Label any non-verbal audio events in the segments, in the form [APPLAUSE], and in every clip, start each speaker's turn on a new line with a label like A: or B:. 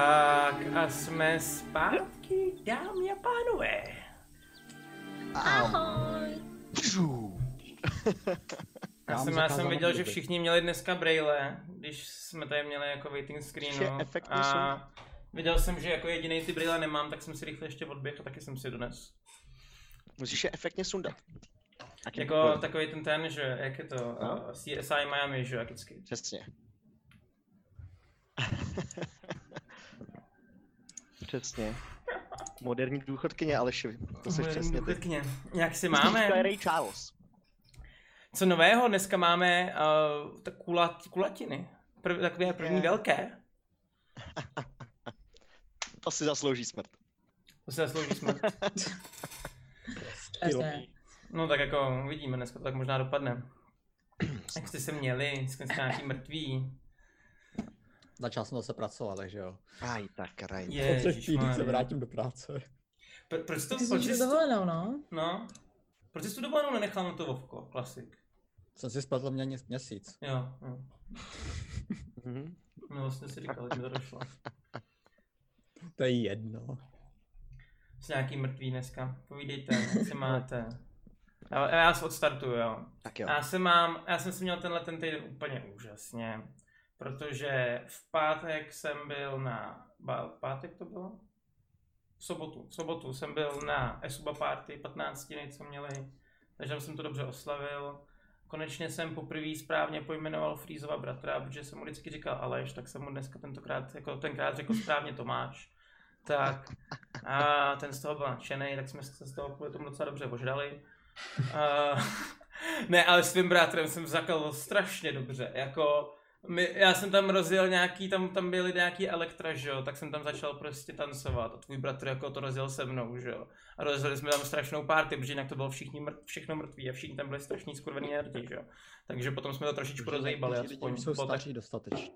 A: Tak a jsme zpátky, dámy a pánové.
B: Ahoj.
C: Pžu.
A: Já
C: Nám
A: jsem, já
C: zakázáno
A: jsem viděl, že
C: mluvit.
A: všichni měli dneska braille, když jsme tady měli jako waiting
C: Že
A: screenu.
C: efekty
A: A viděl jsem, že jako jediný ty braille nemám, tak jsem si rychle ještě odběhl a taky jsem si dones.
C: Musíš je efektně sundat. Taky
A: Jako takový ten ten, že jak je to,
C: No.
A: no? CSI Miami, že jak vždycky.
C: Přesně. [LAUGHS] přesně. Moderní důchodkyně Alešovi. To se přesně ty.
A: Pěkně. Jak si
C: To je
A: máme?
C: Ray Charles.
A: Co nového? Dneska máme uh, tak kulat, kulatiny. Prv, takové první
C: Je.
A: velké.
C: To si zaslouží smrt.
A: To se zaslouží
D: [LAUGHS]
A: smrt.
B: Jasně.
A: No tak jako uvidíme, dneska to tak možná
D: [CLEARS THROAT]
A: dopadne. Jak jste se měli, dneska jste nějaký mrtví.
B: Začal jsem zase pracovat, takže jo.
C: Aj, tak raj.
E: Po třech
A: Ježišmarja.
E: týdnech se vrátím do práce.
A: Pro- Proč to,
D: Ty jsi
A: proč
D: jsi
A: jsi,
D: dovolenou,
F: hein.
D: no?
A: no? Proč jsi tu dovolenou nenechal na to Vovko, klasik?
B: Jsem si spletl mě ně- měsíc.
A: Jo, jo.
C: Mhm.
A: No vlastně si říkal, že mi to došlo.
E: To je jedno.
A: Jsi nějaký mrtvý dneska, povídejte, jak se
E: [LAUGHS]
A: máte. Já, já se odstartuju, jo.
C: Tak jo.
A: Já jsem mám, já jsem si měl tenhle ten týden úplně úžasně, protože v pátek jsem byl na, ba, pátek to bylo? V sobotu, v sobotu jsem byl na Esuba Party 15, co měli, takže tam jsem to dobře oslavil. Konečně jsem poprvé správně pojmenoval Frýzova bratra, protože jsem mu vždycky říkal Aleš, tak jsem mu dneska tentokrát, jako tenkrát řekl správně Tomáš. Tak a ten z toho byl nadšený, tak jsme se z toho kvůli tomu docela dobře ožrali. A, [LAUGHS] ne, ale s tím bratrem jsem zakal strašně dobře, jako my, já jsem tam rozjel nějaký, tam, tam byly nějaký elektra, že jo, tak jsem tam začal prostě tancovat a tvůj bratr jako to rozjel se mnou, že jo. A rozjeli jsme tam strašnou party, protože jinak to bylo všichni mrt, všechno mrtví a všichni tam byli strašní skurvený nerdi, že jo. Takže potom jsme to trošičku rozejbali,
C: Někteří lidi
A: aspoň.
B: Jsou
A: po tak-
B: staří dostatečně.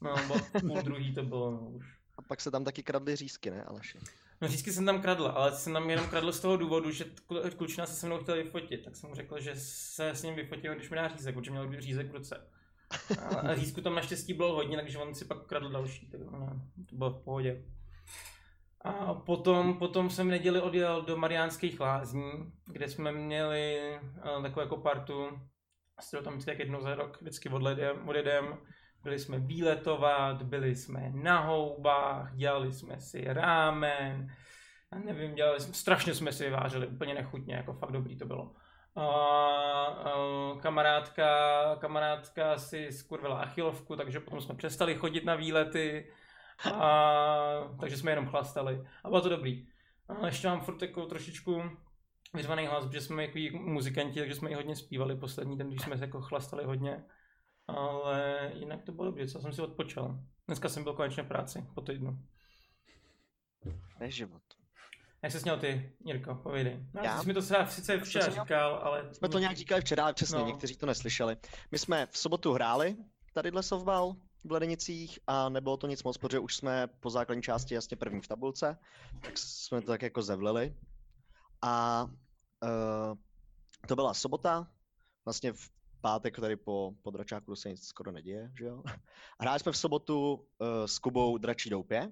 A: No, bo půl druhý to bylo, no už.
C: A pak se tam taky kradly řízky, ne, Aleši?
A: No vždycky jsem tam kradl, ale jsem tam jenom kradl z toho důvodu, že klu- klučina se se mnou chtěl vyfotit, tak jsem mu řekl, že se s ním vyfotím, když mi dá řízek, protože měl být řízek v ruce. A- A řízku tam naštěstí bylo hodně, takže on si pak kradl další, tak no, to bylo v pohodě. A potom, potom jsem v neděli odjel do Mariánských lázní, kde jsme měli eh, takovou jako partu, s kterou tam vždycky tak jednou za rok vždycky odjedem, odjedem. Byli jsme výletovat, byli jsme na houbách, dělali jsme si rámen, já nevím, dělali jsme, strašně jsme si vyváželi, úplně nechutně, jako fakt dobrý to bylo. A, a, kamarádka, kamarádka si skurvila achilovku, takže potom jsme přestali chodit na výlety, a, takže jsme jenom chlastali a bylo to dobrý. A ještě mám furt jako trošičku vyřvaný hlas, protože jsme jako muzikanti, takže jsme i hodně zpívali poslední den, když jsme jako chlastali hodně. Ale jinak to bylo dobrý, co jsem si odpočal. Dneska jsem byl konečně v práci, po týdnu.
C: Ne život.
A: Jak se měl ty, Jirko, povědej. No,
C: Já?
A: Já? Jsi mi to třeba sice včera
C: jsem měl-
A: říkal, ale...
C: Jsme to nějak říkali včera, ale přesně,
A: No.
C: no. někteří to neslyšeli. My jsme v sobotu hráli tadyhle softball v Ledenicích a nebylo to nic moc, protože už jsme po základní části jasně první v tabulce, tak jsme to tak jako zevlili. A uh, to byla sobota, vlastně v pátek tady po, po dračáku se nic skoro neděje, že jo? [LAUGHS] Hráli jsme v sobotu uh, s Kubou dračí doupě,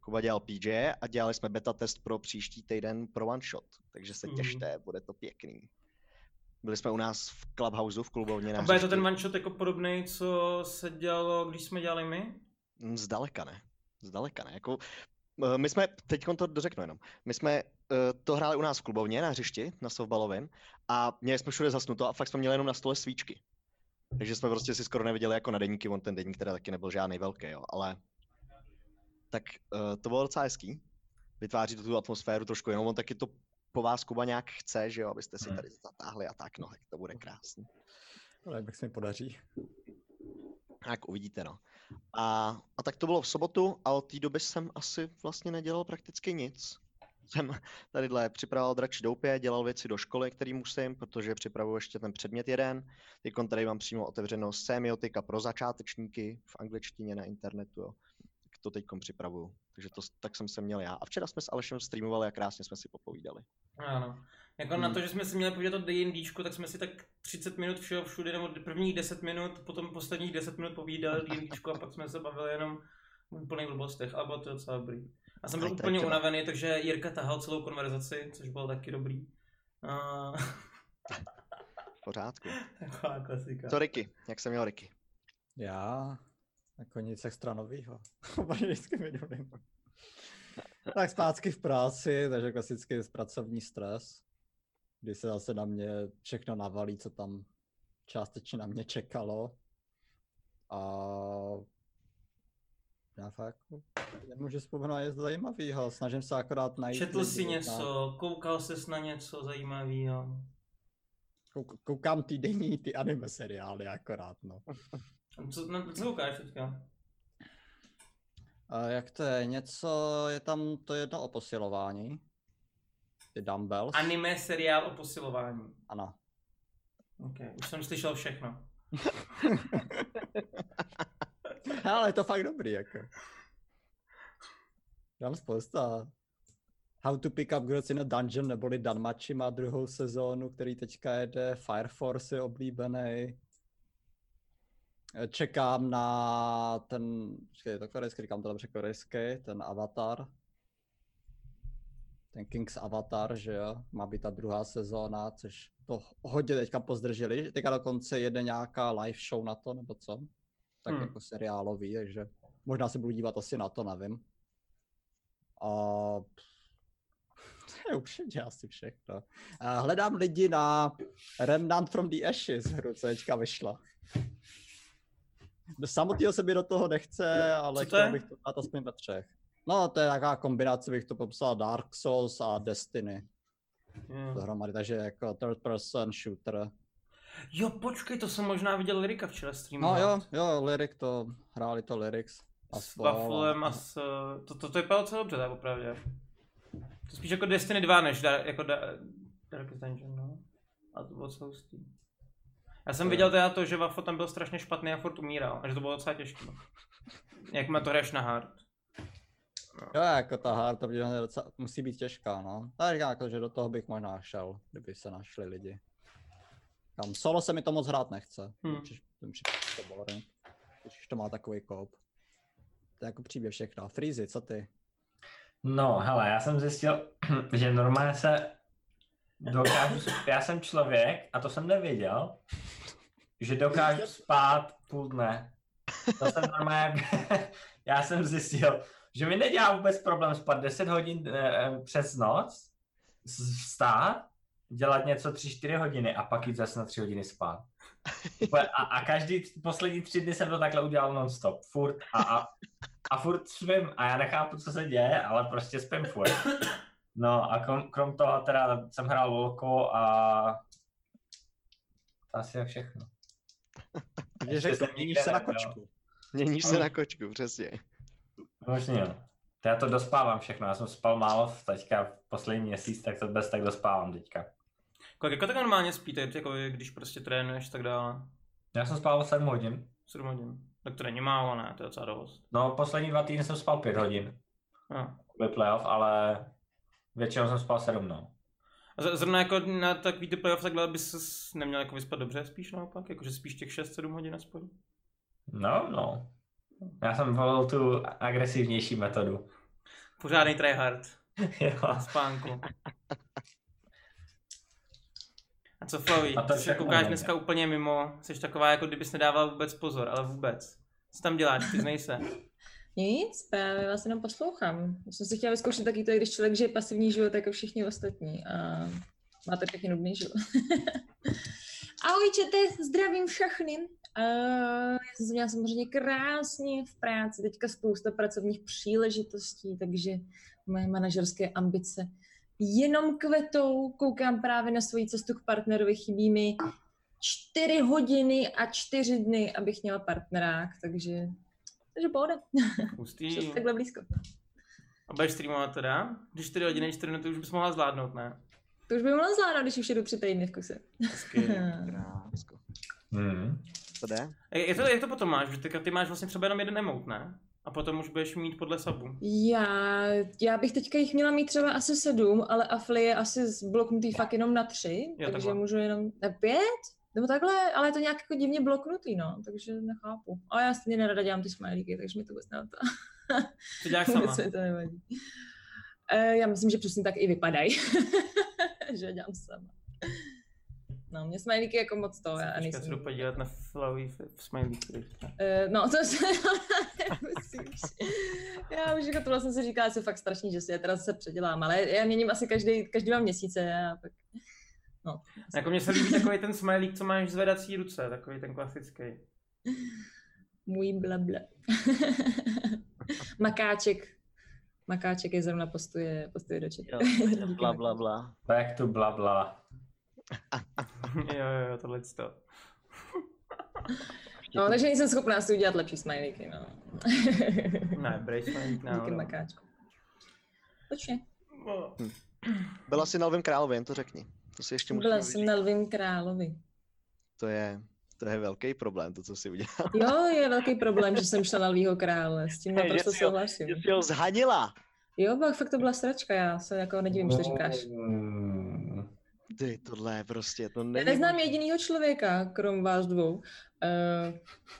C: Kuba dělal PJ a dělali jsme beta test pro příští týden pro one shot, takže se
A: Mhm.
C: těšte, bude to pěkný. Byli jsme u nás v Clubhouse, v klubovně na
A: A bude to
C: hřišti.
A: ten one shot jako podobný, co se dělalo, když jsme dělali my?
C: Mm, Zdaleka ne. Zdaleka ne. Jako, eh, my jsme, teď to dořeknu jenom, my jsme eh, to hráli u nás v klubovně na hřišti, na softballovém a měli jsme všude zasnuto a fakt jsme měli jenom na stole svíčky. Takže jsme prostě si skoro neviděli jako na deníky, on ten deník teda taky nebyl žádný velký, jo, ale tak eh, to bylo docela hezký. Vytváří to tu atmosféru trošku, jenom on taky to po vás Kuba nějak chce, že jo, abyste si
A: Mhm.
C: tady zatáhli a tak, no, tak to bude krásný.
E: Ale jak se mi podaří.
C: Tak uvidíte, no. A, a tak to bylo v sobotu a od té doby jsem asi vlastně nedělal prakticky nic. Jsem tadyhle připravoval dračí doupě, dělal věci do školy, který musím, protože připravuju ještě ten předmět jeden. Teď tady mám přímo otevřenou semiotika pro začátečníky v angličtině na internetu, jo. Tak to teď připravuju. Takže to, s- tak jsem se měl já. A včera jsme s Alešem streamovali a krásně jsme si popovídali.
A: Ano. Jako
C: Hmm.
A: na to, že jsme si měli povídat o D&Dčku, tak jsme si tak 30 minut všeho všude, nebo prvních 10 minut, potom posledních 10 minut povídali D&Dčku a pak jsme se bavili jenom úplných blbostech, ale bylo to docela dobrý. A jsem byl
C: Tak, tak
A: úplně
C: třeba.
A: unavený, takže Jirka tahal celou konverzaci, což bylo taky dobrý. A, [LAUGHS]
C: v pořádku.
A: taková klasika.
C: Co Ricky? Jak jsem měl Ricky?
E: Já? Jako nic extra novýho. [LAUGHS] Vždycky mi jdu Tak zpátky v práci, takže klasicky pracovní stres, kdy se zase na mě všechno navalí, co tam částečně na mě čekalo. A já fakt jako nemůžu vzpomenout nic zajímavého, snažím se akorát najít...
A: Četl
E: lidi
A: si
E: na-
A: něco, koukal ses na něco zajímavého.
E: Kouk- koukám týdenní ty anime seriály akorát, no.
A: Co, na, co koukáš teďka?
E: A jak to je? Něco, je tam to jedno o posilování? Ty dumbbells?
A: Anime seriál o posilování.
E: Ano. [LAUGHS]
A: Okay. Už jsem slyšel všechno.
E: Ale je to fakt dobrý, jako. Tam spousta. How to pick up girls in a dungeon, neboli Danmachi má druhou sezónu, který teďka jede, Fire Force je oblíbený. Eh, Čekám na ten, počkej, je to korejský, říkám to dobře korejský, ten Avatar. Ten King's Avatar, že jo, má být ta druhá sezóna, což to hodně teďka pozdrželi, teďka dokonce jede nějaká live show na to, nebo co? Tak
A: Hmm.
E: hmm. jako seriálový, takže možná se budu dívat asi na to, nevím. A to je upřímně asi všechno. A hledám lidi na Remnant from the Ashes hru, co teďka vyšla. Do samotného se mi do toho nechce, ale
A: Co to
E: chtěl
A: je?
E: bych to dát aspoň ve třech. No, to je taková kombinace, bych to popsal Dark Souls a Destiny
A: Jo.
E: dohromady, takže jako third person shooter.
A: Jo, počkej, to jsem možná viděl Lirika včera
E: No
A: streamovat.
E: jo, jo, Lyric to, hráli to Lyrics. A
A: S
E: Fall a-
A: Buffalem a s... eh, To, to, to vypadalo docela dobře, tak opravdu. To spíš jako Destiny 2, než da, jako da, Darkest Dungeon, no. A to bylo docela hustý. Já jsem
E: To
A: viděl teda to, že Wafo tam byl strašně špatný a furt umíral, a že to bylo docela těžké. Jak má to hraješ na hard.
E: Jo, jako ta hard, to je docela, musí být těžká, no. A říkám, jako, že do toho bych možná šel, kdyby se našli lidi. Tam solo se mi to moc hrát nechce.
A: Hmm.
E: Hmm. Přiš, ten při- to prostě boring. Když to má takový kop. To je jako příběh všechno. Freezy, co ty?
D: No, hele, já jsem zjistil, [CLEARS THROAT] že normálně se dokážu, já jsem člověk, a to jsem nevěděl, že dokážu spát půl dne. To jsem normálně, [LAUGHS] já jsem zjistil, že mi nedělá vůbec problém spát 10 hodin eh, přes noc, s- vstát, dělat něco 3-4 hodiny a pak jít zase na 3 hodiny spát. Úplně- A, a každý t- poslední tři dny jsem to takhle udělal non-stop, furt a, a, a furt spím a já nechápu, co se děje, ale prostě spím furt. No a krom, krom toho teda jsem hrál volko a to asi je všechno.
E: Když
D: Ještě
E: řekl,
D: jsem
E: měníš
D: nikde
E: se na
D: nebyl.
E: kočku.
C: Měníš se
D: Ale-
C: na kočku, přesně.
D: Možný, jo. To já to dospávám všechno, já jsem spal málo v teďka v poslední měsíc, tak to bez tak dospávám teďka.
A: Kolik jako tak normálně spíte, jako když prostě trénuješ tak dále.
D: Já jsem spal 7 hodin,
A: 7 hodin. Tak to není málo, ne? To je docela dost. No.
D: no poslední dva týdny jsem spal 5 hodin,
A: Jo.
D: kvůli playoff, ale většinou jsem spal 7, no.
A: A z- zrovna jako na takový ty playoff takhle bys ses neměl jako vyspat dobře, spíš naopak? Jakože spíš těch 6-7 hodin aspoň?
D: No, no. Já jsem volil tu agresivnější metodu.
A: Pořádný tryhard.
D: [LAUGHS] Jo.
A: Na spánku. A co Flavi,
D: A to
A: ty se
D: všechno
A: koukáš
D: na
A: dneska úplně mimo, jsi taková, jako kdybys nedával vůbec pozor, ale vůbec. Co tam děláš, přiznej se.
F: Nic, právě vás jenom poslouchám. Já jsem si chtěla vyzkoušet taky to, když člověk žije pasivní život jako všichni ostatní a má to taky nudný život. [LAUGHS] Ahoj čete, zdravím všechny. Uh, já jsem se měla samozřejmě krásně v práci, teďka spousta pracovních příležitostí, takže moje manažerské ambice jenom kvetou. Koukám právě na svoji cestu k partnerovi, chybí mi čtyři hodiny a čtyři dny, abych měla partnerák, takže, takže pohoda.
A: Hustý.
F: Šest takhle blízko.
A: A budeš streamovat teda? Když 4 hodiny, 4 minuty už bys mohla zvládnout, ne?
F: To už by mohla zvládat, když už jedu tři týdny v kuse.
A: Hezky.
C: Krásko.
D: Hmm.
C: To jde?
A: Jak jak to, jak to potom máš? Že teďka ty máš vlastně třeba jenom jeden emote, ne? A potom už budeš mít podle sabu.
F: Já, já bych teďka jich měla mít třeba asi sedm, ale Afli je asi zbloknutý fakt jenom na tři,
A: Jo,
F: jo, takže
A: takhle.
F: můžu jenom na pět? Nebo takhle, ale je to nějak jako divně bloknutý, no, takže nechápu. A já stejně nerada dělám ty smajlíky, takže mi to vůbec nevadí.
A: To děláš sama.
F: [LAUGHS] Vůbec mi to nevadí. E, já myslím, že přesně tak i vypadají. [LAUGHS] že dělám sama. No, mě smajlíky jako moc to, já
A: Počkej, já se jdu
F: nejsem.
A: podívat na flowy f- smiley. který-
F: E, no, to se [LAUGHS] nemusíš. Já už jako tohle jsem si říkala, že je fakt strašný, že si je teda se předělám, ale já měním asi každý, každý dva měsíce a pak... No,
A: Jako mně se líbí takový ten smiley, co máš zvedací ruce, takový ten klasický. [LAUGHS]
F: můj blable. [LAUGHS] Makáček. Makáček je zrovna postuje, postuje do četu. No,
C: Jo, bla, bla, bla.
D: Back to bla bla.
A: jo, jo, jo, tohle to.
F: No, takže nejsem schopná si udělat lepší smajlíky, no.
A: [LAUGHS] Ne, no. break smiley,
F: Díky
A: náhodou.
F: makáčku. Točně.
A: No.
C: Byla jsi na Lvém královi, jen to řekni. To si ještě
F: Byla
C: musíme
F: jsem na Lvým královi.
C: To je, to je velký problém, to, co si udělal.
F: Jo, je velký problém, že jsem šla na Lvýho krále,
A: [LAUGHS]
F: s tím
C: Hej, že
F: naprosto
C: si ho-
F: souhlasím.
C: Ty jsi ho zhanila!
F: Jo, pak fakt to byla sračka, já se jako nedivím, že to
D: No,
F: říkáš.
A: Hmm.
D: Mm.
C: Ty, tohle je prostě, to
F: Já
C: není...
F: neznám jedinýho člověka, krom vás dvou. Uh,
B: A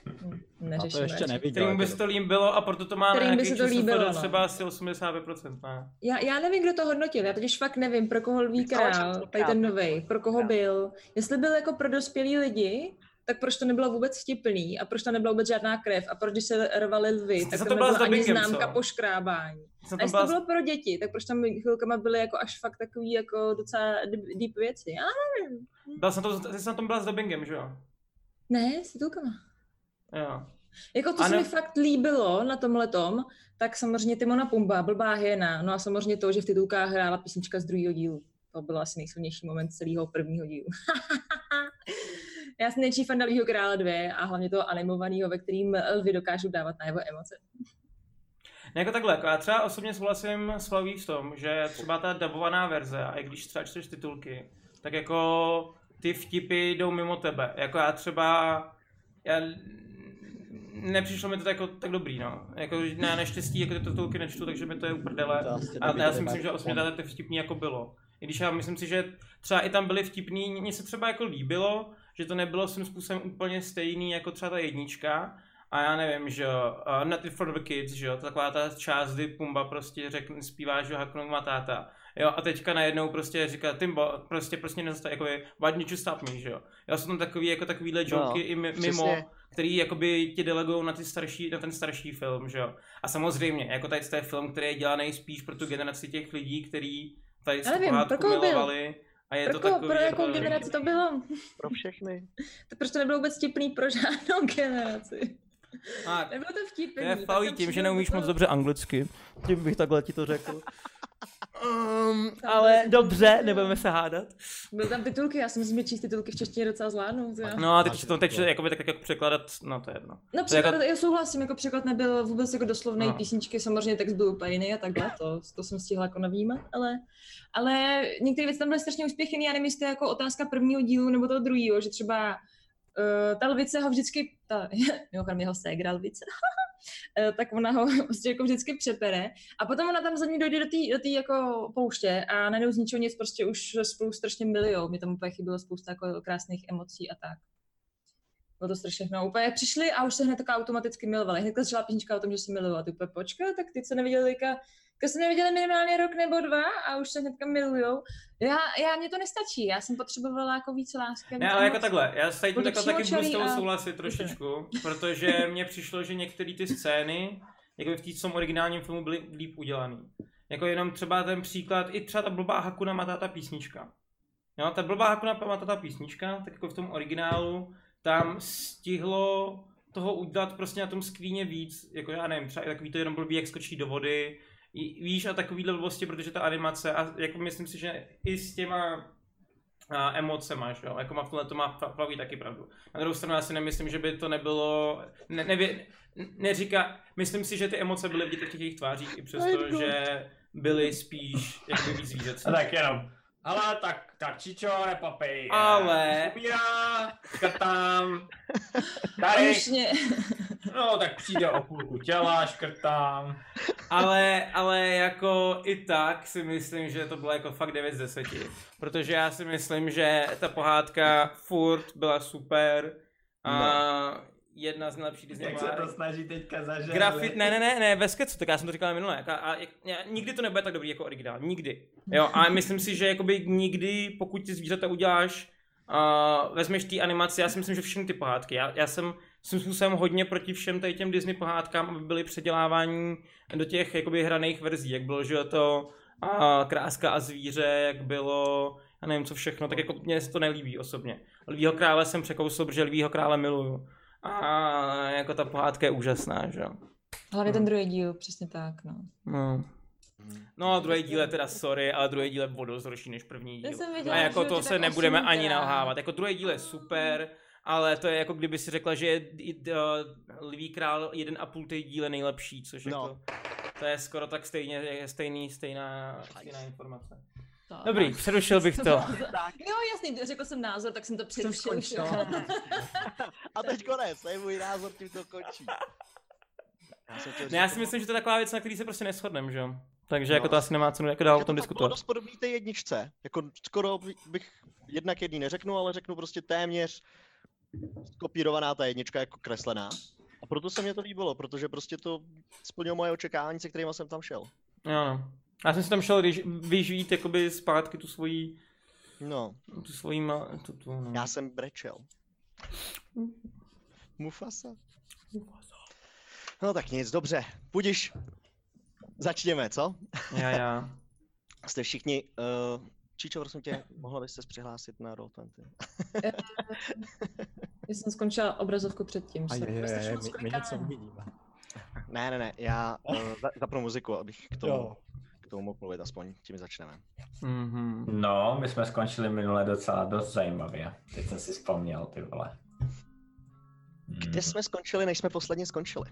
B: to
F: neřeším.
B: ještě
F: radši.
B: neviděl.
A: Kterým by se to líbilo a proto to má
F: Kterým by
A: nějaký
F: se to
A: číslo
F: líbilo,
A: FD
F: no.
A: třeba asi 85%, ne?
F: Já, já nevím, kdo to hodnotil, já totiž fakt nevím, pro koho lví
C: Myslel jsem
F: král,
C: stokrát.
F: tady ten novej, pro koho byl. Jestli byl jako pro dospělý lidi, tak proč to nebylo vůbec vtipný a proč tam nebyla vůbec žádná krev a proč když se rvali lvy,
A: Jste
F: tak
A: se
F: tam
A: to byla
F: nebyla
A: s
F: ani
A: dubbingem,
F: známka
A: co?
F: poškrábání.
A: Jsem
F: A
A: tam
F: jestli to
A: byla...
F: bylo pro děti, tak proč tam chvilkama byly jako až fakt takový jako docela deep- deep věci. Já nevím.
A: Byla jsem to, ty jsi na tom byla s dubbingem, že jo?
F: Ne, s titulkama.
A: Jo.
F: Jako to
A: Ano.
F: se mi fakt líbilo na tomhle tom, tak samozřejmě Timona Pumba, blbá hyena, no a samozřejmě to, že v titulkách hrála písnička z druhého dílu. To byl asi nejsilnější moment celého prvního dílu. [LAUGHS] Já jsem největší fan Dalího krále 2 a hlavně toho animovaného, ve kterým lvy dokážou dávat na jeho emoce.
A: Ne, jako takhle, jako já třeba osobně souhlasím s Flaví v tom, že třeba ta dabovaná verze, a i když třeba čteš titulky, tak jako ty vtipy jdou mimo tebe. Jako já třeba, já nepřišlo mi to tak, jako, tak dobrý, no. Jako na neštěstí, jako ty titulky nečtu, takže mi to je uprdele.
E: jako prostě
A: A já si myslím, že osmě to vtipný jako bylo. I když já myslím si, že třeba i tam byly vtipný, mně se třeba jako líbilo, že to nebylo svým způsobem úplně stejný jako třeba ta jednička. A já nevím, že jo, uh, Not It for the Kids, že jo, to taková ta část, kdy Pumba prostě řekne, zpívá, že ho Hakunu má táta. Jo, a teďka najednou prostě říká, Timbo, prostě, prostě nezastav, jako je, why didn't you stop me, že jo. Já jsem tam takový, jako takovýhle joky i mi- mimo,
C: přesně.
A: který jakoby ti delegují na, ty starší, na ten starší film, že jo. A samozřejmě, jako tady to je film, který je dělaný spíš pro tu generaci těch lidí, který tady
F: Já nevím,
A: pohádku
F: pro koho byl?
A: milovali. A je
F: Pro,
A: to
F: koho-
A: takový,
F: pro jakou
A: jako-
F: generaci to bylo?
C: Pro všechny.
F: To proč to nebylo vůbec vtipný pro žádnou generaci?
A: A,
F: Nebylo to
A: to
F: vtipný.
A: je
F: pak
A: faují
F: tam
A: tím, že
F: přišel
A: neumíš
F: do
A: moc
F: toho-
A: dobře anglicky. Tím bych takhle ti to řekl. Um,
F: Tam
A: ale
F: byly-
A: dobře, nebudeme se hádat.
F: Byly tam titulky, já si myslím, že číst titulky v češtině docela zvládnu. já.
A: No a teď to teď jakoby tak jako překládat, no to je jedno.
F: No
A: To je jako-
F: překlad, já souhlasím, jako překlad nebyl vůbec jako doslovný
A: No.
F: no. písničky, samozřejmě text byl úplně jiný a takhle, to, to jsem stihla jako navnímat, ale, ale některé věci tam byly strašně úspěchy, já nevím, jestli to je jako otázka prvního dílu nebo toho druhého, že třeba uh, ta lvice ho vždycky, ta, [LAUGHS] mimochodem jeho ségra lvice, [LAUGHS] eh, tak ona ho [LAUGHS] prostě jako vždycky přepere a potom ona tam za ní dojde do té do tý jako pouště a najednou z ničeho nic prostě už spolu strašně milion, mě tam úplně chybělo spousta jako krásných emocí a tak. Bylo to strašně no, úplně přišli a už se hned taká automaticky milovali. Hned začala písnička o tom, že se milovali. Ty úplně počkej, tak ty se neviděli teďka, teďka se neviděli minimálně rok nebo dva a už se hnedka milujou. Já, já mě to nestačí, já jsem potřebovala jako víc lásky. a víc
A: Ne, ale jako
F: emocí.
A: takhle, já s tady tím
F: Budu
A: takhle taky budu s
F: přímočarý
A: tou
F: a-
A: souhlasit trošičku, protože mně přišlo, že některé ty scény, jako v tý- v tom originálním filmu, byly líp udělaný. Jako jenom třeba ten příklad, i třeba ta blbá Hakuna Matata písnička. Jo, ta blbá Hakuna Matata písnička, tak jako v tom originálu, tam stihlo toho udělat prostě na tom skvíně víc, jako já nevím, třeba i takový to jenom blbý, jak skočí do vody, i- víš, a takovýhle blbosti, protože ta animace, a jako myslím si, že i s těma a emocema, že jo? Jako má v tomhle to má Fla- Flavý taky pravdu. Na druhou stranu já si nemyslím, že by to nebylo, ne, nevě, neříká, myslím si, že ty emoce byly vidět i v těch jejich tvářích, i přesto, že byly spíš jakoby víc zvířecí.
D: Oh A No tak jenom. Ale tak, tak čičo, nepapej.
A: Ale-
D: Umírá, škrtám. Tady,
F: Už mě,
D: no tak přijde o půlku těla, škrtám.
A: Ale, ale jako i tak si myslím, že to bylo jako fakt 9 z 10. Protože já si myslím, že ta pohádka furt byla super. A jedna z nejlepších Disney
D: Jak se to snaží teďka zažít.
A: Grafit, ne, ne, ne, ne, ve skecu, tak já jsem to říkal minule. A, a, a, nikdy to nebude tak dobrý jako originál, nikdy. Jo, a myslím si, že jakoby nikdy, pokud ty zvířata uděláš, uh, vezmeš ty animaci, já si myslím, že všechny ty pohádky. Já, já jsem svým způsobem hodně proti všem tady těm Disney pohádkám, aby byly předělávání do těch jakoby hraných verzí, jak bylo, že to a kráska a zvíře, jak bylo, já nevím co všechno, tak jako mně se to nelíbí osobně. Lvího krále jsem překousl, protože Lvího krále miluju. A jako ta pohádka je úžasná, že jo.
F: Hlavně ten druhý díl, přesně tak, no.
A: No. No a druhý díl je teda sorry, ale druhý díl je o dost horší než první díl.
F: Já jsem viděla,
A: A jako
F: že
A: to
F: ti
A: se
F: tak
A: nebudeme
F: osmkrát.
A: ani nalhávat. Jako druhý díl je super, ale to je jako kdyby si řekla, že je i- eh, Lví král jeden a půl díl je nejlepší, což
C: No.
A: jako, to je skoro tak stejně, je stejný, stejná, stejná informace.
F: To-
A: Dobrý, přerušil bych
C: [LAUGHS]
A: to.
F: No jasný, řekl jsem názor, tak jsem to přerušil. že jo.
C: A teď konec, to je můj názor, tím to končí. Já, jsem chtěl
A: Ne, já
C: říct, jako-
A: si myslím, že to je taková věc, na který se prostě neschodneme, že jo. Takže
C: No.
A: jako to asi nemá cenu jako dál o
C: Já to
A: tom
C: fakt bylo
A: diskutovat.
C: dost podobný té jedničce. Jako skoro bych jednak jedný neřeknu, ale řeknu prostě téměř kopírovaná ta jednička jako kreslená. A proto se mě to líbilo, protože prostě to splnilo moje očekávání, se kterými jsem tam šel.
A: Jo, no. Já jsem si tam šel ryž- vyžít jakoby zpátky tu svoji,
C: No,
A: tu svoji, ma, tu, tu, no.
C: já jsem brečel. [LAUGHS] Mufasa. No tak nic, dobře. Budiš. Začněme, co?
A: Já, já.
C: Jste všichni... Uh, Číčo, prosím tě, mohla byste se přihlásit na Roll20?
F: Já jsem skončila obrazovku předtím.
B: A je,
F: sorry,
B: je,
F: prostě
B: je,
F: šlo
B: my, my
F: sklikání.
B: něco uvidíme.
C: Ne, ne, ne, já uh, za, zapnu muziku, abych k tomu, k tomu mohl mluvit aspoň, tím začneme.
A: Mhm.
D: No, my jsme skončili minule docela dost zajímavě. Teď jsem si vzpomněl, ty vole. Hmm. Mhm.
C: Kde jsme skončili, než jsme posledně skončili?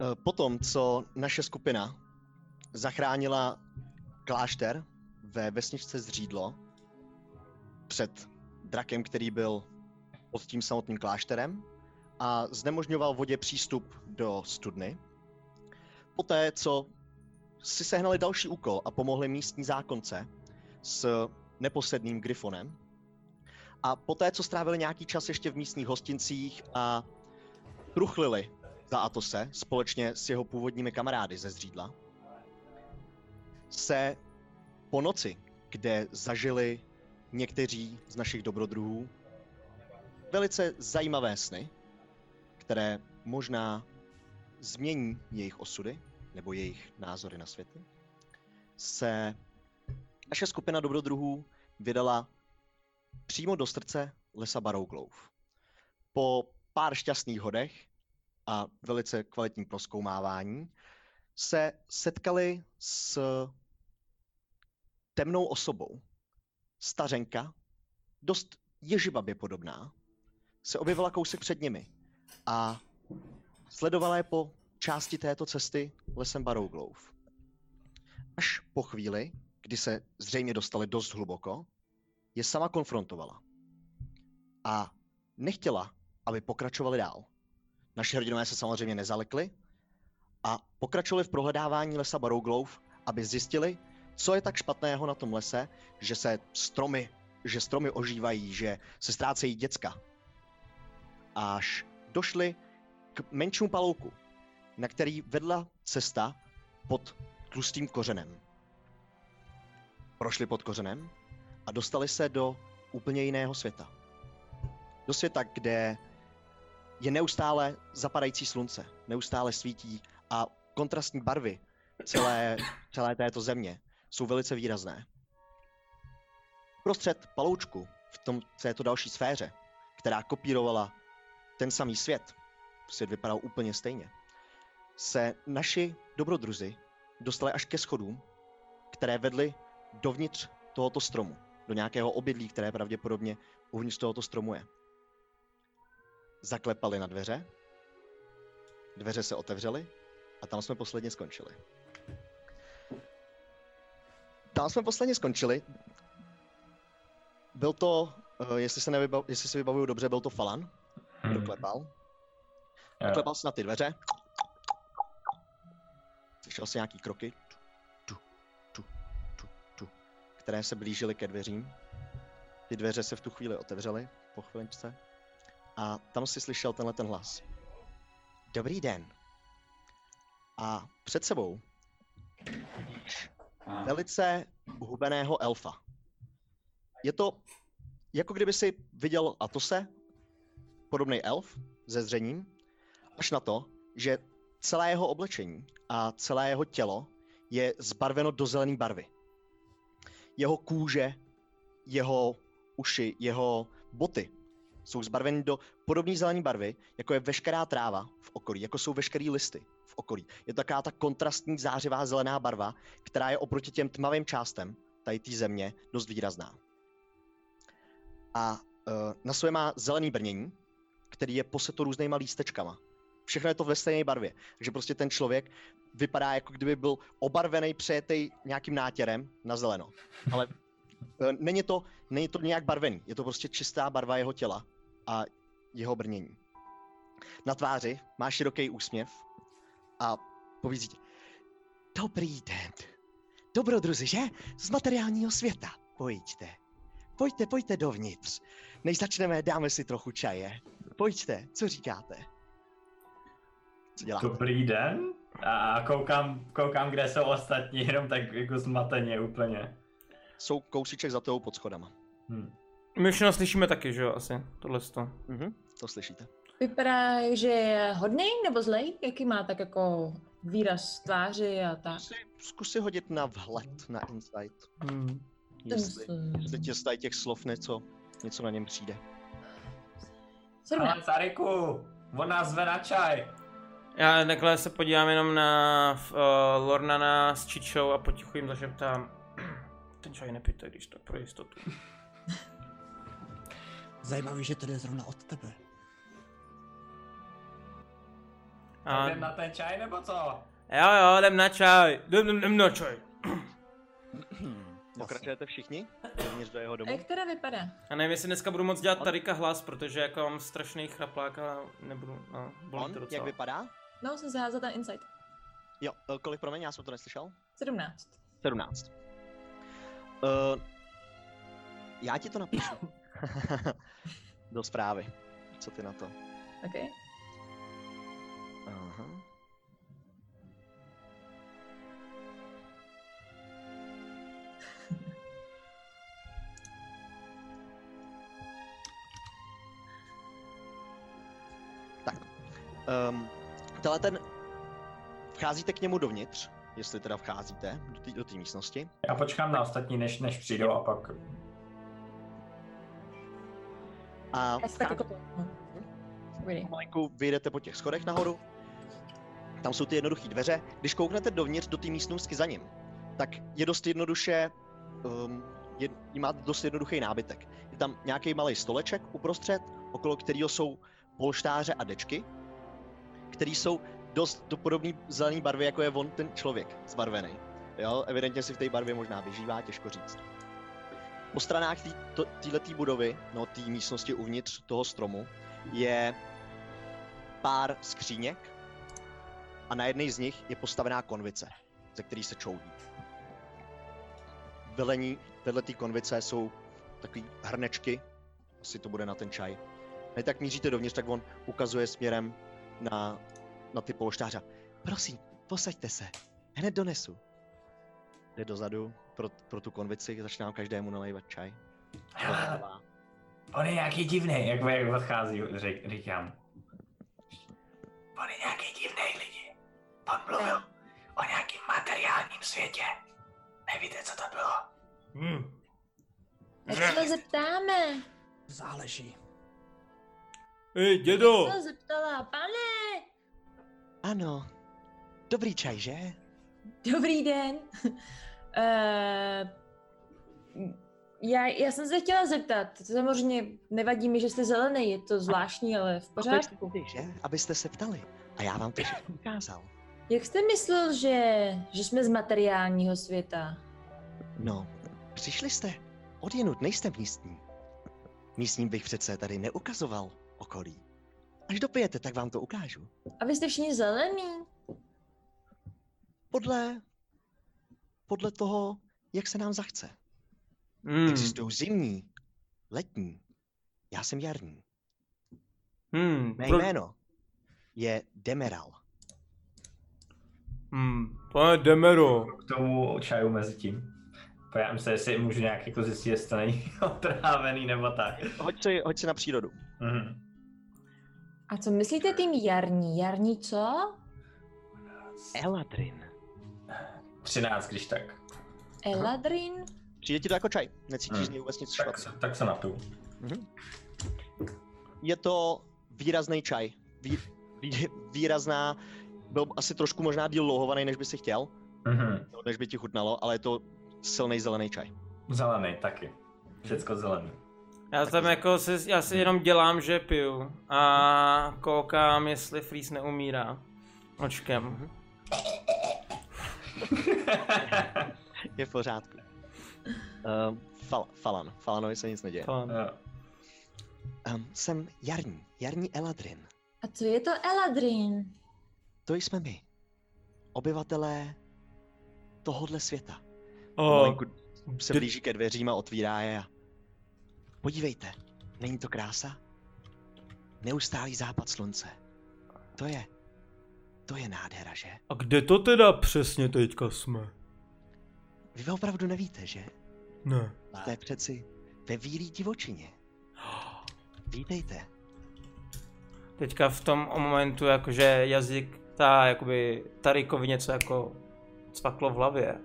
C: Eh, Potom, co naše skupina zachránila klášter ve vesničce Zřídlo před drakem, který byl pod tím samotným klášterem a znemožňoval vodě přístup do studny. Poté, co si sehnali další úkol a pomohli místní zákonce s neposledným grifonem, a poté, co strávili nějaký čas ještě v místních hostincích a truchlili za Atose společně s jeho původními kamarády ze Zřídla, se po noci, kde zažili někteří z našich dobrodruhů, velice zajímavé sny, které možná změní jejich osudy nebo jejich názory na světy, se naše skupina dobrodruhů vydala přímo do srdce lesa Barouglouf. Po pár šťastných hodech a velice kvalitním proskoumávání se setkali s temnou osobou. Stařenka, dost ježibabě podobná, se objevila kousek před nimi a sledovala je po části této cesty lesem Barouglouf. Až po chvíli, kdy se zřejmě dostali dost hluboko, je sama konfrontovala. A nechtěla, aby pokračovali dál. Naši hrdinové se samozřejmě nezalekli a pokračovali v prohledávání lesa Barouglouf, aby zjistili, co je tak špatného na tom lese, že se stromy, že stromy ožívají, že se ztrácejí děcka. Až došli k menšímu palouku, na který vedla cesta pod tlustým kořenem. Prošli pod kořenem a dostali se do úplně jiného světa. Do světa, kde je neustále zapadající slunce, neustále svítí a kontrastní barvy celé, celé této země jsou velice výrazné. Prostřed paloučku v tom, v této další sféře, která kopírovala ten samý svět, svět vypadal úplně stejně, se naši dobrodruzi dostali až ke schodům, které vedly dovnitř tohoto stromu, do nějakého obydlí, které pravděpodobně uvnitř tohoto stromu je. Zaklepali na dveře, dveře se otevřely a tam jsme posledně skončili. Tam jsme posledně skončili. Byl to, eh, jestli se, nevybav, jestli se vybavuju dobře, byl to Falan, kdo
D: Mhm.
C: klepal.
D: Hmm. Jo.
C: Klepal se na ty dveře. Slyšel se nějaký kroky, tu, tu, tu, tu, které se blížily ke dveřím. Ty dveře se v tu chvíli otevřely, po chviličce. A tam si slyšel tenhle ten hlas. Dobrý den. A před sebou vidíš velice hubeného elfa. Je to, jako kdyby si viděl Atose, podobný elf, ze zřením, až na to, že celé jeho oblečení a celé jeho tělo je zbarveno do zelené barvy. Jeho kůže, jeho uši, jeho boty jsou zbarveny do podobné zelené barvy, jako je veškerá tráva v okolí, jako jsou veškeré listy v okolí. Je to taková ta kontrastní zářivá zelená barva, která je oproti těm tmavým částem tady té země dost výrazná. A uh, na sobě má zelený brnění, který je poseto různýma lístečkama. Všechno je to ve stejné barvě, takže prostě ten člověk vypadá jako kdyby byl obarvený, přejetej nějakým nátěrem na zeleno. Ale eh, není to, není to nějak barvený, je to prostě čistá barva jeho těla a jeho brnění. Na tváři má široký úsměv a povízí ti. Dobrý den. Dobrodruzi, že? Z materiálního světa. Pojďte. Pojďte, pojďte dovnitř. Než začneme, dáme si trochu čaje. Pojďte, co říkáte? Co děláte?
D: Dobrý den. A a koukám, koukám, kde jsou ostatní, jenom tak jako zmateně úplně.
C: Jsou kousíček za tebou pod schodama.
D: Hm.
A: My všechno slyšíme taky, že jo, asi, tohle to.
C: Mhm, to slyšíte.
F: Vypadá, že je hodnej nebo zlej? Jaký má tak jako výraz tváři a tak?
C: Zkusy, zkusy hodit na vhled, na insight.
A: Hmm.
C: Jestli,
F: Ten-
C: jestli tě z tady těch slov něco, něco na něm přijde.
F: Sedmnáct.
D: Ale Cariku, on nás zve na čaj.
A: Já takhle se podívám jenom na uh, Lornana s Čičou a potichu jim zašeptám. [CLEARS THROAT] Ten čaj nepijte, když tak pro jistotu.
B: Zajímavý, že to jde zrovna od tebe.
A: A
D: Jdem na ten čaj nebo co?
A: jo, jo, jdem na čaj. Jdem, jdem, jdem na čaj.
C: Pokračujete [CLEARS THROAT] všichni? Dovnitř do jeho
F: A
C: domu?
F: jak teda vypadá?
A: A nevím, jestli dneska budu moc dělat Tarika hlas, protože jako mám strašný chraplák a nebudu, no, bolí
C: On,
A: to
C: jak
A: docela.
C: vypadá?
F: No, jsem zaházela ten insight.
C: Jo, eh, kolik promiň, já jsem to neslyšel.
F: 17.
C: 17. Uh, já ti to [LAUGHS] napíšu. do zprávy. Co ty na to?
F: OK.
C: Aha. [LAUGHS] Tak. Um, tenhle ten... Vcházíte k němu dovnitř, jestli teda vcházíte do té do té místnosti.
D: Já počkám na ostatní, než, než přijdou a pak...
C: A
F: Já se tak jako... Dobrý.
C: pomalinku vyjdete po těch schodech nahoru. Tam jsou ty jednoduché dveře. Když kouknete dovnitř do té místnosti za ním, tak je dost jednoduše, um, je, jí má dost jednoduchý nábytek. Je tam nějaký malý stoleček uprostřed, okolo kterého jsou polštáře a dečky, které jsou dost do podobné zelené barvy, jako je on ten člověk zbarvený. Jo, evidentně si v té barvě možná vyžívá, těžko říct. Po stranách této budovy, no té místnosti uvnitř toho stromu, je pár skříněk a na jedné z nich je postavená konvice, ze který se čoudí. Velení téhle tý konvice jsou takový hrnečky, asi to bude na ten čaj. Ne tak míříte dovnitř, tak on ukazuje směrem na, na ty polštáře. Prosím, posaďte se, hned donesu. Jde dozadu pro, pro tu konvici, začínám každému nalévat čaj. Rozdává.
D: On je nějaký divný, jak, jak odchází, řek, říkám. On je nějaký divný lidi. On mluvil o nějakém materiálním světě. Nevíte, co to bylo?
A: Hmm.
F: Jak se to zeptáme?
B: Záleží.
A: Hej, dědo!
F: Co zeptala? Pane!
C: Ano, dobrý čaj, že?
F: [LAUGHS] Dobrý den. Eh, já, já jsem se chtěla zeptat, to samozřejmě nevadí mi, že jste zelený, je to zvláštní, ale v pořádku.
C: Že? Abyste se ptali. A já [COUGHS] vám to všechno ukázal.
F: Jak jste myslel, že, že jsme z materiálního světa?
C: No, přišli jste. Odjenut nejste místní. Místním bych přece tady neukazoval okolí. Až dopijete, tak vám to ukážu.
F: A vy jste všichni zelený?
C: Podle... Podle toho, jak se nám zachce.
A: Hmm.
C: Existují zimní, letní. Já jsem jarní.
A: Hmm,
C: Mé
A: pro,
C: jméno je Demeral.
A: hmm, pane Demero,
D: K tomu čaju mezi tím. Pojďme se, jestli můžu nějak jako zjistit, jestli to není [LAUGHS] otrávený nebo tak.
C: Hoď si, hoď si na přírodu.
D: Mhm.
F: A co myslíte tím jarní? Jarní co?
C: Eladrin.
D: 13, když tak.
F: Eladrin?
C: Přijde ti to jako čaj, necítíš
D: Hmm.
C: z něj vůbec nic
D: Tak,
C: špatného.
D: se- tak se napiju.
C: Je to výrazný čaj. Vý, vý, [LAUGHS] výrazná, byl asi trošku možná díl louhovaný, než by si chtěl,
D: Mhm.
C: nebo než by ti chutnalo, ale je to silný zelený čaj.
D: Zelený taky. Všecko zelený.
A: já tam jako si, já si jenom dělám, že piju a koukám, jestli Freeze neumírá očkem.
C: Je v pořádku. Uh, fal, falan. Falanovi se nic neděje.
A: Falan.
D: Jo.
C: Um, jsem Jarní, Jarní Eladrin.
F: A co je to Eladrin?
C: To jsme my. Obyvatelé tohohle světa.
A: O,
C: Pomalinku se
A: d-
C: blíží ke dveřím a otvírá je a... Podívejte, není to krása? Neustálý západ slunce. To je... To je nádhera, že?
A: a kde to teda přesně teďka jsme?
C: Vy opravdu nevíte, že?
A: Ne.
C: Jste přeci ve výlí divočině. Vítejte.
A: Teďka v tom momentu jakože jazyk, ta jakoby, Tarikovi něco jako cvaklo v hlavě.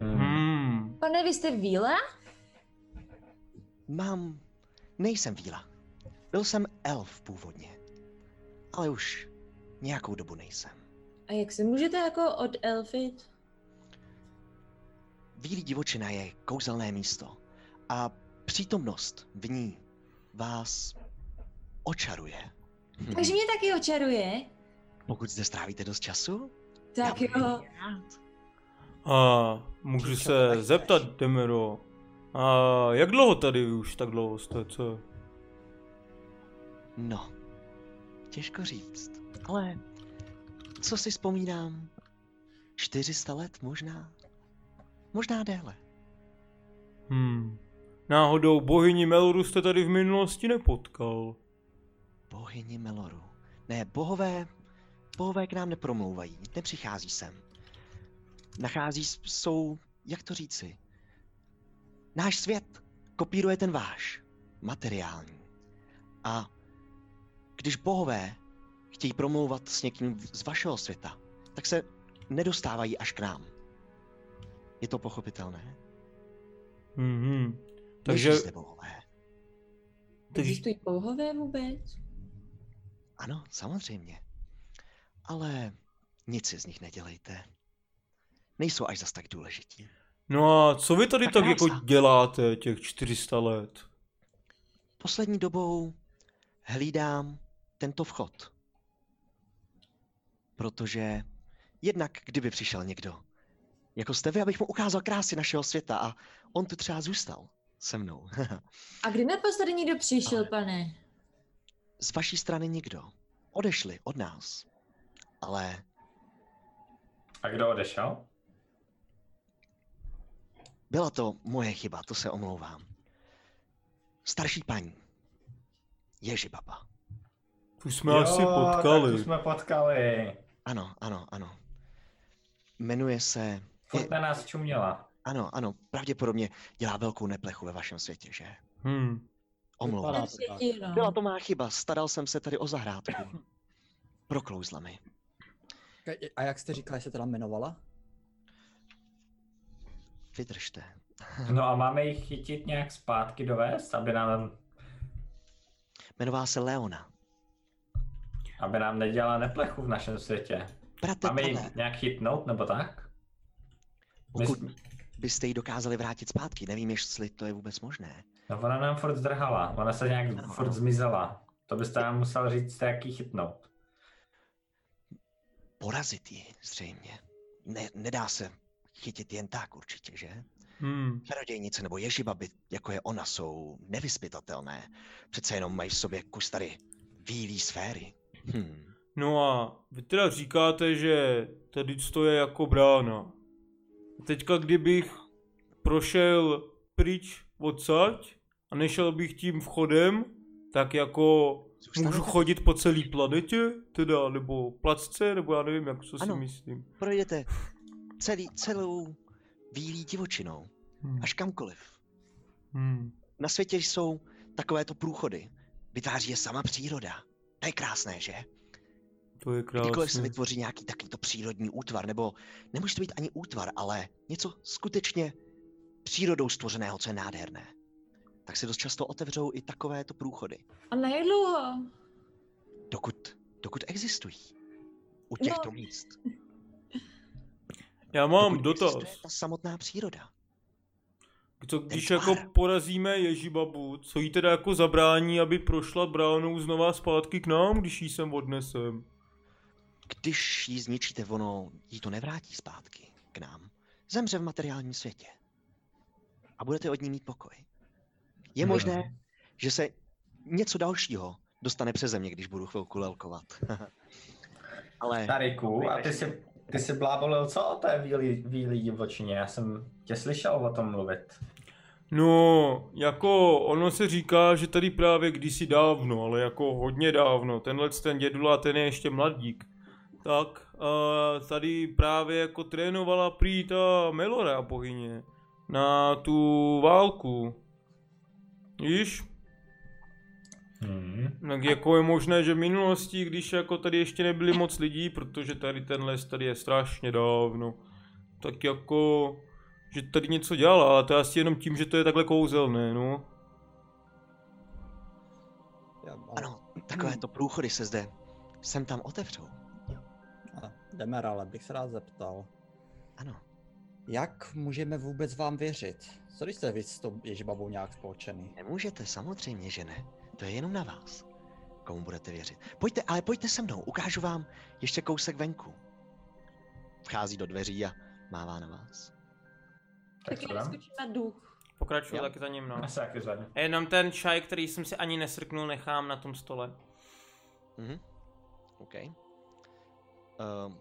D: Mhm.
A: Hmm.
F: Pane, vy jste Vila?
C: Mám... Nejsem víla. Byl jsem elf původně. Ale už nějakou dobu nejsem.
F: A jak se můžete jako od Elfit?
C: Vílí divočina je kouzelné místo a přítomnost v ní vás očaruje. Hm.
F: Takže mě taky očaruje.
C: Pokud zde strávíte dost času,
F: Tak
C: Já
F: jo.
A: A můžu se zeptat, Demiro, a jak dlouho tady už tak dlouho jste, co?
C: no, těžko říct, ale co si vzpomínám, 400 let možná, možná déle.
A: Hmm. Náhodou bohyni Meloru jste tady v minulosti nepotkal.
C: Bohyni Meloru. Ne, bohové, bohové k nám nepromlouvají, nepřichází sem. Nachází, s- jsou, jak to říci, náš svět kopíruje ten váš, materiální. A když bohové chtějí promlouvat s někým z vašeho světa, tak se nedostávají až k nám. Je to pochopitelné?
A: Mhm. Takže,
C: Nejsou zde bohové.
A: takže,
F: Existují pouhové vůbec?
C: Ano, samozřejmě. Ale nic si z nich nedělejte. Nejsou až zas tak důležití.
A: no a co vy tady
C: Ta
A: tak jako
C: krása.
A: děláte těch 400 let?
C: Poslední dobou hlídám tento vchod. Protože jednak, kdyby přišel někdo, jako jste vy, abych mu ukázal krásy našeho světa a on tu třeba zůstal se mnou. [LAUGHS]
F: A kdy naposledy někdo přišel,
C: Ale-
F: pane?
C: z vaší strany nikdo. Odešli od nás. Ale
D: A kdo odešel?
C: Byla to moje chyba, to se omlouvám. Starší paní. Ježi baba.
A: Tu jsme jo, asi potkali.
D: Tak tu jsme potkali.
C: Ano, ano, ano. Jmenuje se...
D: Furt na nás čuměla.
C: Ano, ano, pravděpodobně dělá velkou neplechu ve vašem světě, že?
A: Hmm.
C: Omlouvám.
E: Vypadá-
F: Ten
E: to tak.
F: třetí, no.
C: Byla to má chyba, staral jsem se tady o zahrádku. Proklouzla mi.
E: Ka- A jak jste říkal, že se teda jmenovala?
C: Vydržte.
D: No a máme ji chytit nějak zpátky dovést, aby nám,
C: Jmenovala se Leona.
D: aby nám nedělala neplechu v našem světě.
C: Brate,
D: Máme ji
C: pane,
D: nějak chytnout nebo tak?
C: pokud
D: My-
C: byste ji dokázali vrátit zpátky, nevím, jestli to je vůbec možné.
D: No ona nám furt zdrhala, ona se nějak
C: Ano.
D: furt zmizela. To byste nám musel říct, jak ji chytnout.
C: Porazit ji, zřejmě. Ne, nedá se chytit jen tak určitě, že?
A: Hmm.
C: Čarodějnice nebo ježibaby, jako je ona, jsou nevyspytatelné. Přece jenom mají v sobě kus tady bílý sféry. Hm.
A: No a vy teda říkáte, že tady to je jako brána. Teďka kdybych prošel pryč odsaď a nešel bych tím vchodem, tak jako
C: Zůstanu-
G: Můžu chodit po celé planetě, teda, nebo placce, nebo já nevím, jak co si
C: Ano.
G: myslím.
C: Projdete celý, celou bílý divočinou,
G: Hmm.
C: až kamkoliv.
G: Hmm.
C: Na světě jsou takovéto průchody. Vytváří je sama příroda. To je krásné, že?
G: To je
C: Kdykoliv Jako, se
G: krásné.
C: vytvoří nějaký takovýto přírodní útvar, nebo nemůže to být ani útvar, ale něco skutečně přírodou stvořeného, co je nádherné, tak se dost často otevřou i takovéto průchody,
F: A na jak dlouho?
C: dokud, dokud existují. U těchto
F: No,
C: míst.
G: Já mám
C: dokud existuje
G: dotaz.
C: Ta samotná příroda.
G: Co když
C: Ten
G: jako
C: pár.
G: porazíme Ježibabu, co jí teda jako zabrání, aby prošla bránou znova zpátky k nám, když jí sem odnesem?
C: Když ji zničíte, ono jí to nevrátí zpátky k nám. Zemře v materiálním světě. A budete od ní mít pokoj. Je
D: Mhm.
C: možné, že se něco dalšího dostane přeze mě, když budu chvilku lelkovat. [LAUGHS] Ale
D: Tariku, a ty jsi, ty jsi blábolil co o té výlí, výlí divočině? Já jsem tě slyšel o tom mluvit.
G: No, jako ono se říká, že tady právě kdysi dávno, ale jako hodně dávno, tenhle ten dědula, ten je ještě mladík, tak uh, tady právě jako trénovala prý ta Melora bohyně na tu válku. Víš?
D: Hmm.
G: Tak jako je možné, že v minulosti, když jako tady ještě nebyli moc lidí, protože tady ten les tady je strašně dávno, tak jako, že tady něco dělala, ale to je asi jenom tím, že to je takhle kouzelné, no.
E: Já, ale,
C: ano, takovéto průchody se zde sem tam otevřou.
E: ale, Demerale, bych se rád zeptal.
C: Ano.
E: Jak můžeme vůbec vám věřit? Co když jste vy s tou ježbabou nějak spolčený?
C: Nemůžete, samozřejmě, že ne. To je jenom na vás. Komu budete věřit? Pojďte, ale pojďte se mnou, ukážu vám ještě kousek venku. Vchází do dveří a mává na vás.
D: Tak
F: Taky
D: co dám?
F: skočím na duch.
A: Pokračuju
C: Jo.
A: taky za ním, no.
D: Já se taky zvednu.
A: A jenom ten čaj, který jsem si ani nesrknul, nechám na tom stole.
C: Mhm. OK. Ehm, Um,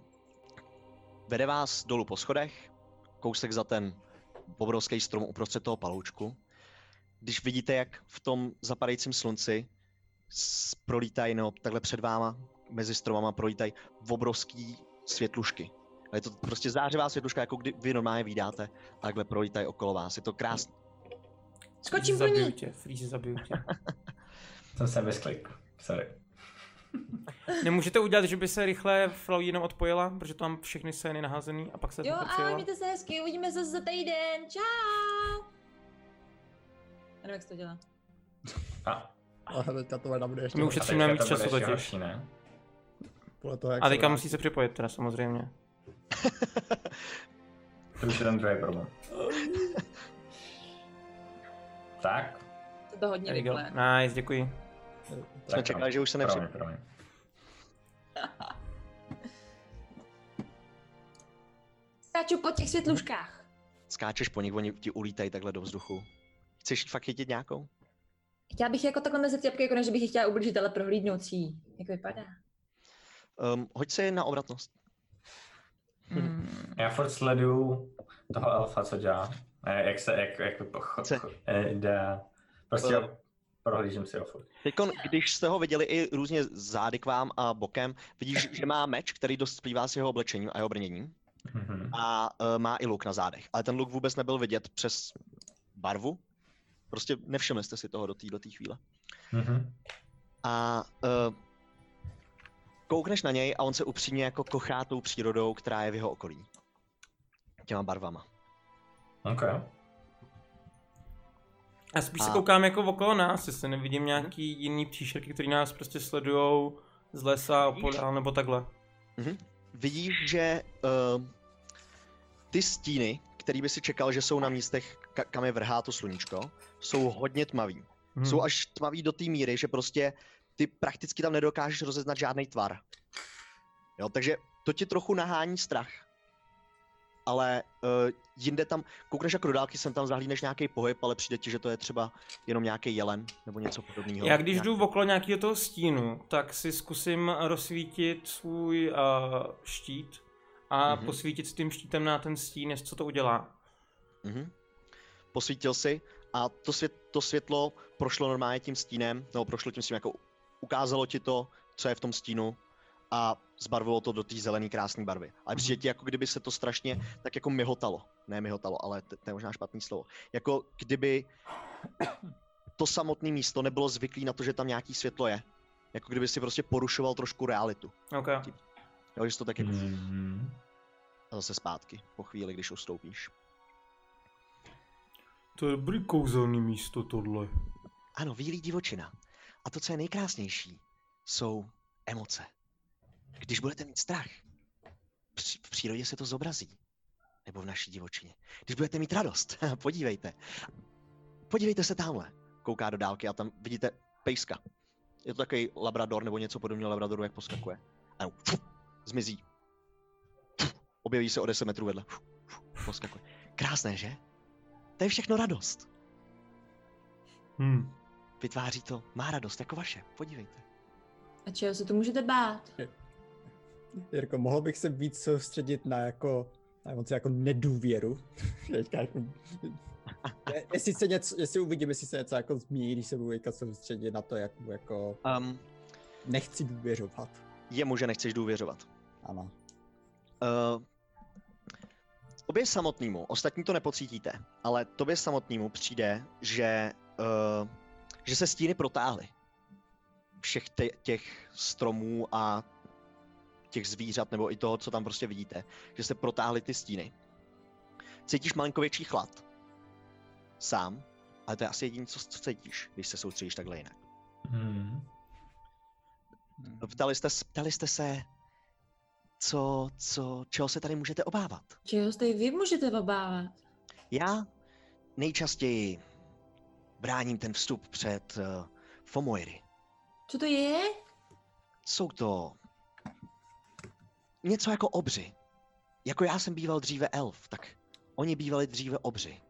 C: vede vás dolů po schodech, kousek za ten obrovský strom uprostřed toho paloučku. Když vidíte, jak v tom zapadajícím slunci s- prolítají, no takhle před váma, mezi stromama prolítají obrovský světlušky. A je to prostě zářivá světluška, jako kdy vy normálně vydáte, a takhle prolítají okolo vás. Je to krásné.
F: Skočím po
A: zabiju
F: ní.
A: tě, Freeze, zabiju tě. [LAUGHS]
D: Jsem se vysklik. Sorry.
A: Nemůžete udělat, že by se rychle Flow jenom odpojila, protože tam mám všechny scény naházený a pak se
F: Jo,
A: to
F: ahoj, mějte se hezky, uvidíme se za týden. Čau. Já nevím, jak jsi to dělá.
D: A,
E: Ale teďka tohle nebude ještě
A: My
E: horší.
A: už- Ušetřím
D: a
A: nám
D: teďka
A: víc
D: to bude
A: času
D: ještě
A: totiž.
D: horší, ne?
E: Podle toho, jak
A: A
E: se
A: teďka
E: vrátí.
A: musí se připojit teda samozřejmě.
D: To už je ten druhý [LAUGHS] problém. tak.
F: To to hodně
A: There you go.
F: rychle.
A: Nice, děkuji.
C: Jsme čekali, že už se nepřipojí.
D: no. Promiň, promiň.
F: Skáču po těch světluškách.
C: Skáčeš po nich, oni ti ulítají takhle do vzduchu. Chceš fakt chytit nějakou?
F: Chtěla bych jako takhle mezi těpky, jako než bych ji chtěla ublížit, ale prohlídnout si ji. Jak vypadá?
C: Um, hoď si na obratnost.
F: Hmm.
D: Já furt sleduju toho elfa, co dělá. Eh, Jak se, jak, jak pocho,
C: Co?
D: jde. Prostě
C: Eh.
D: prohlížím si ho furt.
C: Teďkon, když jste ho viděli i různě zády k vám a bokem, vidíš, že má meč, který dost splývá s jeho oblečením a jeho brněním
D: Mhm.
C: a uh, má i luk na zádech. Ale ten luk vůbec nebyl vidět přes barvu. Prostě nevšimli jste si toho do té do té chvíle.
D: Mhm.
C: A uh, koukneš na něj a on se upřímně jako kochá tou přírodou, která je v jeho okolí. Těma barvama.
D: OK.
A: A spíš se
C: A-
A: koukám jako okolo nás, jestli nevidím nějaký jiný příšerky, který nás prostě sledujou z lesa, podál nebo takhle.
C: vidíš, že uh, ty stíny, který by si čekal, že jsou na místech, ka- kam je vrhá to sluníčko, jsou hodně tmavý.
G: Hmm.
C: Jsou až tmavý do té míry, že prostě ty prakticky tam nedokážeš rozeznat žádný tvar. Jo, takže to ti trochu nahání strach. Ale uh, jinde tam, koukneš jako do dálky, sem tam zahlídneš nějaký pohyb, ale přijde ti, že to je třeba jenom nějaký jelen nebo něco podobného.
A: Já když
C: Nějak-
A: jdu okolo nějakého toho stínu, tak si zkusím rozsvítit svůj uh, štít a
C: Mhm.
A: mm-hmm. posvítit s tím štítem na ten stín, jestli co to udělá.
C: Mhm. Posvítil si a to, svět, to světlo prošlo normálně tím stínem, nebo prošlo tím stínem jako ukázalo ti to, co je v tom stínu a zbarvilo to do té zelené krásné barvy. Ale přijde ti, jako kdyby se to strašně tak jako mihotalo. Ne mihotalo, ale to to je možná špatný slovo. Jako kdyby to samotné místo nebylo zvyklé na to, že tam nějaký světlo je. Jako kdyby si prostě porušoval trošku realitu.
A: OK.
C: Jo, že jsi to tak jako
D: Mhm.
C: a zase zpátky po chvíli, když ustoupíš.
G: To je dobrý kouzelný místo tohle.
C: Ano, výlí divočina. A to, co je nejkrásnější, jsou emoce. Když budete mít strach, při- v přírodě se to zobrazí. Nebo v naší divočině. Když budete mít radost, [LAUGHS] podívejte. Podívejte se tamhle. Kouká do dálky a tam vidíte pejska. Je to takový labrador nebo něco podobného labradoru, jak poskakuje. Ano, fuh, zmizí. Fuh, objeví se o 10 metrů vedle. Fuh, fuh, poskakuje. Krásné, že? To je všechno radost.
G: Hm.
C: Vytváří to, má radost, jako vaše, podívejte.
F: A čeho se to můžete bát?
E: Jirko, mohl bych se víc soustředit na jako, na emoci jako nedůvěru. [LAUGHS] Teďka jako... Je- jestli, se něco, jestli uvidím, jestli se něco jako změní, když se budu teďka soustředit na to, jak mu jako
C: Um,
E: nechci důvěřovat.
C: jemu, že nechceš důvěřovat.
E: Ano.
C: Uh, tobě samotnému, ostatní to nepocítíte, ale tobě samotnému přijde, že, uh, že se stíny protáhly. Všech te- těch stromů a těch zvířat, nebo i toho, co tam prostě vidíte, že se protáhly ty stíny. Cítíš malinko větší chlad. Sám, ale to je asi jediné, co, co cítíš, když se soustředíš takhle jinak.
D: Mhm.
C: Ptali jste, s- ptali jste se, co, co, čeho se tady můžete obávat?
F: Čeho se tady vy můžete obávat?
C: Já nejčastěji bráním ten vstup před uh, Fomoiry.
F: Co to je?
C: Jsou to něco jako obři. Jako já jsem býval dříve elf, tak oni bývali dříve obři.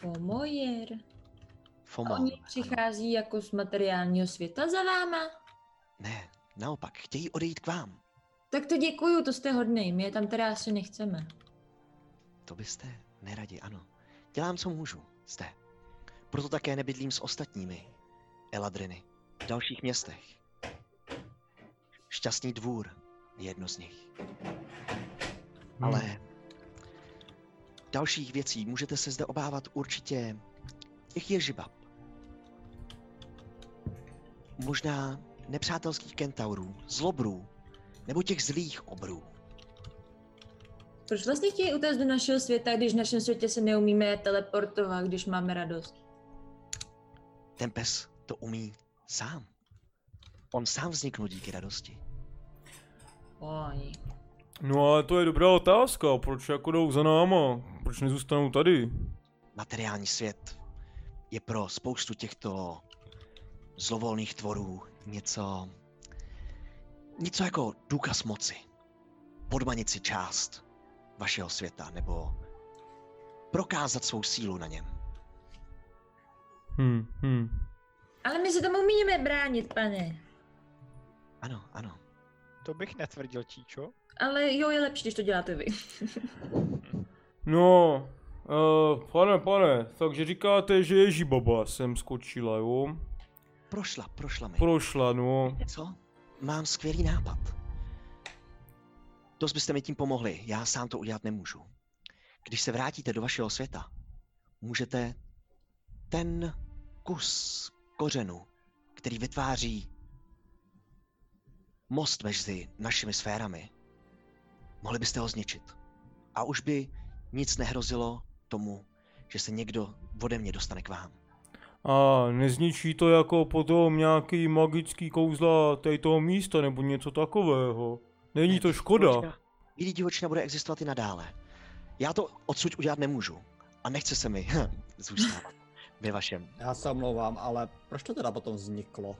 F: Pomojer. A
C: Fomor.
F: oni přichází jako z materiálního světa za váma?
C: Ne, naopak, chtějí odejít k vám.
F: Tak to děkuju, to jste hodnej, my je tam teda asi nechceme.
C: To byste neradi, ano. Dělám, co můžu, zde. Proto také nebydlím s ostatními Eladriny v dalších městech. Šťastný dvůr je jedno z nich. Ale dalších věcí můžete se zde obávat určitě těch ježibab. Možná nepřátelských kentaurů, zlobrů, nebo těch zlých obrů.
F: Proč vlastně chtějí utéct do našeho světa, když v našem světě se neumíme teleportovat, když máme radost?
C: Ten pes to umí sám. On sám vzniknul díky radosti.
F: Oj.
G: No ale to je dobrá otázka, proč jako jdou za náma? Proč nezůstanou tady?
C: Materiální svět je pro spoustu těchto zlovolných tvorů něco, něco jako důkaz moci. Podmanit si část vašeho světa nebo prokázat svou sílu na něm.
G: Hm, hm.
F: Ale my se tomu umíme bránit, pane.
C: Ano, ano.
H: To bych netvrdil, Číčo.
F: Ale jo, je lepší, když to děláte vy.
G: No, uh, pane, pane, takže říkáte, že Ježibaba sem skočila, jo?
C: Prošla, prošla mi.
G: Prošla, no.
C: Co? Mám skvělý nápad. Dost byste mi tím pomohli, já sám to udělat nemůžu. Když se vrátíte do vašeho světa, můžete ten kus kořenu, který vytváří most mezi našimi sférami, mohli byste ho zničit. A už by nic nehrozilo tomu, že se někdo ode mě dostane k vám.
G: A nezničí to jako potom nějaký magický kouzla tady toho místa nebo něco takového. Není to škoda.
C: Bílý divočina bude existovat i nadále. Já to odsud udělat nemůžu. A nechce se mi hm, zůstávat ve vašem.
E: Já se omlouvám, ale proč to teda potom vzniklo?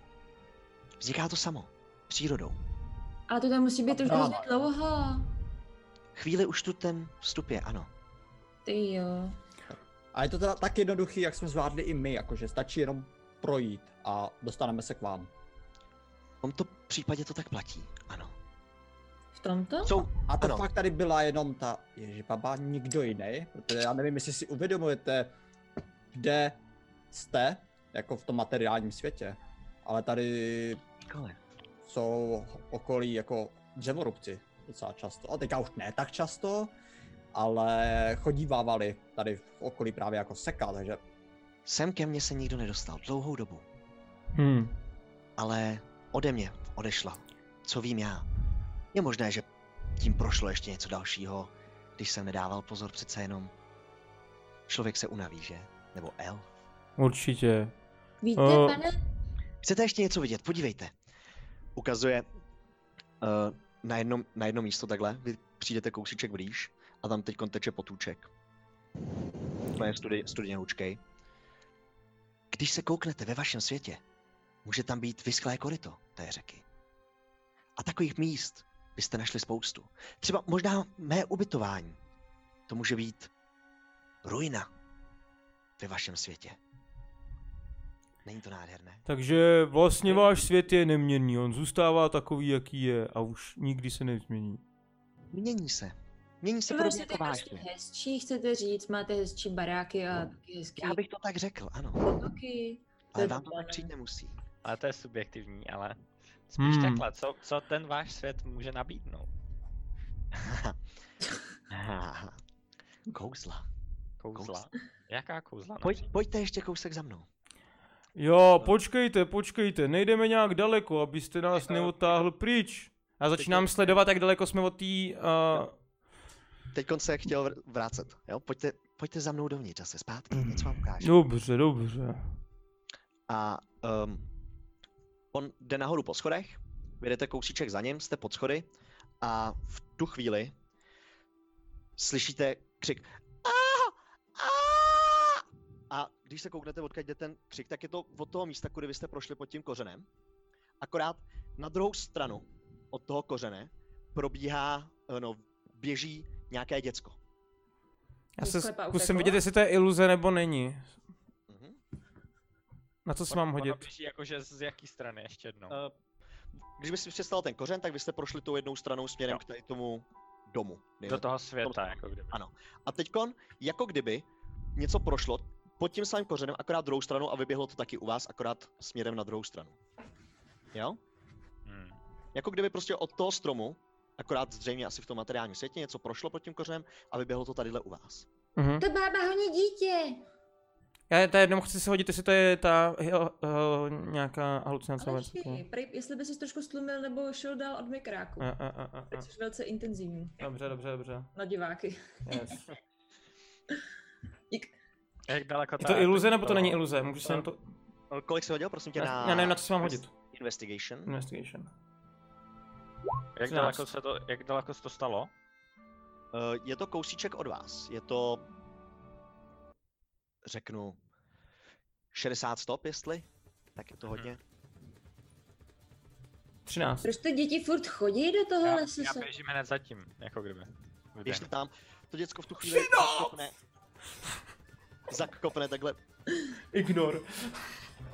C: Vzniká to samo. Přírodou.
F: Ale to tam musí být už
E: Ano.
F: hrozně dlouho.
C: Chvíli už tu ten vstup je, ano.
F: Ty jo.
E: A je to teda tak jednoduchý, jak jsme zvládli i my, jakože stačí jenom projít a dostaneme se k vám.
C: V tomto případě to tak platí, ano.
F: V tomto?
C: Jsou,
E: A to
C: Ano.
E: fakt tady byla jenom ta ježibaba, nikdo jiný, protože já nevím, jestli si uvědomujete, kde jste, jako v tom materiálním světě, ale tady
C: Školy.
E: jsou okolí jako dřevorubci docela často. A teďka už ne tak často, ale chodívávali tady v okolí právě jako seka, takže
C: Sem ke mně se nikdo nedostal dlouhou dobu,
A: Hm.
C: ale ode mě odešla. Co vím já. Je možné, že tím prošlo ještě něco dalšího, když jsem nedával pozor přece jenom. Člověk se unaví, že? Nebo L?
A: Určitě.
F: Víte,
A: O.
C: Eh,
F: pane,
C: Chcete ještě něco vidět? Podívejte. Ukazuje uh, na, jedno, na jedno místo takhle. Vy přijdete kousíček blíž a tam teď teče potůček. To je studi, studěnoučkej. Když se kouknete ve vašem světě, může tam být vysklé koryto té řeky. A takových míst byste našli spoustu. Třeba možná mé ubytování. To může být ruina ve vašem světě. Není to nádherné?
A: Takže vlastně váš svět je neměnný, on zůstává takový, jaký je a už nikdy se nezmění.
C: Mění se. Mění se
F: vy
C: podobně
F: vlastně
C: jako
F: tak
C: váš
F: prostě
C: svět.
F: hezčí, chcete říct, máte hezčí baráky a taky hezký
C: No. Já bych to tak řekl, ano.
F: potoky. To
C: Ale
F: je
C: vám to tak
F: blbé.
C: přijít nemusí. [LAUGHS]
D: Ale to je subjektivní, ale spíš
A: Hmm.
D: takhle, co, co ten váš svět může nabídnout?
C: Kouzla.
D: Kouzla? Jaká kouzla? no?
C: Pojď, pojďte ještě kousek za mnou.
A: Jo, počkejte, počkejte, nejdeme nějak daleko, abyste nás neotáhl pryč. Já začínám sledovat, jak daleko jsme od té... Uh,
C: Teď se chtěl vr- vrátit, jo? Pojďte, pojďte za mnou dovnitř zase zpátky, něco vám ukážu.
A: dobře, dobře.
C: A um, on jde nahoru po schodech, vyjdete kousíček za ním, jste pod schody a v tu chvíli slyšíte křik "Á! Á!" A když se kouknete, odkud jde ten křik, tak je to od toho místa, kudy vy jste prošli pod tím kořenem. Akorát na druhou stranu od toho kořene probíhá, eh, no, běží nějaké děcko.
A: Já
F: Do
A: se
F: sklepa
A: zkusím
F: uteklo?
A: vidět, jestli to je iluze nebo není.
C: Mhm.
A: Na co si mám hodit?
D: Jakože jako, z jaký strany ještě jednou?
C: Eh, Když by si přestal ten kořen, tak vy jste prošli tou jednou stranou směrem
D: Jo.
C: k tady tomu domu.
D: Do
C: dejme
D: toho světa,
C: tom-
D: jako kdyby.
C: A teďkon, jako kdyby něco prošlo pod tím samým kořenem, akorát druhou stranu a vyběhlo to taky u vás, akorát směrem na druhou stranu. Jo?
D: Hmm.
C: Jako kdyby prostě od toho stromu, akorát zřejmě asi v tom materiálním světě, něco prošlo pod tím kořenem a vyběhlo to tadyhle u vás.
A: Mhm.
F: To bába honí dítě.
A: Já ta jednou chci se hodit, jestli to je ta hel, hel, nějaká halucinace.
F: Ale
A: nebo něco
F: počkej,
A: takového.
F: prej, jestli by se trošku slumil nebo šel dál od mikráku.
C: Eh,
A: A, a, a, a, a.
F: Což je velice intenzivní
A: eh, Dobře, dobře,
F: [LAUGHS]
A: dobře.
F: na No, diváky.
A: Yes.
F: Dík.
D: Jak daleko
A: Je to iluze nebo to není iluze? Můžu se na to...
C: Eh, Kolik se hodil, prosím tě,
A: Já
C: na...
A: já nevím, na co No. si mám hodit.
C: Investigation.
A: Investigation.
D: Jak
A: 13.
D: daleko se to, jak daleko se to stalo?
C: Eh, Je to kousíček od vás. Je to... Řeknu... 60 stop, jestli? Tak je to
A: Mhm.
C: hodně.
A: 13.
F: Proč ty děti furt chodí do toho
D: Já,
F: lesu?
D: já
F: No, se-
D: běžím hned zatím, jako kdyby.
C: Když
D: Vyběhnu.
C: to tam, to děcko v tu chvíli zakopne, zakopne takhle
A: Ignor.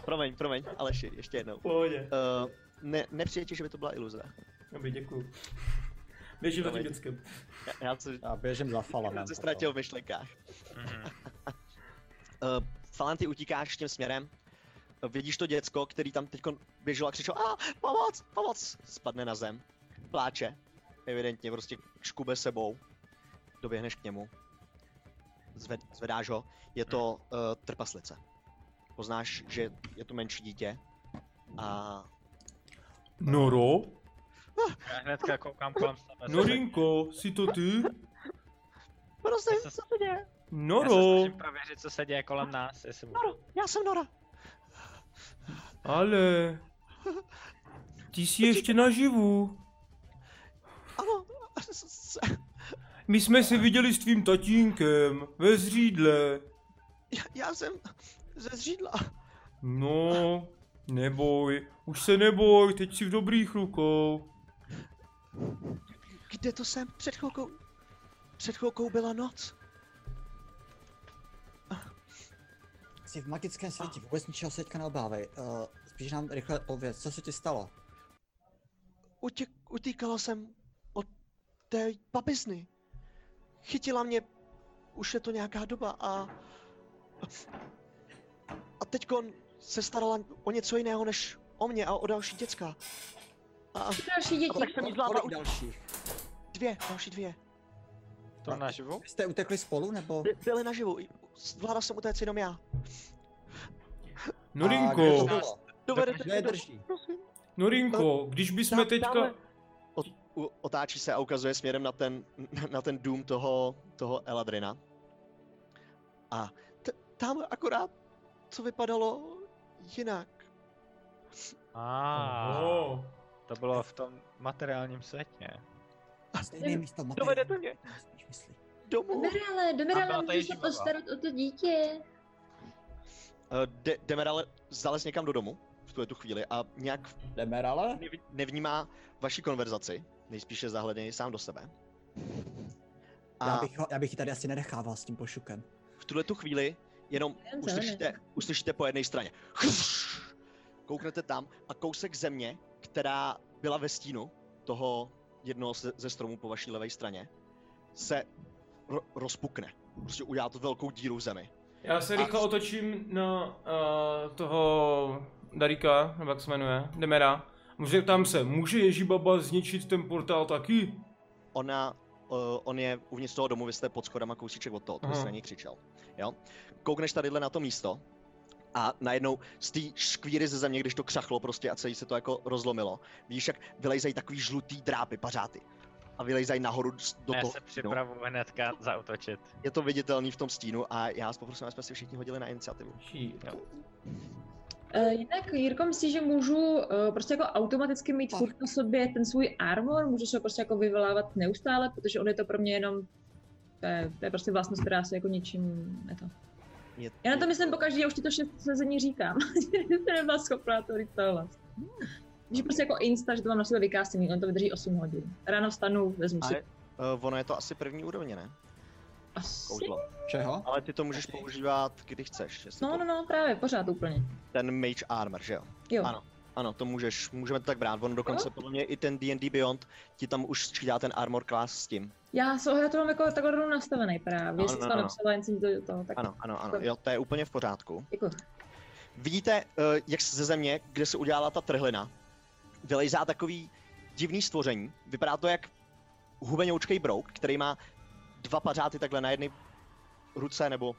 C: Promiň, promiň, Aleši, ještě jednou.
A: Pohodě.
C: Uh, ne, nepřijde ti, že by to byla iluze.
A: Dobrý, děkuju. Běžím za tím
C: Promiň.
A: dětskem.
C: Já, já se,
E: já běžím za
C: já [LAUGHS]
E: Falanem.
C: se ztratil v myšlenkách.
D: Mhm.
C: [LAUGHS] Uh, Falan, ty utíkáš tím směrem. Eh, Vidíš to děcko, který tam teď běžel a křičel, a pomoc, pomoc, spadne na zem. Pláče, evidentně, prostě škube sebou. Doběhneš k němu. Zved, zvedáš ho, je to uh, trpaslice. Poznáš, že je to menší dítě. A
A: Noro?
D: Já hnedka koukám kolem
A: No,
D: sebe.
A: Norinko, jsi to ty?
C: prostě,
D: Já se-
C: co se děje?
D: Já se
A: Noro,
D: snažím prověřit, co se děje kolem nás, jestli budu.
C: Noro, já jsem Nora. [LAUGHS]
A: ale... Ty jsi ještě naživu.
C: Ano, s- s-
A: My jsme se viděli s tvým tatínkem ve zřídle.
C: já, já jsem ze zřídla.
A: No, neboj, už se neboj, teď jsi v dobrých rukou.
C: Kde to jsem? Před chvilkou... Před chvilkou byla noc.
E: Jsi v magickém světě, vůbec ničeho se teďka neobávej. Uh, spíš nám rychle pověz, co se ti stalo?
C: Utěk, utíkala jsem od té papizny. Chytila mě... Už je to nějaká doba a... A teďkon se starala o něco jiného, než o mě a o další děcka. A
F: Další
C: A tak
F: děti.
C: jsem jí zvládla
B: Kolik
C: už
B: dalších?
C: dvě, další dvě.
H: To naživu?
E: Vy jste utekli spolu, nebo?
C: By, byly naživu, i- zvládla jsem utéct jenom já.
E: A kde
G: Norinko,
E: to bylo?
C: Dovedete
E: Kdo je
C: mě do...
E: drží?
G: Norinko, když bychom
C: Dám-
G: teďka...
C: dáme- U- Otáčí se a ukazuje směrem na ten, na ten dům toho, toho Eladrina. A t- tam akorát co vypadalo jinak.
H: A
G: Oh.
H: to bylo v tom materiálním světě.
B: Na stejné místo materiálu.
C: Dovedete mě
B: Já spíš myslím.
C: domů.
F: Domirale,
H: A byla
F: Domirale,
H: tady
F: můžeš se
H: živá.
F: postarat o to dítě.
C: Eh, De- Demerale zalez někam do domu v tuhle tu chvíli a nějak
E: Demerale?
C: nev- nevnímá vaši konverzaci. Nejspíše zahleděný sám do sebe.
B: Já
C: A
B: bych, ho, já bych ji tady asi nenechával s tím pošukem.
C: v tuhle tu chvíli jenom
F: Jen
C: uslyšíte, uslyšíte po jedné straně. Kouknete tam a kousek země, která byla ve stínu toho jednoho ze, ze stromů po vaší levé straně, se ro- rozpukne. Prostě udělá to velkou díru v zemi.
G: Já se
C: A-
G: rychle otočím na uh, toho Darika, nebo jak se jmenuje, Demera. Může, tam se, může Ježibaba zničit ten portál taky?
C: Ona, uh, on je uvnitř toho domu, vy jste pod schodama kousíček od toho, to
G: Aha.
C: jste na ní křičel. Jo? Koukneš tadyhle na to místo a najednou z té škvíry ze země, když to křachlo prostě a celý se to jako rozlomilo, víš, jak vylejzají takový žlutý drápy, pařáty a vylejzají nahoru s- do
H: Já
C: toho.
H: se
C: no.
H: připravu hnedka zautočit.
C: Je to viditelný v tom stínu a já vás poprosím, abychom si všichni hodili na iniciativu.
F: Eh, Jinak, Jirko, myslíš, že můžu eh, prostě jako automaticky mít furt na sobě ten svůj armor? Můžeš ho prostě jako vyvolávat neustále, protože on je to pro mě jenom... To je, to je prostě vlastnost, která se jako ničím... Je to.
C: Je,
F: Já na to
C: je-
F: myslím pokaždé, já už ti to šest sezení říkám, [LAUGHS] že jsem nebyla schopná to říct tohle. Že prostě jako insta, že to mám na sebe vykásený, on to vydrží 8 hodin. Ráno vstanu, vezmu si
C: Ale- Eh, ono je to asi první úrovně, ne?
F: asi.
C: Kouzlo.
E: Čeho?
C: Ale ty to můžeš používat, kdy chceš. Jestli
F: No,
C: to,
F: no, no, právě, pořád úplně.
C: Ten Mage Armor, že jo?
F: Jo.
C: Ano. Ano, to můžeš, můžeme to tak brát. On dokonce podle mě i ten D&D Beyond ti tam už sčítá ten armor class s tím.
F: Já, so, já to mám jako takhle rovnou nastavený právě,
C: Ano, no,
F: jestli jsi to
C: ano.
F: napsala, jen jsem to, to tak jako,
C: Ano, ano, ano,
F: Dobře.
C: jo, to je úplně v pořádku.
F: děkuji.
C: Vidíte, eh, jak ze země, kde se udělala ta trhlina, vylejzá takový divný stvoření. Vypadá to jak hubenoučkej brouk, který má dva pařáty takhle na jedné ruce nebo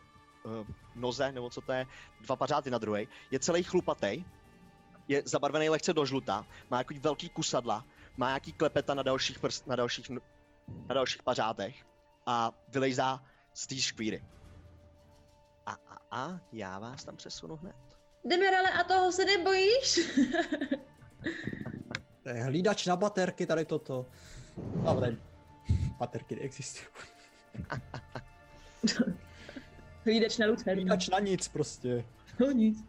C: eh, noze, nebo co to je, dva pařáty na druhé. Je celý chlupatej, je zabarvený lehce do žluta, má jako velký kusadla, má nějaký klepeta na dalších, prst, na dalších, n- na dalších pařátech a vylejzá z té škvíry. A, a, a, já vás tam přesunu hned.
F: Demirale, a toho se nebojíš? [LAUGHS]
E: To je hlídač na baterky, tady toto. No, tady baterky neexistují.
F: Hlídač na
E: [LAUGHS]
F: Lucer.
E: Hlídač na nic prostě.
F: No nic.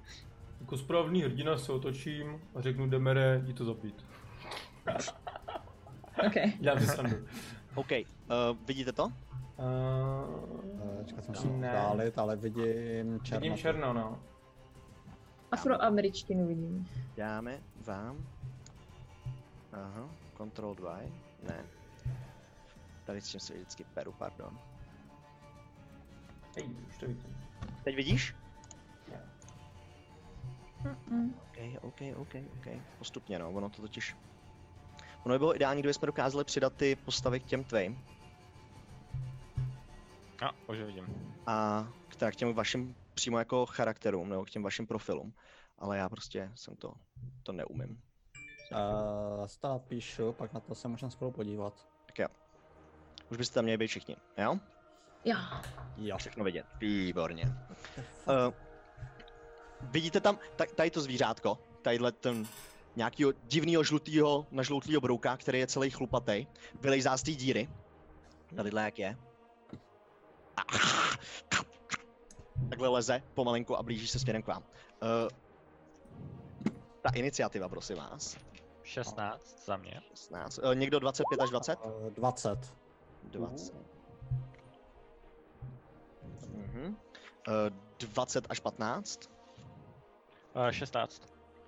G: Jako správný hrdina se otočím a řeknu Demere, jdi to zabít.
F: Ok.
G: Dělám si srandu.
C: OK, uh, vidíte to?
E: Eh,
G: Uh,
E: Čekat, jsem musím
G: Ne.
E: dálit, ale vidím černo.
G: vidím černo, no.
F: Afroameričtinu vidím.
C: Dáme vám. Aha, Control 2, ne. Tady s tím se vždycky peru, pardon.
G: Hej, už to vidím.
C: Teď vidíš?
F: Mm.
C: OK, OK, OK, OK. Postupně no, ono to totiž... Ono by bylo ideální, kdybychom dokázali přidat ty postavy k těm tvým.
H: No, už vidím.
C: a k, teda k těm vašim přímo jako charakterům nebo k těm vašim profilům, ale já prostě jsem to, to neumím.
E: Uh, stále píšu, pak na to se můžeme spolu podívat.
C: Už byste tam měli být všichni, jo?
F: Jo.
E: Jo.
C: Všechno vidět. Výborně. [LAUGHS] Uh, vidíte tam ta- tady to zvířátko, tadyhle ten nějakýho divného žlutýho, nažloutlýho brouka, který je celý chlupatej, vylejzá z té díry. Tadyhle jak je. A, [LAUGHS] takhle leze pomalinku a blíží se směrem k vám. Uh, ta iniciativa, prosím vás.
H: 16 za mě.
C: 16. Eh, Někdo 25 až 20?
E: Uh, 20.
C: 20. Mhm. Eh, 20 až 15?
H: Uh, 16.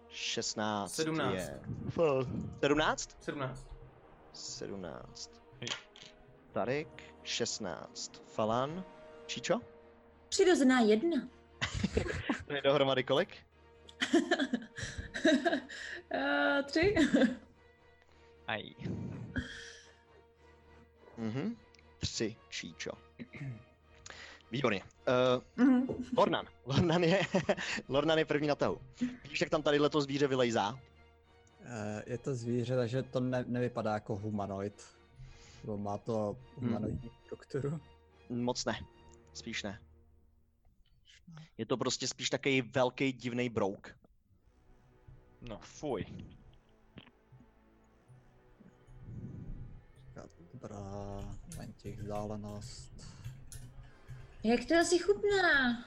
C: 16.
G: 17.
C: Je. 17?
G: 17.
C: 17.
H: Hej.
C: Tarik, 16. Falan, Čičo?
F: Přirozená jedna. [LAUGHS]
C: To je dohromady kolik?
F: Eh, Tři?
D: Aj.
C: Mhm. Tři číčo. Výborně. Uh,
F: Mhm.
C: Lornan. [LAUGHS] Lornan je, Lornan je první na tahu. Víš, jak tam tady to zvíře vylejzá?
E: Eh, Je to zvíře, takže to ne, nevypadá jako humanoid. Bo má to humanoidní
C: Hmm.
E: strukturu.
C: Moc ne. Spíš ne. Je to prostě spíš takový velký divný brouk.
D: No, fuj.
E: Říká, Dobrá, ven těch vzdálenost.
F: Jak to asi chutná?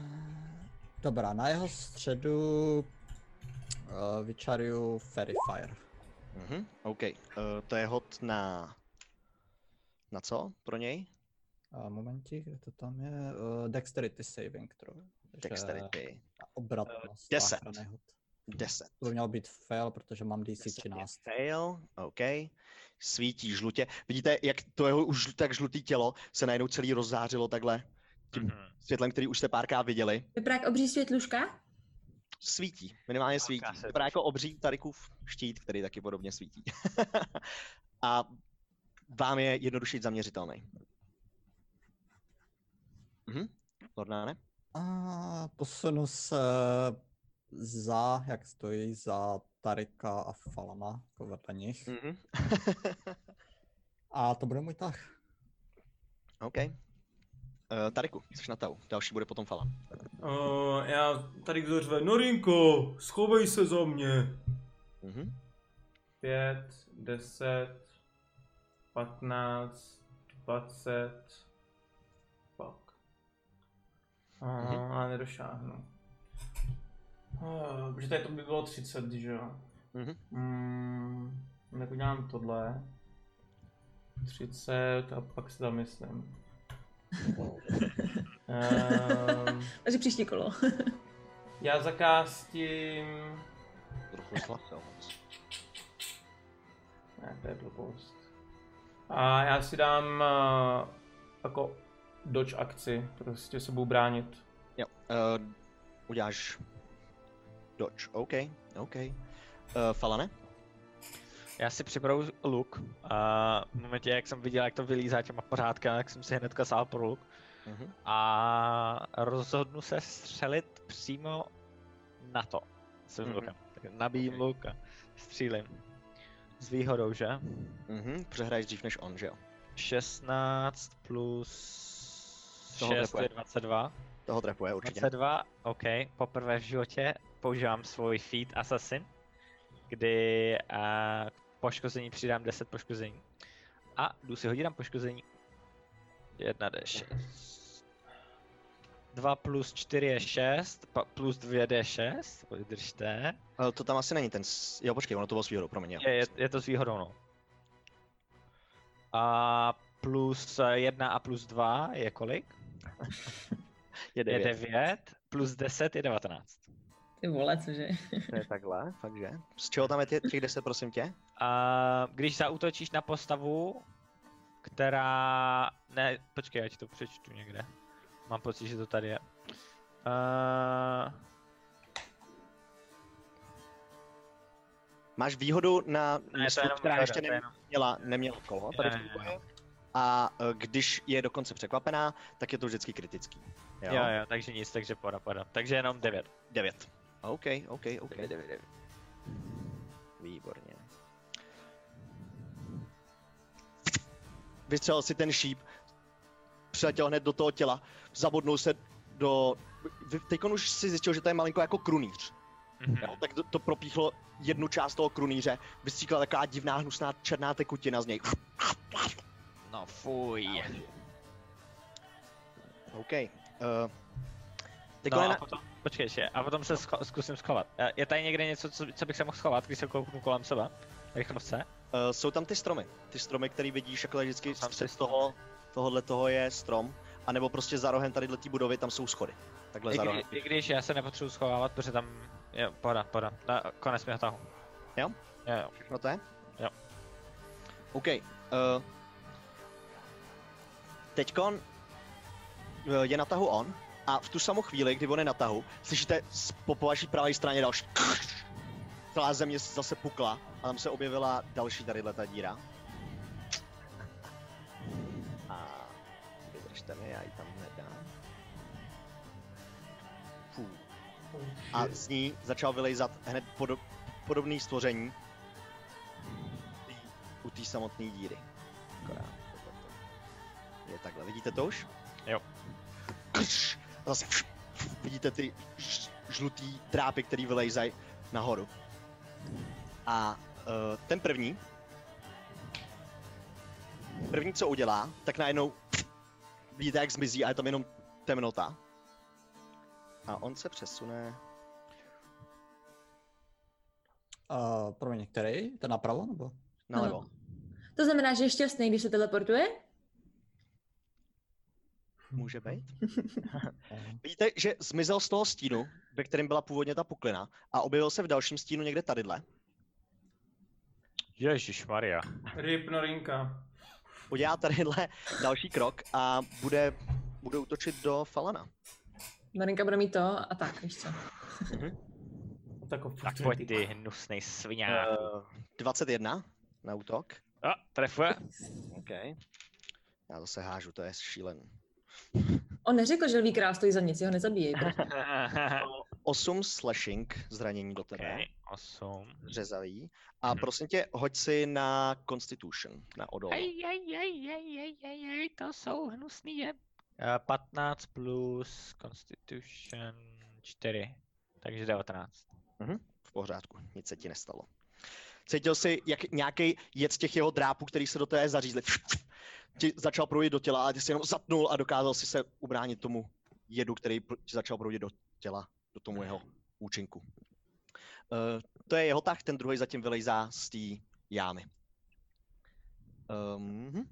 E: Eh, Dobrá, na jeho středu uh, vyčaruju Fairy Fire.
C: Mhm, OK. Uh, to je hod na... Na co pro něj?
E: A momentík, kde to tam je? Uh, dexterity saving throw. takže
C: Dexterity.
E: Obratnost.
C: Deset.
E: záchranný hod.
C: 10.
E: To by mělo být fail, protože mám DC 13.
C: Fail, OK. Svítí žlutě. Vidíte, jak to jeho už tak žlutý tělo se najednou celý rozzářilo takhle tím
D: Mhm.
C: světlem, který už jste párkrát viděli.
F: Vypadá jak obří světluška?
C: Svítí, minimálně svítí.
D: se
C: Vypadá jako obří Tarikův štít, který taky podobně svítí. [LAUGHS] A vám je jednodušší zaměřitelný. Mhm. Lordáne?
E: A posunu se za, jak stojí, za Tarika a Falama, jako vedle nich.
C: Mhm.
E: A to bude můj tah.
C: OK. Uh, Tariku, jsi na tau. Další bude potom Falan.
I: Uh, já tady kdo řve,
A: "No,
I: Norinko, schovej se za mě.
C: Mhm.
A: 5, 10, 15, 20, pak.
C: Mhm.
A: Aha, ale nedošáhnu. Ah, Protože tady to by bylo 30, že jo?
C: Mhm.
A: Mm, tak udělám tohle. 30 a pak se zamyslím.
C: [LAUGHS]
A: um,
F: Takže příští kolo.
A: já zakástím...
C: Trochu slasil.
A: Ne, to je blbost. A já si dám uh, jako dodge akci, prostě se budu bránit.
C: Jo. Uh, uděláš dodge. OK, OK. Uh, Falane?
D: Já si připravu luk a v momentě, jak jsem viděl, jak to vylízá těma pořádka, tak jsem si hnedka sál pro luk
C: Mhm.
D: a rozhodnu se střelit přímo na to svým
C: Mhm.
D: lukem. Tak nabíjím
C: Ok.
D: luk a střílim. S výhodou, že?
C: Mhm. Přehraješ dřív než on, že jo?
D: 16 plus
C: Toho
D: 6 je
C: trefuje.
D: 22.
C: Toho trefuje určitě.
D: 22, OK, poprvé v životě používám svůj feed Assassin, kdy a, k poškození přidám 10 poškození. A jdu si hodit na poškození. 1 D6. 2 plus 4 je 6, pa, plus 2 D6, vydržte.
C: Uh, to tam asi není ten... S... Jo, počkej, ono to bylo s výhodou, promiň. Jo.
D: Je, je, je to s výhodou, no. A plus 1 a plus 2 je kolik?
C: je
D: Je
C: devět.
D: 9, plus 10 je 19.
F: Ty vole, cože?
C: To je takhle, fakt že? Z čeho tam je tě, těch 10, prosím tě?
D: A když zaútočíš na postavu, která... Ne, počkej, já ti to přečtu někde. Mám pocit, že to tady je. Uh,
C: Máš výhodu na
D: ne, to
C: misku,
D: je jenom
C: která
D: výhoda,
C: ještě
D: to je jenom-
C: neměla, neměla kolo tady v
D: Jo,
C: tom
D: jo, jo.
C: boji. A eh, když je dokonce překvapená, tak je to vždycky kritický. Jo,
D: Jo, jo, takže nic, takže poda, poda. Takže jenom 9.
C: 9. OK, OK, OK. 9, 9, 9. Výborně. Vystřelil si ten šíp, přiletěl hned do toho těla, zabodnul se do... Teď už si zjistil, že to je malinko jako krunýř.
D: Mhm.
C: Jo, tak to, to propíchlo jednu část toho krunýře, vystříkla taková divná hnusná černá tekutina z něj.
D: No fuj.
C: OK. Uh, teď
D: No
C: no,
D: a
C: na...
D: potom, počkej, ještě, a potom se scho- zkusím schovat. Eh, Je tady někde něco, co, co bych se mohl schovat, když se kouknu kolem sebe? Rychlovce?
C: uh, jsou tam ty stromy. Ty stromy, který vidíš, jako vždycky
D: Jsou tam ty
C: střed
D: stromy.
C: toho, tohohle toho je strom. A nebo prostě za rohem tady letí budovy, tam jsou schody. Takhle
D: I,
C: za
D: kdy,
C: rohem.
D: I když já se nepotřebuji schovávat, protože tam... Jo, poda, poda. Na, konec mého tahu.
C: Jo?
D: Jo, jo.
C: Všechno to je?
D: Jo.
C: OK. Uh, Teďkon eh, je na tahu on a v tu samou chvíli, kdy on je na tahu, slyšíte z- po vaší pravé straně další [LAUGHS] Celá země se zase pukla a tam se objevila další tady ta díra. A vydržte mi, já ji tam nedám. Fů. A z ní začal vylejzat hned podo- podobný stvoření u té samotné díry. Akorát tohle to Je takhle, vidíte to už?
H: Jo.
C: Krš! A zase pš, pf, vidíte ty ž- žlutý trápy, který vylejzají nahoru. A eh, ten první, první co udělá, tak najednou pf, vidíte jak zmizí a je tam jenom temnota. A on se přesune
E: Uh, promiň, který? Ten napravo nebo?
C: nalevo.
F: To znamená, že je šťastný, když se teleportuje?
C: Může být. [LAUGHS] Vidíte, že zmizel z toho stínu, ve kterém byla původně ta puklina, a objevil se v dalším stínu někde tadyhle.
H: Ježíš Maria.
A: Ryb Norinka.
C: Udělá tadyhle [LAUGHS] další krok a bude, bude útočit do Falana.
F: Marinka bude mít to a tak, víš co.
A: Tak,
H: Tak pojď ty hnusnej sviňák.
C: Uh, 21 na útok.
H: A, trefuje.
C: OK. Já zase hážu, to je šílen.
F: On neřekl, že lví král stojí za nic,
C: [LAUGHS]
F: jeho nezabíjej. prosím.
C: 8 slashing zranění do tebe,
H: okay, osm.
C: řezavý. A
H: Mhm.
C: prosím tě, hoď si na Constitution, na odol.
H: to jsou hnusný je.
D: Eh,
H: 15 plus Constitution 4, takže 19.
C: v pořádku, nic se ti nestalo. Cítil jsi, jak nějaký jed z těch jeho drápů, který se do té zařízli, ti začal proudit do těla a ty jsi jenom zatnul a dokázal si se ubránit tomu jedu, který pr- ti začal proudit do těla, do tomu jeho účinku. Uh, to je jeho tah, ten druhý zatím vylejzá z té jámy. Um,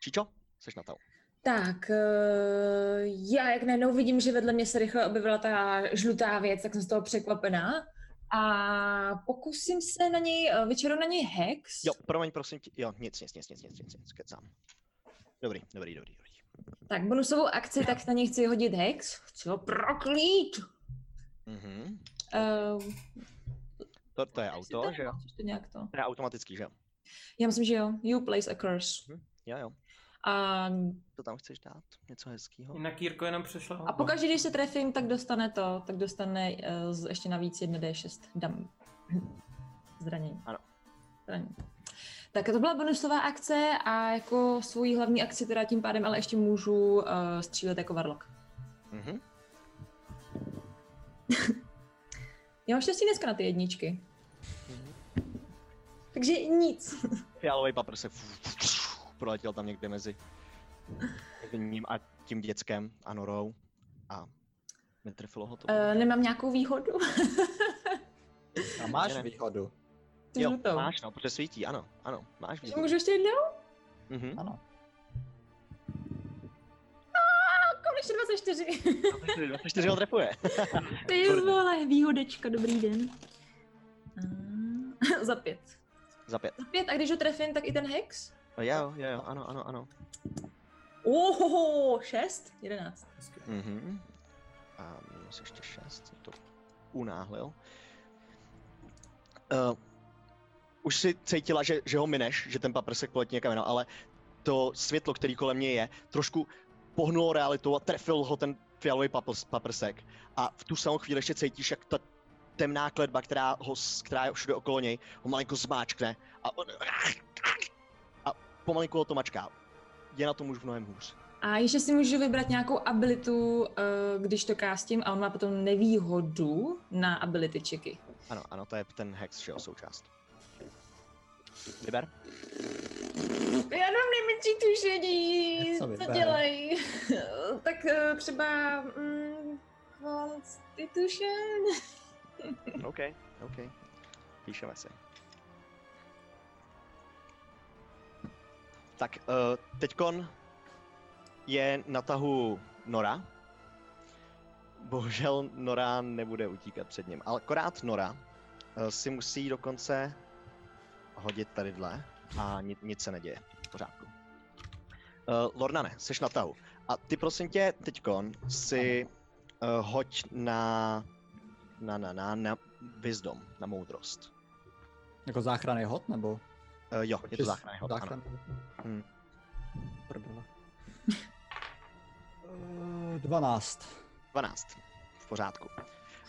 C: Čičo, jsi na tahu.
F: tak, eh, já jak najednou vidím, že vedle mě se rychle objevila ta žlutá věc, tak jsem z toho překvapená. A pokusím se na něj, eh, vyčaru na něj hex.
C: Jo, promiň, prosím tě. Jo, nic, nic, nic, nic, nic, nic, nic, kecám. Dobrý, dobrý, dobrý, dobrý.
F: Tak, bonusovou akci, tak na něj chci hodit hex. Chci ho proklít!
C: Mhm.
F: Uh,
C: To, to je auto, že jo?
F: To nějak to.
C: To je automatický, že jo?
F: Já myslím, že jo. You place a curse.
C: Jo, jo.
F: A,
C: to tam chceš dát? Něco hezkého?
A: Jinak Jirko jenom přešla.
F: a
A: hodba.
F: pokaždé, když se trefím, tak dostane to, tak dostane eh, z- ještě navíc 1d6 dam. [CLEARS THROAT] Zranění.
C: Ano.
F: Zranění. Tak to byla bonusová akce a jako svůj hlavní akci teda tím pádem, ale ještě můžu uh, střílet jako varlok.
C: Mhm.
F: Já mám štěstí dneska na ty jedničky.
C: Mhm.
F: Takže nic.
C: Fialový papr se proletěl tam někde mezi ním a tím dětskem a norou a netrefilo ho to.
F: Eh, nemám nějakou výhodu. [LAUGHS]
E: A máš
C: Ne, ne.
E: výhodu.
F: Tu
C: jo,
F: žlutou.
C: máš no, protože svítí, ano, ano, máš
F: Takže
C: výhodu.
F: můžu ještě jednou?
C: Mhm.
E: Ano.
F: Konečně 24.
C: 24 ho trefuje. [LAUGHS]
F: Ty
C: Výborně.
F: vole, výhodečka, dobrý den. A, za pět.
C: Za pět.
F: Za pět, a když ho trefím, tak i ten hex?
C: Jo, jo, jo, ano, ano, ano.
F: Ohoho, šest, jedenáct.
A: Hezky.
C: Mhm. A minus ještě 6, to unáhlil. Uh, už si cítila, že, že ho mineš, že ten paprsek poletí někam jinam, ale to světlo, který kolem něj je, trošku pohnulo realitou a trefil ho ten fialový paprs, paprsek. A v tu samou chvíli ještě cítíš, jak ta temná kletba, která, ho, s- která je všude okolo něj, ho malinko zmáčkne a on... A pomalinku ho to mačká. Je na tom už mnohem hůř.
F: A ještě si můžu vybrat nějakou abilitu, eh, když to kástím, a on má potom nevýhodu na ability checky.
C: Ano, ano, to je ten hex, že jo, součást. Vyber.
F: Já mám nejmenší tušení,
E: Co
F: co,
E: vyber?
F: dělají. [LAUGHS] tak eh, třeba... Mm, Constitution?
C: OK, OK. Píšeme si. Tak, uh, teďkon je na tahu Nora. Bohužel Nora nebude utíkat před ním, ale akorát Nora uh, si musí dokonce hodit tadyhle a ni- nic se neděje. V pořádku. Uh, Lornane, jsi na tahu. A ty prosím tě teďkon si uh, hoď na, na, na, na, na wisdom, na moudrost.
E: Jako záchranný hod, nebo?
C: Uh, jo, je to
E: Čist-
C: záchranný hod, ano.
E: záchranný hod.
C: Hmm.
E: Prdele. Eh, 12.
C: 12. V pořádku.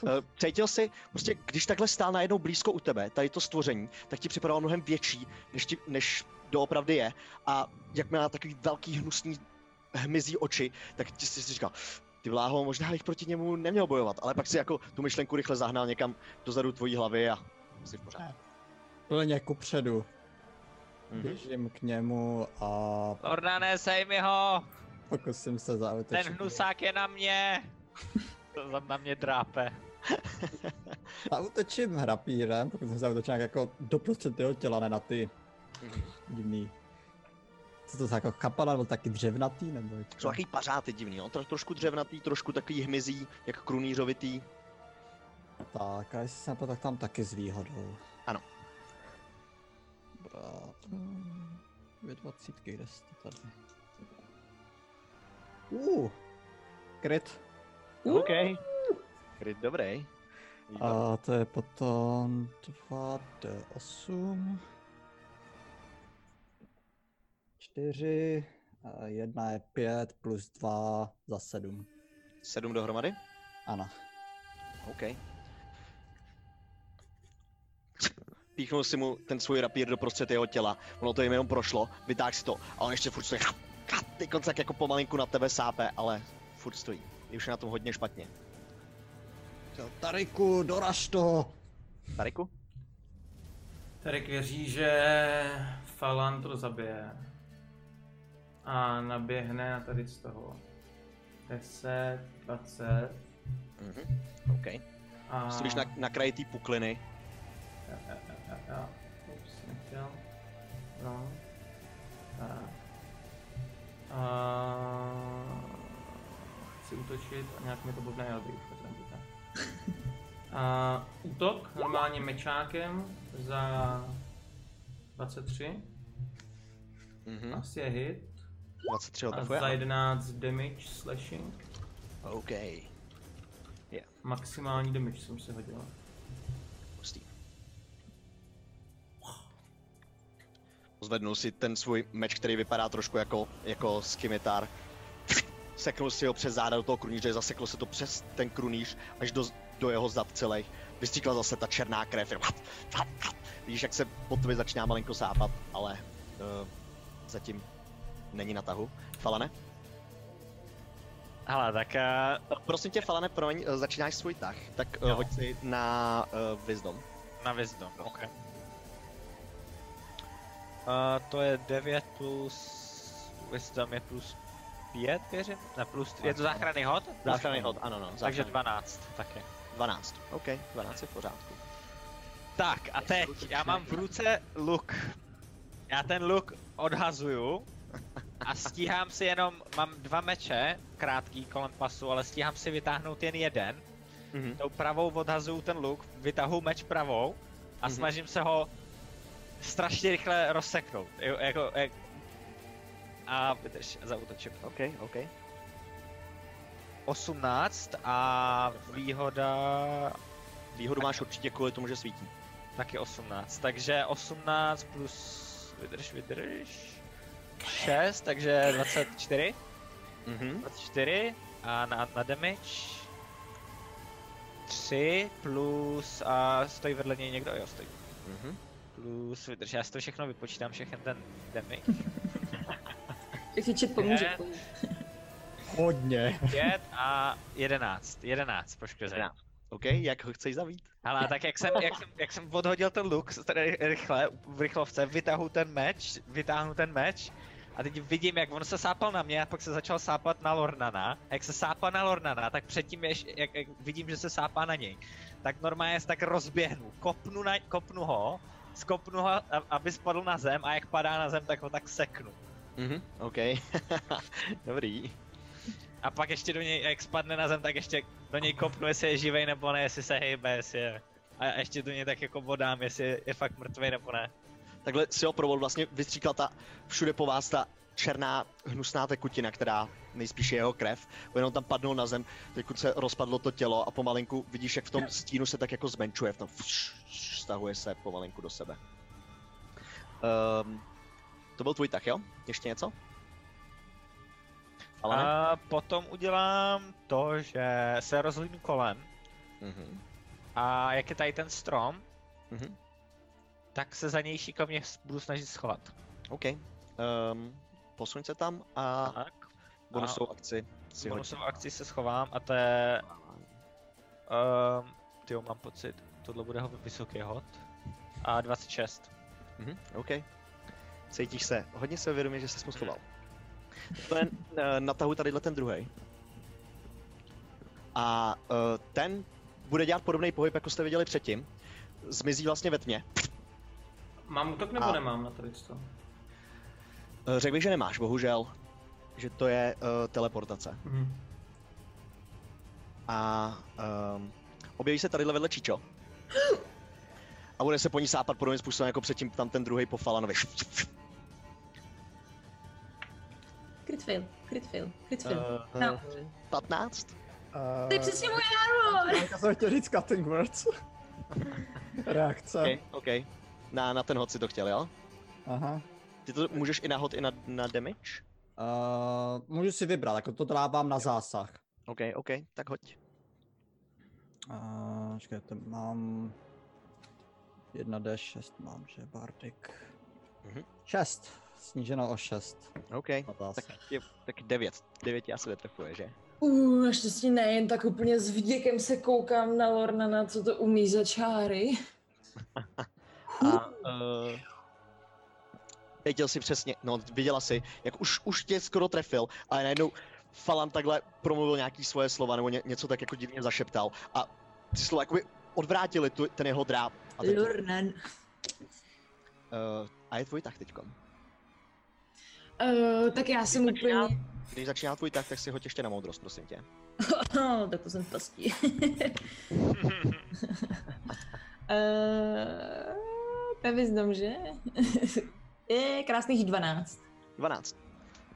C: Eh, Cítil jsi, prostě když takhle stál najednou blízko u tebe, tady to stvoření, tak ti připadalo mnohem větší, než, ti, než doopravdy je. A jak měla takový velký hnusný hmyzí oči, tak ti jsi si říkal, ty vláho, možná bych proti němu neměl bojovat, ale pak si jako tu myšlenku rychle zahnal někam dozadu tvojí hlavy a jsi v pořádku.
E: Plně ku předu.
C: Mhm.
E: Běžím k němu a
D: Lornane, sejmi ho!
E: pokusím se zaútočit.
D: Ten hnusák je na mě! [LAUGHS] To za- na mě drápe.
E: Zaútočím hrapírem, pokud jsem zaútočil nějak jako doprostřed jeho těla, ne na ty
C: Mhm.
E: divný. Co to za jako kapala, nebo taky dřevnatý, nebo jak to?
C: Jsou takový pařáty divný, on trošku dřevnatý, trošku takový hmyzí, jak krunýřovitý.
E: Tak, a jestli jsem to tak tam taky s výhodou.
C: Ano.
E: Dobrá. Dvě dvacítky, kde jste tady? Uh, kryt.
C: OK. Kryt dobrý.
E: A to je potom 2D8. 4, jedna je 5, plus 2 za 7.
C: Sedm dohromady?
E: Ano.
C: OK. Píchnul si mu ten svůj rapír do prostřed jeho těla, ono to jim jenom prošlo, vytáhl si to a on ještě furt stojí. Ty tak jako pomalinku na tebe sápe, ale furt stojí. Je už je na tom hodně špatně.
E: Jo, Tariku, doraž to!
C: Tariku?
A: Tarek věří, že Falan to zabije. A naběhne na tady z toho. 10, 20
C: Mhm. OK.
A: a...
C: Stojíš na, na kraji té pukliny.
A: Jo, jo, jo, jo, jo. Ups, nechtěl. No. Tak. A... Chci útočit a nějak mi to blbne jablí, už to tam říká. A útok normálně mečákem za 23.
C: Mhm.
A: Asi je hit.
C: 23 ho
A: A
C: trefuje.
A: za
C: ano.
A: 11 damage slashing.
C: OK.
A: Maximální damage jsem se hodil.
C: Pustý. Zvednul si ten svůj meč, který vypadá trošku jako, jako skimitar. Seknul si ho přes záda do toho krunýře, zaseklo se to přes ten krunýř až do, do jeho zad celý. Vystříkla zase ta černá krev. jen Vidíš, jak se po tobě začíná malinko sápat, ale uh, zatím není na tahu. Falane?
D: Hele, tak eh,
C: Prosím tě, Falane, promiň, eh, začínáš svůj tah, tak uh,
D: Jo.
C: hoď si na uh, Wisdom.
D: na Eh, wisdom, ok. Uh, to je 9 plus... Wisdom je plus 5, věřím? Ne, plus... Je to záchranný hod?
C: Záchranný hod, ano, no.
D: Takže
C: záchranný.
D: 12 taky.
C: 12. OK, 12 je v pořádku.
D: Tak a teď, já mám v ruce luk. Já ten luk odhazuju a stíhám si jenom, mám dva meče, krátký kolem pasu, ale stíhám si vytáhnout jen jeden.
C: Mhm.
D: Tou pravou odhazuju ten luk, vytahu meč pravou a
C: Mhm.
D: snažím se ho strašně rychle rozseknout. Jo, Jako, jak... A vydrž, zautočím.
C: OK, OK.
D: 18 a výhoda
C: Výhodu máš určitě kvůli tomu, že svítí.
D: Taky 18, takže 18 plus, vydrž, vydrž, 6, takže 24,
C: Mhm.
D: 24 a na, na damage 3 plus a stojí vedle něj někdo, jo stojí,
C: Mhm.
D: plus vydrž, já si to všechno vypočítám, všechen ten damage,
F: Jaký čet pomůže?
D: Ne.
E: Hodně.
D: 5 a 11, 11 poškození.
C: Jedenáct. OK, jak ho chceš zavít?
D: Ale tak jak jsem, jak, jsem, jak jsem odhodil ten luk s- tady rychle, v rychlovce, vytáhnu ten meč, vytáhnu ten meč a teď vidím, jak on se sápal na mě a pak se začal sápat na Lornana. A jak se sápá na Lornana, tak předtím, jež, jak, jak vidím, že se sápá na něj, tak normálně se tak rozběhnu, kopnu, na, kopnu ho, skopnu ho, a- aby spadl na zem a jak padá na zem, tak ho tak seknu.
C: Mhm. OK. [LAUGHS] Dobrý.
D: A pak ještě do něj, jak spadne na zem, tak ještě do něj kopnu, jestli je živej nebo ne, jestli se hejbe, jestli je... A ještě do něj tak jako bodám, jestli je fakt mrtvý nebo ne.
C: Takhle si ho provol vlastně vystříkla ta všude po vás ta černá, hnusná tekutina, která nejspíš je jeho krev. On Jenom tam padnul na zem, teď se rozpadlo to tělo a pomalinku vidíš, jak v tom stínu se tak jako zmenšuje, v tom [LAUGHS] fš, fš, stahuje se pomalinku do sebe. Um, to byl tvůj tak, jo? Ještě něco? Ale ne?
H: A potom udělám to, že se rozhlídnu kolem
C: Mhm.
H: a jak je tady ten strom,
C: Mhm.
H: tak se za něj šikovně budu snažit schovat.
C: OK. Um, posuň se tam a
H: Tak.
C: bonusovou akci si
H: S
C: hoď.
H: bonusovou akcí se schovám a to je... Um, tyjo, mám pocit, tohle bude ho vysoký hod. A 26.
C: Mhm, OK. Cítíš se hodně sebevědomě, že jsi mu schoval. To je eh, na tahu tadyhle ten druhý. A eh, ten bude dělat podobný pohyb, jako jste viděli předtím. Zmizí vlastně ve tmě.
A: Mám útok nebo
C: A-
A: nemám na tady to?
C: Eh, Řekl bych, že nemáš, bohužel. Že to je eh, teleportace.
A: Mhm.
C: A um, objeví se tadyhle vedle Čičo. A bude se po ní sápat podobným způsobem, jako předtím tam ten druhý po Falanovi.
F: Crit fail, crit fail, crit fail.
C: Eh,
H: Uh,
F: No.
C: 15?
F: To je přesně moje
C: eh,
F: armor!
E: Já jsem chtěl říct cutting words. [LAUGHS] Reakce.
C: OK, OK. Na, na ten hod si to chtěl, jo?
E: Aha.
C: Ty to můžeš i na hod, i na, na damage?
E: Uh, můžu si vybrat, jako to dávám na zásah.
C: OK, OK, tak hoď.
E: Uh, čekajte, mám... 1D6 mám, že Bardik.
C: Mhm.
E: 6. Sníženo o 6.
C: OK,
E: Na
C: tak,
E: zásah.
C: je, tak 9. 9 tě asi netrefuje, že?
F: Uh, naštěstí ne, jen tak úplně s vděkem se koukám na Lorna, na co to umí za čáry.
C: A
H: Eh,
C: uh, věděl si přesně, no viděla si, jak už, už tě skoro trefil, ale najednou Falan takhle promluvil nějaký svoje slova, nebo ně, něco tak jako divně zašeptal a ty slova jakoby odvrátili tu, ten jeho dráp. A, teď, uh,
F: Lornan.
C: a je tvůj tak teďkom.
F: Uh, tak já jsem úplně...
C: Když začíná tvůj tak, tak si hoď ještě na moudrost, prosím tě.
F: No, tak to jsem v pastí. Eh, To je vyznam, že? [LAUGHS] Je krásných 12.
C: 12.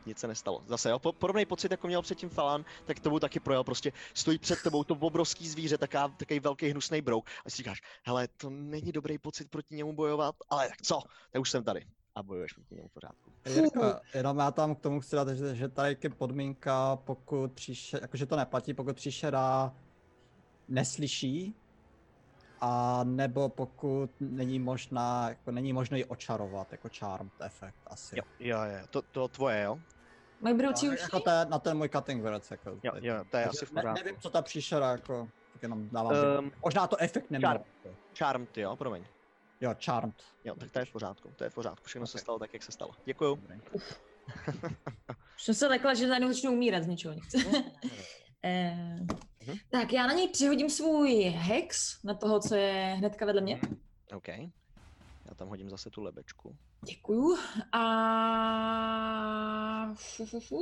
C: Nic se nestalo. Zase jo, po, podobný pocit, jako měl předtím Falan, tak tomu taky projel. Prostě stojí před tebou to obrovský zvíře, taká, takový velký hnusný brouk. A si říkáš, hele, to není dobrý pocit proti němu bojovat, ale tak co, tak už jsem tady. A bojuješ proti němu v pořádku.
E: Jirka, jenom já tam k tomu chci dát, že, že tady je podmínka, pokud příště, jakože to neplatí, pokud příšera neslyší, a nebo pokud není možná, jako není možno ji očarovat, jako charm efekt asi.
C: Jo, jo, jo, to, to tvoje, jo?
F: Mají brouci
E: A,
F: uši?
E: jako to je, na ten můj cutting words, jako.
C: Jo,
E: tady.
C: jo, to je
E: Takže
C: asi v
E: ne,
C: pořádku.
E: nevím, co ta příšera, jako, tak jenom dávám. Um,
C: Um,
E: možná to efekt nemělo.
C: charm. charm, ty jo, promiň.
E: Jo, charmed.
C: Jo, tak to je v pořádku, to je v pořádku. Všechno se
E: Ok.
C: stalo tak, jak se stalo. Děkuju.
F: Už jsem se lekla, že najednou začnu umírat z ničeho nic. Eh,
C: Mhm.
F: tak já na něj přihodím svůj hex, na toho, co je hnedka vedle mě.
C: [LAUGHS] OK. Já tam hodím zase tu lebečku.
F: Děkuju. A... Fu, fu, fu.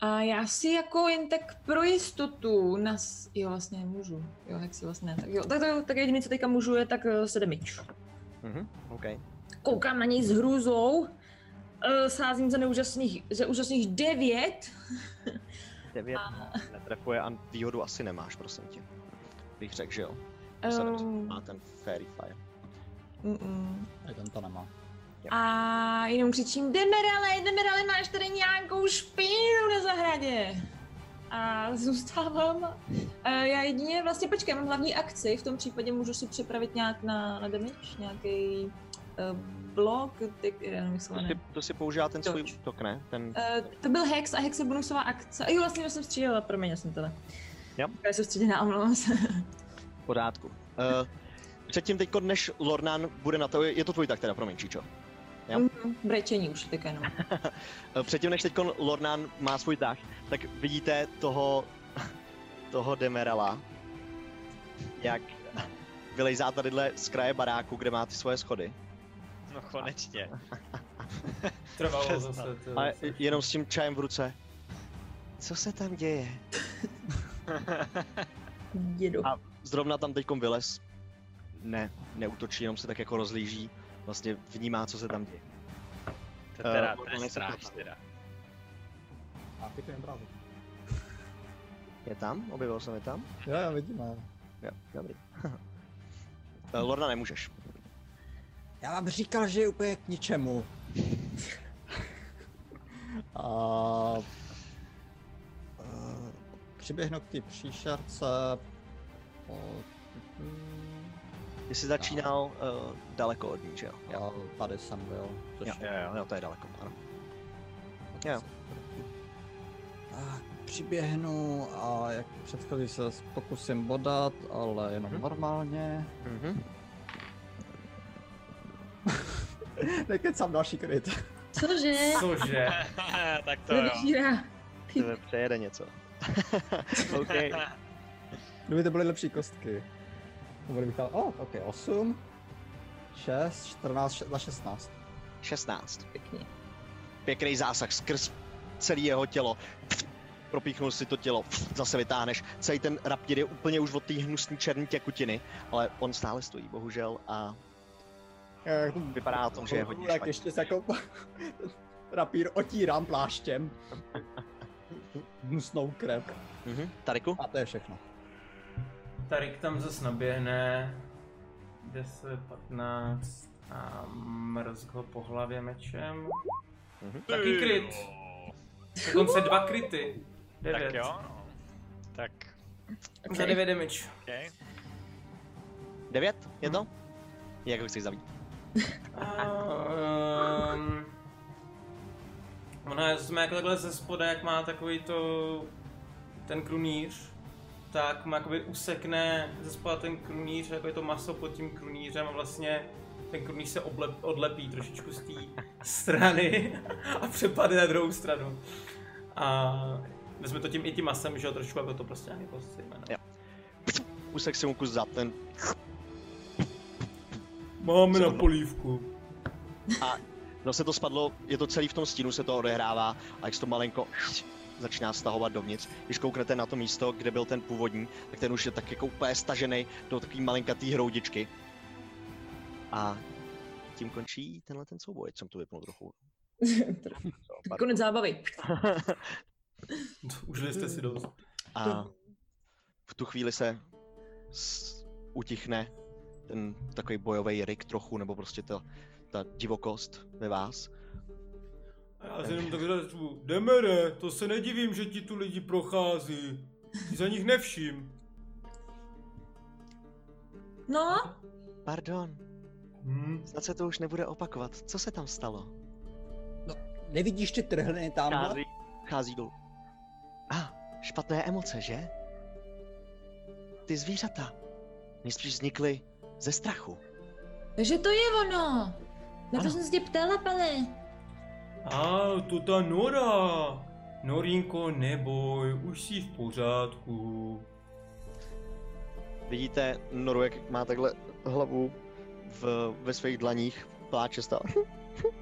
F: A já si jako jen tak pro jistotu nas... Jo, vlastně můžu. Jo, jak si vlastně ne. Tak jo, tak, to, tak jediný, co teďka můžu, je tak eh, se damage.
C: Mhm, OK.
F: Koukám na něj s hrůzou. eh, Sázím za neúžasných, za úžasných devět.
C: 9 netrefuje a výhodu asi nemáš, prosím tě. Bych řekl, že jo. Vzhledem k tomu,
F: Um,
C: Má ten Fairy Fire.
F: mm-mm.
E: Tady ten to nemá.
F: A jenom křičím, Demerale, Demerale, máš tady nějakou špínu na zahradě. A zůstávám. E, já jedině, vlastně počkej, mám hlavní akci, v tom případě můžu si připravit nějak na, na damage, nějaký uh, blok, ty, já nevím, jak se
C: To
F: jmenuje.
C: si, to si používá ten svůj
F: Dodge.
C: útok, ne? Ten,
F: Eh, to byl Hex a Hex je bonusová akce. Jo, vlastně já jsem střílela, promiň, já jsem teda.
C: Jo.
F: Já jsem střílela, omlouvám se.
C: v pořádku. Uh, předtím teď, než Lornan bude na to, je to tvůj tak teda, promiň, Číčo. Jo.
F: Mhm, Brečení už, teďka jenom.
C: Eh, Předtím, než teď Lornan má svůj tah, tak vidíte toho, [LAUGHS] toho Demerala, jak vylejzá tadyhle z kraje baráku, kde má ty svoje schody.
H: No konečně.
A: Trvalo
H: Přesná.
A: zase. To,
C: A jenom s tím čajem v ruce. Co se tam děje?
F: Dědo.
C: A- Zrovna tam teďkom vylez. ne, neútočí, jenom se tak jako rozlíží, vlastně vnímá, co se tam děje.
H: To teda,
C: Eh,
H: to
C: Morgana
H: je
C: je
H: stráž
C: tam.
H: teda.
E: A ty jen bravo.
C: Je tam? Objevil jsem je tam?
E: Jo, já vidím, ale...
C: Jo, dobrý. [LAUGHS] Eh, Lorna nemůžeš.
B: Já vám říkal, že je úplně k ničemu.
E: [LAUGHS] A... eh, Přiběhnu k té příšerce... O...
C: Ty jsi začínal uh, daleko od ní, že jo? Jo,
E: A tady jsem byl, což
C: jo,
E: je
C: jo, jo, to je daleko, ano. Jo.
E: A přiběhnu a jak předchozí se s- pokusím bodat, ale jenom
C: Mhm.
E: normálně.
C: Mhm.
E: [LAUGHS] Nekecám další kryt.
F: Cože?
A: Cože?
H: tak to jo.
F: Nedožírá. Ty
C: Tebe přejede něco. [LAUGHS] OK.
E: Kdyby to byly lepší kostky. Bude bych tam, o, oh, ok, 8, 6, 14, še- za 16.
C: 16.
F: pěkně.
C: Pěkný zásah skrz celé jeho tělo. Propíchnul si to tělo, zase vytáhneš. Celý ten raptír je úplně už od té hnusné černé těkutiny, ale on stále stojí, bohužel, a vypadá to, že je hodně
E: Tak
C: špatně.
E: ještě se jako [LAUGHS] rapír
C: [LAUGHS]
E: otírám pláštěm. Hnusnou krev.
C: Mhm. Tariku?
E: A to je všechno.
A: Tarik tam zase naběhne 10, 15 a mrzk ho po hlavě mečem.
C: Mhm.
A: Taky kryt. Dokonce dva kryty. 9.
H: Tak jo. no. Tak,
A: Za
F: Okay.
A: 9 damage.
H: okay.
C: Devět? Je to? Jak ho chceš zabít?
A: Um, ona jsme jako takhle ze spoda, jak má takový to, ten krunýř, tak má jakoby usekne ze spoda ten krunýř, jako je to maso pod tím krunýřem a vlastně ten krunýř se oblep, odlepí trošičku z té strany a přepadne na druhou stranu. A vezme to tím i tím masem, že jo, trošku jako to prostě ani prostě jméno.
C: Úsek si mu kus zad, ten
G: Máme na
C: Sedm.
G: polívku.
C: Zase No, to spadlo, je to celý v tom stínu, se to odehrává a jak se to malinko začíná stahovat dovnitř. Když kouknete na to místo, kde byl ten původní, tak ten už je tak jako úplně stažený do takový malinkatý hroudičky. A tím končí tenhle ten souboj, jsem tu vypnul trochu.
F: Konec zábavy.
A: Užili jste si dost.
C: A v tu chvíli se s- utichne ten takový bojový rik trochu, nebo prostě ta, ta divokost ve vás.
G: A já se jenom takhle řvu, Demere, to se nedivím, že ti tu lidi prochází. Ty za nich nevším.
F: No,
C: Pardon,
G: Hm?
C: snad se to už nebude opakovat. Co se tam stalo?
B: Nevidíš ty trhliny tam?
C: Chází, chází dolů. A, ah, špatné emoce, že? Ty zvířata. Mně spíš vznikly ze strachu.
F: takže to je ono. Na to
C: Ano.
F: jsem se tě ptala, Pele.
G: A to ta Nora. Norinko, neboj, už jsi v pořádku.
C: Vidíte Noru, jak má takhle hlavu v, ve svých dlaních, pláče stále.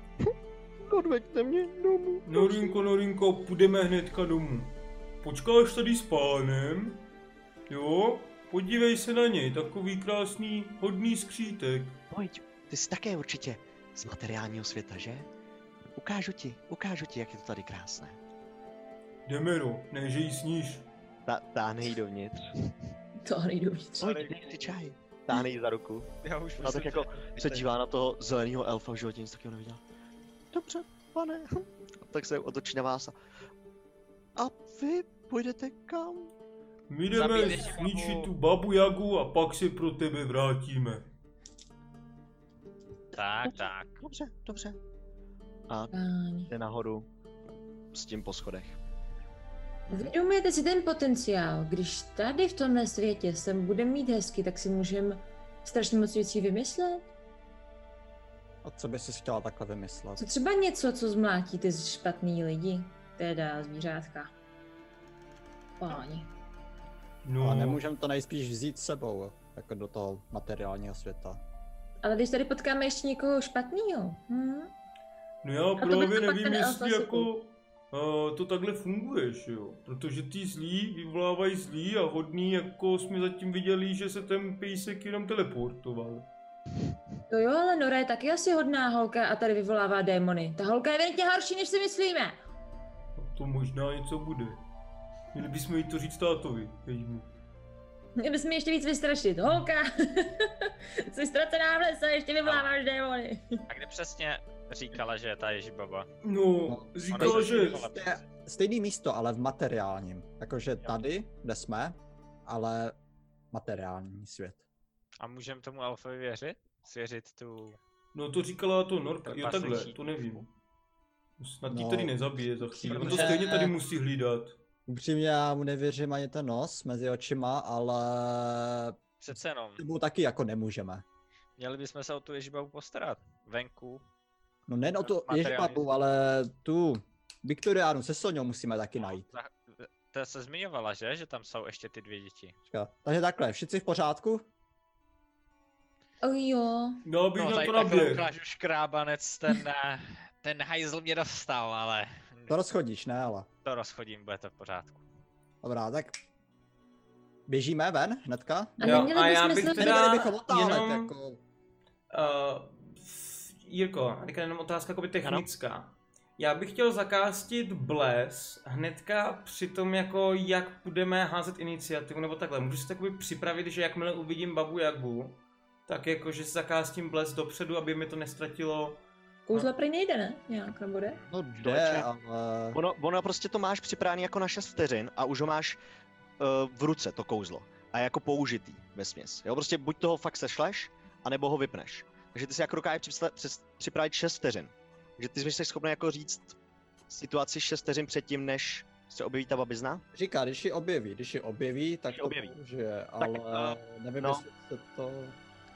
C: [LAUGHS] Odveďte mě domů.
G: Norinko, Norinko, půjdeme hnedka domů. Počkáš tady s pánem? Jo? Podívej se na něj, takový krásný, hodný skřítek.
C: Pojď, ty jsi také určitě z materiálního světa, že? Ukážu ti, ukážu ti, jak je to tady krásné.
G: Demero, no, ne, že jí sníš.
C: Ta, táhne jí dovnitř.
F: To hry dovnitř.
C: Pojď, dej si čaj. Táhne jí za ruku.
H: Já už
C: A tak jako se dívá na toho zeleného elfa, v životě nic takového neviděl. Dobře, pane. [LAUGHS] Tak se otočí na vás a... A vy půjdete kam?
G: My jdeme
H: Zabiješ
G: zničit
H: babu.
G: tu babu Jagu a pak se pro tebe vrátíme.
H: Tak, tak.
C: Dobře, dobře.
F: Páni.
C: Jde nahoru s tím po schodech.
F: Uvědomujete si ten potenciál. Když tady v tomhle světě sem budeme mít hezky, tak si můžeme strašně moc věcí vymyslet.
E: A co by si chtěla takhle vymyslet?
F: Co třeba něco, co zmlátí ty špatný lidi, teda zvířátka. Páni.
G: No,
E: A nemůžeme to nejspíš vzít s sebou, jako do toho materiálního světa.
F: Ale když tady potkáme ještě někoho špatného, hm?
G: no já
F: to by to
G: právě
F: pak
G: nevím,
F: ten elf
G: jestli
F: asi
G: jako... eh, to takhle funguje, že jo? Protože ty zlí vyvolávají zlí a hodný, jako jsme zatím viděli, že se ten pejsek jenom teleportoval.
F: To jo, ale Nora je taky asi hodná holka a tady vyvolává démony. Ta holka je evidentně horší, než si myslíme.
G: A to možná něco bude. Měli bychom jí to říct tátovi, jejímu.
F: Mě bys mě ještě víc vystrašit. Holka, [LAUGHS] jsi ztracená v lese, ještě vyvoláváš démony.
H: A kde přesně říkala, že je ta Ježibaba?
G: No,
H: Ona
G: říkala,
H: je
G: že...
H: Ježibaba.
E: Jste- Stejný místo, ale v materiálním. Jakože tady, kde jsme, ale materiální svět.
H: A můžeme tomu Alfovi věřit? Svěřit tu...
G: No to říkala to Norka,
H: To je
G: jo takhle,
H: pasličí.
G: to nevím. Snad jí
E: No.
G: tady nezabije za chvíli, on to
E: Protože-
G: stejně tady musí hlídat.
E: Upřímně já mu nevěřím ani ten nos mezi očima, ale
H: Přece jenom,
E: mu taky jako nemůžeme.
H: měli bychom se o tu Ježibabu postarat. Venku.
E: No nejen o to
H: Materiální svět.
E: Ježbabu, ale tu Viktoriánu se Soňou musíme
H: No.
E: taky najít.
H: Ta, ta se zmiňovala, že? Že tam jsou ještě ty dvě děti.
E: Počkat. Takže takhle, všichni v pořádku?
F: Oh jo.
G: Dal bych
H: No,
G: na
H: tady
G: to
H: takhle
G: naběh.
H: ukážu škrábanec, ten, eh, ten hajzl mě dostal, ale
E: To rozchodíš, ne ale.
H: to rozchodím, bude to v pořádku.
E: Dobrá, tak běžíme ven hnedka?
F: A
A: Jo,
F: neměli
A: a já
F: bychom
A: bych
F: se
A: teda-
F: teda...
E: Neměli bychom otálet,
A: jenom-
E: jako...
A: Uh, Jirko, teďka jenom otázka jakoby technická. Ano. Já bych chtěl zakástit bles hnedka při tom, jako jak budeme házet iniciativu, nebo takhle. Můžu si takový připravit, že jakmile uvidím babu Jagu, tak jako, že si zakástím bles dopředu, aby mi to nestratilo.
F: Kouzla prý nejde, ne? Nějak nebo jde?
E: No
C: Člověče.
E: jde, ale...
C: Ono, ono prostě to máš připravený jako na 6 vteřin a už ho máš uh, v ruce, to kouzlo. A jako použitý ve směs. Jo, prostě buď toho fakt sešleš, anebo ho vypneš. Takže ty si jako dokážeš připsle- přes- připravit 6 vteřin. Takže ty jsi schopný jako říct situaci 6 vteřin předtím, než se objeví ta babizna.
E: Říká, když ji objeví, když ji objeví, tak
C: Když ji
E: to
C: objeví.
E: použije, ale nevím,
C: no.
E: jestli se to...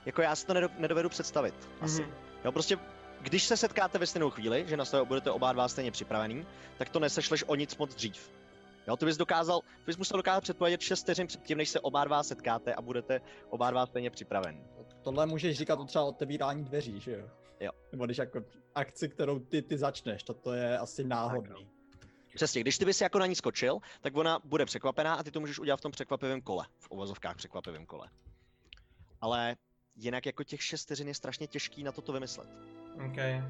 C: Jako já si to nedo- nedovedu představit. Asi.
A: Mhm.
C: Jo, prostě když se setkáte ve stejnou chvíli, že na sebe budete oba dva stejně připravený, tak to nesešleš o nic moc dřív. Jo, ty bys dokázal, ty bys musel dokázat předpovědět 6 vteřin předtím, než se oba dva setkáte a budete oba dva stejně připraven.
E: Tohle můžeš říkat třeba otevírání dveří, že jo?
C: Jo.
E: Nebo když jako akci, kterou ty, ty začneš, to, to je asi náhodný.
C: Přesně, když ty bys jako na ní skočil, tak ona bude překvapená a ty to můžeš udělat v tom překvapivém kole, v uvozovkách překvapivém kole. Ale jinak jako těch 6 vteřin je strašně těžký na toto vymyslet.
A: Okay.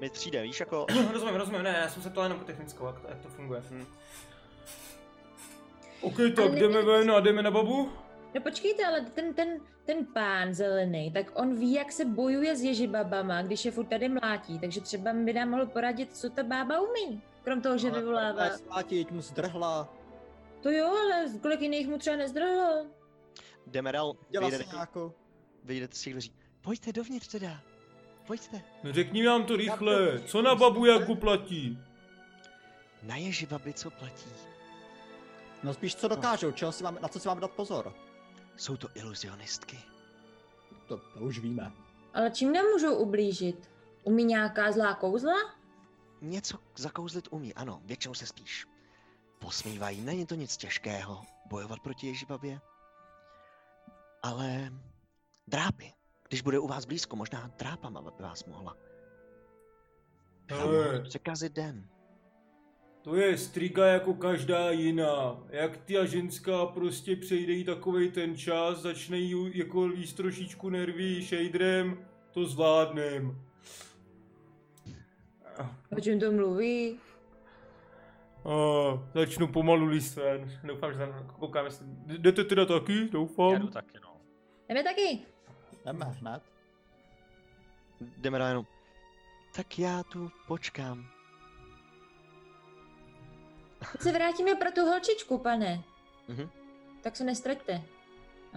C: Mi přijde, víš,
E: [CLEARS THROAT]
C: jako
A: [CLEARS THROAT] rozumím, rozumím, ne, já jsem se ptal jenom po technickou, jak to, jak to funguje.
C: Hm.
G: OK, tak jdeme ven a jdeme na babu?
F: No počkejte, ale ten, ten, ten pán zelený, tak on ví, jak se bojuje s ježibabama, když je furt tady mlátí, takže třeba by nám mohl poradit, co ta bába umí. Krom toho, že
E: Ale
F: vyvolává.
E: tohle Slátit mu zdrhla,
F: To jo, ale kolik jiných mu třeba nezdrhlo.
C: Demeral
E: dělá
C: vyjde,
E: se nějakou...
C: vyjde z těch dveří. Pojďte dovnitř teda, pojďte.
G: No řekni nám to rychle, co na babu Jagu platí?
C: Na ježibaby, co platí,
E: No spíš co dokážou, čeho si máme, na co si máme dát pozor.
C: jsou to iluzionistky.
E: To, to už víme.
F: Ale čím nám můžou ublížit? Umí nějaká zlá kouzla?
C: Něco zakouzlit umí, ano, většinou se spíš. Posmívají, není to nic těžkého, bojovat proti ježibabě. Ale drápy, když bude u vás blízko, možná drápama by vás mohla. vám mohla
G: Hele,
C: Překazit den.
G: to je striga jako každá jiná. Jak ty a ženská prostě přejde jí takovej ten čas, začne jí jako líst trošičku nervy shaderem, to zvládnem.
F: O čem to mluví?
G: A začnu pomalu líst ven. Doufám, že tam koukám, jestli... Jdete teda taky?
H: Já jdu
G: Doufám.
H: taky, no.
F: Jdeme taky.
E: Jdeme hned.
C: Jdeme na jenom. Tak já tu počkám.
F: My se vrátíme pro tu holčičku, pane.
C: Mhm.
F: Tak se nestraťte. Ani.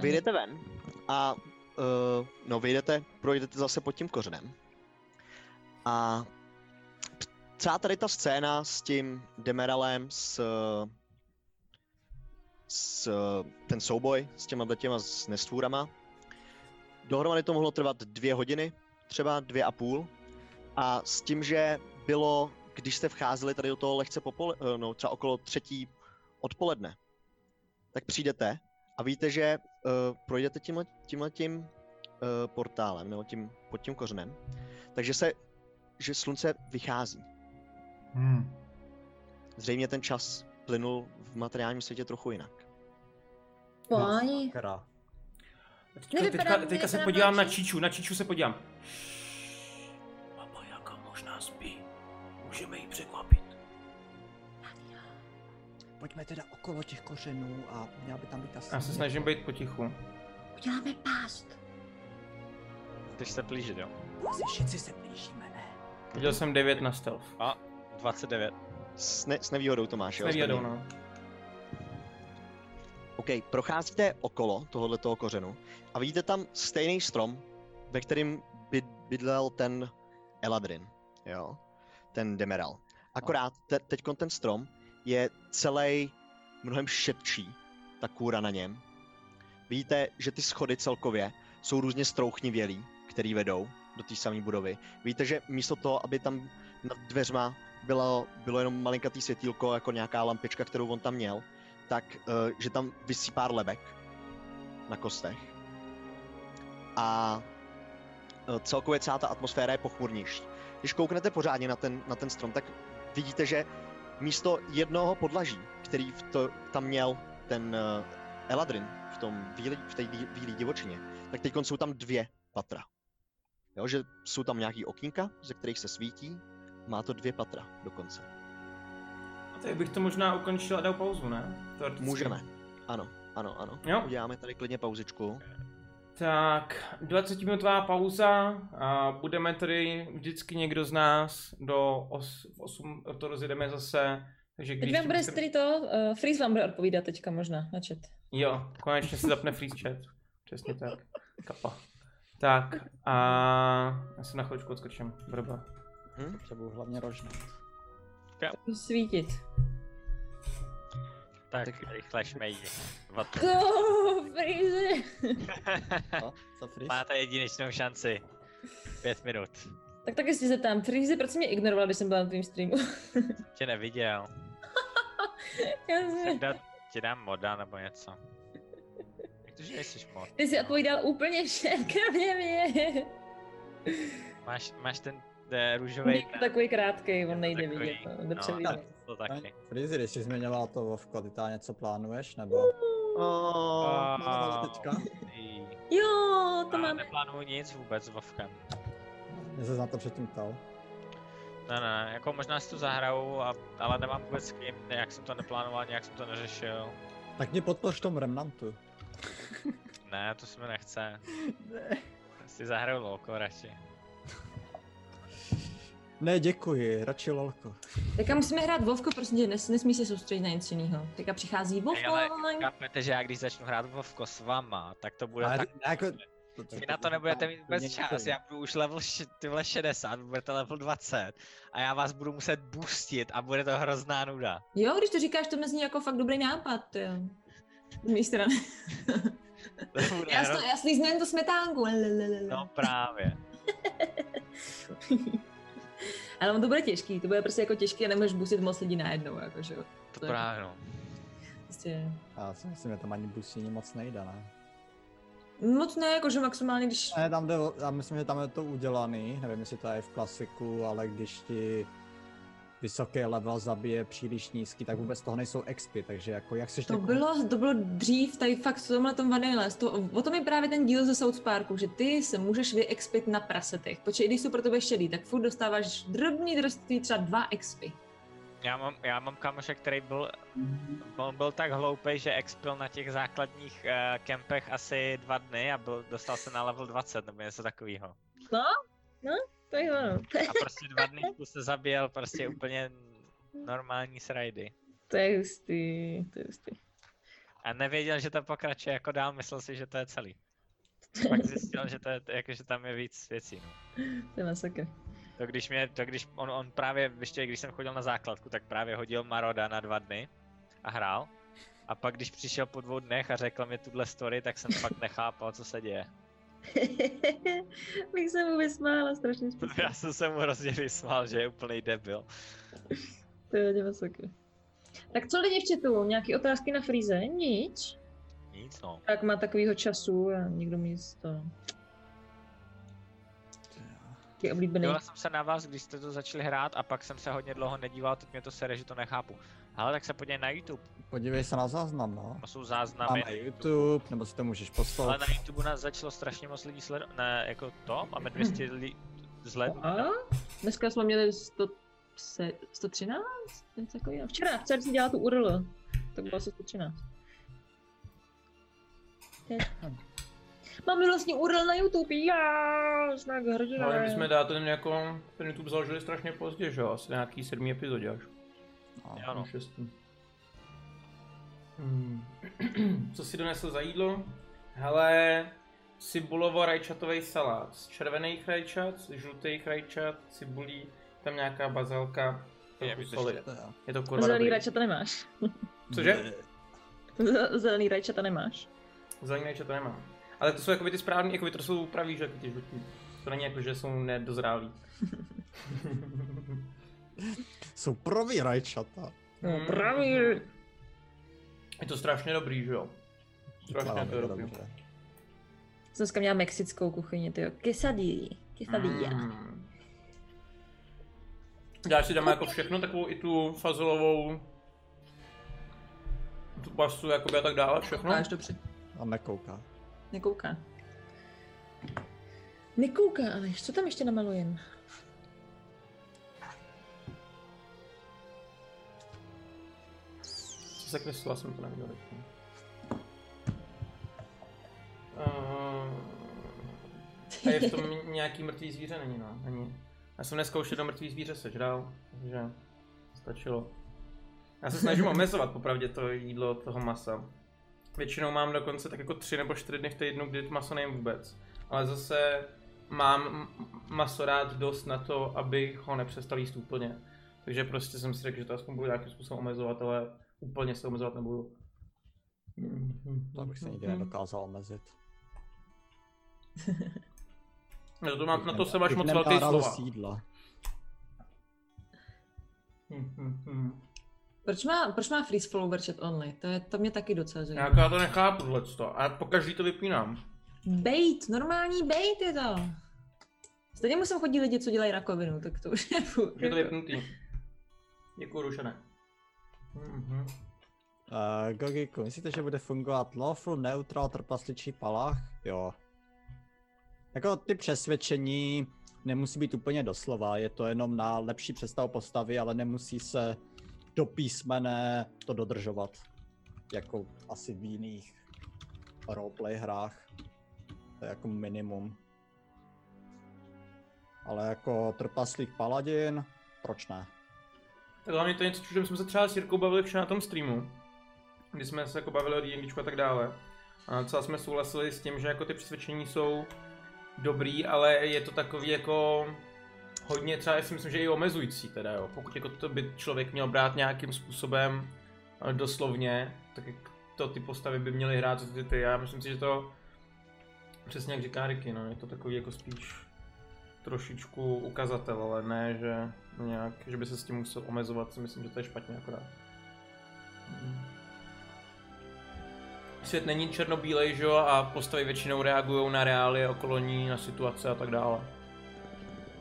C: Vyjdete ven a uh, no vyjdete, projdete zase pod tím kořenem. A celá tady ta scéna s tím Demeralem, s, s ten souboj s těma těma s nestvůrama, dohromady to mohlo trvat dvě hodiny, třeba dvě a půl. A s tím, že bylo, když jste vcházeli tady do toho lehce popole, eh, no, třeba okolo třetí odpoledne, tak přijdete a víte, že uh, projdete tímhle, tímhle tím uh, portálem, nebo tím, pod tím kořenem, takže se, že slunce vychází.
G: Hmm.
C: Zřejmě ten čas plynul v materiálním světě trochu jinak.
F: Páni,
E: Kra.
A: Teďka,
F: Nevypadá-
A: teďka, teďka se
F: nevypadá
A: podívám na
F: mladší.
A: Číču, na Číču se podívám. Papa Jaka možná spí. Můžeme ji překvapit.
J: Pojďme teda okolo těch kořenů a měla by tam být asi...
A: Já se snažím být potichu.
F: uděláme pást.
D: Chceš se plížit, jo?
J: Všichni se blížíme, ne?
A: Viděl jsem 9 na stealth.
D: 29.
C: S, ne, s nevýhodou to máš,
A: S
C: jo?
A: nevýhodou,
C: Zbrně.
A: no.
C: OK, procházíte okolo tohohle toho kořenu a vidíte tam stejný strom, ve kterým byd, bydlel ten Eladrin, jo, ten Demeral. Akorát te, teď ten strom je celý mnohem širší, ta kůra na něm. Vidíte, že ty schody celkově jsou různě strouchnivělí, který vedou do té samé budovy. Vidíte, že místo toho, aby tam nad dveřma bylo, bylo jenom malinkatý světýlko, jako nějaká lampička, kterou on tam měl, tak, eh, že tam vysí pár lebek na kostech. A eh, celkově celá ta atmosféra je pochmurnější. Když kouknete pořádně na ten, na ten strom, tak vidíte, že místo jednoho podlaží, který v to, tam měl ten eh, Eladrin v tom výlí, v té dí- výlí divočině, tak teď jsou tam dvě patra. Jo, že jsou tam nějaký okýnka, ze kterých se svítí, má to dvě patra dokonce.
A: A tady bych to možná ukončil a dal pauzu, ne? Teoreticky.
C: Můžeme. Ano, ano, ano.
A: Jo.
C: Uděláme tady klidně pauzičku.
A: Tak, 20-minutová pauza a budeme tady vždycky někdo z nás do 8, to rozjedeme zase, takže
F: Teď
A: když...
F: vám bude
A: byste-
F: tady to, uh, Freeze vám bude odpovídat teďka možná na chat.
A: Jo, konečně se zapne freeze chat. Přesně tak. Kapa. Tak a já se na chvíličku odskočím. Brba.
E: Potřebuju hlavně
D: [LAUGHS]
E: rožnout.
F: Svítit.
D: Tak rychle šmejdi.
H: [LAUGHS]
D: Vat-
F: Go, Freeze!
E: Co? Co Fris?
D: Máte jedinečnou šanci. Pět minut.
F: Tak taky si se tam, Freeze, proč jsi mě ignoroval, když jsem byla na tvým streamu?
D: Tě neviděl.
F: Já jsem-
D: Jsem dal, ti dám moda nebo něco. Jak to, že nejsi mod? no?
F: Ty jsi odpovídal úplně všem, kromě mě.
D: Máš, máš ten eh, růžový
F: Někdo [LAUGHS] takový krátký, on nejde
D: Takový,
F: vidět, no, dobře
D: no.
F: vidět.
D: to taky.
E: Fris, když jsi zmiňovala to Vovko, ty tam něco plánuješ, nebo?
C: Oh.
E: jmenovala teďka.
D: ej.
F: Jo, to
D: Já
F: máme.
D: neplánuju nic vůbec s Vovkem.
E: Já jsem se na to předtím ptal.
D: Ne, ne, jako možná si to zahraju, a, ale nemám vůbec s kým, nějak jsem to neplánoval, nějak jsem to neřešil.
E: Tak mě podpoř v tom Remnantu.
D: Ne, to se mi nechce. Si zahraju lolko radši.
E: Ne, děkuji, radši lolko.
F: Teďka musíme hrát Vovko, prosím tě, nes, nesmí se soustředit na nic jiného. Teďka přichází Vovko
D: ale
F: online.
D: Chápete, že já když začnu hrát Vovko s vama, tak to bude
E: Ale
D: tak...
E: ne, jako...
D: Vy na to nebudete mít vůbec
E: Některý.
D: čas, já budu už level š- tyhle 60, vy budete level 20 a já vás budu muset boostit a bude to hrozná nuda.
F: Jo, když to říkáš, to mi zní jako fakt dobrý nápad. jo. Z mé strany. [LAUGHS]
D: To bude
F: Já,
D: hroz-
F: sl- já slíznem tu smetánku. lelelele.
D: No právě.
F: [LAUGHS] Ale on to bude těžký, to bude prostě jako těžký a nemůžeš busit moc lidí najednou, jakože jo.
D: To
F: To je-
D: právě no.
F: Prostě.
E: Já si myslím, že tam ani busíní moc nejde, ne?
F: Moc ne, jakože maximálně, když...
E: Ne, tam jde, o- já myslím, že tam je to udělaný, nevím, jestli to je v klasiku, ale když ti vysoký level zabije příliš nízký, tak vůbec toho nejsou expy, takže jako jak seš
F: To
E: tak-
F: bylo, to bylo dřív, tady fakt v tomhle tom Vanilla. To, o tom je právě ten díl ze South Parku, že ty se můžeš vyexpit na prasetech. Počkej, i když jsou pro tebe šedý, tak furt dostáváš drobný drství třeba dva expy.
D: Já mám, já mám kamoše, který byl, on byl tak hloupý, že expil na těch základních uh, kempech asi dva dny a byl, dostal se na level 20 nebo něco takového.
F: To je ono.
D: A prostě dva dny v se zabíjel prostě úplně normální srajdy.
F: To je hustý, to je hustý.
D: A nevěděl, že to pokračuje jako dál, myslel si, že to je [LAUGHS] celý. Pak zjistil, že, to je, jako, že tam je víc věcí. No.
F: To je masakr.
D: To když, mě, to když on, on právě, ještě když jsem chodil na základku, tak právě hodil Maroda na dva dny a hrál. A pak když přišel po dvou dnech a řekl mi tuhle story, tak jsem fakt nechápal, co se děje.
F: [LAUGHS] Bych se vůbec smála, strašně
D: [LAUGHS] Já jsem se mu hrozně vysmál, že je úplný debil.
F: To je hodně masakr. Tak co lidi v chatu? Nějaké otázky na Freeze? Nič.
D: Nic no.
F: Tak má takovýho času a nikdo mi nic to... Taky oblíbený.
H: Díval jsem se na vás, když jste to začali hrát a pak jsem se hodně dlouho nedíval, teď mě to sere, že to nechápu. Ale tak se podívej na YouTube,
E: Podívej se na záznam, no.
H: tam jsou
E: A
H: záznamy.
E: na YouTube, nebo si to můžeš
H: Ale
E: poslat.
H: na YouTube nás začalo strašně moc lidí sledovat, ne, jako to, máme 200 lidí zhledů.
F: A? Dneska jsme měli 100, se, 113? Něco takového. Včera, včera jsem dělala tu URL. To bylo asi 113. Teď. Máme vlastně URL na YouTube, já jsme jak hrdina.
A: No, Ale my jsme dá ten, jako, ten YouTube založili strašně pozdě, že jo? Asi na nějaký sedmý epizodě až.
H: Jo, no.
A: Ano. Šestý. Hmm. [CLEARS THROAT] Co si donesl za jídlo? Hele, cibulovo rajčatový salát z červených rajčat, z žlutých rajčat, cibulí, tam nějaká bazalka,
H: Je,
A: trochu
H: vydržte.
A: soli.
E: To jo.
A: Je to kurva
F: Zelený
A: dobrý.
F: rajčata nemáš.
A: Cože?
F: Z- Zelený rajčata nemáš.
A: Zelený rajčata nemám. Ale to jsou jakoby ty správný, jakoby to jsou pravý žlutý, ty žlutí. To není jako, že jsou nedozrálí. [LAUGHS]
E: Jsou pravý rajčata.
F: No,
A: Mm.
F: pravý.
A: Je to strašně dobrý, že jo? Strašně
E: Děláme
A: to dobrý.
E: dobře.
F: Jsem dneska měla mexickou kuchyni, ty jo. Quesadilla. Quesadilla.
A: Mm. Já si dám jako všechno, takovou i tu fazolovou tu pastu jakoby a tak dále, všechno.
F: Máš dobře.
E: A nekouká.
F: Nekouká. Nekouká, ale co tam ještě namalujem?
A: Co se kreslila, jsem to neviděl. teď. Ehm, A je v tom [LAUGHS] nějaký mrtvý zvíře, není no, není. Já jsem neskoušel do mrtvý zvíře sežral, takže stačilo. Já se snažím omezovat popravdě to jídlo toho masa. Většinou mám dokonce tak jako tři nebo čtyři dny v týdnu, kdy maso nejím vůbec. Ale zase mám m- maso rád dost na to, abych ho nepřestal jíst úplně. Takže prostě jsem si řekl, že to aspoň budu nějakým způsobem omezovat, ale úplně se omezovat nebudu.
E: To bych se
H: Mhm.
E: nikdy nedokázal omezit.
A: Na to, mám, na to
E: Kdybych
A: se máš
E: nem-
A: moc
E: kdybych
A: velký
E: nemdával
A: slova.
E: sídla.
A: Hm, hm, hm.
F: Proč má, proč má freeze flow verčet only? To, je, to mě taky docela zajímá.
A: Jak já to nechápu tohleto. A pokaždý to vypínám.
F: Bait, normální bait je to. Stejně mu sem chodí lidi, co dělají rakovinu, tak to už je furt.
A: Už je to vypnutý. Děkuju, Rušené. Mhm.
E: Eh, Gogiku, myslíte, že bude fungovat lawful, neutral, trpasličí palach? Jo. Jako ty přesvědčení nemusí být úplně doslova, je to jenom na lepší představu postavy, ale nemusí se do písmene to dodržovat. Jako asi v jiných roleplay hrách. To je jako minimum. Ale jako trpaslík paladin, proč ne?
A: Tak hlavně to je něco, čím jsme se třeba s Jirkou bavili včera na tom streamu. Kdy jsme se jako bavili o D&Dčku a tak dále. A docela jsme souhlasili s tím, že jako ty přesvědčení jsou dobrý, ale je to takový jako hodně třeba, já si myslím, že i omezující teda jo. Pokud jako to by člověk měl brát nějakým způsobem eh, doslovně, tak jak to ty postavy by měly hrát, co ty ty. Já myslím si, že to přesně jak říká Ricky, no, je to takový jako spíš trošičku ukazatel, ale ne, že nějak, že by se s tím musel omezovat, si myslím, že to je špatně akorát. Mm. Svět není černobílej, že jo, a postavy většinou reagují na reálie okolo ní, na situace a tak dále.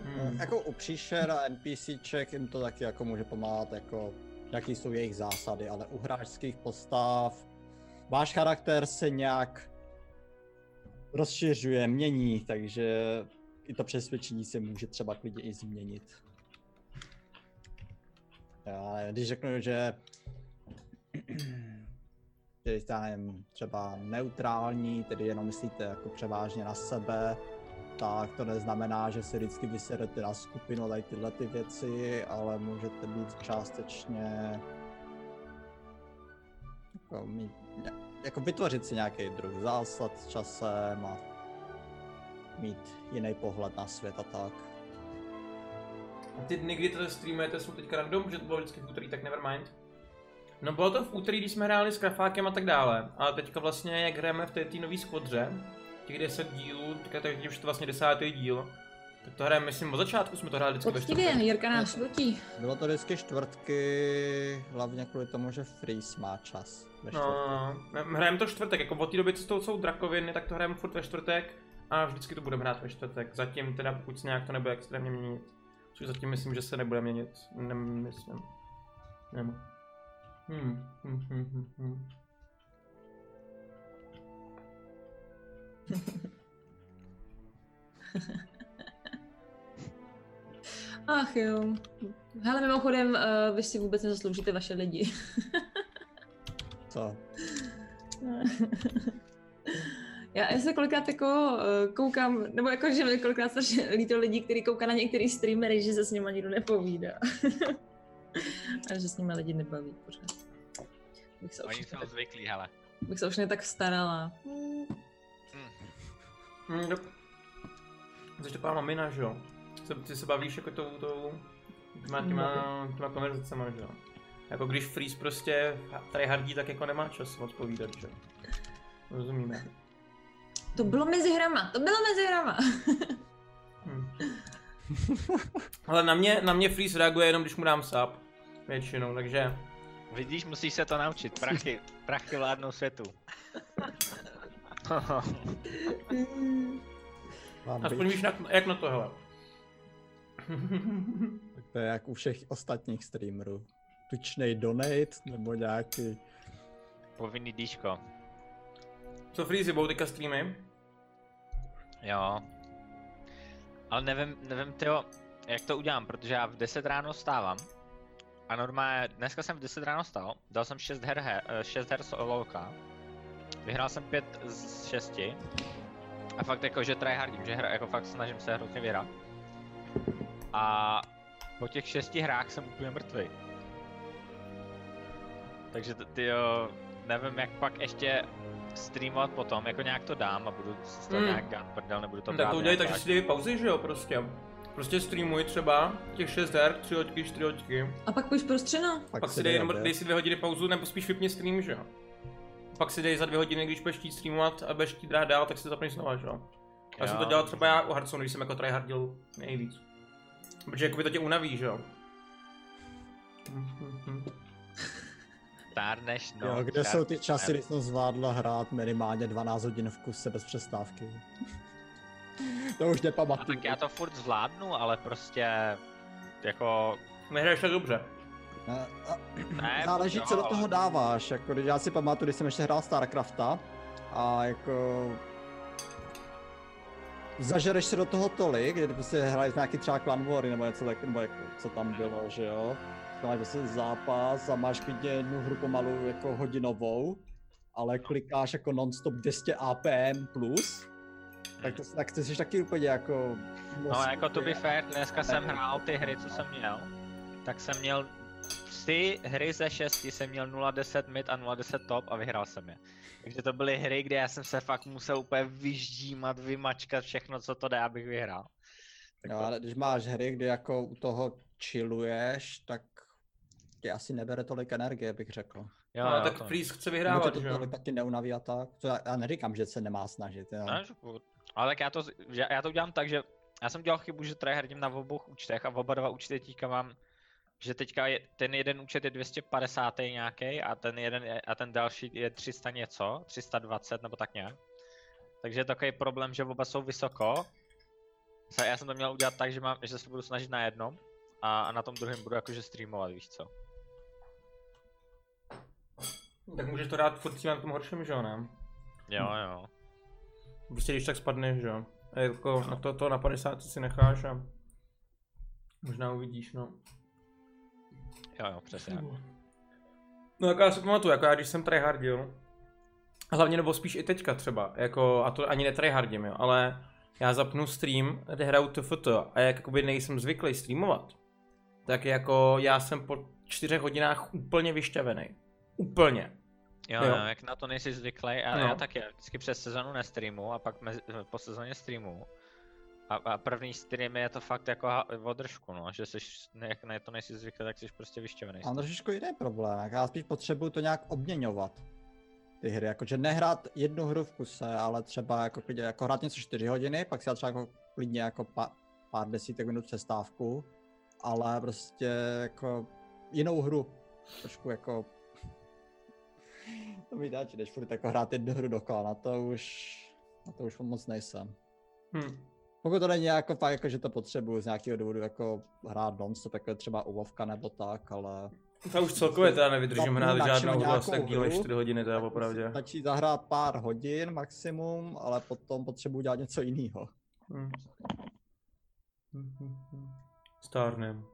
A: Hmm.
E: Jako u příšer a NPCček jim to taky jako může pomáhat, jako jaký jsou jejich zásady, ale u hráčských postav váš charakter se nějak rozšiřuje, mění, takže i to přesvědčení se může třeba klidně i změnit. Já, nevím, když řeknu, že [CLEARS THROAT] tedy já nevím, třeba neutrální, tedy jenom myslíte jako převážně na sebe, tak to neznamená, že se vždycky vyserete na skupinu a tady tyhle ty věci, ale můžete být částečně jako, mít, ně- jako vytvořit si nějaký druh zásad s časem a mít jiný pohled na svět a tak.
A: A ty dny, kdy to streamujete, jsou teďka random, protože to bylo vždycky v úterý, tak nevermind. No bylo to v úterý, když jsme hráli s Krafákem a tak dále. A teďka vlastně, jak hrajeme v té té nové skvodře, těch 10 dílů, teďka to je už to vlastně desátý díl, tak to hrajeme, myslím, od začátku jsme to hráli vždycky ve
F: Poctivě,
A: čtvrtek.
F: Jirka nás nutí.
E: Bylo to vždycky čtvrtky, hlavně kvůli tomu, že Freeze má čas. Ve
A: No, hrajeme to čtvrtek, jako od té doby, co to jsou drakoviny, tak to hrajeme furt ve čtvrtek. A vždycky to budeme hrát ve čtvrtek. Zatím teda, pokud se nějak to nebude extrémně měnit. Což zatím myslím, že se nebude měnit. Nemyslím. Nebo. Hmm. Hmm, hmm, hmm, hmm.
F: Ach jo. Hele, mimochodem, eh, vy si vůbec nezasloužíte vaše lidi.
E: Co?
F: No. Já, já se kolikrát jako eh, koukám, nebo jako, že mi kolikrát strašně líto lidí, kteří kouká na některý streamery, že se s nima nikdo nepovídá. [LAUGHS] A že s nimi lidi nebaví pořád. Bych se, už,
D: Oni jsou zvyklí, hele.
F: bych se už ne tak starala.
A: Hmm, dob. Což to mamina, že jo? Co, ty se bavíš jako tou, tou těma, těma, těma konverzacema, že jo? Jako když Freeze prostě tady hardí, tak jako nemá čas odpovídat, že jo? Rozumíme.
F: To bylo mezi hrama, to bylo mezi hrama.
A: Hmm. [LAUGHS] Ale na mě, na mě Freeze reaguje jenom, když mu dám sáp. Většinou, takže...
D: Vidíš, musíš se to naučit. Prachy, prachy vládnou [LAUGHS] světu.
E: Mám
A: Aspoň
E: bič?
A: víš, na, jak na to, hele. [LAUGHS]
E: Tak to je jak u všech ostatních streamerů. Tučnej donate, nebo nějaký...
D: Povinný díčko.
A: Co Freezy, budou teďka streamy?
D: Jo. Ale nevím, nevím tyjo, jak to udělám, protože já v 10 ráno stávám. A normálně, dneska jsem v 10 ráno stál, dal jsem 6 her, he, 6 her solovka. Vyhrál jsem 5 z 6. A fakt jako, že tryhardím, že hra, jako fakt snažím se hrozně vyhrát. A po těch 6 hrách jsem úplně mrtvý. Takže ty jo, nevím jak pak ještě streamovat potom, jako nějak to dám a budu z toho
A: Hmm.
D: nějak gun prdel, nebudu to
A: To
D: brát
A: tak to udělej
D: nějak
A: tak, že si dej pauzy, že jo, prostě. Prostě streamuj třeba těch 6 her, 3 hoďky, 4 hoďky.
F: A pak prostě, no, půjdeš pro střeno.
A: Pak si dej,
E: dej
A: jenom,
E: oběd.
A: dej si dvě hodiny pauzu, nebo spíš vypni stream, že jo. Pak si dej za dvě hodiny, když budeš chtít streamovat a budeš chtít dát dál, tak si zapneš znova, že jo. Já jsem to
D: Jo.
A: dělal třeba já u Hearthstone, když jsem jako tryhardil nejvíc. Protože jakoby to tě unaví, že jo.
D: Stárneš, no.
E: jo, kde
D: stár-
E: jsou ty časy,
D: stár-
E: kdy jsem zvládla hrát minimálně 12 hodin v kuse bez přestávky? [LAUGHS] to už
D: No,
E: nepamatuju.
D: tak já to furt zvládnu, ale prostě jako...
A: Nehraješ tak dobře.
E: Ne, a-
D: Ne,
E: Záleží, co do
D: ale-
E: toho dáváš. Jako, když já si pamatuju, když jsem ještě hrál StarCrafta a jako zažereš se do toho tolik, kdy prostě hráli jsme nějaký třeba Clan Wary nebo něco tak, nebo jako, co tam bylo, že jo. Máš prostě zápas a máš klidně jednu hru pomalu jako hodinovou, ale klikáš jako non-stop 200 APM plus, tak to tak ty jsi taky úplně jako...
D: No jako to by fair, dneska jsem hrál ty hry, co jsem měl, tak jsem měl tři hry ze šesti jsem měl 0.10 mid a 0.10 top a vyhrál jsem je. Takže to byly hry, kde já jsem se fakt musel úplně vyždímat, vymačkat všechno, co to jde, abych vyhrál. Tak
E: Jo,
D: to-
E: ale když máš hry, kdy jako u toho chilluješ, tak ti asi nebere tolik energie, bych řekl.
D: jo,
A: no,
D: jo,
A: tak
D: to-
A: Freeze chce
E: Nebo tě
A: vyhrávat,
E: to
A: že jo.
E: tolik taky neunaví a tak. To já, já neříkám, že se nemá snažit. Jo.
D: Ne, že původ. No, jako, Ale tak já to, z- že- já to udělám tak, že já jsem dělal chybu, že tryhardím na obou účtech a oba dva účty teďka mám, že teďka je, ten jeden účet je 250 nějaký a ten jeden je, a ten další je 300 něco, 320 nebo tak nějak. Takže je takový problém, že oba jsou vysoko. Sa- Já jsem to měl udělat tak, že, mám, že se budu snažit na jednom a, a na tom druhém budu jakože streamovat, víš co.
A: Tak můžeš to dát furt s tím na tom horším, že jo, ne?
D: Jo, jo.
A: Prostě když tak spadneš, že jo. A jako
D: No.
A: na to, to na 50 si necháš a možná uvidíš, no.
D: Jo, jo, přesně. tak.
A: No jako já si pamatuju, jako já když jsem tryhardil, hlavně nebo spíš i teďka třeba, jako a to ani netryhardím, jo, ale já zapnu stream, kde hraju TFT a jak jakoby nejsem zvyklý streamovat, tak jako já jsem po čtyřech hodinách úplně vyšťavený. Úplně.
D: Jo,
A: Jo.
D: jo.
H: no,
D: jak na to nejsi zvyklý, a
A: No.
D: já taky já vždycky přes sezonu nestreamu a pak mezi, po sezóně streamu. A, a první stream je to fakt jako ha- održku, no, že jsi, ne- jak na to nejsi zvyklý, tak jsi prostě vyštěvený.
E: Mám trošičku jiný problém, jak já spíš potřebuju to nějak obměňovat. Ty hry, jakože nehrát jednu hru v kuse, ale třeba jako, klidně, jako hrát něco 4 hodiny, pak si dát třeba jako klidně jako pa, pár desítek minut přestávku, ale prostě jako jinou hru. Trošku jako... [LAUGHS] To mi dáči, než furt jako hrát jednu hru dokola, na to už, na to už moc nejsem.
A: Hm.
E: Pokud to není jako fakt, jako, že to potřebuju z nějakého důvodu jako hrát non-stop, jako je třeba ulovka nebo tak, ale...
A: Ta už celkově teda nevydržím
E: Zapnu
A: hrát
E: radši
A: žádnou hru
E: nějakou
A: asi tak díl než
E: hru.
A: 4 hodiny, to je
E: tak mi
A: opravdu.
E: se Stačí zahrát pár hodin maximum, ale potom potřebuju dělat něco jiného.
A: Hm. Stárnem.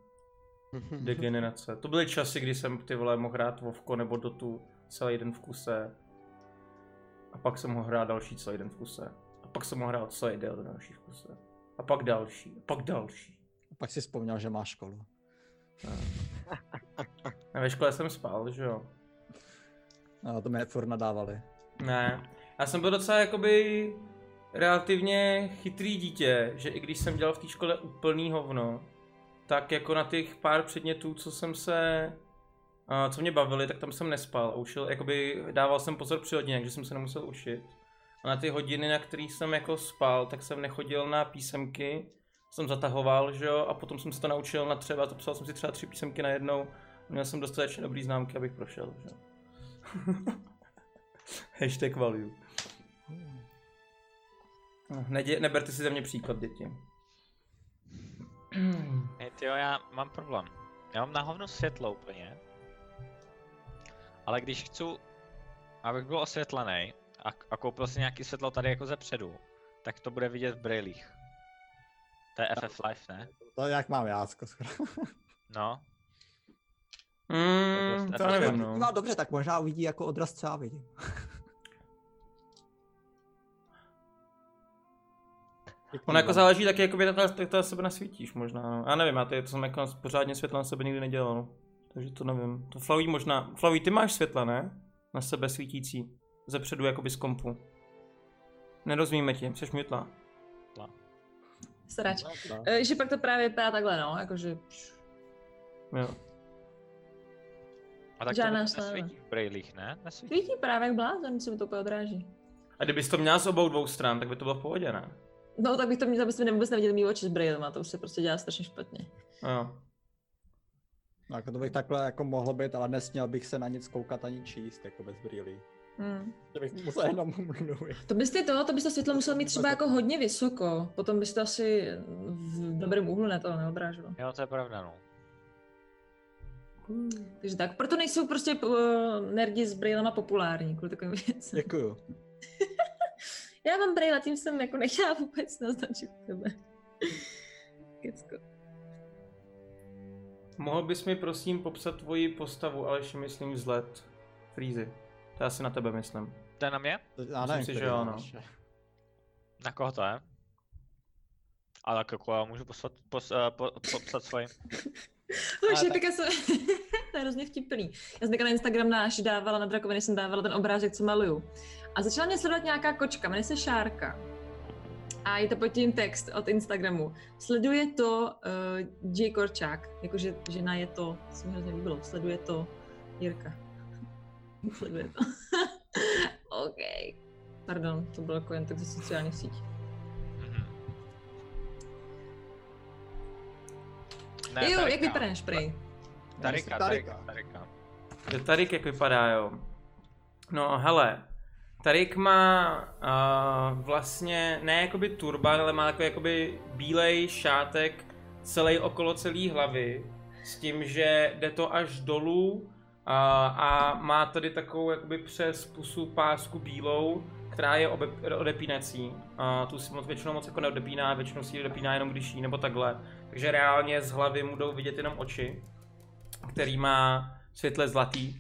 A: Degenerace. To byly časy, kdy jsem ty vole mohl hrát Vovko nebo Dotu celý den v kuse. A pak jsem ho hrál další celý den v kuse. A pak jsem ho hrál celý den další v kuse. A pak další. A pak další.
E: A pak si vzpomněl, že má školu.
A: A ve škole jsem spal, že jo?
E: A to mě furt nadávali.
A: Ne. Já jsem byl docela jakoby relativně chytrý dítě, že i když jsem dělal v té škole úplný hovno, tak jako na těch pár předmětů, co jsem se, a co mě bavili, tak tam jsem nespal a učil, jakoby dával jsem pozor při hodině, takže jsem se nemusel učit. A na ty hodiny, na kterých jsem jako spal, tak jsem nechodil na písemky, jsem zatahoval, že jo, a potom jsem se to naučil na třeba, to psal jsem si třeba tři písemky najednou, měl jsem dostatečně dobrý známky, abych prošel, že jo. Hashtag value. No, Nedě, neberte si ze mě příklad, [CLEARS THROAT] děti. Mm,
H: Hej, tyjo, já mám problém. Já mám na hovno světlo úplně. Ale když chci, abych byl osvětlený a, a koupil si nějaký světlo tady jako ze předu, tak to bude vidět v brýlích. To je FF Life, ne?
E: To jak mám jácko skoro.
H: No.
A: Mm,
H: dost
A: to nevím,
H: efektivní.
A: no.
B: No dobře, tak možná uvidí jako odraz, co
E: [LAUGHS]
B: já vidím.
A: Ono
E: no.
A: jako záleží taky, jakoby na to, jak to na sebe nasvítíš možná, no. Já nevím, já to, to jsem jako pořádně světla na sebe nikdy nedělal, no. Takže to nevím. To Flaví možná... Flaví, ty máš světla, ne? Na sebe svítící. Zepředu, jakoby z kompu. Nerozumíme ti, jsi mutla. No,
F: Srač. Eh, Že pak to právě vypadá takhle, no, jakože...
A: Jo.
H: A tak
F: Žádná
H: to
F: sláva.
H: nesvítí v brýlích, ne? Nesvítí.
F: Svítí právě jak blázen, se mi to úplně odráží.
A: A kdybys to měla z obou dvou stran, tak by to bylo v pohodě, ne?
F: No, tak bych to, tak byste vůbec neviděli mý oči s brailema, to už se prostě dělá strašně špatně.
A: Jo.
E: No, jako to bych takhle jako mohlo být, ale nesměl bych se na nic koukat ani číst, jako bez brýlí.
F: Hmm.
E: Že bych musel jenom mluvit.
F: To byste to, to byste světlo musel mít třeba jako hodně vysoko, potom byste asi v dobrém úhlu na to neodráželo.
H: Jo, to je pravda, no.
F: Takže tak, proto nejsou prostě uh, nerdi s brailema populární, kvůli takovým věcem.
E: Děkuju.
F: Já mám braila, tím jsem jako nechtěla vůbec naznačit tebe. Kecko.
A: Mohl bys mi prosím popsat tvoji postavu, ale ještě myslím vzhled. Frízy. To já si na tebe myslím.
H: To je na mě?
E: To- Já nevím,
A: si,
E: který
A: že jo,
E: je
A: no.
E: naše.
H: Na koho to je? Ale tak jako já můžu poslat, pos, uh, po, popsat svoji.
F: No,
H: Ale
F: že
H: tak-
F: tak... jsem... [LAUGHS] to je hrozně vtipný. Já jsem takhle na Instagram náš dávala, na drakoviny jsem dávala ten obrázek, co maluju. A začala mě sledovat nějaká kočka, jmenuje se Šárka. A je to pod tím text od Instagramu. Sleduje to uh, J. Korčák, jakože žena je to, to se mi hrozně líbilo, sleduje to Jirka. [LAUGHS] Sleduje to. [LAUGHS] OK. Pardon, to bylo jako jen tak ze sociálních sítí.
H: Mhm.
F: Ne, jo, jak
H: Tarika.
F: vypadáš, prej?
E: Tarika.
H: Tarika, Tarika, Tarika.
A: Jo, Tarik jak vypadá, jo. No, hele. Tarik má uh, vlastně, ne jakoby turban, ale má takový jakoby bílej šátek celý okolo celý hlavy. S tím, že jde to až dolů a, a má tady takovou jakoby přes pusu pásku bílou, která je obe, odepínací. A tu si moc většinou moc jako neodepíná, většinou si ji odepíná jenom když jí nebo takhle. Takže reálně z hlavy mu jdou vidět jenom oči, který má světle zlatý.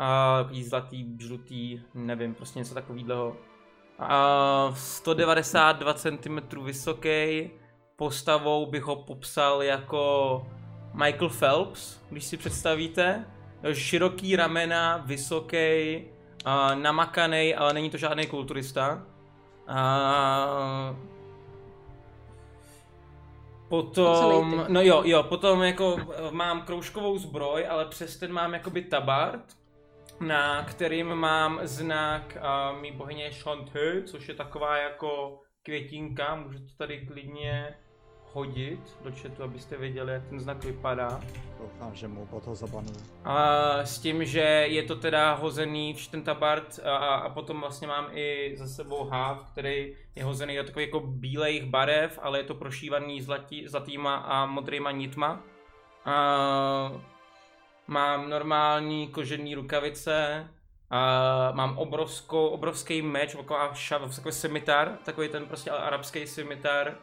A: A takový zlatý, žlutý, nevím, prostě něco takového. A 192 cm vysoký, postavou bych ho popsal jako Michael Phelps, když si představíte. Široký ramena, vysoký, a namakaný, ale není to žádný kulturista. A... Potom,
F: Ocelejte.
A: no jo, jo, potom jako eh, mám kroužkovou zbroj, ale přes ten mám jakoby tabard, na kterým mám znak uh, mý bohyně Shanty, což je taková jako květinka, můžu to tady klidně hodit do chatu, abyste věděli, jak ten znak vypadá.
E: Doufám, že mu po toho zabanuju.
A: A s tím, že je to teda hozený v ten tabard a, a a potom vlastně mám i za sebou háv, který je hozený do takových jako bílejch barev, ale je to prošívaný zlatí, zlatýma a modrýma nitma. A mám normální kožený rukavice, a mám obrovskou, obrovský meč, taková šav, takový scimitar, takový ten prostě arabský scimitar,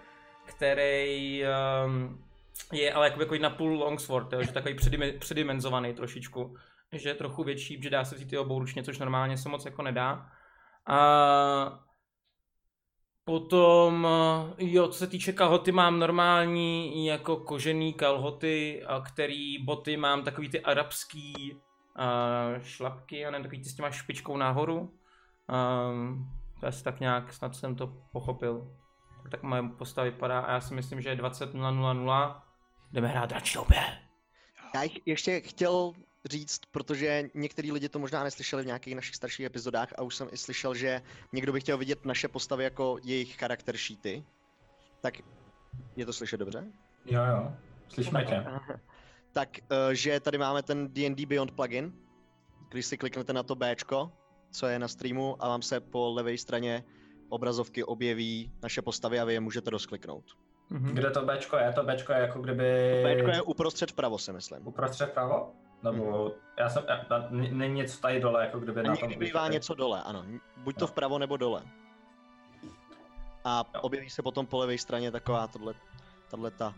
A: který um, je ale jako, jako na půl longsword, jo, že takový předime- předimenzovaný trošičku, že je trochu větší, že dá se vzít i obouručně, což normálně se moc jako nedá. A potom, eh, jo, co se týče kalhoty, mám normální jako kožený kalhoty, a který boty mám takový ty arabský eh, šlapky, já nevím, takový ty s těma špičkou nahoru. Um, to asi tak nějak, snad jsem to pochopil tak moje postava vypadá a já si myslím, že je 20.000. Jdeme hrát dračí obě.
C: Já jich ještě chtěl říct, protože některý lidi to možná neslyšeli v nějakých našich starších epizodách a už jsem i slyšel, že někdo by chtěl vidět naše postavy jako jejich charakter sheety. Tak je to slyšet dobře?
D: Jo, jo, slyšíme tě.
C: [LAUGHS] Tak, eh, že tady máme ten D&D Beyond plugin. Když si kliknete na to B, co je na streamu a vám se po levé straně obrazovky objeví naše postavy a vy je můžete rozkliknout.
D: Kde to Bčko je? To Bčko je jako kdyby...
C: B je Mhm. uprostřed vpravo, si myslím.
D: Uprostřed pravo? Nebo já jsem, já, tam n- není něco tady dole, jako kdyby
C: A
D: na tom... No.
C: někdy bývá něco dole, ano. Buď to vpravo nebo dole. A objeví se potom po levé straně taková tohle, tahle ta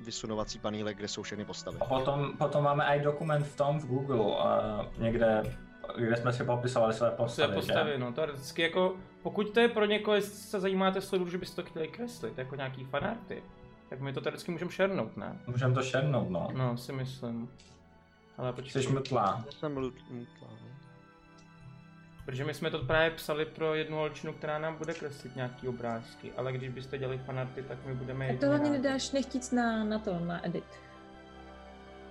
C: vysunovací paníle, kde jsou všechny postavy.
D: A potom, potom máme i dokument v tom, v Google, a někde, kde jsme si popisovali své
A: Své
D: postavy,
A: postavy, no, teoreticky jako, pokud to je pro někoho, jestli se zajímáte sledu, že byste to chtěli kreslit, jako nějaký fanarty, tak my to teoreticky můžeme šernout, ne?
D: že? Můžeme to šernout, no.
A: No, si myslím. Ale počkej,
D: Jsi mrtvá.
C: Já jsem lu- lutlá, no.
A: protože my jsme to právě psali pro jednu holčinu, která nám bude kreslit nějaký obrázky, ale když byste dělali fanarty, tak my budeme
F: Tak to
A: jedině
F: hlavně
A: rádi.
F: nedáš nechtíc na, na to, na edit.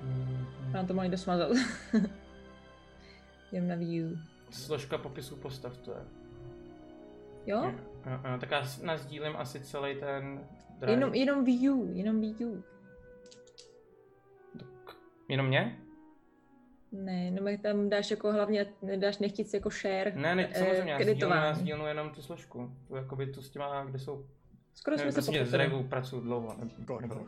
A: Mhm.
F: Nám to mají dost smazat. [LAUGHS] Jdem na view.
A: Složka popisu postav to je.
F: Jo?
A: Jo, jo, tak já s- nazdílím asi celý ten drive.
F: Jenom, jenom view, jenom view.
A: Jenom mě?
F: Ne, no my tam dáš jako hlavně, dáš nechtíc jako share.
A: Ne, ne,
F: eh,
A: samozřejmě, já sdílnu, já
F: kreditování.
A: sdílnu jenom tu složku. Tu, jakoby tu s těma, kde jsou...
F: Skoro
A: Nevím,
F: jsme se
A: prostě s
F: pochopili.
A: Revu pracuju dlouho. ne-
E: Skoro.
A: nebo-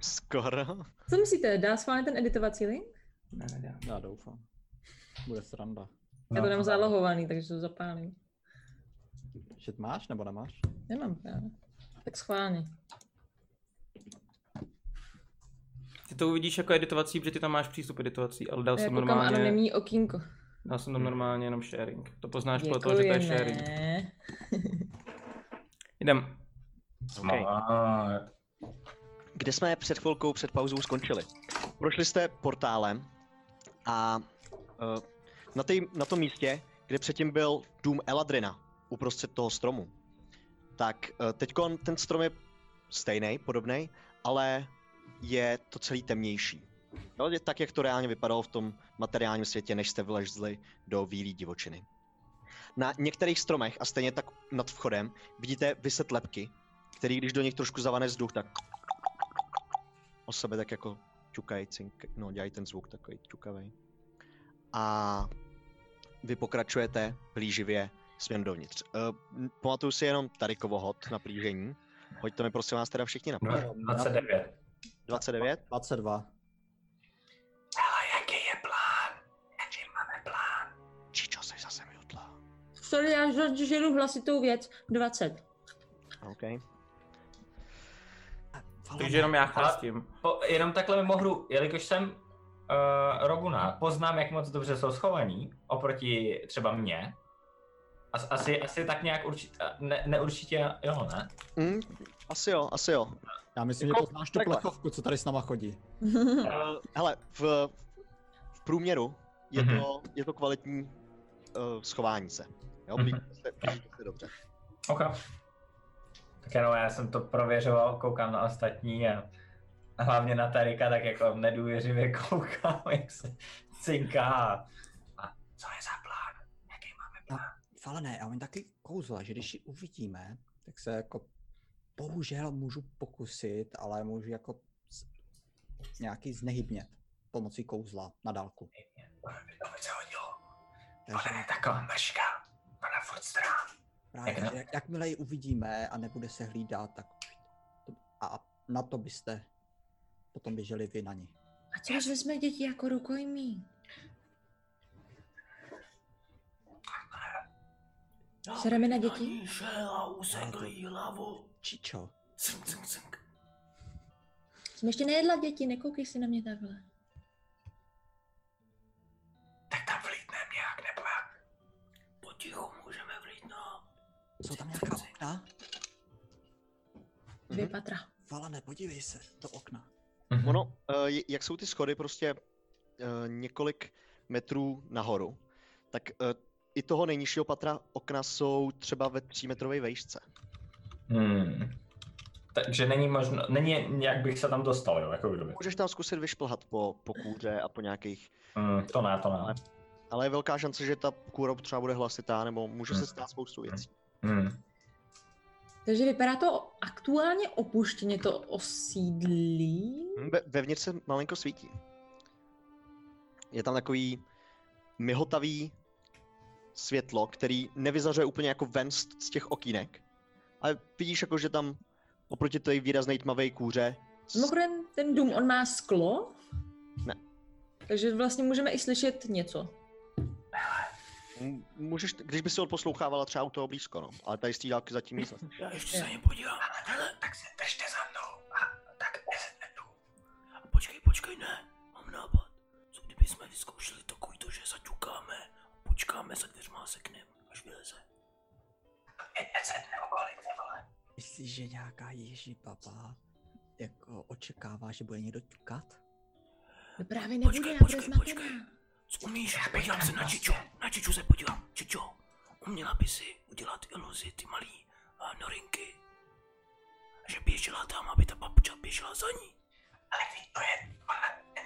C: Skoro.
F: Co myslíte, dá schválně ten editovací link?
A: Ne, nedám.
E: Já doufám. Bude sranda.
F: Já to nemám zálohovaný, takže to zapálím.
E: Shit, máš nebo nemáš?
F: Nemám právě. Tak schválně.
A: Ty to uvidíš jako editovací, protože ty tam máš přístup editovací, ale dal
F: Já
A: jsem
F: Eh, koukám normálně...
A: normálně,
F: anonymní okýnko. Jako
A: dal jsem tam normálně jenom sharing. To poznáš podle toho, že to je sharing.
F: Děkujeme.
A: Jdem.
D: No,
C: Okay. kde jsme před chvilkou, před pauzou skončili. Prošli jste portálem a uh, na, tý, na tom místě, kde předtím byl dům Eladrina, uprostřed toho stromu, tak uh, teď ten strom je stejný, podobný, ale je to celý temnější. Jo, je tak, jak to reálně vypadalo v tom materiálním světě, než jste vylezli do výlí divočiny. Na některých stromech a stejně tak nad vchodem vidíte vyset lepky, který když do nich trošku zavane vzduch, tak o sebe tak jako ťukají, cink, no dělají ten zvuk takový ťukavej. A vy pokračujete plíživě směrem dovnitř. Uh, pamatuju si jenom Tarikovo hod na plížení. Hoďte mi prosím vás teda všichni na plížení.
D: 29.
C: 29?
E: 22.
D: Ale jaký je plán? Jaký máme plán?
C: Čičo, jsi zase mutla.
F: Sorry, já ž- žeru hlasitou věc. [LAUGHS] 20.
C: OK.
A: Takže jenom já chrastím.
D: Po, jenom takhle mimo hru, jelikož jsem uh, Roguna, poznám, jak moc dobře jsou schovaní oproti třeba mně. As, asi, asi tak nějak určitě, ne, neurčitě, jo, ne?
C: Mm, asi jo, asi jo.
E: Já myslím, že
C: Jako
E: poznáš tu
C: takhle.
E: plechovku, co tady s nama chodí.
C: Uh, hele, v, v průměru je,
D: Mhm.
C: to, je to kvalitní uh, schování se. Jo,
D: Mhm.
C: blížíte se, blížíte se dobře.
D: OK. Tak jenom já jsem to prověřoval, koukám na ostatní a a hlavně na Tarika, tak jako nedůvěřivě [LAUGHS] koukám, jak se cinká. A co je za plán? Jaký máme plán?
B: Falené, a on taky kouzla, že když ji uvidíme,
E: Tak se jako bohužel můžu pokusit, ale můžu jako s- nějaký znehybnět pomocí kouzla na dálku.
D: To by se hodilo.
E: Takže
D: Ona je taková mrška. Ona furt strá.
E: právě,
D: Pěkné.
E: že jak, jakmile ji uvidíme a nebude se hlídat, tak to- a na to byste potom běželi vy na ní.
F: A co, když jsme děti jako rukojmí? Sereme na děti?
E: Čičo,
H: Cink, cink, cink.
F: Jsem ještě nejedla děti, nekoukej si na mě takhle.
D: Tak tam vlítnem nějak, nebo jak?
H: Potichu můžeme vlít, no.
E: jsou tam nějaká okna?
F: Dvě
C: Mhm.
F: patra.
E: Valane, podívej se do okna.
D: Mhm.
C: Ono, eh, je- jak jsou ty schody prostě eh, několik metrů nahoru, tak eh, i toho nejnižšího patra okna jsou třeba ve třímetrové vejšce.
D: Hmm. Takže není možno, není, jak bych se tam dostal, jo, jako kdyby.
C: Můžeš tam zkusit vyšplhat po, po kůře a po nějakých,
D: Hmm, to ne, to ne.
C: ale je velká šance, že ta kůra třeba bude hlasitá, nebo může se
D: Mhm.
C: stát spoustu věcí.
D: Hmm.
F: Takže vypadá to aktuálně opuštěně to osídlí.
C: Hm, Ve, vevnitř se malinko svítí. Je tam takový myhotavý světlo, který nevyzařuje úplně jako ven z, z těch okýnek. Ale vidíš jako, že tam oproti té výrazné tmavé kůře s-
F: Mimochodem, ten dům, on má sklo?
C: Ne.
F: Takže vlastně můžeme i slyšet něco.
C: m- můžeš, když by si odposlouchávala třeba u toho blízko, no. Ale tady z té dálky zatím nic neslyšíš.
H: Já ještě
F: Eh.
H: se na ně podívám. Hele,
D: Tak se držte za mnou. A, tak
H: a počkej, počkej, ne. Mám nápad. Co kdyby jsme vyzkoušeli takový to, že zaťukáme a počkáme za dveřma a seknem, až vyleze.
E: Myslíš, že nějaká Ježí baba jako očekává, že bude někdo ťukat?
F: No právě nebude,
H: Počkej,
F: já
H: počkej,
F: bude zmatená.
H: počkej. Co umíš? Podívám se na Čiču. Na Čiču se podívám. Čičo, uměla by si udělat iluzi ty malý a norinky. Že běžela tam, aby ta babča běžela za ní.
D: Ale ví, to je, ona, ten,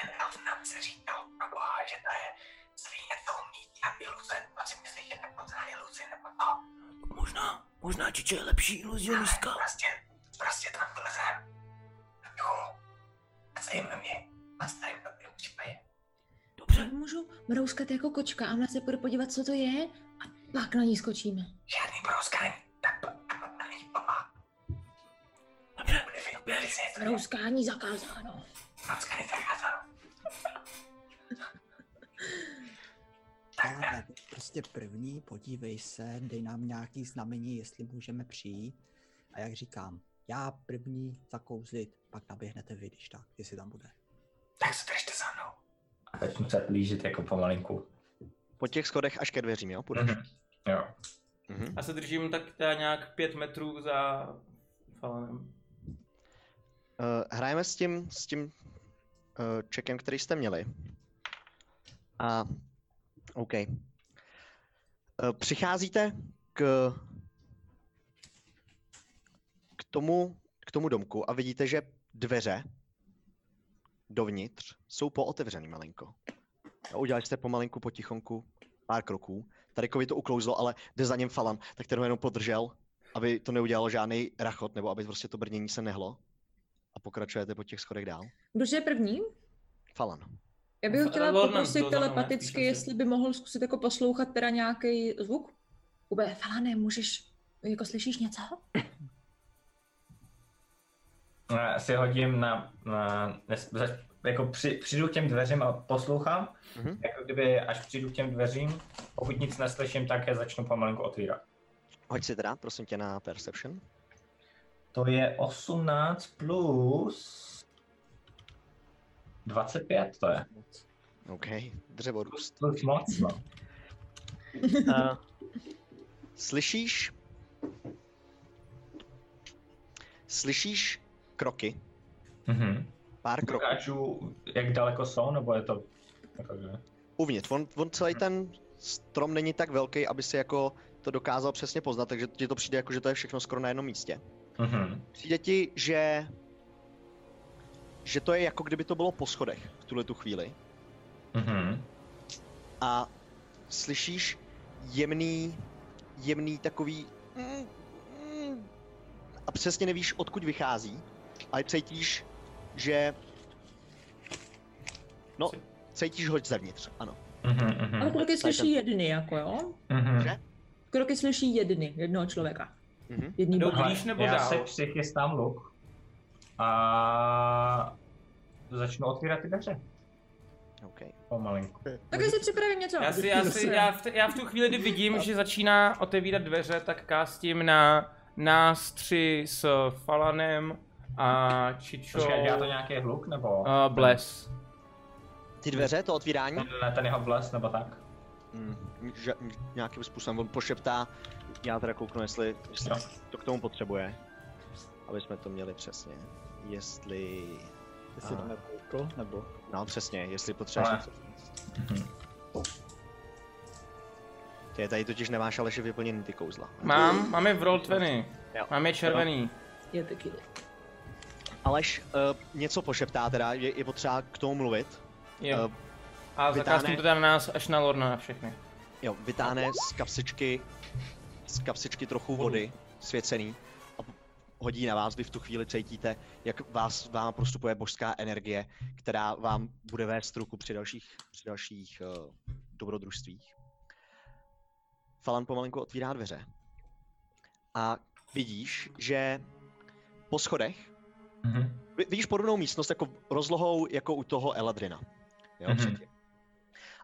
D: ten elf nám se říkal, pro boha, že to je svíně to umí a iluze, to si myslí, že nepotřebuje iluzi, nebo to,
H: Možná, možná Čiče je lepší iluzionistka.
D: prostě, prostě tam vlezem. Jo, a zajímá mě, a starým dobrým případě.
H: Dobře,
F: Já můžu mrouskat jako kočka a ona se půjde podívat, co to je a pak na ní skočíme.
D: Žádný brouskání, tak p- a p- na ní popa,
H: dobře,
D: bude vidět,
H: běž.
D: že je to
F: Mrouskání zakázáno.
D: brouskání zakázáno.
E: Ale ne, prostě první, podívej se, dej nám nějaký znamení, jestli můžeme přijít. A jak říkám, já první zakouzlit, pak naběhnete vy, když tak, jestli tam bude.
D: Tak se držte za mnou. A začnu se blížit jako pomalinku.
C: Po těch schodech až ke dveřím, jo? Půjdeš.
D: Jo.
C: Mhm.
H: Já se držím tak teda nějak pět metrů za Falenem.
C: Eh, hrajeme s tím, s tím eh, čekem, který jste měli. A OK. Eh, přicházíte k, k, tomu, k tomu domku a vidíte, že dveře dovnitř jsou pootevřený malinko. A udělali jste pomalinku potichonku pár kroků. Tarekovi to uklouzlo, ale jde za něm Falan, tak ten ho jenom podržel, aby to neudělalo žádný rachot, nebo aby prostě to brnění se nehlo a pokračujete po těch schodech dál.
F: Kdo je první?
C: Falan.
F: Já bych ho
H: Ale
F: chtěla
H: Lornan
F: poprosit
H: byl za mnou, ne?
F: telepaticky,
H: Píšu si.
F: jestli by mohl zkusit jako poslouchat teda nějaký zvuk. Ube, Falane, můžeš, jako slyšíš něco?
C: Mhm.
D: Já si hodím na, na nes- zač- jako při, přijdu k těm dveřím a poslouchám,
C: Mhm.
D: jako kdyby až přijdu k těm dveřím, pokud nic neslyším, tak je začnu pomalinku otvírat.
C: Hoď si teda, prosím tě, na Perception.
D: To je 18 plus 25 to je.
C: OK, dřevorůst.
D: Plus moc, no.
C: A slyšíš... Slyšíš kroky,
D: Mhm.
C: pár kroků
D: Dokážu, jak daleko jsou, nebo je to... Jako, že-
C: uvnitř. On, on celý ten strom není tak velký, aby si jako to dokázal přesně poznat, takže ti to přijde jako, že to je všechno skoro na jednom místě.
D: Mhm.
C: Přijde ti, že že to je jako kdyby to bylo po schodech v tuhle tu chvíli.
D: Mhm.
C: a slyšíš jemný, jemný takový mm, mm, a přesně nevíš, odkud vychází, ale cítíš, že... No, cítíš ho zevnitř, ano.
D: Mhm,
F: Ale
D: mhm,
F: kroky
C: Tady
F: slyší jedny, jako jo?
D: mhm.
F: Kroky slyší jedny, jednoho člověka.
C: Mhm.
F: Jedný
A: Jdou
F: bok.
D: Hele,
A: blíž nebo
D: já
A: dál?
D: se přichystám luk a začnu otvírat ty dveře
C: OK.
D: pomalinku.
F: Tak já si připravím něco.
A: Já, si, já, si, já, v, te- já v tu chvíli, kdy vidím, že začíná otevírat dveře, tak kástím na nás tři s Falanem a Čičou
D: Počkej, dělá to nějaký hluk nebo
A: a Bless.
C: Ty dveře, to otvírání?
D: ten, ten jeho bles nebo tak?
C: Mm, že, nějakým způsobem on pošeptá, já teda kouknu, jestli, jestli
D: Jo.
C: to k tomu potřebuje, aby jsme to měli přesně. Jestli...
E: Jestli
C: Aha.
E: tam je koukl, nebo...
C: No přesně, jestli potřebuješ
D: Ale-
C: něco říct. Ty je tady totiž nemáš ale ještě vyplněný ty kouzla.
A: Mám, mám je v roll 20.
C: Jo.
A: Mám je červený.
F: Je taky.
C: Aleš uh, něco pošeptá teda, je, je potřeba k tomu mluvit.
A: Jo.
C: Eh,
A: A
C: vytáhne-
A: zakázním to teda na nás až na Lorna na všechny.
C: Jo, vytáhne z kapsičky, z kapsičky trochu vody, svěcený, a p- hodí na vás, vy v tu chvíli cítíte, jak vás, vám prostupuje božská energie, která vám bude vést ruku při dalších, při dalších uh, dobrodružstvích. Falan pomalinku otvírá dveře. A vidíš, že po schodech
D: Mhm.
C: Vy- Vidíš podobnou místnost jako rozlohou jako u toho Eladrina. Jo,
D: Mhm.
C: předtím.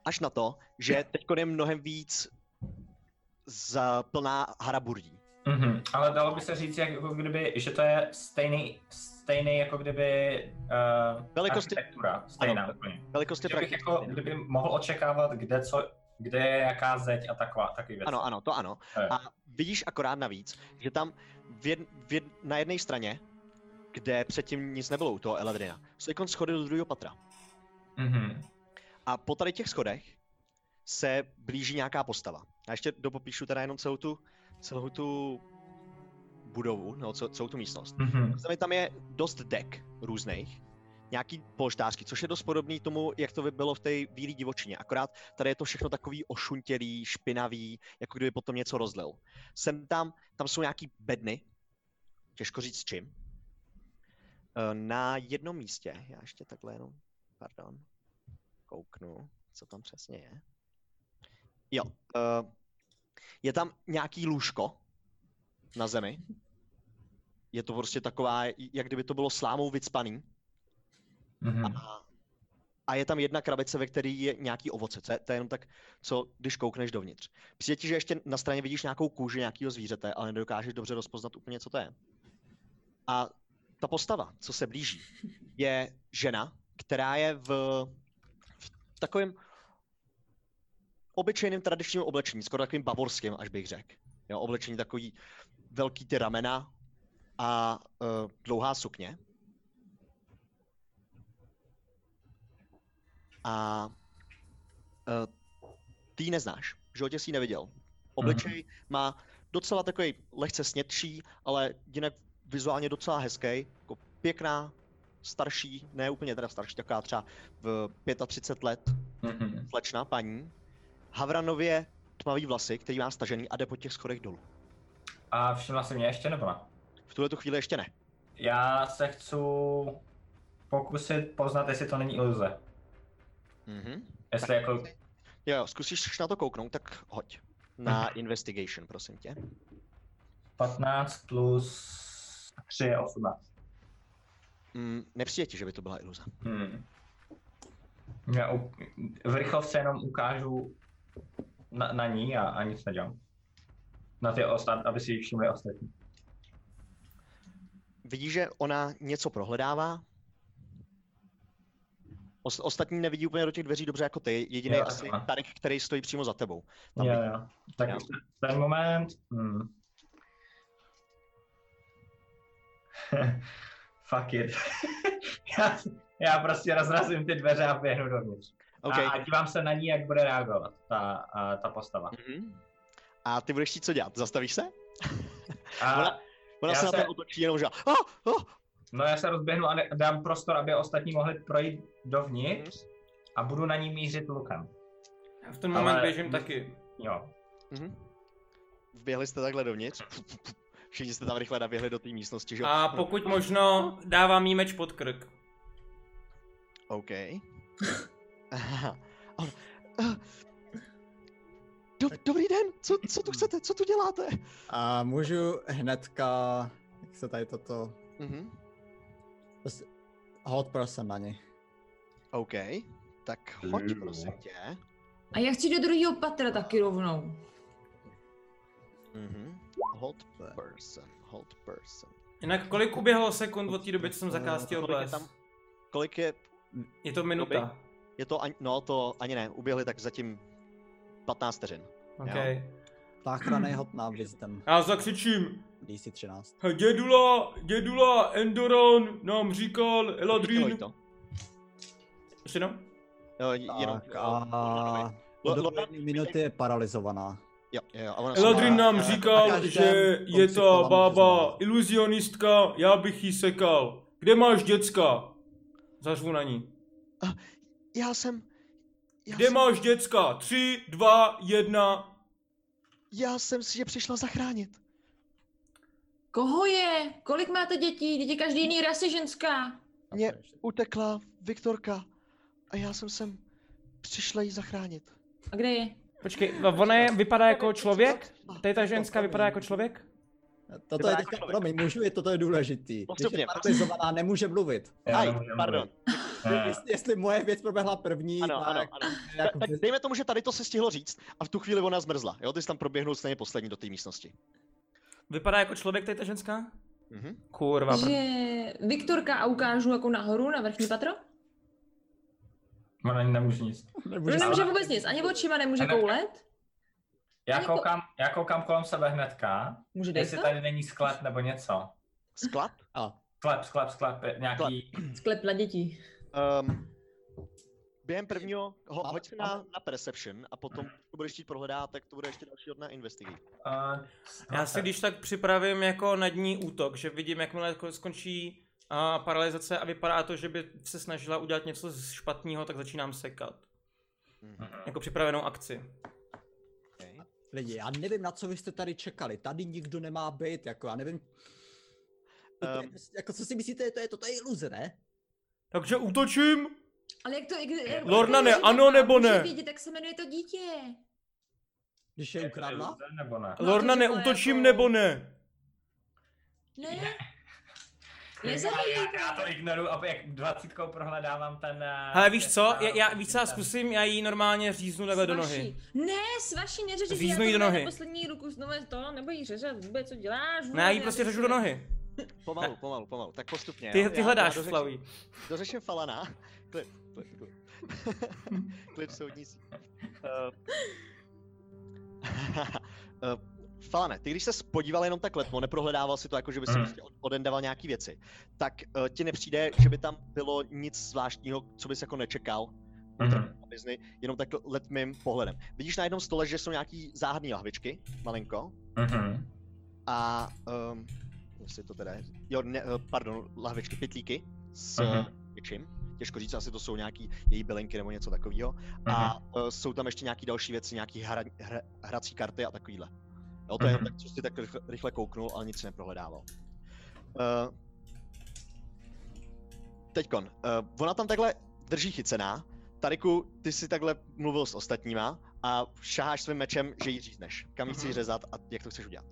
C: Až na to, že teď je mnohem víc za plná haraburdí.
D: Mhm. Ale dalo by se říct, jak, jako kdyby, že to je stejný, stejný jako kdyby uh,
C: Velikosti-
D: architektura, stejná
C: Ano.
D: úplně.
C: Velikost je
D: Že bych
C: prakticky
D: jako,
C: stejná.
D: kdyby mohl očekávat, kde co, kde je jaká zeď a taková, takový věc.
C: Ano, ano, to ano.
D: Jo, jo.
C: A vidíš akorát navíc, že tam v jed, v jed, na jedné straně, kde předtím nic nebylo u toho Eladrina, jsou jako schody do druhého patra.
D: Mhm.
C: A po tady těch schodech se blíží nějaká postava. Já ještě dopopíšu teda jenom celou tu, celou tu budovu, no, cel- celou tu místnost.
D: Mhm.
C: Znamená, tam je dost dek různých, nějaký polštářky, což je dost podobný tomu, jak to by bylo v té bílé divočině. Akorát tady je to všechno takový ošuntělý, špinavý, jako kdyby potom něco rozlil. Sem tam, tam jsou nějaký bedny, těžko říct s čím. Eh, Na jednom místě, já ještě takhle jenom, pardon, kouknu, co tam přesně je. Jo, eh, je tam nějaký lůžko na zemi, je to prostě taková, jak kdyby to bylo slámou vycpaný.
D: Mhm.
C: A, a je tam jedna krabice, ve které je nějaký ovoce. To je, to je jenom tak, co když koukneš dovnitř. Přijde ti, že ještě na straně vidíš nějakou kůži nějakého zvířete, ale nedokážeš dobře rozpoznat úplně, co to je. A ta postava, co se blíží, je žena, která je v, v takovém obyčejném tradičním oblečení, skoro takovým bavorským, až bych řekl. Jo, oblečení takový velký ty ramena a uh, dlouhá sukně. A uh, ty ji neznáš, v životě jsi ji neviděl. Obličej
D: Mhm.
C: má docela takový lehce snědší, ale jinak vizuálně docela hezký, jako pěkná, starší, ne úplně teda starší, taková třeba v 35 let
D: Mhm.
C: slečná paní. Havranově tmavý vlasy, který má stažený a jde po těch schodech dolů.
D: A všimla se mě ještě nebo ne?
C: V tuhle tu chvíli ještě ne.
D: Já se chci pokusit poznat, jestli to není iluze.
C: Mm-hmm.
D: Jestli jako...
C: Jo, jo, zkusíš na to kouknout, tak hoď. Na
D: Mhm.
C: investigation, prosím tě.
D: 15 plus 3 je 18.
C: Mm, nepřijde ti, že by to byla iluze.
D: Hmm. Já u... v rychlovce jenom ukážu na, na ní a, a nic nedělám. Na ty ostatní, aby si ji všimli ostatní.
C: Vidí, že ona něco prohledává. Os- ostatní nevidí úplně do těch dveří dobře jako ty, jediný
D: Jo,
C: asi
D: takhle.
C: Tarek, který stojí přímo za tebou. Tam
D: Jo,
C: vidí.
D: jo. Tak
C: Jo.
D: v ten moment... Hmm. [LAUGHS] Fuck it. [LAUGHS] já, já prostě rozrazím ty dveře a běhnu dovnitř.
C: Okay.
D: A, a dívám se na ní, jak bude reagovat ta, a, ta postava.
C: Mhm. A ty budeš chtít co dělat? Zastavíš se?
D: A,
C: Ona- Ona
D: Já
C: se na
D: se-
C: to otočí jenom, že oh, oh.
D: no já se rozběhnu a ne- dám prostor, aby ostatní mohli projít dovnitř a budu na ní mířit lukem.
A: Já v ten moment
D: Ale-
A: běžím taky.
D: Jo.
C: Mhm. Vběhli jste takhle dovnitř. Všichni jste tam rychle naběhli do té místnosti, že jo?
A: A pokud možno dávám jí meč pod krk.
C: OK. Aha. On... eh, Do, dobrý den, co, co tu chcete, co tu děláte?
E: A můžu hnedka, jak se tady toto,
C: Mhm.
E: hot person na ní.
C: OK, tak hoď prosím tě.
F: A já chci do druhého patra taky rovnou.
C: Mhm. Hold person, hold person.
A: Jinak kolik uběhlo sekund od té doby, co jsem zakástil
C: Eh, Kolik je
A: les?
C: tam, kolik je,
A: Je to minuta.
C: je to, ani, no to ani ne, uběhli tak zatím 15 vteřin.
A: OK.
E: Záchranný hod na wisdom,
G: Já zakřičím,
E: DC 13.
G: "Hej, dědula, dědula, Endoron nám říkal,
C: Chytilo jí
G: Eladrin.
C: to.
A: Ještě jednou?
C: Jo, jenom,
E: Tak a...
C: Lo-
E: Do
C: lo-
E: jedné minuty je paralizovaná.
C: jo, jo, jo, a ona
G: Eladrin
C: sama-
G: nám
E: A- a- a
G: říkal,
E: každém
G: že je
E: konci
G: ta
E: kolonu
G: bába
E: přiznává.
G: iluzionistka, já bych jí sekal. Kde máš děcka? Zařvu na ní.
C: Já jsem, já
G: Kde
C: jsem,
G: máš děcka? Tři, dva, jedna.
C: já jsem si je přišla zachránit.
F: Koho je? Kolik máte dětí? Děti každý jiný rasy ženská.
C: Mě utekla Viktorka a já jsem sem přišla jí zachránit.
F: A kde je?
A: Počkej, a ona je, vypadá jako člověk? Tady ta ženská vypadá jako člověk?
E: Toto je teďka, promiň, můžu, je, toto je důležitý. Když
C: jako- Postupně,
E: je paralizovaná, nemůže mluvit.
D: Já
C: Aj,
D: nemůžu
C: pardon.
D: mluvit. Ne.
E: Jestli, jestli moje věc proběhla první,
C: Eh. Ano,
E: tak
C: ano, ano.
E: jako
C: Tak dejme tomu, že tady to se stihlo říct a v tu chvíli ona zmrzla. Jo, ty jsi tam proběhnul stejně poslední do té místnosti.
A: Vypadá jako člověk tady ta ženská?
C: Mhm.
A: Kurva, pr...
F: Že Viktorka a ukážu jako nahoru, na vrchní patro?
D: Ona nemůže nic.
F: No
E: nemůže
F: nemůže vůbec nic, ani očima nemůže
D: Ano.
F: koulet.
D: Já
F: Jako-
D: koukám, já koukám kolem sebe hnedka,
F: Může
D: jestli
F: dejka?
D: tady není sklep nebo něco.
C: Sklad?
E: A,
D: Sklep, sklep, sklep, je nějaký...
F: Sklep na děti.
C: Um, během prvního, ho, hoď si na, na Perception a potom to budeš chtít prohledat, tak to bude ještě další od na Investigate.
D: Uh,
A: Já si když tak připravím jako nad ní útok, že vidím, jakmile jako skončí a paralizace a vypadá to, že by se snažila udělat něco z špatného, tak začínám sekat.
C: Mhm.
A: Jako připravenou akci.
C: Okay.
E: lidi, já nevím, na co vy jste tady čekali. Tady nikdo nemá být, jako já nevím. To je
C: Ehm.
E: prostě- jako co si myslíte, to je, to je iluze, ne?
G: Takže útočím?
F: Ale jak to... Jak,
G: Lorna, ne,
F: jak to
G: ano
F: může
G: nebo ne?
F: Vědět, tak se jmenuje to dítě.
E: Když je ukradla?
D: Nebo ne?
F: No,
G: Lorna,
F: takže to
G: neútočím
F: jako-
G: nebo ne?
F: Ne?
D: já,
F: Nezabíjej
D: já, to ignoruju a jak dvacítkou prohledávám ten... eh,
A: Ale víš co,
D: ten,
A: já, já víc já
D: ten-
A: zkusím, já jí normálně říznu takhle do nohy.
F: Ne, s vaší neřeže, že já
A: Říznu jí do
F: to
A: nohy.
F: na poslední ruku znovu to, nebo jí řeže vůbec, co děláš.
A: Ne, já jí
F: vůbec
A: prostě
F: neřeže.
A: řežu do nohy.
C: Pomalu, pomalu, pomalu, tak postupně.
A: Ty,
C: jo.
A: ty
C: Já-
A: hledáš,
C: já dořeším-
A: Flaví.
C: Dořeším Falana. Klip, klip, klip. klip soudnicí. [LAUGHS] Uh, Falane, ty když se podíval jenom tak letmo, neprohledával si to jako, že by si
D: Mhm.
C: prostě od- odendaval nějaký věci, tak uh, ti nepřijde, že by tam bylo nic zvláštního, co bys jako nečekal
D: Mhm.
C: na Disney, jenom tak letmým pohledem. Vidíš na jednom stole, že jsou nějaký záhadný lahvičky, malinko,
D: Mhm.
C: a um, jestli to teda je, jo, ne, eh, pardon, lahvičky, pitlíky s
D: Mhm.
C: uh něčím. Těžko říct, asi to jsou nějaký její bylinky nebo něco takového. A uh, jsou tam ještě nějaký další věci, nějaký hra, hra, hrací karty a takovýhle. Jo, to je
D: Mhm.
C: jenom tak, co jsi tak rychle, rychle kouknul, ale nic si neprohledával. Uh, teďkon, uh, ona tam takhle drží chycená. Tariku, ty si takhle mluvil s ostatníma a šaháš svým mečem, že ji řízneš. Kam ji chceš
A: Mhm.
C: řezat a jak to chceš udělat?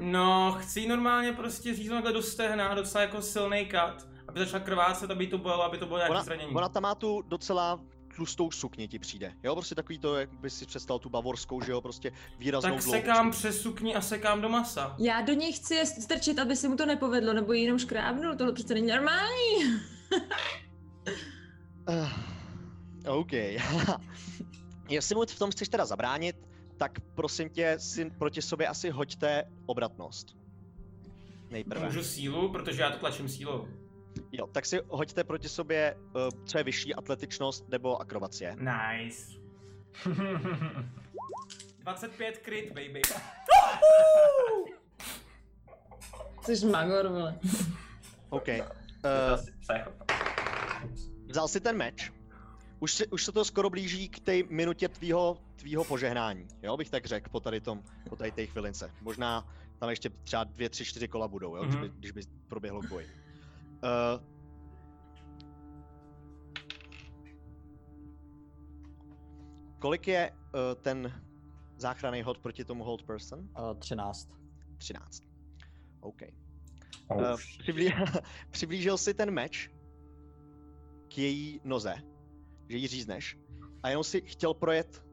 A: No, chci jí normálně prostě říznout takhle do stehna, docela jako silný kat, aby začala krvácet, aby to bylo, aby to bylo nějaké
C: Ona-
A: zranění.
C: Ona tam má tu docela tlustou sukni ti přijde, jo, prostě takový to, jak by si představil tu bavorskou, že jo, prostě výraznou
A: tak
C: dlouhou
A: sekám
C: sukni.
A: přes sukni a sekám do masa.
F: Já do něj chci je strčit, aby se mu to nepovedlo, nebo jí jenom škrábnul, tohle přece není normální.
C: Eh, OK. [LAUGHS] Jestli mu v tom chceš teda zabránit, tak prosím tě si proti sobě asi hoďte obratnost. Nejprve.
A: Můžu sílu, protože já to tlačím sílou.
C: Jo, tak si hoďte proti sobě, eh, co je vyšší, atletičnost nebo akrobacie.
A: Nice. 25 kryt, baby.
F: Jsi magor, vole.
C: OK.
D: Je to
C: eh,
D: asi psychopat. Ups.
C: Vzal si ten meč. Už, si, už se to skoro blíží k té minutě tvýho, tvýho požehnání, jo bych tak řekl po tady tom, po tady té chvilince. Možná Tam ještě třeba dvě, tři, čtyři kola budou, jo,
G: Mhm.
C: mm-hmm. kdyby, když by proběhlo k boji. Uh, kolik je uh, ten záchranný hod proti tomu hold person?
E: A 13.
C: 13. OK.
D: Oh,
C: Uh, přiblí... [LAUGHS] přiblížil si ten meč k její noze, že ji řízneš, a jenom si chtěl projet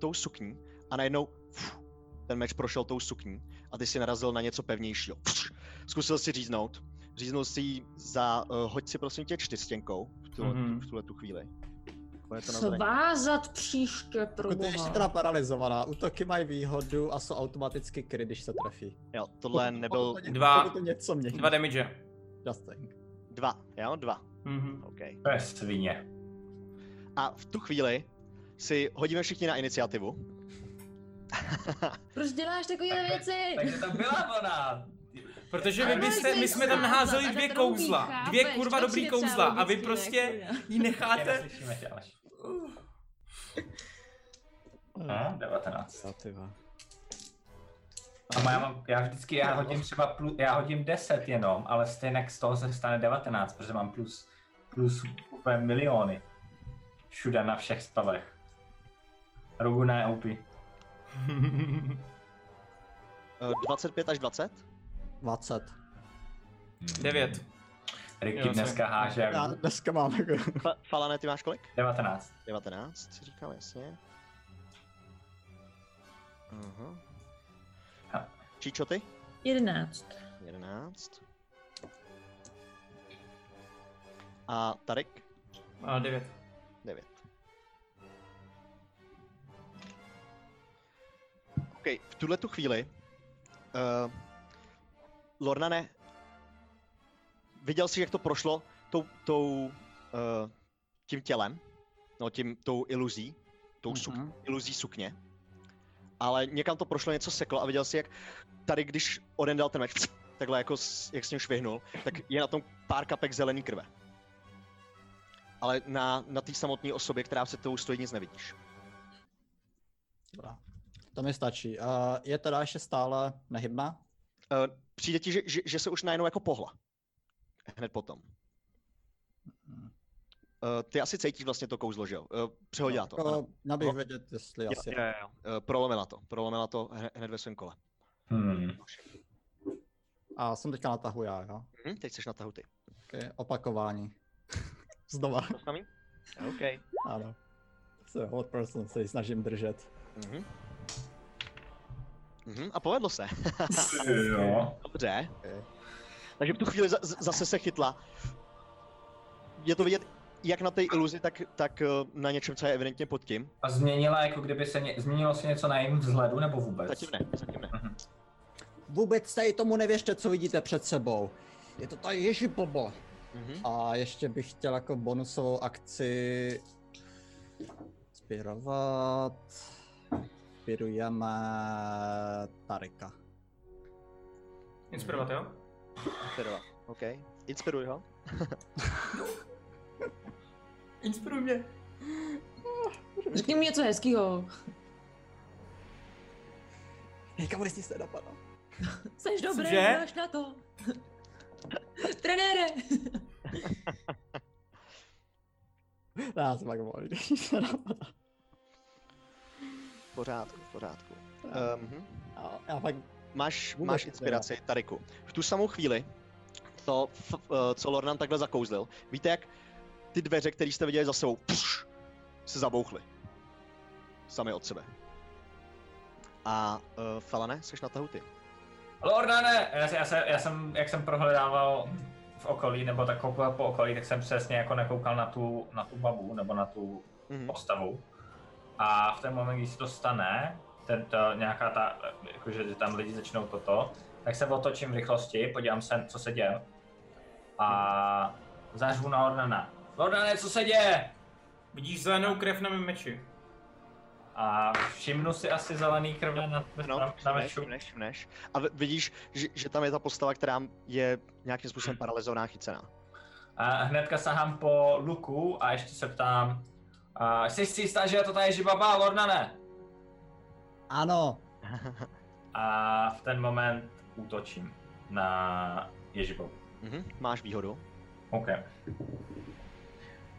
C: tou sukní a najednou fuh, ten meč prošel tou sukní a ty si narazil na něco pevnějšího. Fuh, zkusil si říznout, říznul si ji za, uh, hoď si prosím tě čtyřstěnkou v tuhle,
G: Mhm.
C: mm-hmm. v tuhle tu chvíli. Bude to na zranění.
F: Svázat příště pro
E: Pokud Jako je ještě teda
F: boha.
E: paralizovaná, útoky mají výhodu a jsou automaticky kry, když se trefí.
C: Jo, tohle
E: Pokud-
C: nebyl
E: pokud to ně-
A: Dva.
E: pokud to něco mění.
A: Dva damage.
E: Justing.
C: dva, jo, dva,
A: Mhm.
C: OK.
D: to je svině.
C: A v tu chvíli si hodíme všichni na iniciativu.
F: Proč děláš takové věci?
D: Takže to byla ona!
A: Protože vy byste, my jsme tam naházeli dvě kouzla. Dvě kurva dobrý kouzla a vy prostě ji
D: Tě
A: necháte.
D: neslyšíme tě až. No, 19.
E: Jo, ty vole.
D: A má- já, mám, já vždycky já hodím třeba plus, já hodím 10 jenom, ale stejně z toho se stane 19, protože mám plus, plus úplně miliony. Všude na všech stavech. Rogu E ne, OP.
C: Eh, 25 až 20?
E: 20.
A: Devět.
D: Ricky
A: Jo,
D: dneska
A: jsem-
D: háže
E: Já
D: jak
E: dneska mám jako...
C: Fa- Falane, ty máš kolik?
D: 19.
C: 19, si říkal, jasně. Aha.
D: Ha.
C: Číčo, ty?
F: Jedenáct.
C: 11. A Tarek?
A: A devět.
C: 9. OK, v tuhle tu chvíli, uh, Lornane, viděl jsi, jak to prošlo tou, tou uh, tím tělem, no tím, tou iluzí, tou suk,
B: Mhm.
C: iluzí sukně, ale někam to prošlo, něco seklo a viděl jsi, jak tady, když odendal ten meč, [LAUGHS] takhle jako, s- jak s ním švihnul, tak je na tom pár kapek zelený krve ale na, na té samotné osobě, která se tou stojí, nic nevidíš.
E: Dobrá. To mi stačí. Uh, je teda ještě stále nehybná?
C: Uh, přijde ti, že, že, že se už najednou jako pohla. Hned potom. Uh, ty asi cítíš vlastně to kouzlo, že jo? Uh, přehodila to. Ano.
E: Jako, měl bych
C: No.
E: vědět, jestli
C: Jo,
E: asi...
C: jo, jo. Uh, prolomila to. Prolomila to hne- hned ve svém kole.
D: Hmm.
E: A jsem teďka natahu já, jo?
C: Hm, teď jsi na tahu ty.
E: Okay, opakování. [LAUGHS] Znova.
C: To samý? OK.
E: Ano. Se hot person se ji snažím držet.
C: Mhm. Mhm, a povedlo se.
D: Jo.
C: Dobře.
E: Ok.
C: Takže v tu chvíli za, z- zase se chytla. Je to vidět jak na té iluzi, tak, tak eh, na něčem, co je evidentně pod tím.
D: A změnila, jako kdyby se ně, změnilo se něco na jejím vzhledu nebo vůbec?
C: Zatím ne, zatím ne.
E: Vůbec se tomu nevěřte, co vidíte před sebou. Je to ta Ježi Bobo.
C: Mhm.
E: A ještě bych chtěl jako bonusovou akci inspirovat. Inspirujeme Tarika.
A: Inspirovat, jo?
C: Inspirovat. OK. Inspiruj
D: [LAUGHS]
C: ho.
A: Inspiruj mě.
F: Řekni mi něco hezkýho.
E: Hej, bude si se napadá.
F: Jseš dobrý,
A: Cože?
F: máš na to. Trenére!
E: Já jsem pak mohl, když se napadá.
C: V pořádku, v pořádku. Mhm.
E: A já pak
C: Máš,
E: Vůbec
C: máš
E: teda.
C: inspiraci, Tariku. V tu samou chvíli, to, f, eh, co Lornan takhle zakouzlil, víte jak ty dveře, které jste viděli za sebou, pš, se zabouchly. Sami od sebe. A uh, Felane, jsi na tahu ty.
D: Lordane, já, se- já, se, já jsem, jak jsem prohledával v okolí, nebo tak koukal po okolí, tak jsem přesně jako nekoukal na tu, na tu babu, nebo na tu
C: Mhm.
D: postavu. A v ten moment, když se to stane, ten, to, nějaká ta, jakože že tam lidi začnou toto, tak se otočím v rychlosti, podívám se, co se děje. A zařvu na Lordana. Lordane, co se děje?
A: Vidíš zelenou krev na mém meči.
D: A všimnu si asi zelený krve na,
C: No,
D: na, na
C: všimneš,
D: meču.
C: všimneš, všimneš. A v- vidíš, že, že tam je ta postava, která je nějakým
D: Mhm.
C: způsobem paralizovaná, chycená.
D: A hnedka sahám po luku a ještě se ptám, a jsi si jistá, že je to ta Ježibaba, Lornane?
E: Ano,
D: a v ten moment útočím na Ježibou.
C: Mhm. Máš výhodu.
D: OK.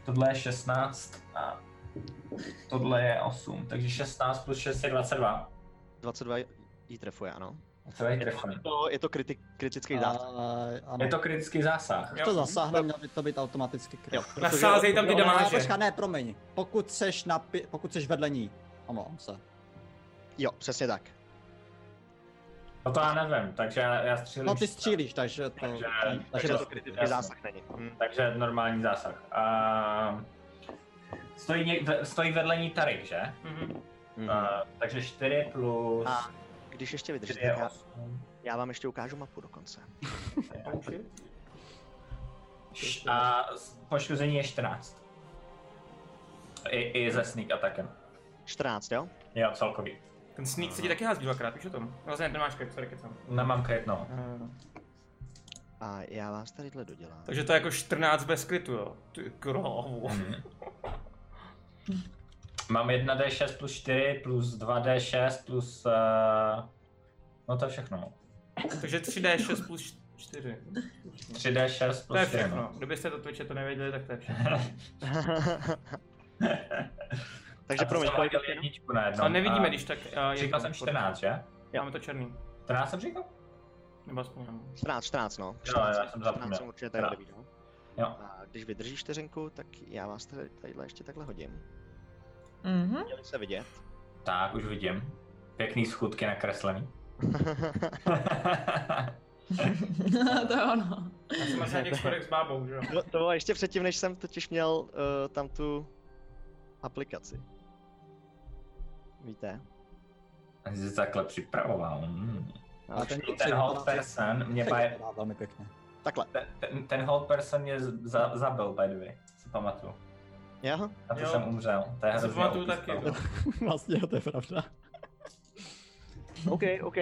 D: Tohle je 16 a tohle je 8, takže 16 plus 6 je 22.
C: 22 ji trefuje, ano.
D: To je trefný.
C: To, je to kriti, kritický
E: A,
C: zásah.
E: Eh, ano.
D: Je to kritický zásah.
E: Když to zasáhne, měl by to být automaticky kryt.
C: Jo,
A: Nasázej tam ty
E: Jo, ne,
A: damáže.
E: Počka, ne, promiň. Pokud seš, na pi- pokud seš vedle ní. Omlouvám se.
C: jo, přesně tak.
D: No to já nevím, takže já, já střílím.
E: No ty střílíš, takže to...
D: Takže-
C: Takže
D: to-
C: to kritický
D: jasně.
C: zásah není. Hm.
D: Takže normální zásah. A... Stojí, něk- stojí vedle ní Tarik, že?
A: Mhm.
C: Mhm.
D: A, Eh, takže 4 plus
C: A Když ještě
D: 4
C: vydržíte,
D: je
C: tak já,
D: 8.
C: já vám ještě ukážu mapu dokonce.
D: A s- poškození je 14. I, I ze sneak atakem.
C: 14, jo?
D: Jo, celkový.
A: Ten sneak se ti taky hází dvakrát, víš o tom? Vlastně nemáš krep, sorry, kecám.
D: Nemám kryt, no.
C: A já vás tadyhle dodělám. [LAUGHS]
A: Takže to je jako 14 bez krytu, jo. Ty krávo.
D: Mhm. Mám 1d6 plus 4 plus 2d6 plus... Uh, no to je všechno.
A: [LAUGHS] Takže 3D6 plus 4.
D: 3d6
A: To je
D: plus 4. no.
A: všechno. Kdybyste to Twitche to nevěděli, tak to je všechno.
C: Takže
D: A to
C: promiň,
D: jsem
C: kolik
D: hodil
C: ještě jenom?
D: jedničku najednou.
A: Ale nevidíme,
D: No, A
A: když tak... eh, a
D: Říkal
A: jedno.
D: jsem 14, že?
A: Máme to černý.
D: 14 jsem říkal?
A: Nebo aspoň nám.
C: 14, 14, no.
D: já jsem zapomněl.
C: 14 určitě tady
D: Teda.
C: bude být, no.
D: Jo.
C: A když vydržíš čtyřinku, tak já vás tady, tadyhle ještě takhle hodím.
F: Mhm. [LAUGHS]
C: Měli se
D: [LAUGHS]
C: vidět.
D: Tak, už vidím. Pěkný schudky nakreslený. [LAUGHS]
F: to je ono.
A: Já jsem
C: [LAUGHS]
A: asi na těch schodech s bábou, že jo.
C: to, to bylo ještě předtím, než jsem totiž měl uh, tam tu aplikaci. Víte?
D: Já jsem se takhle připravoval. Mm.
C: Já
E: Ale
C: už-
E: ten,
D: Ten hold person mě by,
E: vypadá velmi pěkně.
C: Takhle.
D: ten, ten hold person mě z- za, zabil, by the way. Si pamatuju.
C: Jo?
D: Na to
A: Jo.
D: jsem umřel. To je
A: Já si
D: hrozně
A: pamatuju
D: okus,
A: taky,
D: no.
A: no.
E: [LAUGHS] vlastně, jo, to je pravda.
C: OK, OK.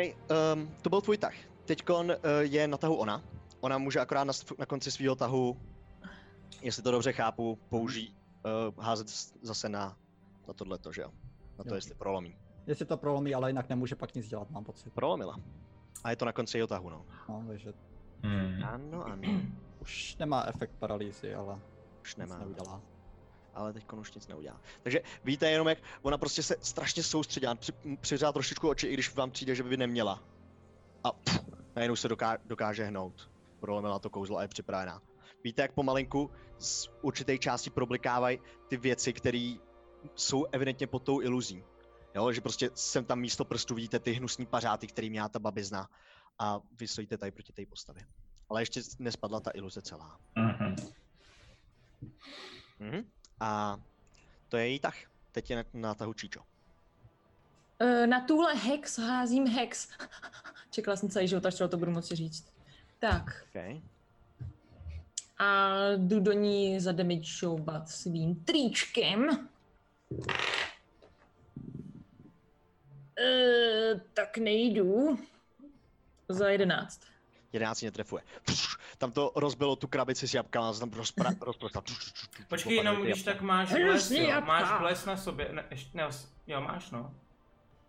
C: Um, to byl tvůj tah. Teďkon uh, je na tahu ona. Ona může akorát na, sv- na konci svého tahu, jestli to dobře chápu, použít, uh, házet s- zase na, na tohleto, že jo? Na to,
E: Jo.
C: jestli prolomí.
E: Jestli to prolomí, ale jinak nemůže pak nic dělat, mám pocit.
C: Prolomila. A je to na konci jeho tahu, no.
E: No, takže
D: Hmm.
C: Ano, ano.
E: už nemá efekt paralýzy, ale
C: Už
E: Nemá.
C: nemá.
E: nic neudělá.
C: ale teď už nic neudělá. Takže víte jenom, jak ona prostě se strašně soustředila, při, m, přivřela trošičku oči, i když vám přijde, že by neměla. A pff, najednou se doká, dokáže hnout. Prolomila to kouzlo a je připravená. Víte, jak pomalinku z určité části problikávají ty věci, které jsou evidentně pod tou iluzí. Jo, že prostě sem tam místo prstů vidíte ty hnusní pařáty, který měla ta babizna a vy stojíte tady proti té postavě. Ale ještě nespadla ta iluze celá.
D: [LAUGHS] Mhm.
C: Mhm. A to je její tah. Teď je na, na tahu Číčo.
F: Eh, Na tuhle hex házím hex. [LAUGHS] Čekala jsem celý život, až to budu moci říct. Tak,
C: Okay.
F: a jdu do ní zademičovat svým tričkem. E, tak nejdu. Za jedenáct.
C: 11 netrefuje. Pš, tam to rozbilo tu krabici s jabkama, se tam rozpra, rozprostla. Pš, pš, pš,
A: Počkej,
C: pš, popadly
A: jenom
C: ty
A: když tak
C: jabka.
A: máš
F: Hnusný
A: ples, jo.
F: jabka.
A: Máš ples na sobě. Ne, ještě, ne, jo, máš no.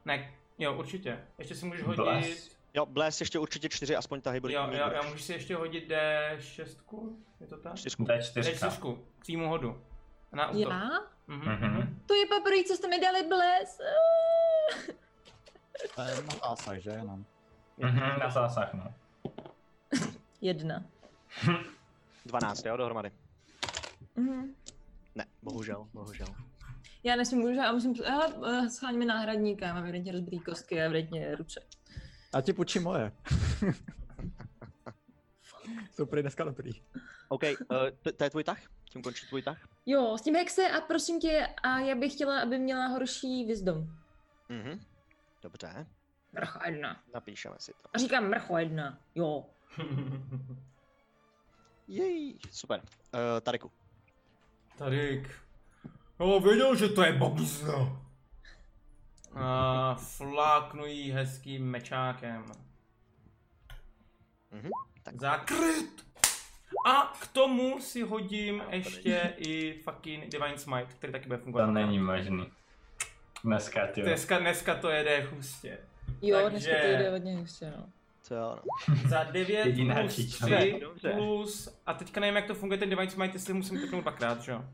A: Ne, jo, určitě. Ještě si můžeš hodit...
D: Ples?
C: Jo, bles ještě určitě 4, aspoň ta hybridní.
A: Jo, jo, já můžu si ještě hodit D6, je to tak?
C: Čtyřku.
D: To je čtyřka.
A: D4, přímou hodu. Na útok.
F: Já?
A: Mhm.
D: Mhm.
F: To je poprvé, co jste mi dali bles.
E: To je na zásah, že jenom.
D: Mhm, na zásah, no.
F: Jedna.
C: 12, jo, dohromady.
F: Mhm.
C: Ne, bohužel, bohužel.
F: Já nesmím už, já musím, hele, eh, schání mi náhradníka, já mám evidentně rozbitý kostky a evidentně ruce.
E: Já ti půjčím moje. Jsou prý dneska dobrý.
C: OK, eh, to- to je tvůj tah? Tím končí tvůj tah?
F: Jo, s tím hexe a prosím tě, a já bych chtěla, aby měla horší vizdom.
C: Mhm. Dobře,
F: Mrcha jedna.
C: napíšeme si to.
F: A říkám mrcho jedna, jo.
C: Jej, super. Uh, Tariku.
A: Tadyk. No, věděl, že to je babizna. A fláknu jí hezkým mečákem.
C: Mhm, tak.
A: Zakryt! A k tomu si hodím ještě i fucking Divine Smite, který taky bude
D: To
A: fungovat.
D: není možný. Dneska, ty.
A: Dneska, dneska to jede hustě.
F: Jo,
A: Takže-
F: dneska to jde hodně hustě, no.
C: To jo, no.
D: [LAUGHS]
A: Za 9
D: Jediná
A: plus
D: příčka.
A: 3
H: Dobře.
A: plus... A teďka nevím, jak to funguje ten Divine Smite, jestli musím typnout dvakrát, že jo?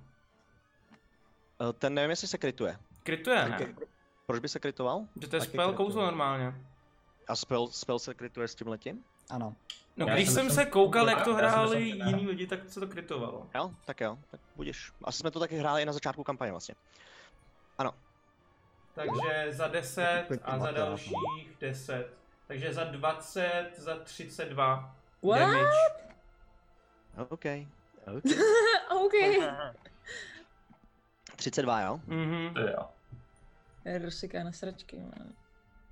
C: Eh, Ten nevím, jestli se krytuje.
A: Krytuje,
C: Taky-
A: ne?
C: Proč by se krytoval?
A: Že to je
E: taky
A: spell
E: krytuje.
A: kouzlo normálně.
C: A spell, spell se krytuje s tím letím?
E: Ano.
A: No,
D: Já
A: když
D: si
A: jsem
D: myslím-
A: se koukal, jak
D: Já
A: to
D: si myslím,
A: hráli
D: že ne.
A: jiní lidi, tak se to krytovalo.
C: Jo, tak jo, tak budeš. Asi jsme to taky hráli i na začátku kampaně vlastně.
A: Takže za 10
E: Taky
A: a za
E: krytovat,
A: dalších 10. Takže za 20, za 32
F: What?
A: damage.
C: OK.
F: OK.
H: Aha.
C: 32, jo?
A: Mhm.
D: To jo.
F: Rusiká na sračky, no. man.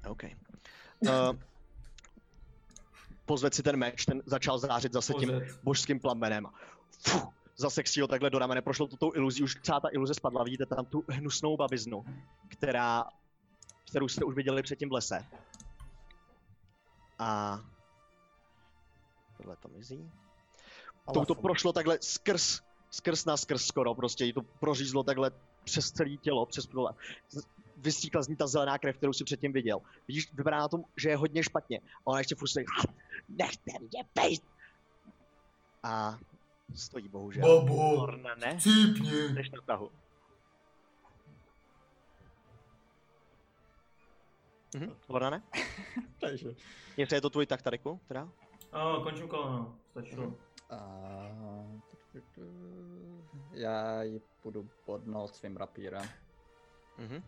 C: OK. Eh, [LAUGHS] Uh, pozved si ten meč, ten začal zářit zase tím
A: Pozet.
C: božským plamenem. Fuh, zasexí ho takhle do ramene, prošlo to tou iluzí, už celá ta iluze spadla, vidíte tam tu hnusnou babiznu, která, kterou jste už viděli předtím v lese. A tohle to mizí. Tou to
E: fu-
C: prošlo takhle skrz, skrz na skrz skoro, prostě jí to prořízlo takhle přes celé tělo, přes prole. Vystříkla z ní ta zelená krev, kterou si předtím viděl. Vidíš, vypadá na tom, že je hodně špatně. A ona ještě furt stojí, nechte mě bejt! A stojí bohužel.
G: Babo,
H: Orna, ne?
G: cípni.
H: Jdeš na tahu.
C: Mhm, Lorna, ne?
E: Takže.
C: Jestli je to tvůj tak, Tariku, teda?
A: A končím kolo, no. Stačilo.
E: A... tu, tu, tu. Já ji půjdu bodnout svým rapírem.
C: Mhm.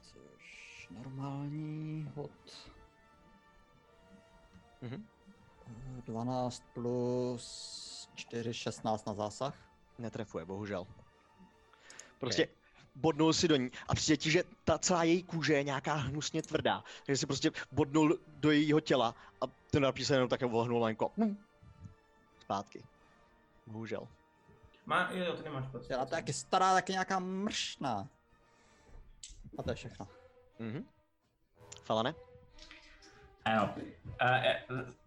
E: Což normální hod.
C: Mhm.
E: Eh, 12 plus 4, 16 na zásah.
C: Netrefuje, bohužel. Prostě bodnul si do ní a přijde ti, že ta celá její kůže je nějaká hnusně tvrdá. Takže si prostě bodnul do jejího těla a ten napíš se jenom také vohnul lenko. Hm. Zpátky. Bohužel.
A: Má, jo, jo, ty nemáš prostě.
E: Dělá to jak je stará, tak je nějaká mršná. A to je všechno.
C: Mhm. Falane?
D: Ano. A e,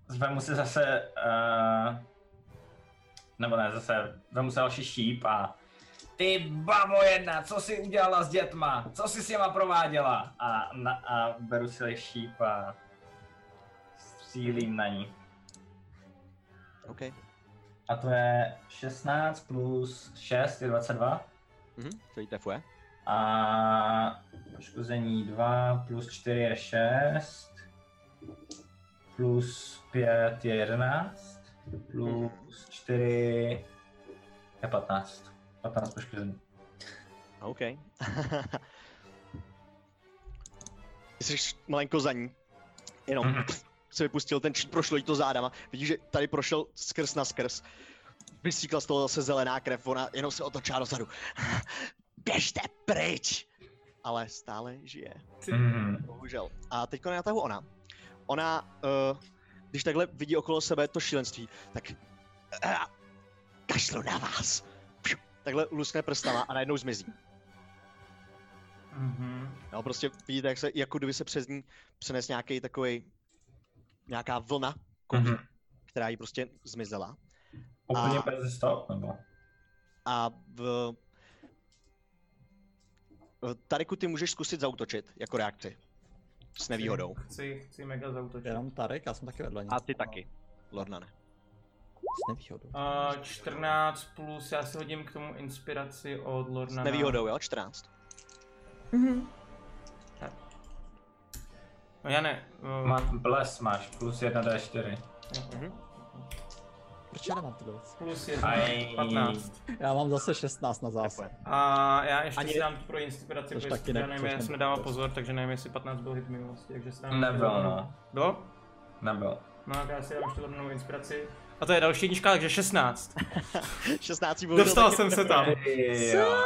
D: zvemu si zase, uh, nebo ne, zase, vemu si další šíp a ty babo jedna, co jsi udělala s dětma? Co jsi s něma prováděla? A, na, a beru si šíp a střílím na ní.
C: OK.
D: A to je 16 plus 6 je 22.
C: Mhm. To jí trefuje.
D: A poškození 2 plus 4 je 6. Plus 5 je 11. Plus 4 je 15. 15 poškození.
C: [LAUGHS] OK. Jsi malinko za ní. Jenom
D: Mhm.
C: se vypustil ten čít, prošlo jí to zádama. Vidíš, že tady prošel skrz na skrz. Vysíkla z toho zase zelená krev, ona jenom se otočila dozadu. [LAUGHS] Běžte pryč! Ale stále žije,
D: Mhm.
C: bohužel. A teď na tahu ona. Ona, uh, když takhle vidí okolo sebe to šílenství, tak uh, kašlu na vás. Pšu. Takhle luskne prstama a najednou zmizí.
A: Mhm.
C: No, prostě vidíte, jak se, jako kdyby se přes ní přenes nějaký takový, nějaká vlna,
D: Mhm.
C: která jí prostě zmizela.
D: Úplně
C: A-
D: bez stop, nebo?
C: A v... v- Tariku, ty můžeš zkusit zautočit jako reakci. S nevýhodou.
A: Chci, chci mega zautočit.
E: Jenom Tarek, já jsem taky vedle ní.
C: A ty taky, Lornane.
E: S nevýhodou.
A: A 14 plus, já si hodím k tomu inspiraci od
C: S
A: Lorna.
C: nevýhodou, jo? 14.
F: Mhm.
A: No já ne. Uh,
D: Má, bless máš, plus 1 D4.
A: Mhm.
E: Proč já nemám tyhle věci?
A: Plus 1,
D: Aj.
A: 15.
E: Já mám zase 16 na zásah.
A: A já ještě
C: Ani-
A: si dám pro inspiraci,
E: Což
A: protože
E: taky
A: já
E: ne-
A: nevím,
E: což
A: já jsem
E: ne-
A: nedával
E: což-
A: pozor, takže nevím, jestli 15 byl hit v minulosti, takže si dám...
D: Nebyl, no.
A: Bylo?
D: Nebyl.
A: No tak já si dám ještě Lornovou inspiraci. A to je další jednička, takže 16.
C: 16 bohužel
A: Dostal
C: taky
A: jsem se
C: netrefuje.
A: tam.
D: Ty jo.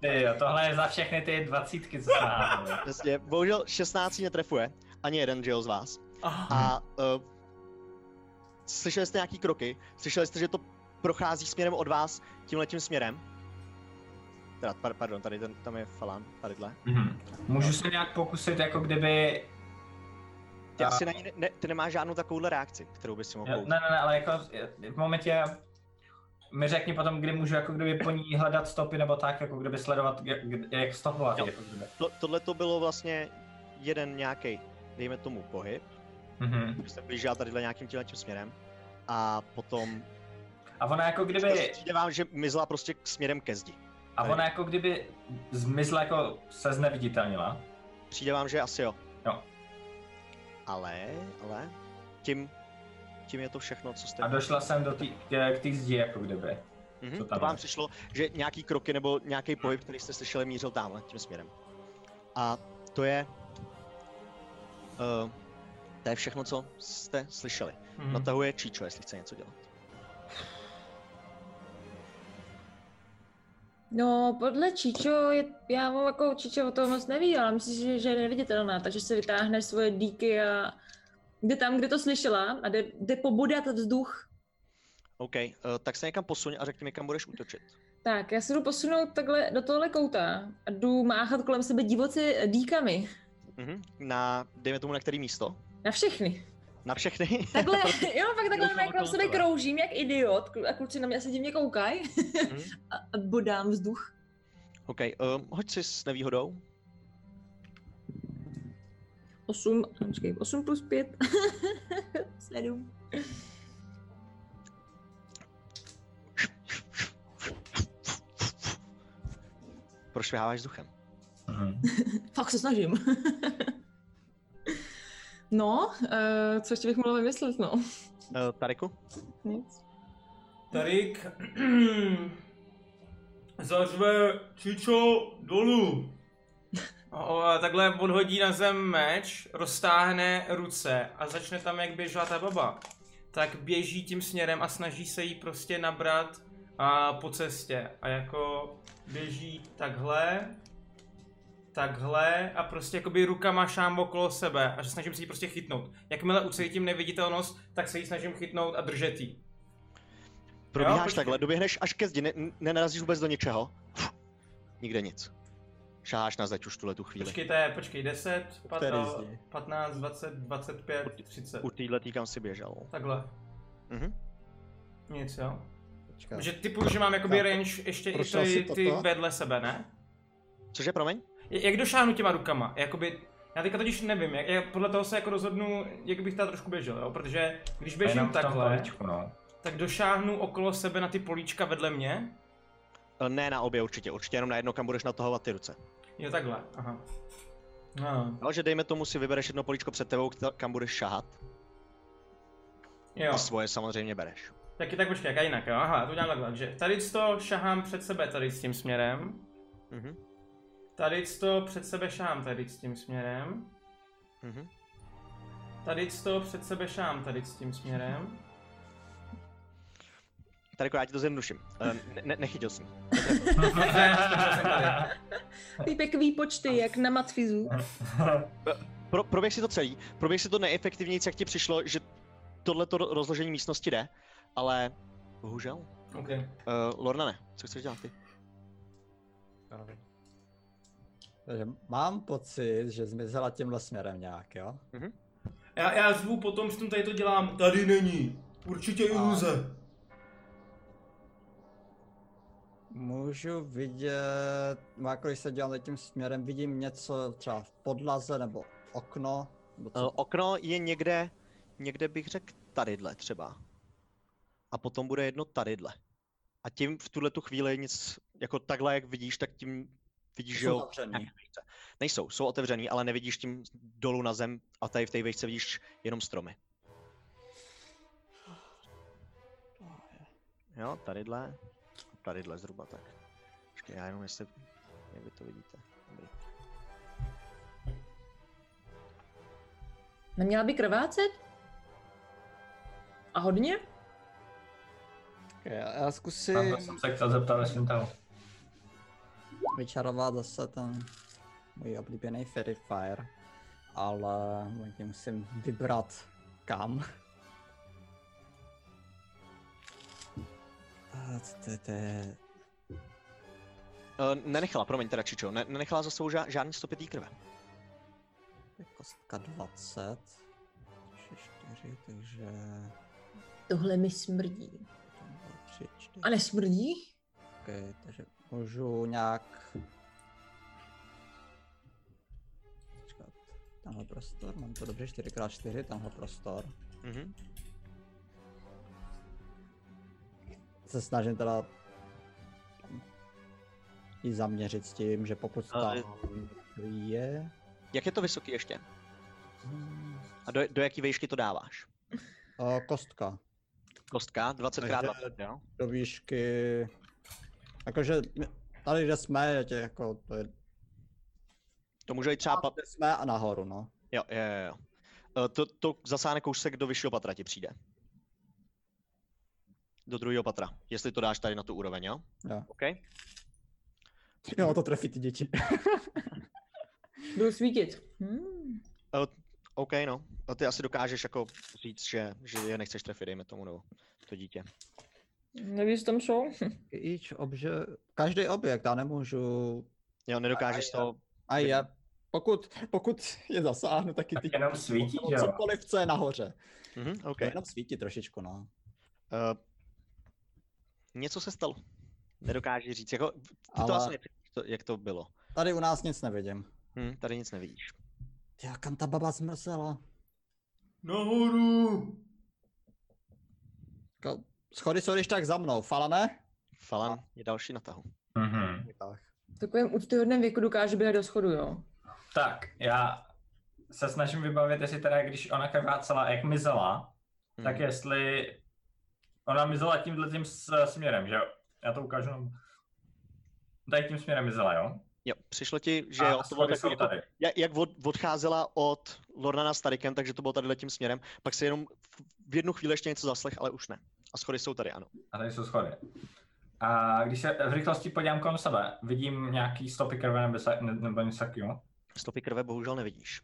D: Ty jo, tohle je za všechny ty dvacítky, co jsme házeli.
C: Přesně, bohužel 16 netrefuje. Ani jeden, že jo, z vás.
A: Ah,
C: a uh, slyšeli jste nějaký kroky, slyšeli jste, že to prochází směrem od vás tímhle tím směrem. Teda, par, pardon, tady ten, tam je Falan, tadyhle.
D: Mhm. Můžu se nějak pokusit, jako kdyby
C: Ty
D: A-
C: asi na ní ne, ne, ty nemáš žádnou takovouhle reakci, kterou bys si mohl
D: Jo,
C: použít.
D: Ne, ne, ne, ale jako v- v momentě mi řekni potom, kdy můžu jako kdyby po ní hledat stopy nebo tak, jako kdyby sledovat, jak, jak stopovala
C: Jo.
D: jako kdyby.
C: To, tohle to bylo vlastně jeden nějaký, dejme tomu, pohyb,
D: Mhm.
C: že se blížila tady nějakým tímhle tím směrem. A potom
D: A ona jako kdyby,
C: přijde vám, že mizla prostě k- směrem ke zdi.
D: a ona jako kdyby zmizla jako se zneviditelnila.
C: Přijde vám, že asi jo.
D: Jo.
C: Ale, ale, tím, tím je to všechno, co jste...
D: A došla jsem do tý, k té zdi jako kdyby.
C: Mhm, to
D: co tam
C: vám
D: je?
C: přišlo, že nějaký kroky nebo nějaký pohyb, který jste slyšeli, mířil tamhle tím směrem. A to je... Uh, to je všechno, co jste slyšeli.
E: No
A: Mhm.
C: Natahuje Číčo, jestli chce něco dělat.
F: No, podle Číčo, je, já mu jako Číčo o tom moc neví, ale myslím, si, že, že je neviditelná, takže se vytáhne svoje díky a jde tam, kde to slyšela a jde, jde pobodat vzduch.
C: OK, uh, tak se někam posuň a řekni mi, kam budeš útočit.
F: Tak, já se jdu posunout takhle do tohle kouta a jdu máchat kolem sebe eh, divoci díkami.
C: Mhm. Na, dejme tomu, na který místo?
F: Na všechny.
C: Na všechny? [LAUGHS]
F: Takhle, jo, pak takhle
C: Kroužím
F: mám
C: okolo
F: kolem sebe
C: tebe.
F: kroužím, jak idiot, klu- a kluci na mě se divně koukají
C: Mhm.
F: [LAUGHS] a, a bodám vzduch.
C: OK, um, hoď si s nevýhodou.
F: 8, počkej, 8 plus [LAUGHS] 5, 7.
C: Prošviháváš vzduchem.
D: Mhm.
F: Fakt se snažím. [LAUGHS] no, uh, co ještě bych mohla vymyslet, no?
C: Uh, Tariku?
F: Nic.
G: Tarik
A: [CLEARS THROAT]
G: zařve Čičo dolů.
A: O, a takhle odhodí na zem meč, roztáhne ruce a začne tam, jak běžela ta baba. Tak běží tím směrem a snaží se jí prostě nabrat a po cestě. A jako běží takhle, takhle a prostě jakoby rukama šám okolo sebe a že snažím se jí prostě chytnout. Jakmile ucítím neviditelnost, tak se jí snažím chytnout a držet jí. Jo,
C: Probíháš
A: počkej.
C: takhle, doběhneš až ke zdi, ne, nenarazíš vůbec do ničeho. Fuh, Nikde nic. Šáháš na zeď už tuhle tu chvíli.
A: Počkejte, počkej, 10,
E: Který
A: 15,
E: zdi?
A: 15 20, 25, 30.
C: U téhle tý, kam si běžel.
A: Takhle.
C: Mhm.
A: Nic, jo.
E: Počkat.
A: Že typu, že mám jakoby
E: Tak,
A: range ještě i
E: prošel si
A: ty,
E: toto?
A: ty vedle sebe, ne?
C: Cože, promiň?
A: J- Jak došáhnu těma rukama? Jakoby, já teďka totiž nevím, jak, já podle toho se jako rozhodnu, jak bych tady trošku běžel, jo? Protože když
D: A jenom
A: běžím
D: v tom
A: takhle,
D: kolečku, [LAUGHS] no.
A: tak došáhnu okolo sebe na ty políčka vedle mě.
C: E, Ne na obě určitě, určitě jenom na jedno, kam budeš natahovat ty ruce.
A: Jo, takhle, aha. No,
C: No, že dejme tomu si vybereš jedno políčko před tebou, kta- kam budeš šahat.
A: jo.
C: A svoje samozřejmě bereš.
A: Taky tak počkej, jak a jinak, jo? Aha, to udělám takhle, takže tady to šahám před sebe tady s tím směrem.
C: Mhm.
A: Tady to před sebe šahám tady s tím směrem.
C: Mhm.
A: Tady to před sebe šahám tady s tím směrem.
C: Tariku, jako já ti to zjednoduším. E, Ne, ne, nechytil jsem.
A: Ne, skočil jsem tady.
F: Pípek výpočty, jak na matfizu.
C: Pro, proběh si to celý, proběh si to nejefektivněji, jak ti přišlo, že tohleto ro- rozložení místnosti jde, ale bohužel.
A: Okay.
C: Uh, Lornane, co chceš dělat ty?
E: Takže mám pocit, že zmizela tímhle směrem nějak, jo?
A: Já, já zvu potom, že tom tady to dělám. Tady není. Určitě iluze.
E: Můžu vidět, no jako když se dělám tím směrem, vidím něco třeba v podlaze nebo okno, nebo
C: Uh,
E: co?
C: okno je někde, někde bych řekl tadyhle třeba. A potom bude jedno tadyhle. A tím v tuhle tu chvíli nic, jako takhle jak vidíš, tak tím vidíš, že
E: Jsou
C: jo.
E: zavřený.
C: Nejsou, jsou otevřený, ale nevidíš tím dolů na zem a tady v té vejce vidíš jenom stromy. Jo, tadyhle. Tadyhle zhruba tak. Počkej, já jenom jestli, jak vy to vidíte. Dobrý.
F: Neměla by krvácet? A hodně?
E: Ok, Já, já
D: Na
E: zkusím
D: to jsem se chtěl zeptat, jestli tam.
E: vyčarovat zase ten můj oblíbený Fairy Fire, ale momentně musím vybrat kam. [LAUGHS] A co to, je- to je
C: Eh, nenechala, promiň teda Čičo, ne, nenechala za sebou ža- žádný stopy té krve.
E: to je kostka 20, což je 4, takže
F: Tohle mi smrdí.
E: 2, 3, 4.
F: A nesmrdí?
E: Okay, takže můžu nějak... Počkat. Tenhle prostor, mám to dobře, 4x4, tenhle prostor.
C: Mhm.
E: Se snažím teda i zaměřit s tím, že pokud
C: Ale-
E: tam je...
C: Jak je to vysoký ještě?
E: hmm,
C: A do, do jaký výšky to dáváš?
E: o, Eh, kostka.
C: Kostka 20 x
E: Takže-
C: 20, jo?
E: Do výšky... Jakože my- tady, kde jsme, je tě, jako, to je,
C: To může jít třeba... Pa...
E: kde jsme a nahoru, no. [LAUGHS]
C: Jo, jo, jo, jo. Eh, To, to zasáhne kousek do vyššího patra ti přijde. Do druhého patra, jestli to dáš tady na tu úroveň, jo?
E: Jo.
C: OK.
E: Jo, to trefí ty děti.
F: Budu svítit. Hmm.
C: OK, no. A ty asi dokážeš jako říct, že, že je nechceš trefit, dejme tomu, nebo to dítě.
F: Nevíš, co tam jsou?
E: Each obže... Každý objekt, já nemůžu...
C: Jo, nedokážeš to...
E: A je, pokud, pokud je zasáhnu, taky
D: Tak
E: ty
D: jenom svítí,
E: nebo
D: že jo?
E: Cokoliv, co je nahoře.
C: Mhm, OK.
E: Okay. Jenom svítí trošičku, no.
C: Eh, něco se stalo. Nedokážeš říct, jako... Ty to
E: Ale-
C: asi nevíš, to, jak to bylo.
E: Tady u nás nic nevidím.
C: Hm, tady nic nevidíš.
E: Já kam ta baba zmrzela?
G: Nahoru!
E: Ko- Jako, Schody jsou když tak za mnou, falane?
C: Falan je další na tahu.
D: Mhm.
E: Tak.
F: V takovém úctyhodném věku dokáže běhat do schodu, jo.
D: Tak, já se snažím vybavit, jestli teda, když ona krvácela, jak mizela,
C: Mhm.
D: tak jestli ona mizela tímhle tím s- směrem, že jo? Já to ukážu. jenom. Tady tím směrem mizela, jo?
C: Jo, přišlo ti, že
D: a
C: jo, to bylo
D: schody jsou
C: takový, jako,
D: tady.
C: jak, jak od, odcházela od Lornana s Tarikem, takže to bylo tady tím směrem, pak se jenom v- v jednu chvíli ještě něco zaslech, ale už ne. A schody jsou tady, ano.
D: A tady jsou schody. A když se v rychlosti podívám kolem sebe, vidím nějaký stopy krve nebo, sa- ne- nebo něco takového?
C: Stopy krve bohužel nevidíš.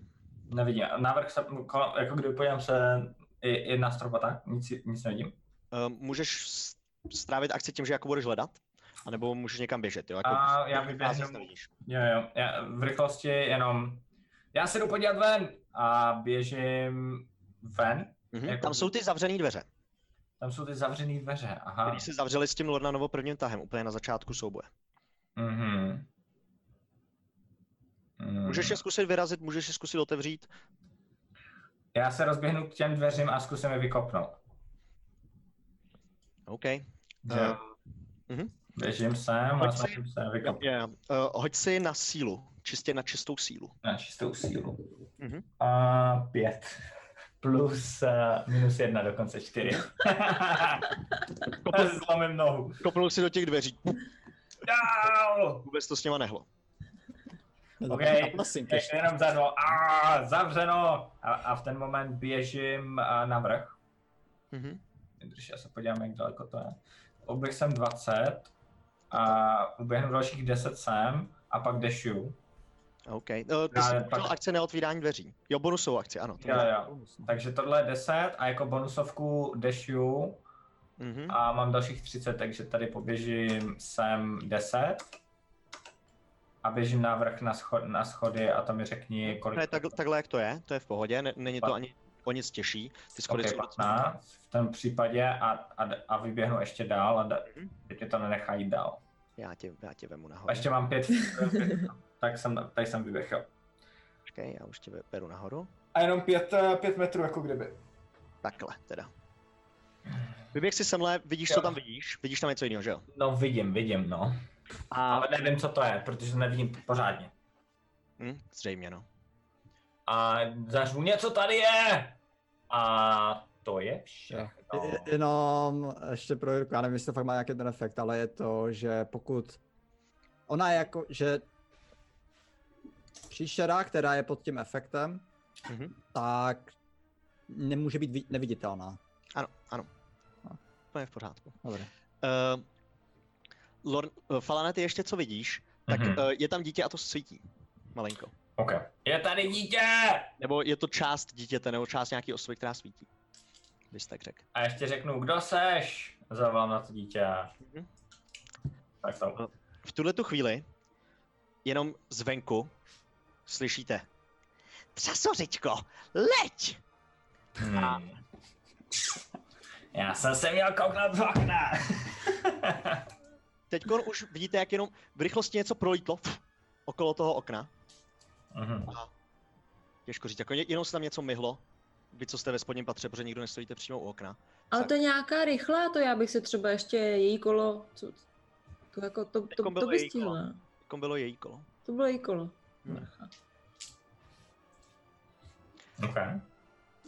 D: Nevidím. Návrh se, kolem, jako kdyby podívám se i, i na strop a tak, nic, nic nevidím.
C: Uh, můžeš s- strávit akci tím, že jako budeš hledat, anebo můžeš někam běžet, jo? Jako
D: A já
C: v-
D: vyběhnu.
C: vás nic nevidíš.
D: Jo, jo, já v rychlosti jenom, já se jdu podívat ven a běžím ven,
C: Mhm.
D: Jako-
C: Tam jsou ty zavřené dveře,
D: tam jsou ty zavřené dveře, aha.
C: které se zavřely s tím Lornanovo prvním tahem, úplně na začátku souboje.
D: Hmm. Mhm. Mm.
C: Můžeš je zkusit vyrazit, můžeš je zkusit otevřít,
D: Já se rozběhnu k těm dveřím a zkusím je vykopnout.
C: OK.
D: Jo.
C: mhm.
D: Ehm, Běžím sem a
C: Pojď si-
D: snažím se je
C: Jo,
D: vykopnout
C: jo. Uh, hoď si na sílu, čistě na čistou sílu.
D: na čistou sílu.
C: Mhm.
D: A pět. [LAUGHS] Plus uh, minus jedna, dokonce čtyři. [LAUGHS] Zlomím nohu.
C: Kopnul si do těch dveří,
D: Dál!
C: vůbec to s něma nehlo.
D: Okej,
E: Na plasinky.
D: Je- Jenom za dno. A, zavřeno. A, a v ten moment běžím a, na vrch.
C: Mhm.
D: Když já se podívám, jak daleko to je. Oběh jsem 20. A uběhnu dalších 10 sem. A pak dešuju.
C: OK. Uh, ty
D: Já
C: jsi
D: jen pak-
C: pak... akce neotvírání dveří. Jo, bonusovou akci, ano. to no.
D: Jo,
C: byla.
D: jo. Takže tohle je 10 a jako bonusovku dešuju
C: Mhm.
D: a mám dalších 30, takže tady poběžím sem 10 a běžím na vrch na, scho- na schody a tam mi řekni, kolik...
C: Ne, tak, takhle jak to je, to je v pohodě, ne, není to
D: Pa-
C: ani o nic těžší. Ty
D: Ok,
C: schody jsou docela-
D: 15 v tom případě a, a, a vyběhnu ještě dál a da,
C: Mhm.
D: teď mě to nenechá jít dál.
C: já, tě, já tě vemu nahoru.
D: A ještě
C: [LAUGHS]
D: mám pět, tak jsem, tady jsem vyběhl.
C: Počkej, já už tě be- beru nahoru.
D: A jenom pět, eh, pět metrů jako kdyby.
C: Takhle
D: [SIGHS]
C: teda. Vyběh si semhle, vidíš, co
D: Jo.
C: tam vidíš? Vidíš tam něco jiného, že jo?
D: No vidím, vidím, no.
C: A...
D: Ale nevím, co to je, protože nevidím pořádně.
C: Hm, zřejmě, no.
D: A zařvu něco tady je! A to je No. všechno.
E: Je- Jenom ještě pro Jirku, já nevím, jestli to fakt má nějaký ten efekt, ale je to, že pokud ona je jako, že příšera, která je pod tím efektem,
C: Mhm.
E: tak nemůže být vi- neviditelná.
C: Ano, ano.
E: No.
C: To je v pořádku.
E: Dobře.
C: Uh, Lorn, uh, Falane, ty ještě co vidíš, tak
D: Mhm.
C: uh, je tam dítě a to svítí. Malinko.
D: Ok. Je tady dítě!
C: Nebo je to část dítěte, nebo část nějaký osoby, která svítí. Bys tak řekl.
D: A ještě řeknu, kdo seš? Zavolám na to dítě.
C: Mhm.
D: Tak to.
C: V tuhle tu chvíli jenom zvenku slyšíte Třasořičko, leď!
D: Hmm. Já jsem se měl kouknout z [LAUGHS] okna.
C: Teď už vidíte, jak jenom v rychlosti něco prolítlo pf, okolo toho okna.
D: Mhm.
C: Těžko říct, jako ně- jenom se tam něco myhlo. Vy, co jste ve spodním patře, protože nikdo nestojíte přímo u okna.
F: Ale
C: Tak.
F: to je nějaká rychlá, to já bych se třeba ještě její kolo, co, to, jako, to, to,
C: Teďkon
F: to,
C: bylo
F: by
C: její kolo.
F: stihla.
C: Kom bylo její kolo.
F: To bylo její kolo.
C: Hmm.
F: Bacha.
D: OK.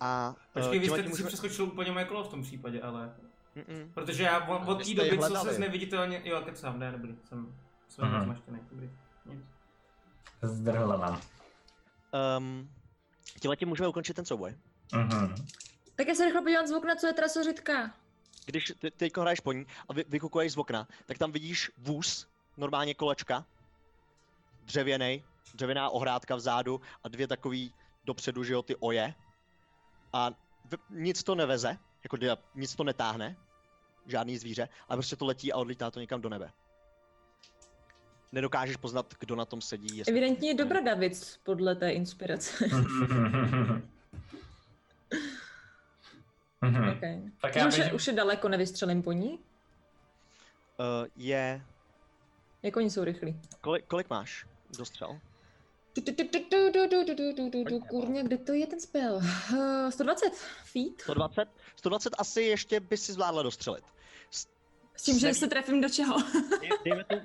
C: A
A: Počkej,
C: eh,
A: vy
C: tímhle
A: jste
C: tím
A: si
C: můžeme-
A: přeskočil úplně moje kolo v tom případě, ale...
C: Mm-mm.
A: Protože já od- od
C: Vy
A: té
C: jste je
A: doby, co
C: hledali.
A: se zneviditelně... Jo, kecám, ne, dobrý, jsem... Jsem
D: Mhm.
A: mm. zmaštěný, dobrý. Nic.
D: Zdrhla vám.
C: Um, tímhle tím můžeme ukončit ten souboj.
D: [LAUGHS] Mhm.
F: Tak já se rychle podívám z okna, co je trasořitka.
C: Když ty, teď hraješ po ní a vy, vykukuješ z okna, tak tam vidíš vůz, normálně kolečka, dřevěný, dřevěná ohrádka vzadu a dvě takový dopředu, že jo, ty oje. A v, nic to neveze, jako dia- nic to netáhne, žádný zvíře, ale prostě to letí a odlítá to někam do nebe. Nedokážeš poznat, kdo na tom sedí. jestli-
F: Evidentně je dobrá David podle té inspirace. [LAUGHS]
D: Mhm.
F: okay.
D: tak
F: Že
D: já
F: už, je,
D: běžím,
F: už je daleko, nevystřelím po ní?
C: Eh, je...
F: Jak oni jsou rychlí?
C: Kolik, kolik máš dostřel?
F: Tu, tu, tu, tu, tu, tu, tu, tu, tu, tu, tu, tu, Kurňa, kde to je ten spell? [LAUGHS] Eh, 120 feet?
C: 120? 120 asi ještě by si zvládla dostřelit.
F: S tím,
C: Sedm.
F: že se trefím do čeho?
C: Dej- Dejme to,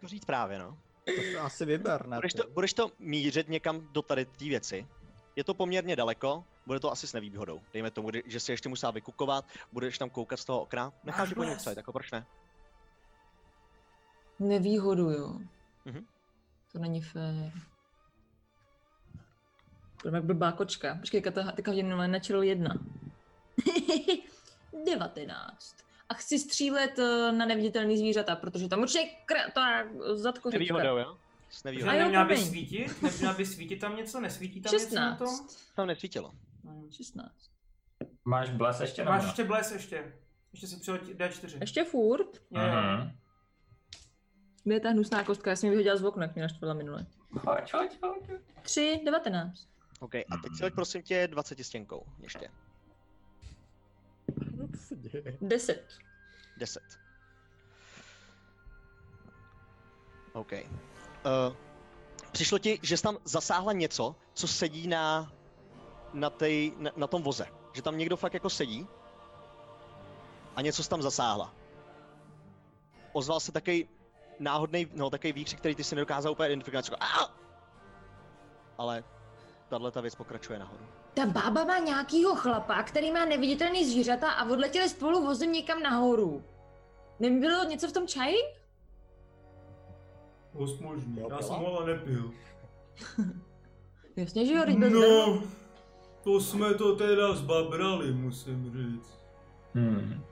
C: to říct právě, no.
E: To si asi vyber, ne?
C: Budeš
E: ty?
C: to, budeš to mířit někam do tady té věci. Je to poměrně daleko, bude to asi s nevýhodou. Dejme tomu, kdy- že si ještě musela vykukovat, budeš tam koukat z toho okna. Necháš
A: Máš
C: ji po něm
A: bless.
C: psát, jako proč ne?
F: Nevýhodu, jo.
C: Mhm.
F: To není fér. Budeme jak blbá kočka. Počkej, kata, teďka hodinu na- načil jedna. [LAUGHS] 19. A chci střílet eh, na neviditelný zvířata, protože tam určitě kr- ta zadkořička.
H: jo?
C: S
A: Že
C: nevýhodou.
F: A jo,
A: neměla by
F: promiň.
A: svítit? Neměla by svítit tam něco? Nesvítí tam něco na tom?
F: 16.
C: Tam nesvítilo.
A: Mm.
F: 16.
D: máš bles ještě na
A: Máš ještě
F: Vlastně,
D: mě?
A: bles ještě. Ještě si přihodí D4.
F: Ještě furt.
A: Jo, jo.
D: Mhm.
F: Kde je ta hnusná kostka? Já jsem ji vyhodila z okna, jak mě naštvala minule.
D: Pojď, pojď, pojď.
F: 3, 19.
C: OK, a teď si hoď prosím tě 20 stěnkou ještě.
E: Co se děje?
F: 10.
C: 10. OK. Uh, přišlo ti, že jsi tam zasáhla něco, co sedí na, na, tej, na, na tom voze. Že tam někdo fakt jako sedí a něco jsi tam zasáhla. Ozval se takový náhodný, no takový výkřik, který ty si nedokázal úplně identifikovat. Jako, "Aaah!" Ale tahle ta věc pokračuje nahoru.
F: Ta bába má nějakýho chlapa, který má neviditelný zvířata a odletěli spolu vozem někam nahoru. Nebylo něco v tom čaji?
A: Dost možný.
E: Jo,
A: Já
E: byla?
A: jsem ho ale nepil.
F: Jasně, že jo, teď bez
G: No, to jsme to teda zbabrali, musím říct.
D: Hmm.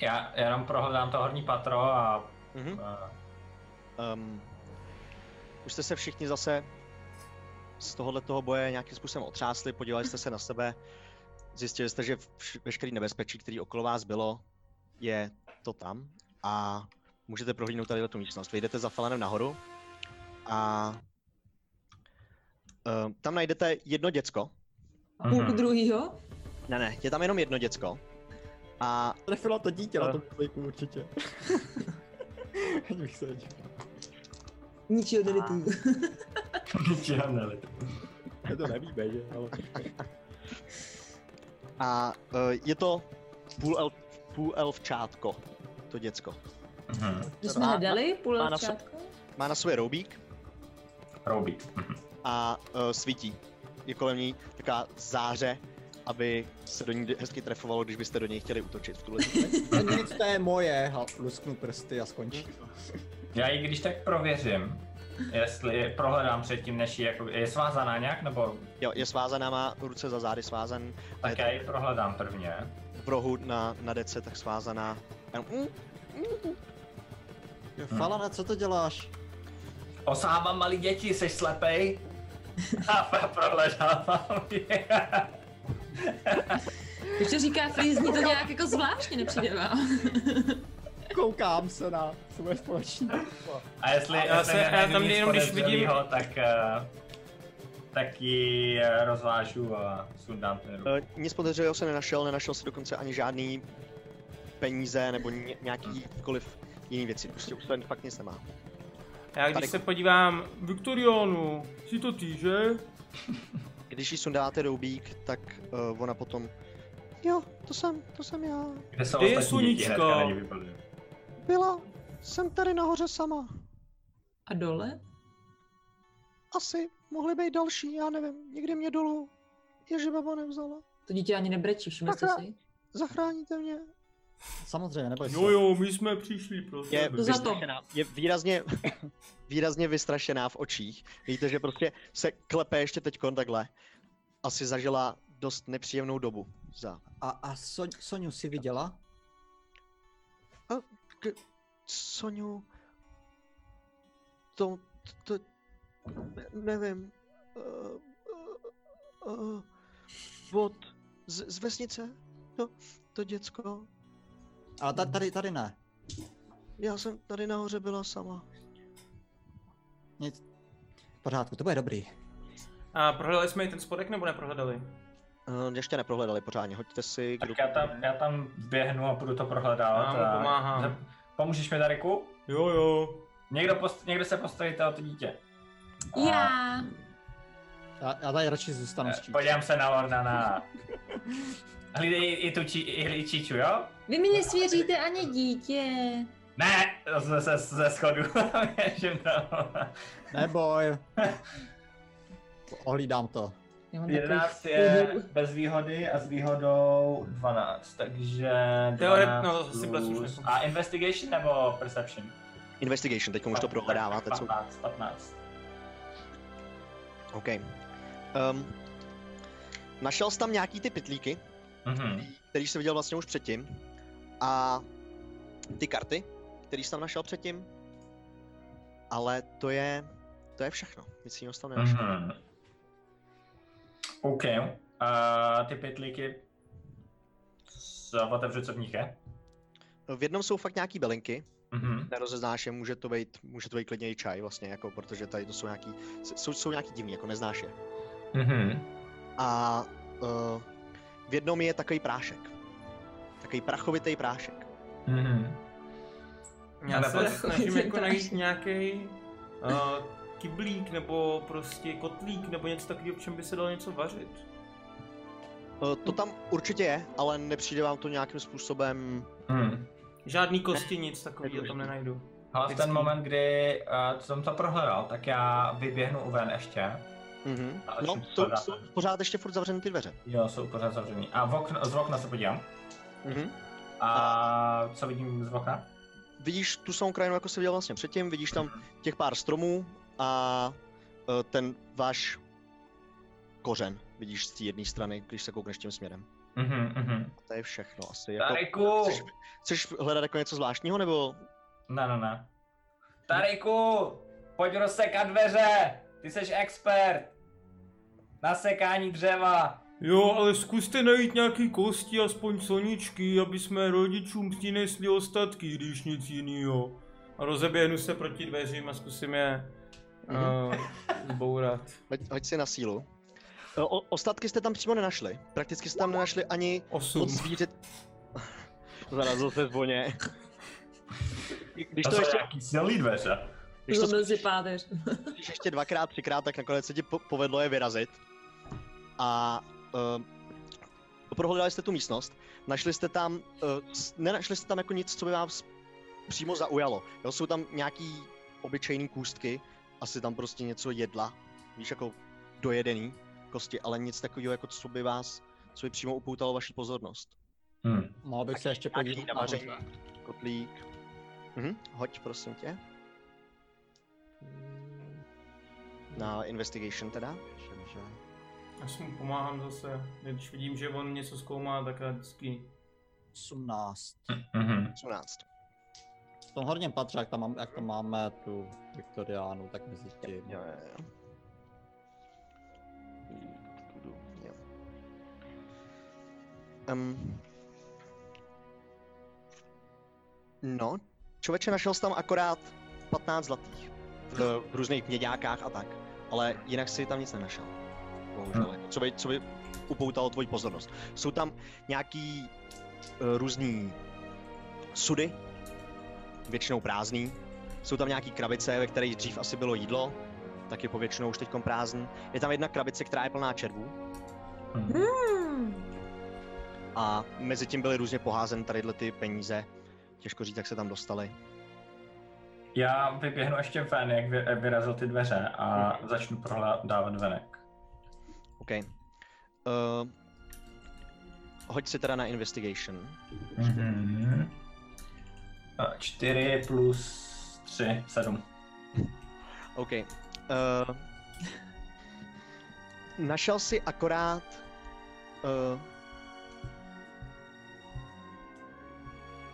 D: Já jenom prohledám to horní patro a...
C: Mhm.
D: a
C: Um, už jste se všichni zase z tohohle toho boje nějakým způsobem otřásli, podívali jste se na sebe, zjistili jste, že vš- veškerý nebezpečí, který okolo vás bylo, je to tam a můžete prohlídnout tady tu místnost. Vyjdete za Falanem nahoru a um, tam najdete jedno děcko.
D: Mhm.
F: půlku
D: [LAUGHS]
F: druhýho.
C: Ne, ne, je tam jenom jedno děcko. A
E: Trefilo to dítě na
D: Eh.
E: tom kliku určitě. Ať bych se díval.
F: Ničího tady tu.
D: Čeho nelit.
E: My to nevíme, že? Ale...
C: A uh, je to půl, elf, půl elfčátko, to děcko.
D: Mhm.
F: To jsme hledali, půl
C: má na
F: levčátko.
C: Má na sobě roubík
D: Roubík. Mhm.
C: a uh, svítí. Je kolem ní taková záře, aby se do ní hezky trefovalo, když byste do něj chtěli útočit v tuhle chvíli.
E: Nic to je moje, ha, lusknu prsty a skončí.
D: Já ji když tak prověřím, jestli je prohledám předtím, než ji jako, je svázaná nějak, nebo
C: Jo, je svázaná, má ruce za zády svázan, a je
D: tak já ji prohledám prvně.
C: v rohu na, na dece tak svázaná. Jenom, mm,
E: Jo, Falane, co to děláš?
D: Osávám malý děti, jsi [LAUGHS] slepej? A prohledávám je.
F: Ještě říká Free, zní to nějak jako zvláštně, nepřijde vám.
E: Koukám se na svoje společníky.
D: [LAUGHS] A jestli,
A: Já
D: jestli
A: se- já
D: nenajdu
A: tam
D: nic
A: jenom, když vidím-
D: podezřelýho, tak, eh, tak ji eh, rozvážu a sundám ten ruku.
C: eh, nic podezřelého se nenašel, nenašel si dokonce ani žádný peníze nebo ně, nějakýkoliv jiný věci. Prostě už ten fakt nic nemá.
A: Já když
C: Tady-
A: se podívám, Viktorionu, si to týže?
C: Když jí sundáte roubík, tak uh, ona potom... Jo, to jsem, to jsem já.
D: Kde jsou
G: Kde je
D: ostatní děti?
G: Sonička?
D: Hnedka na ně vypadne.
C: Byla, jsem tady nahoře sama.
F: A dole?
C: Asi, mohly být další, já nevím, někdy mě dolů. Ježibaba nevzala.
F: To dítě ani nebrečí, všimli jste si?
C: Zachráníte mě.
E: Samozřejmě, neboj se.
G: Jo, jo, my jsme přišli pro
C: Je,
G: tebe.
F: To za to.
C: vystrašená, je výrazně, [LAUGHS] výrazně vystrašená v očích. Víte, že prostě se klepe ještě teď takhle. Asi zažila dost nepříjemnou dobu. Za.
B: A, a Son, Soniu si viděla?
C: Soniu... To... to, to ne- nevím. Uh, uh, uh, od... Z, z vesnice? To, to děcko.
B: A ta, tady, tady ne.
C: Já jsem tady nahoře byla sama.
B: Nic. V pořádku, to bude dobrý.
A: A prohledali jsme i ten spodek, nebo neprohledali?
C: Uh, ještě neprohledali pořádně, hoďte si...
D: Tak já tam, já tam běhnu a budu to prohledávat.
A: Já mu
D: a-
A: pomáhám.
D: Zep- Pomůžeš mi, Dariku?
G: Jo, jo.
D: Někdo, post, někdo se postavíte o to dítě. A
F: Já.
E: Já, já tady radši zůstanu
D: eh,
E: s čím.
D: Podívám se na Lordana. Hlídej i tu či, i hlídej Číču, jo?
F: Vy mi nesvěříte ani dítě.
D: Ne, ze, ze, ze schodu. [LAUGHS] Běžím tam.
E: Neboj. Ohlídám to.
F: Já mám
D: 11
F: takových [LAUGHS]
D: je
F: půl-
D: bez výhody a s výhodou 12, takže 12
A: Teoret- no, to si bude
D: plus.
A: slušný.
D: A investigation nebo perception?
C: Investigation, teď už to prohledáváte, co?
D: 15, 15.
C: OK. Um, našel jsi tam nějaký ty pitlíky,
D: Mhm.
C: který jsi viděl vlastně už předtím. A ty karty, který jsi tam našel předtím. Ale to je, to je všechno. Nic jiného jsi tam nenašel.
D: Mhm. OK. A ty pytlíky z otevřu, co v nich je.
C: V jednom jsou fakt nějaký bylinky,
D: Mhm.
C: nerozeznáš je, může to být, může to být klidně i čaj vlastně, jako, protože tady to jsou nějaký, jsou, jsou nějaký divný, jako neznáš je.
D: Mhm.
C: A uh, v jednom je takový prášek. Takový prachovitý prášek.
D: Mhm.
A: Já
D: Ale
A: se
D: pak-
A: [LAUGHS] snažím jako
F: Ten
A: najít
F: prášek.
A: nějaký uh, kyblík, nebo prostě kotlík, nebo něco takového, v čem by se dalo něco vařit.
C: Uh, to tam určitě je, ale nepřijde vám to nějakým způsobem
D: Mhm.
A: Žádný kosti, nic takového tam nenajdu.
D: Ale v ten
A: Hezký.
D: moment, kdy uh, jsem to prohledal, tak já vyběhnu ven ještě.
C: Mhm.
D: A
C: No,
D: čím se
C: to
D: dá?
C: jsou pořád ještě furt zavřené ty dveře.
D: Jo, jsou pořád zavřený. A v okno, z okna se podívám.
C: Mhm.
D: A co vidím z okna?
C: Vidíš tu samou krajinu, jako jsi viděl vlastně předtím, vidíš tam těch pár stromů a eh, ten váš kořen vidíš z té jedné strany, když se koukneš tím směrem.
D: Mhm, mhm.
C: To je všechno asi. Jako,
D: Tariku!
C: chceš, chceš hledat jako něco zvláštního, nebo
D: Ne, ne, ne. Tariku! Pojď rozsekat dveře! Ty jsi expert! Na sekání dřeva!
G: Jo, ale zkuste najít nějaký kosti, aspoň soničky, aby jsme rodičům přinesli ostatky, když nic jiného. A rozeběhnu se proti dveřím a zkusím je
D: Mhm.
G: uh,
A: eh,
G: zbourat.
C: hoď, hoď si na sílu. Eh, O, ostatky jste tam přímo nenašli. Prakticky jste tam nenašli ani
G: Osm.
C: od zvířet... Zarazil se zvoně. Když to,
D: jsou
C: ještě,
D: nějaký silný dveře.
C: když to
F: Zlobil si páteř.
C: když ještě dvakrát, třikrát, tak nakonec se ti po- povedlo je vyrazit. A uh, prohledali jste tu místnost, našli jste tam, uh, nenašli jste tam jako nic, co by vám s- přímo zaujalo. Jo, jsou tam nějaký obyčejný kůstky, asi tam prostě něco jedla, víš, jako dojedený kosti, ale nic takového, jako co by vás, co by přímo upoutalo vaši pozornost.
D: Hmm.
E: Mohl bych se ještě
C: Nějaký
E: podívat na
C: navaření, kotlík. Mhm, hoď prosím tě. Na investigation teda.
B: Všem, že?
A: Já si mu pomáhám zase. Když vidím, že on něco zkoumá, tak já vždycky
B: 18.
D: Mhm.
C: 18.
E: V tom horním patře, jak tam, mám, jak tam máme tu Viktoriánu, tak mezi tím.
C: Jo, jo, jo. Jo. Um. No, člověče našel jsi tam akorát 15 zlatých. V, v různých měďákách a tak. Ale jinak si tam nic nenašel. Bohužel, jako co by, co by upoutalo tvoji pozornost. Jsou tam nějaký uh, různý sudy, většinou prázdný. Jsou tam nějaký krabice, ve kterých dřív asi bylo jídlo, tak je povětšinou už teď prázdný. Je tam jedna krabice, která je plná červů
D: Hm.
F: Hmm.
C: a mezi tím byly různě poházeny tadyhle ty peníze. Těžko říct, jak se tam dostali.
D: Já vyběhnu ještě ven, jak vy, jak vyrazil ty dveře a začnu prohledávat venek.
C: OK. Eh, Uh, hoď si teda na investigation.
D: Mhm. A Čtyři plus tři, sedm.
C: OK. Uh, našel si akorát... Uh,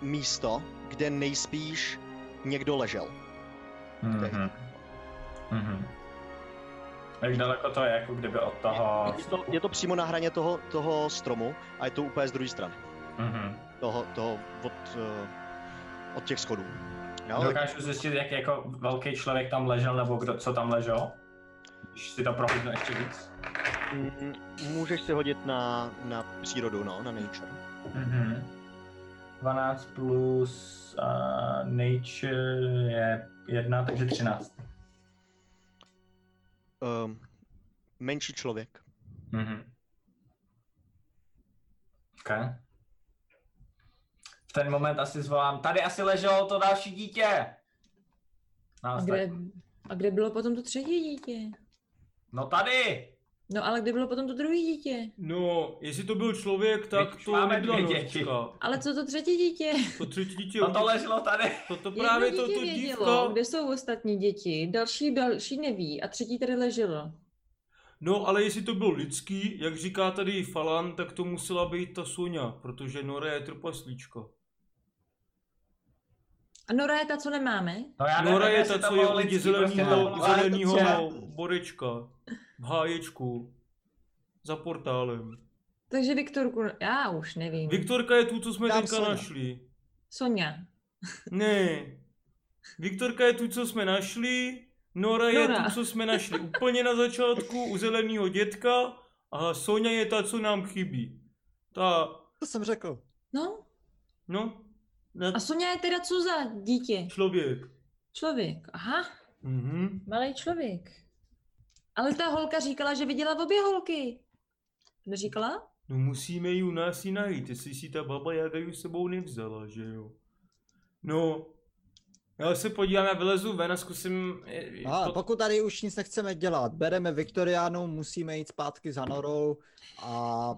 C: místo, kde nejspíš někdo ležel.
D: Mhm. Mhm. Jak daleko to je, jako kdyby od toho...
C: Je to, je to přímo na hraně toho, toho stromu a je to úplně z druhé strany.
D: Mhm.
C: Toho, toho od, uh, od těch schodů. Jo?
D: Dokážu zjistit, jak jako velký člověk tam ležel, nebo kdo, co tam ležel? Když si to prohlídnu ještě víc.
C: Mm, Můžeš si hodit na, na přírodu, no, na nature.
D: Mhm. 12 plus uh, nature je jedna, takže 13.
C: Um, menší člověk.
D: Mhm. Okay. V ten moment asi zvolám, tady asi leželo to další dítě. No,
F: A,
D: Nás
F: kde, a kde bylo potom to třetí dítě?
D: No tady!
F: No ale kde bylo potom to druhé dítě?
A: No, jestli to byl člověk, tak
D: Teď
A: to
D: máme
A: nebyla
D: dvě děti.
A: nočka.
F: Ale co to třetí dítě?
A: To třetí dítě,
D: No to leželo tady!
A: to, to
F: Jedno
A: právě to,
F: dítě
A: to
F: vědělo,
A: dívka.
F: kde jsou ostatní děti, další, další neví a třetí tady leželo.
A: No, ale jestli to byl lidský, jak říká tady Falan, tak to musela být ta Soňa, protože Nora je trpaslíčka.
F: A Nora je ta, co nemáme?
D: No já nevím,
A: Nora je
D: jestli
A: ta,
D: to
A: co je
D: bylo
A: u
D: lidský,
A: tě
D: prostě to
A: zelenýho,
D: bylo-
A: zelenýho
D: ale to
A: borečka. V háječku. Za portálem.
F: Takže Viktorku, já už nevím.
A: Viktorka je tu, co jsme
E: Tam
A: teďka
E: Soňa.
A: našli.
F: Sonja.
A: Ne. Viktorka je tu, co jsme našli. Nora je
F: Nora.
A: tu, co jsme našli úplně na začátku u zeleného dětka. A Sonja je ta, co nám chybí. Ta,
E: To jsem řekl.
F: No,
A: no, na
F: a Sonja je teda co za dítě?
A: člověk.
F: Člověk, aha,
A: Mhm.
F: malý člověk. Ale ta holka říkala, že viděla obě holky. Neříkala?
A: No musíme ji u nás i najít, jestli si ta baba Jaga ji s sebou nevzala, že jo. No, já se podívám, já vylezu ven a zkusím... eh,
E: Ale
A: to-
E: pokud tady už nic nechceme dělat, bereme Viktoriánu, musíme jít zpátky za Norou a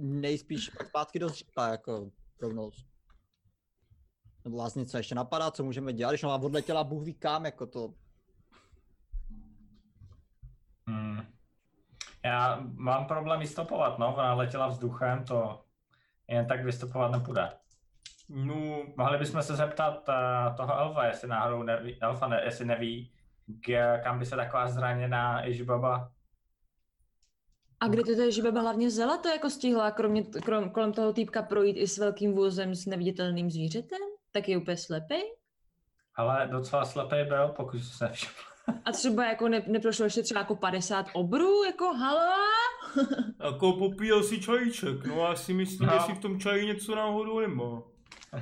E: nejspíš pak zpátky do Řípa, jako rovnou. Nebo vás něco ještě napadá, co můžeme dělat, když ona odletěla Bůh ví kam, jako to.
D: Hmm. Já mám problém vystopovat, no, ona letěla vzduchem, to jen tak vystopovat nepůjde.
A: No,
D: Mohli bychom se zeptat eh, toho elfa, jestli náhodou neví, elfa ne, jestli neví, k, kam by se taková zraněná Ježibaba...
F: A kde to je, že baba hlavně vzala to jako stihla, kromě, krom, kolem toho týpka projít i s velkým vůzem s neviditelným zvířetem? Tak je úplně slepý?
D: Ale docela slepý byl, pokud se nevšiml.
F: A třeba jako ne, neprošlo ještě třeba jako 50 obrů, jako halo?
A: jako popíjel si čajíček, no já si myslím,
D: No.
A: jestli v tom čaji něco náhodou nemá.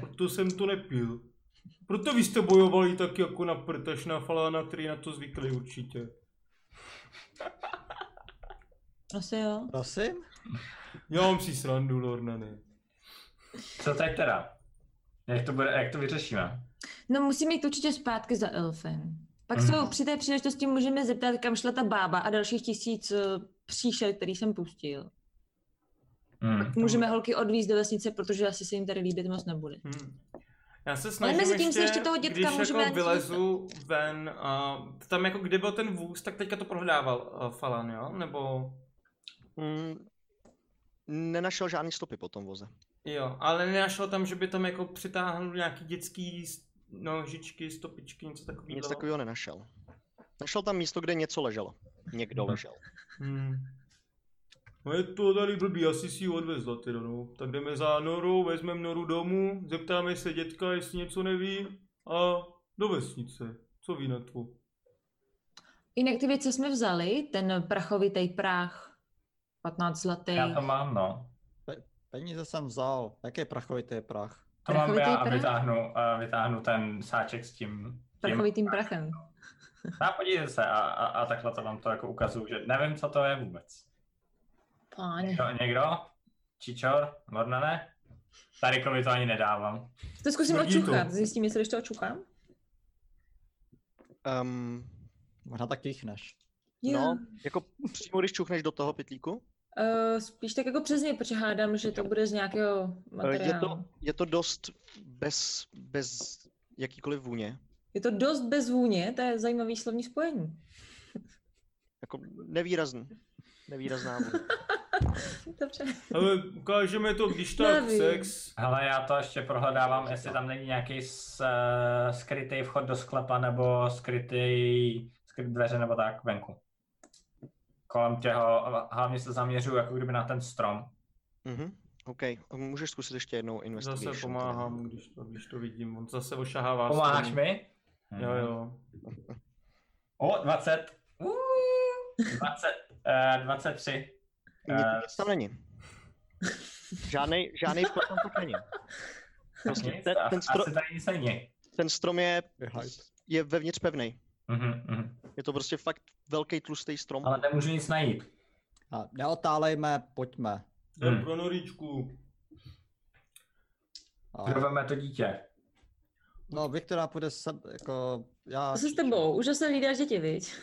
A: Proto jsem to nepil. Proto vy jste bojovali tak jako na prd, až na falána, který na to zvykli určitě.
F: Asi jo.
E: Prosím?
A: Já mám si srandu, Lornany.
D: Co teď teda? Jak to, bude, jak to vyřešíme?
F: No musíme jít určitě zpátky za elfem. Pak
D: Mhm.
F: se ho při té příležitosti můžeme zeptat, kam šla ta bába a dalších tisíc eh, příšer, který jsem pustil.
D: No. Hmm.
F: Pak můžeme holky odvízt do vesnice, protože asi se jim tady líbit moc nebude.
A: Hmm. Já se snažím
F: mezi tím
A: ještě,
F: se ještě toho dětka
A: když
F: můžeme
A: jako
F: dát
A: vylezu ven, a tam jako kde byl ten vůz, tak teďka to prohledával uh, Falan, jo? Nebo...
C: Mm, nenašel žádný stopy po tom voze.
A: Jo, ale nenašel tam, že by tam jako přitáhnul nějaký dětský s- nožičky, stopičky, něco takového.
C: Nic takového nenašel. Našel tam místo, kde něco leželo. Někdo
D: Mhm.
C: ležel.
A: Hmm. No je to tady blbý, asi si ji odvezla teda, no. Tak jdeme za Norou, vezmeme Noru domů, zeptáme se dětka, jestli něco neví a do vesnice. Co ví na to?
F: Jinak ty věci jsme vzali, ten prachovitý prach, 15 zlatý.
D: Já to mám, no.
E: Peníze jsem vzal. Jaký prachovitý prach?
D: To mám
F: Prachovitý
D: já a
F: prach?
D: vytáhnu, a vytáhnu ten sáček s tím. tím.
F: prachovitým prachem.
D: A podívejte se a, a, a takhle to vám to jako ukazuju, že nevím, co to je vůbec.
F: Páně.
D: Někdo? někdo? Čičor? Mornane? Tarikovi to ani nedávám.
F: To zkusím
G: Smrdí to.
F: odčuchat, zjistím, jestli když to očukám.
C: Um,
E: Možná tak kýchneš.
C: no, jako přímo když čuchneš do toho pitlíku,
F: Uh, spíš tak jako přesně, protože hádám, že to bude z nějakého
C: eh,
F: materiálu.
C: je to, je to dost bez, bez jakýkoliv vůně.
F: je to dost bez vůně, to je zajímavý slovní spojení.
C: Jako nevýrazný. Nevýrazná vůně.
F: Dobře.
G: Ale ukážeme to, když tak
F: Nevím.
G: sex.
D: Hele, já to ještě prohledávám, jestli tam není nějaký s, eh, skrytý vchod do sklepa nebo skrytý, skrytý dveře nebo tak venku. Kolem těho, hlavně se zaměřuju jako kdyby na ten strom.
C: Mhm, OK. Můžeš zkusit ještě jednou
A: Zase
C: investigation. to je-
A: pomáhám, když to, když to vidím. On zase ošahává.
D: Pomáháš
A: stranu.
D: mi?
A: Hm. Jo, jo.
D: O, 20. Uuu, 20, eh, 23.
C: Nic,
D: Eh,
C: nic tam není. Žádnej, žádnej vklad tam tak není. Prostě
D: Nic,
C: ten,
D: a-
C: ten, stro,
D: Asi tady nic není.
C: ten strom je,
E: Je hype.
C: je vevnitř pevný.
D: Mhm, mhm.
C: Je to prostě fakt velký tlustý strom.
D: Ale nemůžu nic najít.
E: A neotálejme, pojďme.
G: Jdem
D: Hmm.
G: pro Noričku.
E: A,
D: Proveme to dítě.
E: no, Viktora půjde se, jako já...
F: Co se s tebou? Už se hlídáš děti, [LAUGHS] viď?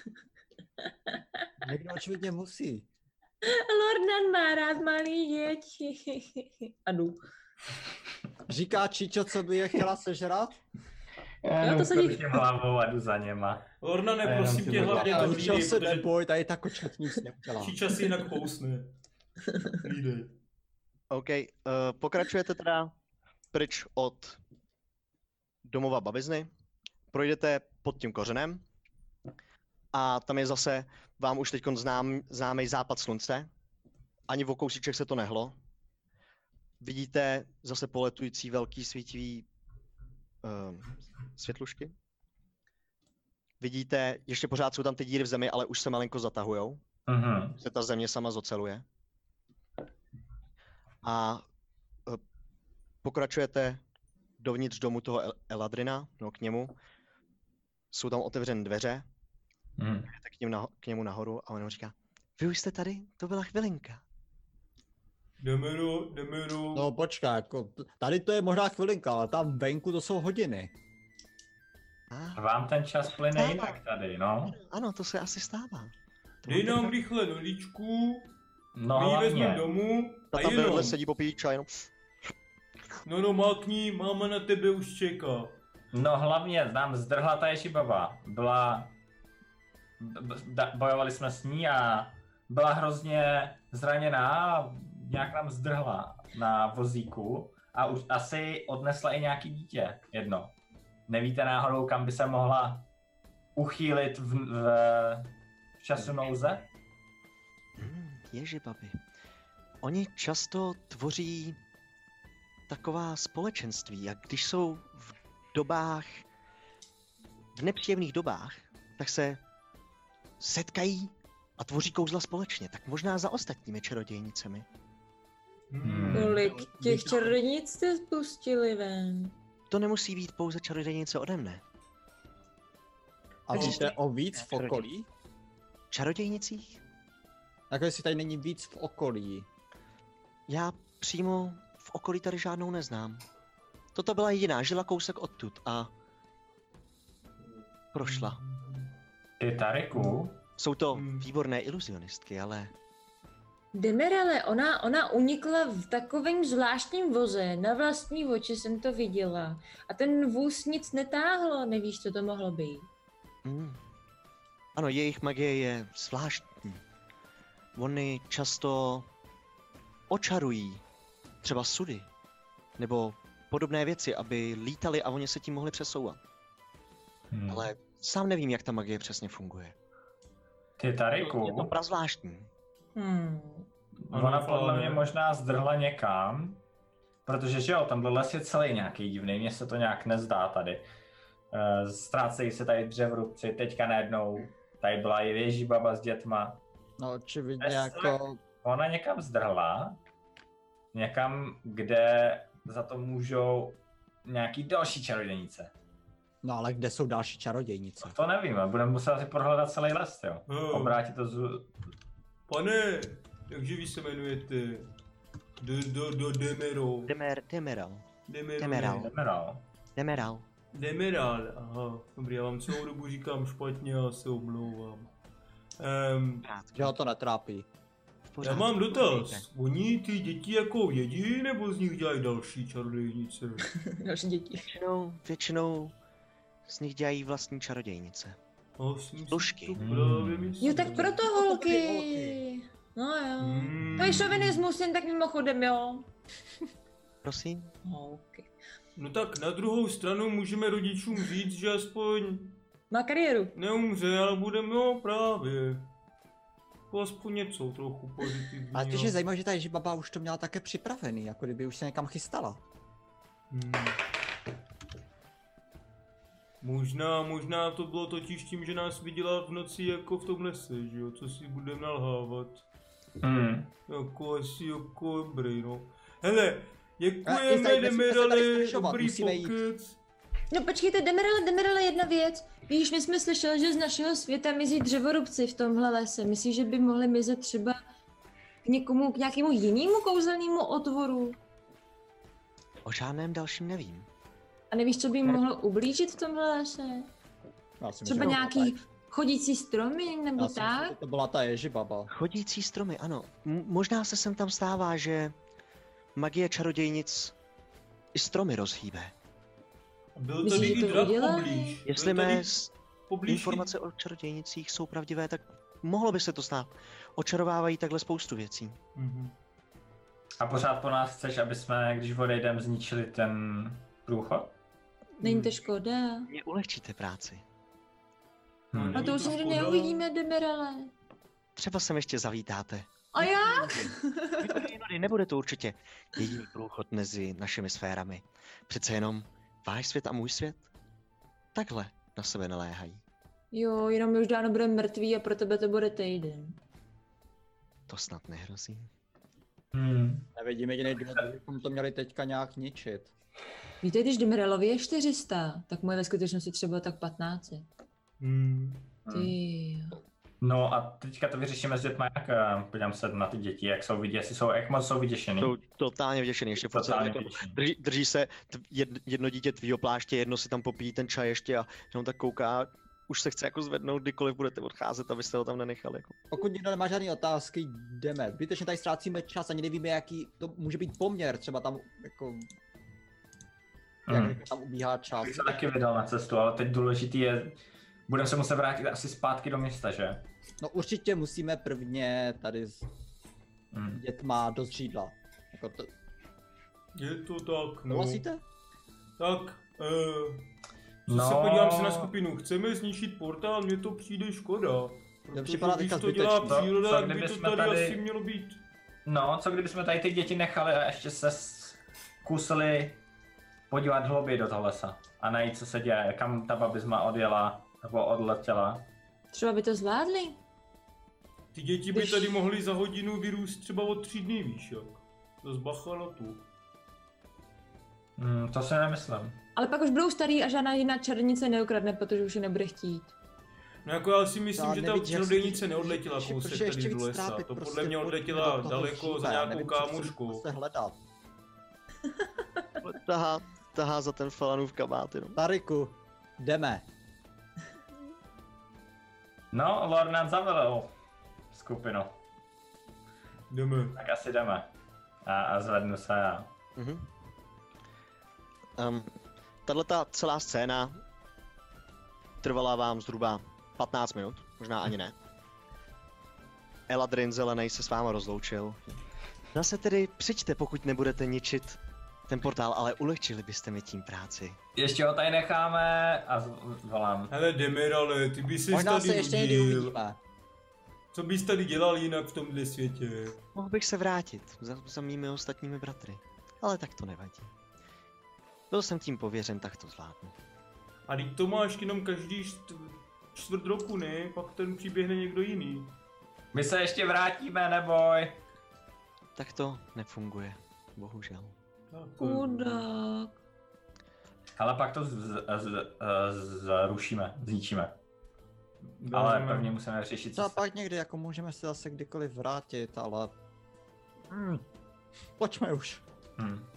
E: Někdo očividně musí.
F: Lordan má rád malý děti. A jdu.
E: Říká Čičo, co by je chtěla sežrat?
F: Jo, to se
D: jdu
F: dí-
D: krutím hlavou a jdu za něma.
G: Orna,
D: Ne,
G: neprosím
D: jenom
G: tě
D: si budu-
G: hlavně
E: Tady
G: to
E: Čičo
G: hlídej,
E: Jako, se
G: protože
E: neboj, tady ta kočka nic neudělá.
G: Číča si jinak pousne. Hlídej.
C: OK, uh, pokračujete teda pryč od domova babizny, projdete pod tím kořenem a tam je zase vám už teď znám, známý západ slunce. Ani v kousíček se to nehlo. Vidíte zase poletující velký svítivý uh, světlušky. Vidíte, ještě pořád jsou tam ty díry v zemi, ale už se malinko zatahujou
D: Mhm.
C: se ta země sama zoceluje. A eh, pokračujete dovnitř domu toho El- Eladrina, no k němu. Jsou tam otevřené dveře,
D: Mhm.
C: jdete k, něm naho- k němu nahoru a on mu říká, vy už jste tady? To byla chvilinka.
G: Jdeme do, jdeme do...
E: No počkej, jako, t- tady to je možná chvilinka, ale tam venku to jsou hodiny.
C: Ah,
D: Vám ten čas plyne jinak tady, no.
C: ano, to se asi stává. To
G: Dej
C: bylo
G: nám
C: tak-
G: rychle noličku,
D: No
G: my ji vezmeme
D: hlavně.
G: domů
C: Ta
G: a
C: tam
G: jenom.
C: vedle sedí popíjí čaj, no.
G: No no, mákni, máma na tebe už čeká.
D: No hlavně, nám zdrhla ta Ježibaba. Byla... b- b- da- Bojovali jsme s ní a byla hrozně zraněná a nějak nám zdrhla na vozíku a už asi odnesla i nějaký dítě, jedno. Nevíte náhodou, kam by se mohla uchýlit v, v, v času nouze?
C: Hmm, ježibaby. Oni často tvoří taková společenství a když jsou v dobách, v nepříjemných dobách, tak se setkají a tvoří kouzla společně, tak možná za ostatními čarodějnicemi.
D: Hmm.
F: Kolik
B: Jo,
F: těch
B: vítám.
F: čarodějnic jste spustili ven?
C: To nemusí být pouze čarodějnice ode mne.
E: A
C: Takže
E: víte
C: jste-
E: o víc v
C: Rodin.
E: okolí?
C: Čarodějnicích?
E: Jako jestli tady není víc v okolí.
C: Já přímo v okolí tady žádnou neznám. Toto byla jediná, žila kousek odtud a prošla.
D: Ty Tariku?
C: Jsou to
G: Hmm.
C: výborné iluzionistky, ale
F: Demerele, ona, ona unikla v takovém zvláštním voze, na vlastní oči jsem to viděla. A ten vůz nic netáhlo, nevíš, co to mohlo být.
C: Mm. Ano, jejich magie je zvláštní. Oni často očarují třeba sudy nebo podobné věci, aby lítali a oni se tím mohli přesouvat.
D: Hmm.
C: Ale sám nevím, jak ta magie přesně funguje.
D: Ty
C: Je to
D: Tariku?
C: prazvláštní.
F: Hmm.
G: Ano,
D: Ona podle
G: ale-
D: mě možná zdrhla někam, protože že jo, tenhle les je celý nějaký divný, mně se to nějak nezdá tady. Eh, Ztrácejí se tady dřevrubci, teďka najednou tady byla i věží baba s dětma.
E: No očividně
D: Jasně.
E: jako...
D: Ona někam zdrhla, někam, kde za to můžou nějaký další čarodějnice.
E: No ale kde jsou další čarodějnice?
D: To nevím, ale budeme muset asi prohledat celý les, jo.
G: Hmm.
D: Obrátit to z...
G: Pane, jakže vy se jmenujete? Do, do, do Demero.
C: Demer, Demeral.
G: Demero.
C: Demeral.
D: Jdeme dál.
C: Demeral.
G: Demeral, aha. Dobrý, já vám celou dobu říkám špatně a se omlouvám. Um,
E: Že ho to netrápí.
G: já mám dotaz. Oni ty děti jako vědí, nebo z nich dělají další čarodějnice?
B: Další děti.
C: Většinou, většinou z nich dělají vlastní čarodějnice.
G: No, jsem si
C: Dušky.
G: to právě
C: Hmm.
B: Jo,
G: myslel.
B: tak
A: No,
B: proto holky. No jo.
G: Hmm.
B: To je šovinismus, jen tak mimochodem, jo.
C: Prosím?
B: Holky.
G: No tak na druhou stranu můžeme rodičům říct, že aspoň
B: Má kariéru.
G: neumře, ale bude no právě. To aspoň něco trochu pozitivního.
E: A když je zajímavé, že ta Ježibaba už to měla také připravený, jako kdyby už se někam chystala.
G: Hmm. Možná, možná to bylo totiž tím, že nás viděla v noci jako v tom lese, že jo, co si budeme nalhávat.
D: Hmm.
G: Jako asi jako dobrý, no. Hele,
E: Ale je tady-
G: děkujeme,
E: nesmíme se tady
G: Demirali,
E: zdržovat,
G: dobrý
E: musíme jít.
G: pokec.
B: No počkejte, Demerele, Demerele, jedna věc. Víš, my jsme slyšeli, že z našeho světa mizí dřevorubci v tomhle lese. Myslíš, že by mohli mizet třeba k někomu, k nějakému jinému kouzelnému otvoru?
C: O žádném dalším nevím.
B: A nevíš, co by jim mohlo ublížit v tomhle lese?
F: Já si
B: Třeba
F: myslím, že-
B: nějaký chodící stromy nebo
F: já si myslím,
B: tak?
F: že to byla ta ježibaba.
C: Chodící stromy, ano. M- možná se sem tam stává, že magie čarodějnic i stromy rozhýbe.
G: Byl
B: Myslíš,
G: tady
B: že
G: i
B: to
G: drak
B: udělají?
G: poblíž.
C: Jestli
G: Byl tady
C: mé s-
G: poblíž i-
C: informace o čarodějnicích jsou pravdivé, tak mohlo by se to stát. Očarovávají takhle spoustu věcí.
G: Mhm.
D: A pořád po nás chceš, aby jsme, když odejdem, zničili ten průchod?
B: Není
G: Hmm.
B: to škoda.
C: Mě ulehčíte práci.
D: Hmm.
B: A No to už
G: to
B: nikdy
G: škoda.
B: neuvidíme, Demerele.
C: Třeba sem ještě zavítáte.
B: A já?
C: Jinudy, jinudy, Nebude to určitě jediný průchod mezi našimi sférami. Přece jenom váš svět a můj svět takhle na sebe naléhají.
B: Jo, jenom my už dávno budeme mrtví a pro tebe to bude týden.
C: To snad nehrozí.
D: Hmm.
F: Nevidím jediný důvod, že bychom to měli teďka nějak ničit.
B: Víte, když Demerelovi je 400, tak moje ve skutečnosti třeba tak 15.
G: Hmm.
D: Hmm.
B: Ty jo.
D: No a teďka to vyřešíme s dětma, jak eh, podívám se na ty děti, jak jsou vidět, jestli jsou, jak moc jsou vyděšený.
C: Jsou totálně vděšený, ještě furt se
D: Totálně
C: jako
D: vyděšený.
C: drží, drží se t- jed- jedno dítě tvýho pláště, jedno si tam popíjí ten čaj ještě a jenom tak kouká, už se chce jako zvednout, kdykoliv budete odcházet, abyste ho tam nenechali. Jako.
E: Pokud nikdo nemá žádné otázky, jdeme. Zbytečně tady ztrácíme čas, ani nevíme, jaký to může být poměr, třeba tam jako, jak
D: Hmm.
E: rychle tam ubíhá čas.
D: Bych se taky vydal na cestu, ale teď důležitý je, budeme se muset vrátit asi zpátky do města, že?
E: No určitě musíme prvně tady s
D: Hmm.
E: dětma dost žídla. Jako to,
G: Je to tak, no.
E: souhlasíte?
G: Tak, eh, no.
D: No.
G: se podívám se na skupinu. Chceme zničit portál, mně to přijde škoda. Protože
E: připadá
G: když
E: teďka
G: to dělá
E: zbytečný.
D: Co-
G: příroda,
D: co
G: tak by to
D: kdybychom
G: tady,
D: tady-
G: asi mělo být.
D: No, co kdybychom tady ty děti nechali a ještě se zkusili podívat hlouběji do toho lesa a najít, co se děje, kam ta babizma odjela nebo odletěla.
B: Třeba by to zvládli.
G: Ty děti by
B: Když-
G: tady mohly za hodinu vyrůst třeba o tři dny, víš jak. To zbacha na tu.
D: Hmm, to si nemyslím.
B: Ale pak už budou starý a žádná jiná černice neukradne, protože už je nebude chtít.
G: No jako já si myslím,
E: Já
G: že ta
E: nevidím, jak se
G: čarodějnice
E: ti-
G: neodletěla
E: že- že-
G: kousek
E: protože ještě
G: tady do
E: víc
G: lesa.
E: trápit
G: To
E: prostě
G: podle mě
E: pojďme
G: odletěla
E: do toho
G: daleko za
E: dříve, já
G: nějakou
E: nevím, co jsem
G: kámošku.
E: Se hledat.
C: Tahá, tahá za ten falanův kabát jenom.
E: Tariku, jdeme.
D: No, Lord nám zavelil skupinu,
G: Jdeme.
D: tak asi jdeme. A, a zvednu se a...
C: Mhm. Um, Tahle ta celá scéna trvala vám zhruba 15 minut, možná ani ne. Eladrin zelený se s váma rozloučil. Zase tedy přijďte, pokud nebudete ničit ten portál, ale ulehčili byste mi tím práci.
D: Ještě ho tady necháme a z- volám.
G: Hele Demirale, ty bys se
E: Možná
G: tady
E: se ještě někdy
G: nudil.
E: uvidíme.
G: Co bys tady dělal jinak v tomhle světě?
C: Mohl bych se vrátit za, za mými ostatními bratry, ale tak to nevadí. Byl jsem tím pověřen, tak to zvládnu.
G: A teď to máš jenom každý št- čtvrt roku, ne? Pak ten přiběhne někdo jiný.
D: My se ještě vrátíme, neboj.
C: Tak to nefunguje, bohužel.
G: eh, Tak, to je-
B: Chudák.
D: Hele, pak to z, z, z, z, zrušíme, zničíme. Ale
A: Vyrazíme.
D: prvně musíme řešit,
E: To
D: co
E: a
D: se-
E: pak někdy, jako můžeme se zase kdykoliv vrátit, ale... Mm. Pojďme už.
D: Hm.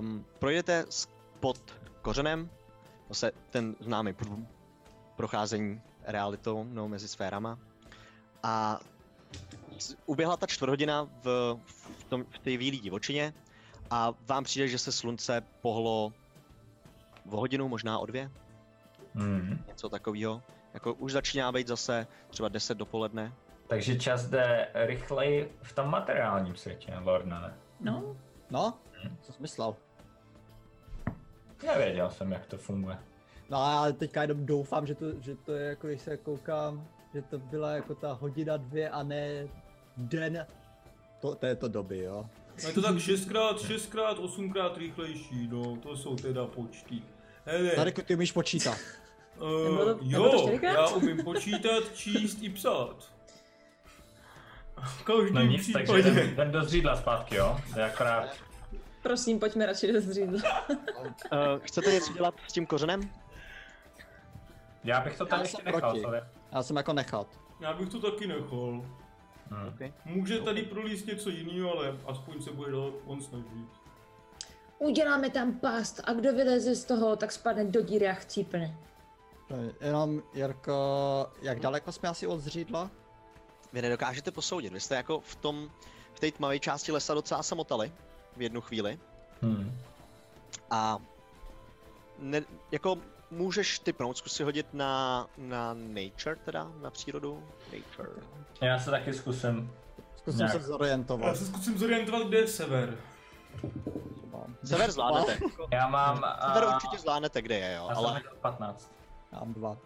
C: Um, projdete s- pod kořenem, zase ten známý prům, procházení realitou no, mezi sférama. A c- uběhla ta čtvrthodina v, v, tom, v té výlí divočině a vám přijde, že se slunce pohlo o hodinu, možná o dvě,
D: Hm.
C: něco takového. Jako už začíná být zase třeba 10 dopoledne.
D: Takže čas jde rychleji v tom materiálním světě, Lorna, ne?
F: No,
E: No, co jsi myslel?
D: Nevěděl jsem, jak to funguje.
E: No a já teďka jenom doufám, že to, že to je jako, když se koukám, že to byla jako ta hodina dvě a ne den to, této doby, jo.
G: No je to tak 6x, 6x, 8x rychlejší, no, to jsou teda počty. Hele,
E: Tady ty umíš počítat.
G: eh,
F: Nebylo to- nebylo to
G: jo,
F: čtyřikrát?
G: já umím počítat, číst i psát. V každém
D: No nic, takže
G: případě.
D: jdem, jdem do zřídla zpátky, jo? To je akorát...
F: prosím, pojďme radši do zřídla.
C: Uh, chcete něco dělat s tím kořenem?
D: Já bych to tady
E: Já
D: ještě
E: jsem
D: nechal,
E: proti.
D: co je?
E: Já jsem jako nechat.
G: Já bych to taky nechal.
D: Hm.
G: Může tady prolíst něco jiného, ale aspoň se bude dál on snažit.
F: Uděláme tam past a kdo vyleze z toho, tak spadne do díry a chcípne.
E: Jenom, Jirko, jak daleko jsme asi od zřídla?
C: Vy nedokážete posoudit, vy jste jako v tom, v té tmavé části lesa docela samotali v jednu chvíli.
D: Hm.
C: A ne, jako můžeš typnout, zkus si hodit na, na nature teda, na přírodu. Nature.
D: Já se taky zkusím.
E: Zkusím
D: Nějak.
E: se
G: Já
E: zorientovat.
G: se zkusím zorientovat, kde je sever.
C: Sever zvládnete.
D: Já mám...
C: Sever
D: a-
C: určitě zvládnete, kde je, jo.
D: Já jsem
C: Ale,
D: měl 15.
E: Já mám dva.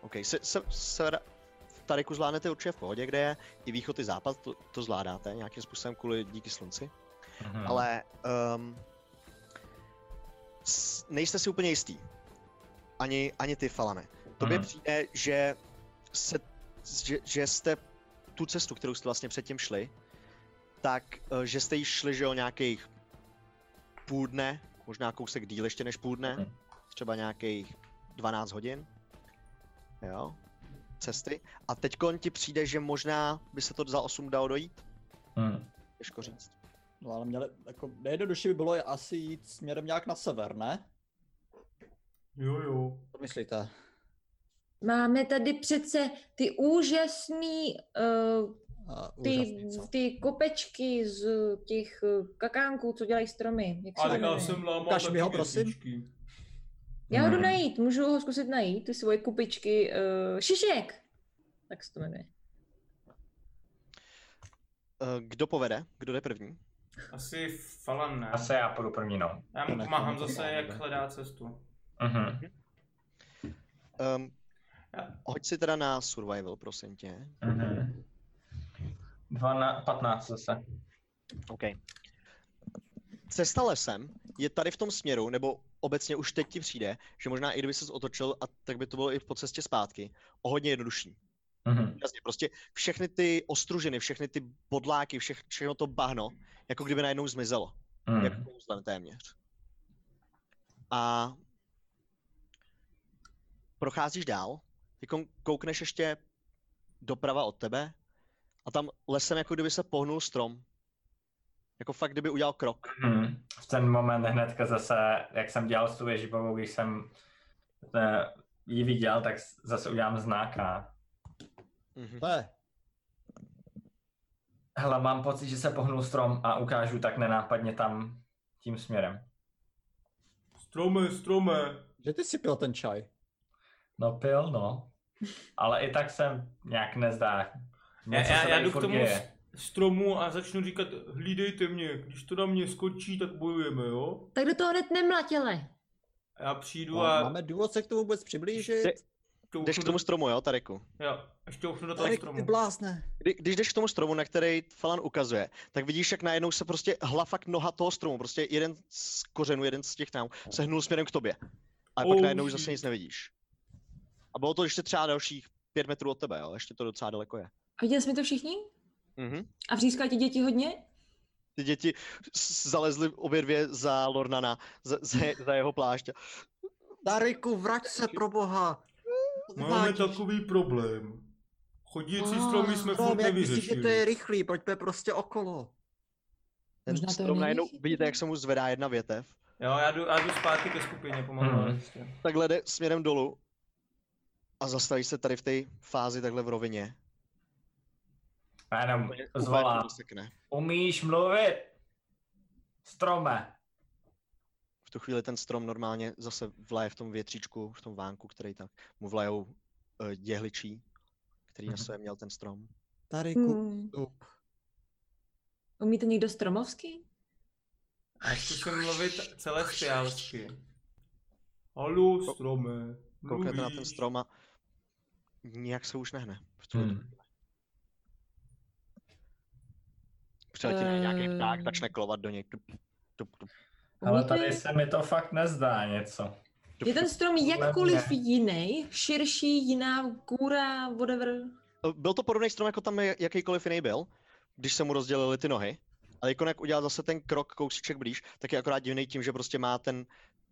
C: OK, se, se, sever v Tariku zvládnete určitě v pohodě, kde je. I východ, i západ to, to zvládáte nějakým způsobem kvůli díky slunci.
D: Mhm.
C: ale um, s, nejste si úplně jistý. Ani, ani ty, Falane. Tobě
D: Mhm.
C: přijde, že, se, že, že jste tu cestu, kterou jste vlastně předtím šli, tak eh, že jste ji šli, že o nějakých půl dne, možná kousek díl ještě než půl dne,
D: Mhm.
C: třeba nějakých 12 hodin, jo, cesty. A teď ti přijde, že možná by se to za 8 dalo dojít,
D: Hm.
C: těžko říct.
E: No ale měli, jako nejjednodušší by bylo je asi jít směrem nějak na sever, ne?
G: Jo, jo.
E: Co myslíte?
F: Máme tady přece ty úžasný
B: Eh,
F: uh,
E: Uh,
F: ty, ty kopečky z těch eh, kakánků, co dělají stromy. Jak se
G: Ale
F: to
G: já
F: jmenuje?
G: jsem lámal
E: Ukaž mi
G: taky
E: ho, prosím.
G: věstičky.
F: Já ho jdu
D: Mhm.
F: najít, můžu ho zkusit najít, ty svoje kupičky.
B: Eh,
F: Uh, šišek! Tak se to jmenuje.
C: Eh, Kdo povede? Kdo jde první?
A: Asi falan ne.
D: Asi já půjdu první, no.
A: Já mu pomáhám zase, jak hledá cestu.
D: Mhm.
C: Um,
A: Já-
C: hoď si teda na survival, prosím tě.
D: Mhm. 12, 15 zase.
C: OK. Cesta lesem je tady v tom směru, nebo obecně už teď ti přijde, že možná i kdyby se otočil, a tak by to bylo i po cestě zpátky, o hodně jednodušší.
D: Mhm.
C: Jasně, prostě všechny ty ostružiny, všechny ty bodláky, všech, všechno to bahno, jako kdyby najednou zmizelo.
D: Mhm.
C: jako kouzlem téměř. A procházíš dál, jako koukneš ještě doprava od tebe a tam lesem jako kdyby se pohnul strom. Jako fakt, kdyby udělal krok.
D: Mhm. V ten moment hnedka zase, jak jsem dělal s tou ježibovou, když jsem eh, ji viděl, tak s- zase udělám znáka.
C: Mhm.
E: Ne,
D: Hele, mám pocit, že se pohnul strom a ukážu tak nenápadně tam tím směrem.
G: Strome, strome.
E: že ty si pil ten čaj.
D: No pil, no. Ale i tak jsem nějak nezdá.
A: Já,
D: Něco
A: já,
D: se
A: já
D: tady
A: jdu k
D: furt
A: tomu
D: děje.
A: s-
G: Stromu a začnu říkat, hlídejte mě, když to na mě skočí, tak bojujeme, jo?
F: Tak do toho hned nemlatěle.
G: A já přijdu
E: A
G: a
E: máme důvod se k tomu vůbec přiblížit.
C: Jde- No, Jdeš
G: šťouchnu
C: k
G: do,
C: tomu stromu, jo, Tareku?
G: jo, a šťouchnu do toho
E: Tady ty
G: stromu.
E: blázne.
C: Kdy, když jdeš k tomu stromu, na který Falan ukazuje, tak vidíš, jak najednou se prostě hla fakt noha toho stromu, prostě jeden z kořenů, jeden z těch nám, se hnul směrem k tobě. A pak
G: Oh,
C: najednou už
G: shit.
C: zase nic nevidíš. A bylo to ještě třeba dalších pět metrů od tebe, jo, ještě to docela daleko je.
F: A viděli jsme to všichni?
C: Mhm.
F: A vřískají ti děti hodně?
C: Ty děti s- zalezly obě dvě za Lornana, za, za, je- za jeho plášť.
E: Dariku, vrať se pro boha.
A: Máme takový problém. Chodící stromy jsme furt
E: Ah, no, myslíš, že to je
A: nevyřešili.
E: rychlý, pojďme prostě okolo.
C: Ten
B: Možná to
C: strom
B: není
C: najednou,
B: chytrý.
C: vidíte, jak se mu zvedá jedna větev.
K: Jo, já jdu, já jdu zpátky ke skupině pomalu.
D: Mhm.
K: ale prostě.
C: Takhle jde směrem dolů a zastaví se tady v té fázi takhle v rovině.
D: Já jenom
C: Úplně-
A: jako
C: úplně
D: zvolá.
C: to zasekne.
D: Umíš mluvit? Strome.
C: V tu chvíli ten strom normálně zase vlaje v tom větříčku, v tom vánku, který tak mu vlajou uh, děhličí, který na
D: Mhm.
C: sobě měl ten strom.
E: Dariku,
B: Hmm.
E: stup.
B: Umíte někdo stromovský?
K: Já zkusím mluvit celé stiálsky. Halo, strome.
C: Kouknete na ten
K: mluvíš?
C: strom a nijak se už nehne. v tuhle tu
D: Hmm.
C: Přiletí na něj nějaký pták,
B: Ehm.
C: začne klovat do něj. Tup, tup, tup, tup,
D: Ale
B: Umíte-
D: tady se mi to fakt nezdá něco.
C: tup.
B: Je ten strom
D: Podle
B: jakkoliv
D: mě.
B: jiný, širší, jiná, kůra, whatever.
C: Eh, Byl to podobný strom, jako tam je- jakýkoliv jiný byl, když se mu rozdělily ty nohy. Ale jako jak udělal zase ten krok kousíček blíž, tak je akorát divný tím, že prostě má ten,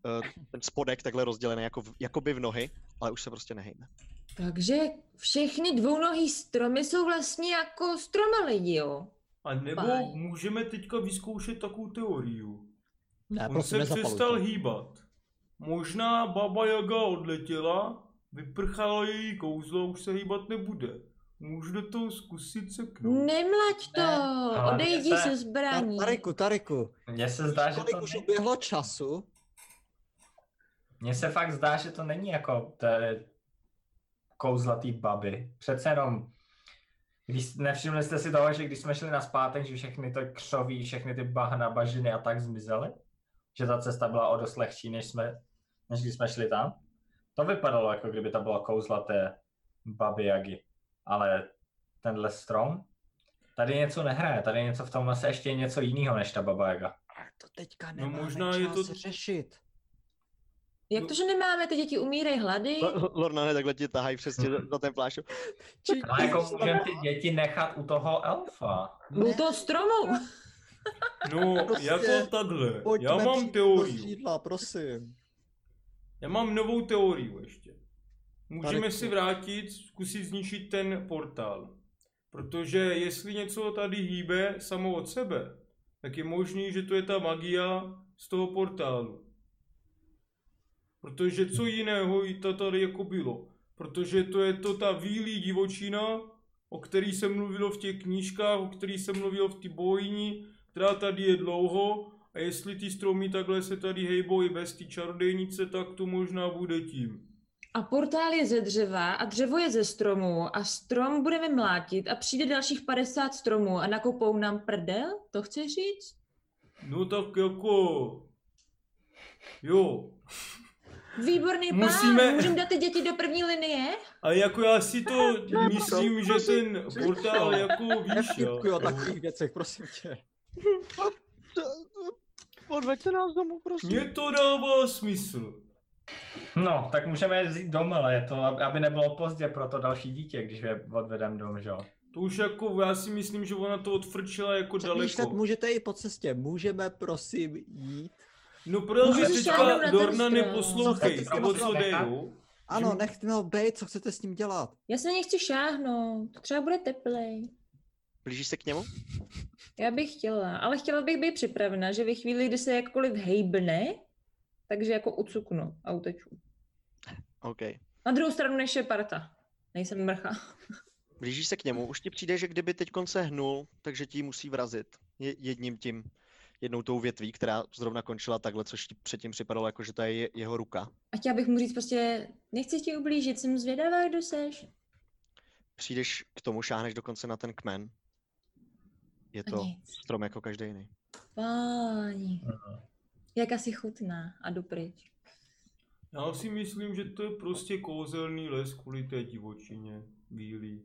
C: eh, ten spodek takhle rozdělený jako v, jakoby v nohy, ale už se prostě nehejme.
B: Takže všechny dvounohý stromy jsou vlastně jako stroma lidi, jo?
A: A nebo
B: Fajn.
A: můžeme teďka vyzkoušet takovou teoriu.
L: Ne,
A: On
L: prosím,
A: se přestal
L: nezapaluj prostě to.
A: hýbat. Možná Baba Jaga odletěla, vyprchalo její kouzlo, už se hýbat nebude. Můžu do toho zkusit seknout.
B: Nemlať to!
D: No. ale
B: Odejdi
D: ne. No,
B: se zbraní.
E: Tar- Tariku, Tariku,
D: Mně se zdá, že to
E: kolik už
D: není,
E: uběhlo času?
D: mně se fakt zdá, že to není jako tady kouzlatý baby. Přece jenom, když, nevšimli jste si toho, že když jsme šli na zpátek, že všechny to křoví, všechny ty bahna, bažiny a tak zmizely? Že ta cesta byla o dost lehčí, než, jsme, než když jsme šli tam? To vypadalo, jako kdyby to bylo kouzlaté babi jagi. Ale tenhle strom, tady něco nehraje, tady něco v tomhle se ještě je něco jiného než ta baba jaga.
E: Ale to teďka
A: No,
E: nemáme
A: možná je
E: čas
A: to-
E: řešit.
B: Jak to, že nemáme, ty děti umírají hlady?
C: No, Lornane takhle ti tahají přesně za, za ten plášť.
E: Či-
D: No jako můžeme ty děti nechat u toho elfa.
B: U toho stromu!
A: No,
E: Prostě
A: jako takhle. Já
L: Pojďme
A: mám
L: přijít do
A: teorii.
L: Sídla, prosím.
A: Já mám novou teorii ještě. Můžeme
L: Tady-
A: si vrátit, zkusit zničit ten portál. Protože jestli něco tady hýbe samo od sebe, tak je možný, že to je ta magia z toho portálu. Protože co jiného i to tady jako bylo. Protože to je to ta výlí divočina, o který se mluvilo v těch knížkách, o který se mluvilo v té bojni, která tady je dlouho a jestli ty stromy takhle se tady hejbou i bez té čarodejnice, tak to možná bude tím.
B: A portál je ze dřeva a dřevo je ze stromu a strom budeme mlátit a přijde dalších 50 stromů a nakopou nám prdel? To chci říct?
A: No tak jako... Jo.
B: Výborný plán!
A: Musíme-
B: Musíme... Můžeme dát ty děti do první linie?
A: A jako já si to myslím, že ten portál jako víš, jo.
L: Nevtipkuj o takových věcech, prosím tě.
C: Odveďte nás domů, prosím.
A: Mně to dává smysl.
D: No, tak můžeme je vzít doma, ale je to, ab- aby nebylo pozdě pro to další dítě, když je odvedem dom, že jo.
A: To už jako, já si myslím, že ona to odfrčila jako
E: Přemýšlet
A: daleko.
E: můžete i po cestě. Můžeme prosím jít.
A: No právě
B: Můžeš sáhnout
A: teďka
B: na ten
A: Dorna
B: strom.
A: neposlouchej,
E: Co chceš
A: nebo co
E: dělat?
A: jde, jo?
E: Ano, nechte ho být, co chcete s ním dělat?
B: Já se na ně chci šáhnout, třeba bude teplej.
C: Blížíš se k němu?
B: Já bych chtěla, ale chtěla bych být připravena, že ve chvíli, kdy se jakkoliv hejbne, takže jako ucuknu a uteču.
C: OK.
B: Na druhou stranu než je parta. Nejsem mrcha.
C: Blížíš se k němu, už ti přijde, že kdyby teď se hnul, takže ti ji musí vrazit Je- jedním tím, jednou tou větví, která zrovna končila takhle, což ti předtím připadalo jako, že to je je- jeho ruka.
B: A chtěla bych mu říct prostě, nechci ti ublížit, jsem zvědavá, kdo seš.
C: Přijdeš k tomu, šáhneš dokonce na ten kmen. Je
B: A
C: to
B: nic.
C: strom jako každý jiný.
B: Páni. Jak asi chutná a jdu pryč.
A: Já si myslím, že to je prostě kouzelný les kvůli té divočině. Bílý.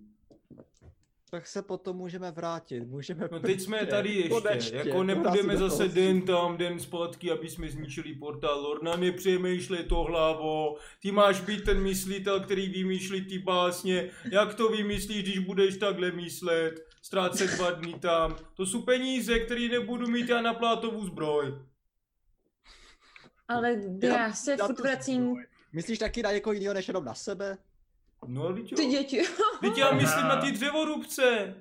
E: tak se potom můžeme vrátit. Můžeme [LAUGHS]
G: No teď jsme tady ještě,
E: konečně,
G: jako nebudeme
E: dorazíme do
G: zase
E: toho
G: den
E: sídla.
G: tam, den zpátky, aby jsme zničili portál. Lorna, nepřemýšlej to hlavo, ty máš být ten myslitel, který vymýšlí ty básně. Jak to vymyslíš, když budeš takhle myslet? Ztrácet dva dny tam. To jsou peníze, které nebudu mít já na plátovou zbroj.
F: Ale já,
E: Já-
F: se
E: já
F: furt
E: to
F: vracím
E: Myslíš taky na někoho jiného než jenom na sebe?
G: No, lidi,
F: ty
B: [LAUGHS]
F: děti.
G: Teď já myslím na ty dřevorubce.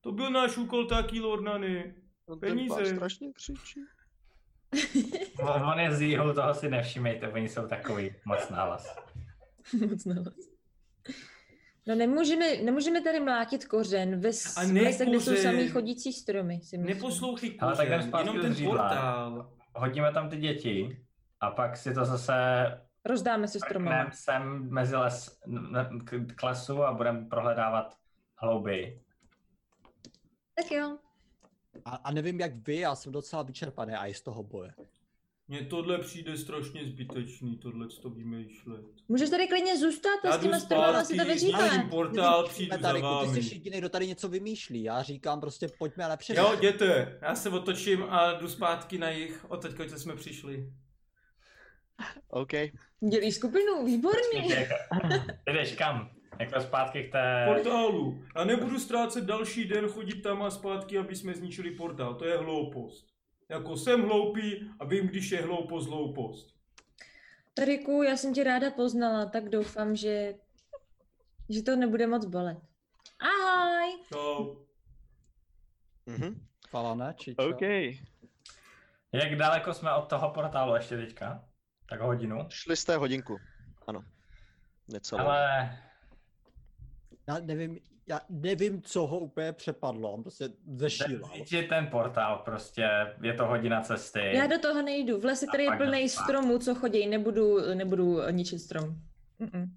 G: To byl náš úkol taky, Lornany.
C: On
G: Peníze.
C: Ten pán strašně křičí.
D: No, On on je z jihu, toho si nevšimejte, oni jsou takový moc nálas.
F: Moc nahlas. No nemůžeme, nemůžeme tady mlátit kořen ve s-
G: A ne
F: kde jsou
G: kořen.
F: samý chodící stromy, si myslím.
G: Neposlouchej
D: Ale tak jdem
G: kořen,
D: zpátky
G: jenom
D: do
G: ten
D: zřídla.
G: portál.
D: Hodíme tam ty děti a pak si to zase
F: Rozdáme se stromama.
D: prkneme sem mezi les, n- k, k lesu a budeme prohledávat hlouby.
F: Tak jo.
E: A, a nevím jak vy, já jsem docela vyčerpaný a i z toho boje.
G: Mně tohle přijde strašně zbytečný, tohle to vymýšlet.
F: Můžeš tady klidně zůstat a s těma stromama si to
G: zničím
F: vyříkám.
G: portál,
E: Nevím,
G: přijdu za
E: Tariku, ty
G: vámi.
E: jsi jediný, kdo tady něco vymýšlí. Já říkám prostě pojďme lepší.
G: Jo, jděte, já se otočím a jdu zpátky na jich, od teďka, co jsme přišli.
C: OK.
F: Dělí skupinu, výborný.
D: Ty jdeš kam? Jako zpátky k té...
G: Portálu. A nebudu ztrácet další den chodit tam a zpátky, aby jsme zničili portál, to je hloupost. Jako jsem hloupý a vím, když je hloupost hloupost.
F: Tariku, já jsem tě ráda poznala, tak doufám, že, že to nebude moc bolet. Ahoj!
G: Čau.
C: Mhm.
E: Falane, či čo?
C: OK.
D: Jak daleko jsme od toho portálu ještě teďka? Tak hodinu.
C: Šli jste hodinku. Ano. Necelou.
D: Ale
E: Já nevím, já nevím, co ho úplně přepadlo, on prostě zešílal.
D: Říct, že ten portál prostě, je to hodina cesty.
F: Já do toho nejdu. V lese tady je
D: A pak
F: plný
D: jdem spát.
F: stromů, co chodí, nebudu, nebudu ničit strom. Mm-mm.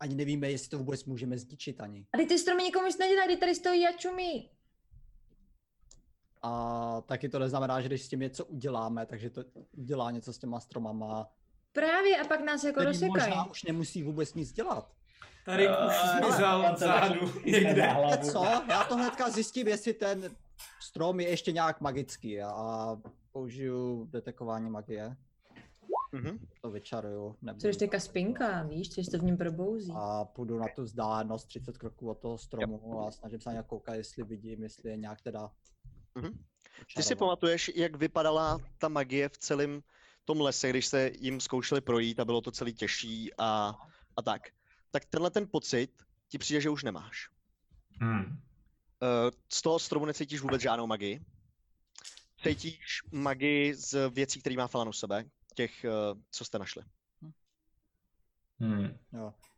E: Ani nevíme, jestli to vůbec můžeme zničit ani.
F: A teď ty stromy nikomu nic nedělají, teď tady stojí jačumi.
E: A taky to neznamená, že když s tím něco uděláme, takže to udělá něco s těma stromama,
F: Právě a pak nás jako
E: který
F: rozsekají.
E: možná už nemusí vůbec nic dělat.
G: Tady už zmizel zádu někde.
E: Víte co? Já to hnedka zjistím, jestli ten strom je ještě nějak magický a- a použiju detekování magie.
C: Mhm.
E: To vyčaruju. nebudu
F: Co když teďka
E: dělat.
F: spinka, víš, co když to v něm probouzí.
E: A půjdu na tu vzdálenost 30 kroků od toho stromu a snažím se na nějak koukat, jestli vidím, jestli je nějak teda...
C: Mhm. Ty si
E: očarovaný.
C: pamatuješ, jak vypadala ta magie v celém tom lese, když se jim zkoušeli projít a bylo to celý těžší a, a tak. Tak tenhle ten pocit ti přijde, že už nemáš.
D: Hmm.
C: Eh, z toho stromu necítíš vůbec žádnou magii. Cítíš magii z věcí, které má Falan u sebe, těch, eh, co jste našli.
D: Hmm.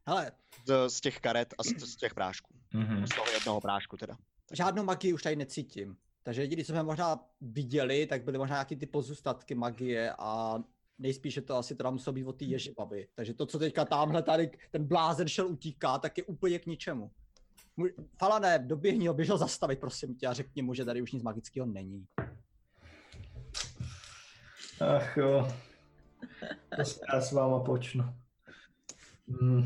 E: Hele,
C: Z, z těch karet a z, z těch prášků.
D: Mhm.
C: Z toho jednoho prášku teda.
E: žádnou magii už tady necítím. Takže jediný, co jsme možná viděli, tak byly možná nějaký ty pozůstatky magie a nejspíše to asi teda muselo být od té ježibaby. Takže to, co teďka tamhle tady ten blázen šel utíká, tak je úplně k ničemu. Mu- Falane, doběhni ho, běž ho zastavit, prosím tě, a řekni mu, že tady už nic magického není.
D: Ach jo. To se já s váma počnu. Hmm.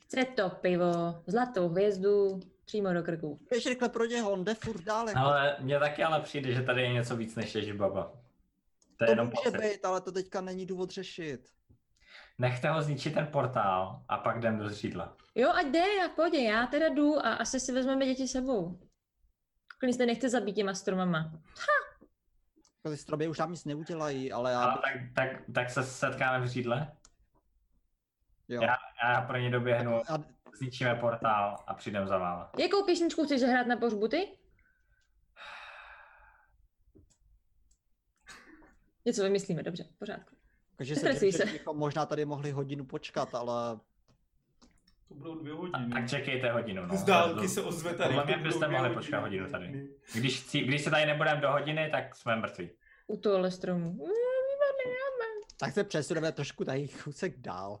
F: Chce to pivo, zlatou hvězdu, přímo do krku.
E: Běž rychle pro něho, on jde furt daleko.
D: Ale mně taky ale přijde, že tady je něco víc než Ježibaba. To je
E: To
D: jenom
E: může
D: pocit.
E: být, ale to teďka není důvod řešit.
D: Nechte ho zničit ten portál a pak jdem do zřídla.
F: Jo, ať jde, já pojď, já teda jdu a asi si vezmeme děti sebou. Klidně se nechte zabít těma stromama.
E: Ty stromy už nám nic neudělají, ale já...
D: Ale tak, tak, tak se setkáme v řídle
E: jo.
D: a já pro ně doběhnu,
E: A
D: zničíme portál a přijdem za váma.
F: Jakou písničku chceš zahrát na pohřbu ty? Něco vymyslíme, dobře, v pořádku.
E: Takže se
F: Ztratí
E: tím, že
F: se.
E: bychom možná tady mohli hodinu počkat, ale
G: To budou dvě
D: A,
G: hodiny.
D: tak čekejte hodinu. No.
G: Z dálky se ozve tady.
D: Podle mě
G: "To
D: byste
G: budou dvě
D: mohli počkat hodinu tady.
G: hodiny."
D: Když, chci, když se tady nebudeme do hodiny, tak jsme mrtví.
F: U tohohle stromu. Mm, výborný.
E: tak se přesuneme trošku tady kousek dál.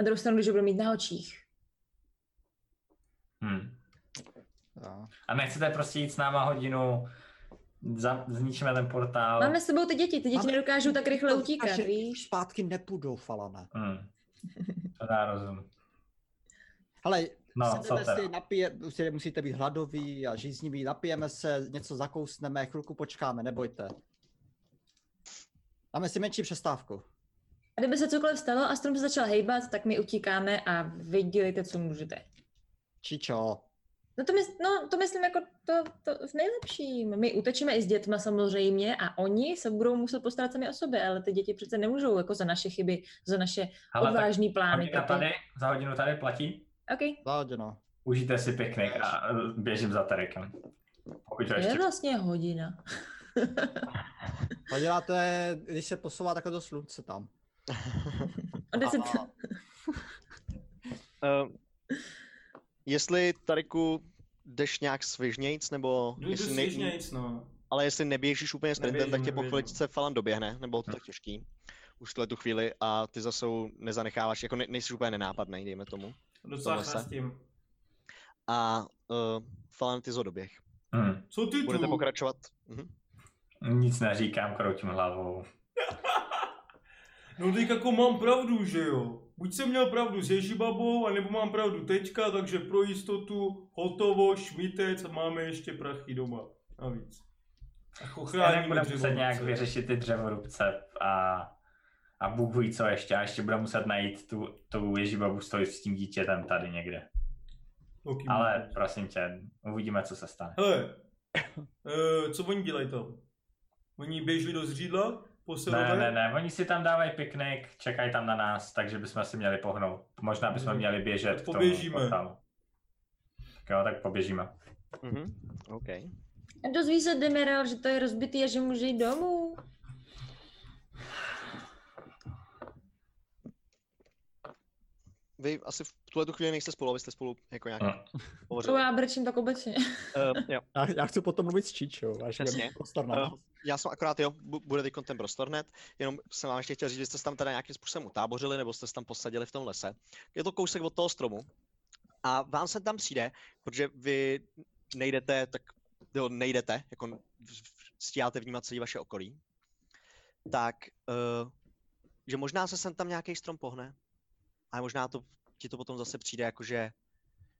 F: Na druhou stranu, když ho budu mít na očích.
D: Hmm.
E: Jo.
D: A nechcete prostě jít s náma hodinu, za, zničíme ten portál.
F: Máme s sebou ty děti, ty děti
E: Máme-
F: nedokážou tak rychle
E: To
F: utíkat,
E: říkáš, že
F: víš?
E: Zpátky nepůjdou, Falane.
D: Hmm. To dá rozum.
E: Hele,
D: No, co
E: sedneme
D: teda?
E: si, napije, musíte, musíte být hladoví a žízniví, napijeme se, něco zakousneme, chvilku počkáme, nebojte. Dáme si menší přestávku.
B: A kdyby se cokoliv stalo a strom se začal hejbat, tak my utíkáme a vydělejte, co můžete.
E: Čičo,
B: No to, mys- no to myslím jako to, to v nejlepším. My utečeme i s dětma samozřejmě a oni se budou muset postarat sami o sebe, ale ty děti přece nemůžou jako za naše chyby, za naše
D: Hele, tak
B: odvážný plány.
D: hodina tady, za hodinu tady platí.
B: Okay.
E: zahodino.
D: Užijte si piknik a eh, běžím za Terekem. Pokud to ještě...
B: Je vlastně hodina.
E: To děláte, když se posouvá takhle do slunce tam.
B: O deset...
C: A- Ehm, jestli Tariku jdeš nějak svižnějc, nebo
A: Jdu
C: jestli
A: svižně nic, no.
C: ale jestli neběžíš úplně sprintem,
A: Neběžím,
C: tak tě po
A: neběžím. No.
C: chviličce Falan doběhne, nebo to je těžký. Už v tu chvíli a ty zase nezanecháváš, jako ne, nejsi úplně nenápadný, dejme tomu.
A: Docela
C: Tohle se.
A: chrastím.
C: A uh, Falan ty zo doběh.
D: Hm,
A: Co ty
C: Budete
A: tu?
C: pokračovat? Mhm.
D: nic neříkám, kroutím hlavou.
G: No teď jako mám pravdu, že jo? Buď jsem měl pravdu s Ježibabou, anebo mám pravdu teďka, takže pro jistotu hotovo, šmitec a máme ještě prachy doma. Navíc. A
D: Já
G: chochráníme
D: budeme muset
G: dřevo.
D: nějak vyřešit ty dřevorubce a, a Bůh ví co ještě. A ještě budeme muset najít tu, tu Ježíbabu stojí s tím dítětem tady někde.
G: Velký
D: Ale
G: mluvčí.
D: prosím tě, uvidíme, co se stane.
G: Hele, eh, co oni dělají tam? Oni běželi do zřídla?
D: Ne,
G: Poselové?
D: ne, ne, oni si tam dávají piknik, čekají tam na nás, takže bychom si měli pohnout. Možná bychom
G: Mhm.
D: měli běžet k tomu
G: Poběžíme.
D: portálu. Tak jo, tak poběžíme.
C: Mhm. OK.
B: A dozví se Demeral, že to je rozbitý a že může jít domů.
C: Vy asi v tuhle tu chvíli nejste spolu, abyste spolu jako nějak
D: Mhm.
B: To
C: hovořili.
B: já brečím tak obecně.
C: Uh, jo.
M: Já, já chci potom mluvit s Číčou, až
C: Přesně.
M: bude prostor
E: no.
M: na
C: Eh,
M: nás.
C: Já jsem akorát, jo, bu- bude teď ten prostornet, jenom jsem vám ještě chtěl říct, že jste se tam teda nějakým způsobem utábořili, nebo jste se tam posadili v tom lese. Je to kousek od toho stromu. A vám se tam přijde, protože vy nejdete, tak jo, nejdete, jako v- v- stíháte vnímat celé vaše okolí, tak, uh, že možná se sem tam nějaký strom pohne, ale možná to, ti to potom zase přijde, jako, jakože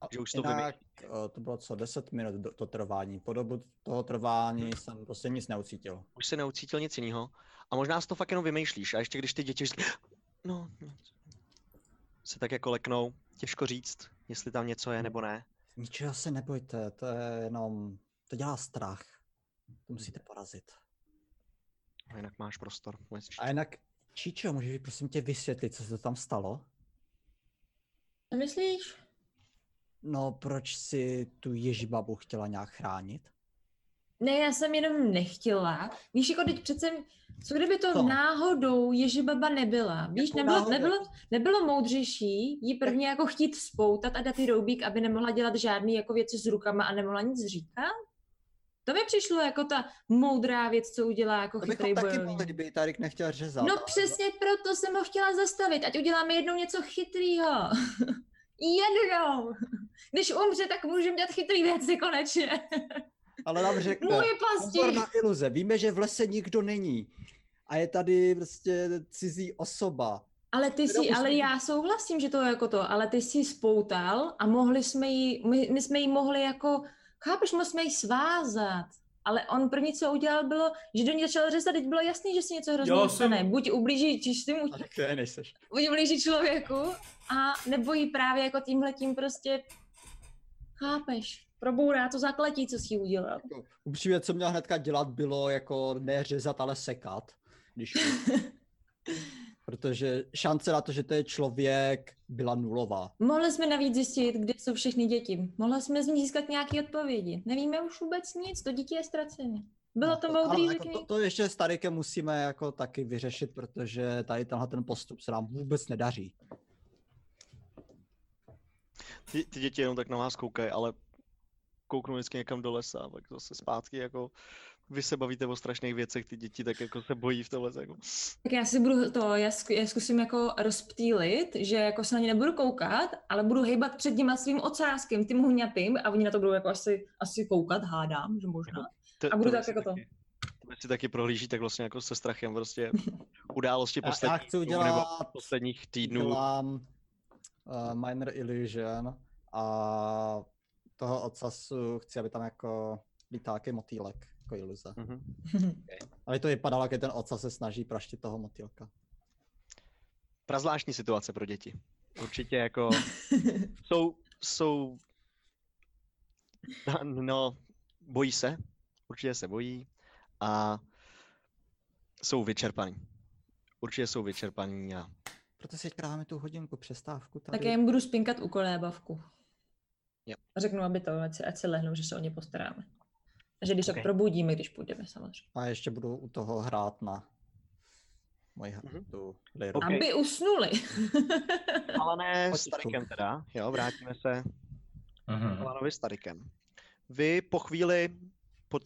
E: A
C: Že už to
E: jinak, eh, to bylo co, 10 minut do, to trvání. Po dobu toho trvání jsem prostě nic neucítil.
C: už se neucítil nic jiného. A možná si to fakt jenom vymýšlíš. A ještě když ty děti říkají, no, no, se tak jako leknou. Těžko říct, jestli tam něco je nebo ne.
E: Ničeho se nebojte, to je jenom, to dělá strach. To musíte porazit.
C: A No, jinak máš prostor. Můžeš
E: A jinak, Číčo, můžeš mi prosím tě vysvětlit, co se tam stalo?
B: Co myslíš?
E: No, proč si tu ježibabu chtěla nějak chránit?
B: Ne, já jsem jenom nechtěla. Víš, jako teď přece, co kdyby to
E: Co?
B: náhodou Ježibaba nebyla? Víš,
E: Jakou
B: nebylo,
E: náhodou?
B: nebylo, nebylo moudřejší jí prvně jako chtít spoutat a dát jí roubík, aby nemohla dělat žádný jako věci s rukama a nemohla nic říkat? To mi přišlo jako ta moudrá věc, co udělá jako
E: To
B: chytrý
E: bychom taky
B: bojovník.
E: mohli, kdyby Tarik nechtěl řezat.
B: No přesně proto jsem ho chtěla zastavit, ať uděláme jednou něco chytrýho. [LAUGHS] jednou. Když umře, tak můžeme dělat chytrý věci konečně.
E: Ale nám řekne,
B: Můj pastí.
E: pozorná iluze, víme, že v lese nikdo není. A je tady prostě cizí osoba.
B: Ale ty
E: Teda
B: si,
E: už-
B: ale já souhlasím, že to je jako to, ale ty jsi ji spoutal a mohli jsme ji, my, my jsme ji mohli jako, chápeš, mohli jsme ji svázat. Ale on první, co udělal, bylo, že do ní začal řezat, teď bylo jasný, že si něco hrozného
G: Já jsem-
B: stane. Buď ublíží čistým,
M: A tak to je, nejseš.
B: buď ublíží člověku, a nebo ji právě jako tímhletím prostě, chápeš, probourá to zakletí, co si udělal.
E: Jako, Upřímně, co měl hnedka dělat, bylo jako neřezat, ale sekat. Když...
B: [LAUGHS]
E: Protože šance na to, že to je člověk, byla nulová.
B: [LAUGHS] Mohli jsme navíc zjistit, kde jsou všechny děti. Mohli jsme z ní získat nějaké odpovědi. Nevíme už vůbec nic, to dítě je ztracené. Bylo to
E: No, ale
B: moudrý
E: jako to,
B: jako
E: to ještě s Tarikem musíme jako taky vyřešit, protože tady tenhle ten postup se nám vůbec nedaří.
C: ty, ty děti jenom tak na vás koukají, ale kouknou vždycky někam do lesa a pak zase zpátky jako vy se bavíte o strašných věcech, ty děti tak jako se bojí v tom lese. Jako.
B: Tak já si budu to, já, zku, já zkusím jako rozptýlit, že jako se na ně nebudu koukat, ale budu hejbat před nima svým ocáskem, tím hňapým a oni na to budou jako asi, asi koukat, hádám, že možná.
C: Te-
B: A budu
C: tohle
B: tak
C: si
B: jako to.
C: taky- tohle si taky prohlíží tak vlastně jako se strachem
B: [LAUGHS]
C: prostě události posledních
E: Já, já chci
C: dnů nebo
E: udělat,
C: posledních týdnů.
E: dělám uh, Minor eh, Illusion A toho ocasu chci, aby tam jako lítáky motýlek, jako iluze.
C: Mhm.
F: [LAUGHS]
E: Aby to vypadalo, jak ten ocas se snaží praštit toho motýlka.
C: Prazvláštní situace pro děti. Určitě jako jsou, jsou, no, bojí se, určitě se bojí a jsou vyčerpaní. Určitě jsou vyčerpaní a
E: Proto si teďka dáme tu hodinku přestávku tady.
F: Tak já jim budu spinkat u kolébavku.
C: Jo.
F: A řeknu, aby to, ať si, ať si lehnou, že se o ně postaráme. A že když okay. se
H: Ok.
F: probudíme, když půjdeme samozřejmě.
E: A ještě budu u toho hrát na moji hra,
C: Mhm.
E: tu liru.
C: Ok.
F: Okay. Aby usnuli. [LAUGHS]
C: Ale ne s
E: Potichu.
C: Tarikem teda, jo, vrátíme se
D: Mhm.
C: Alanovi s Tarikem. Vy po chvíli, po...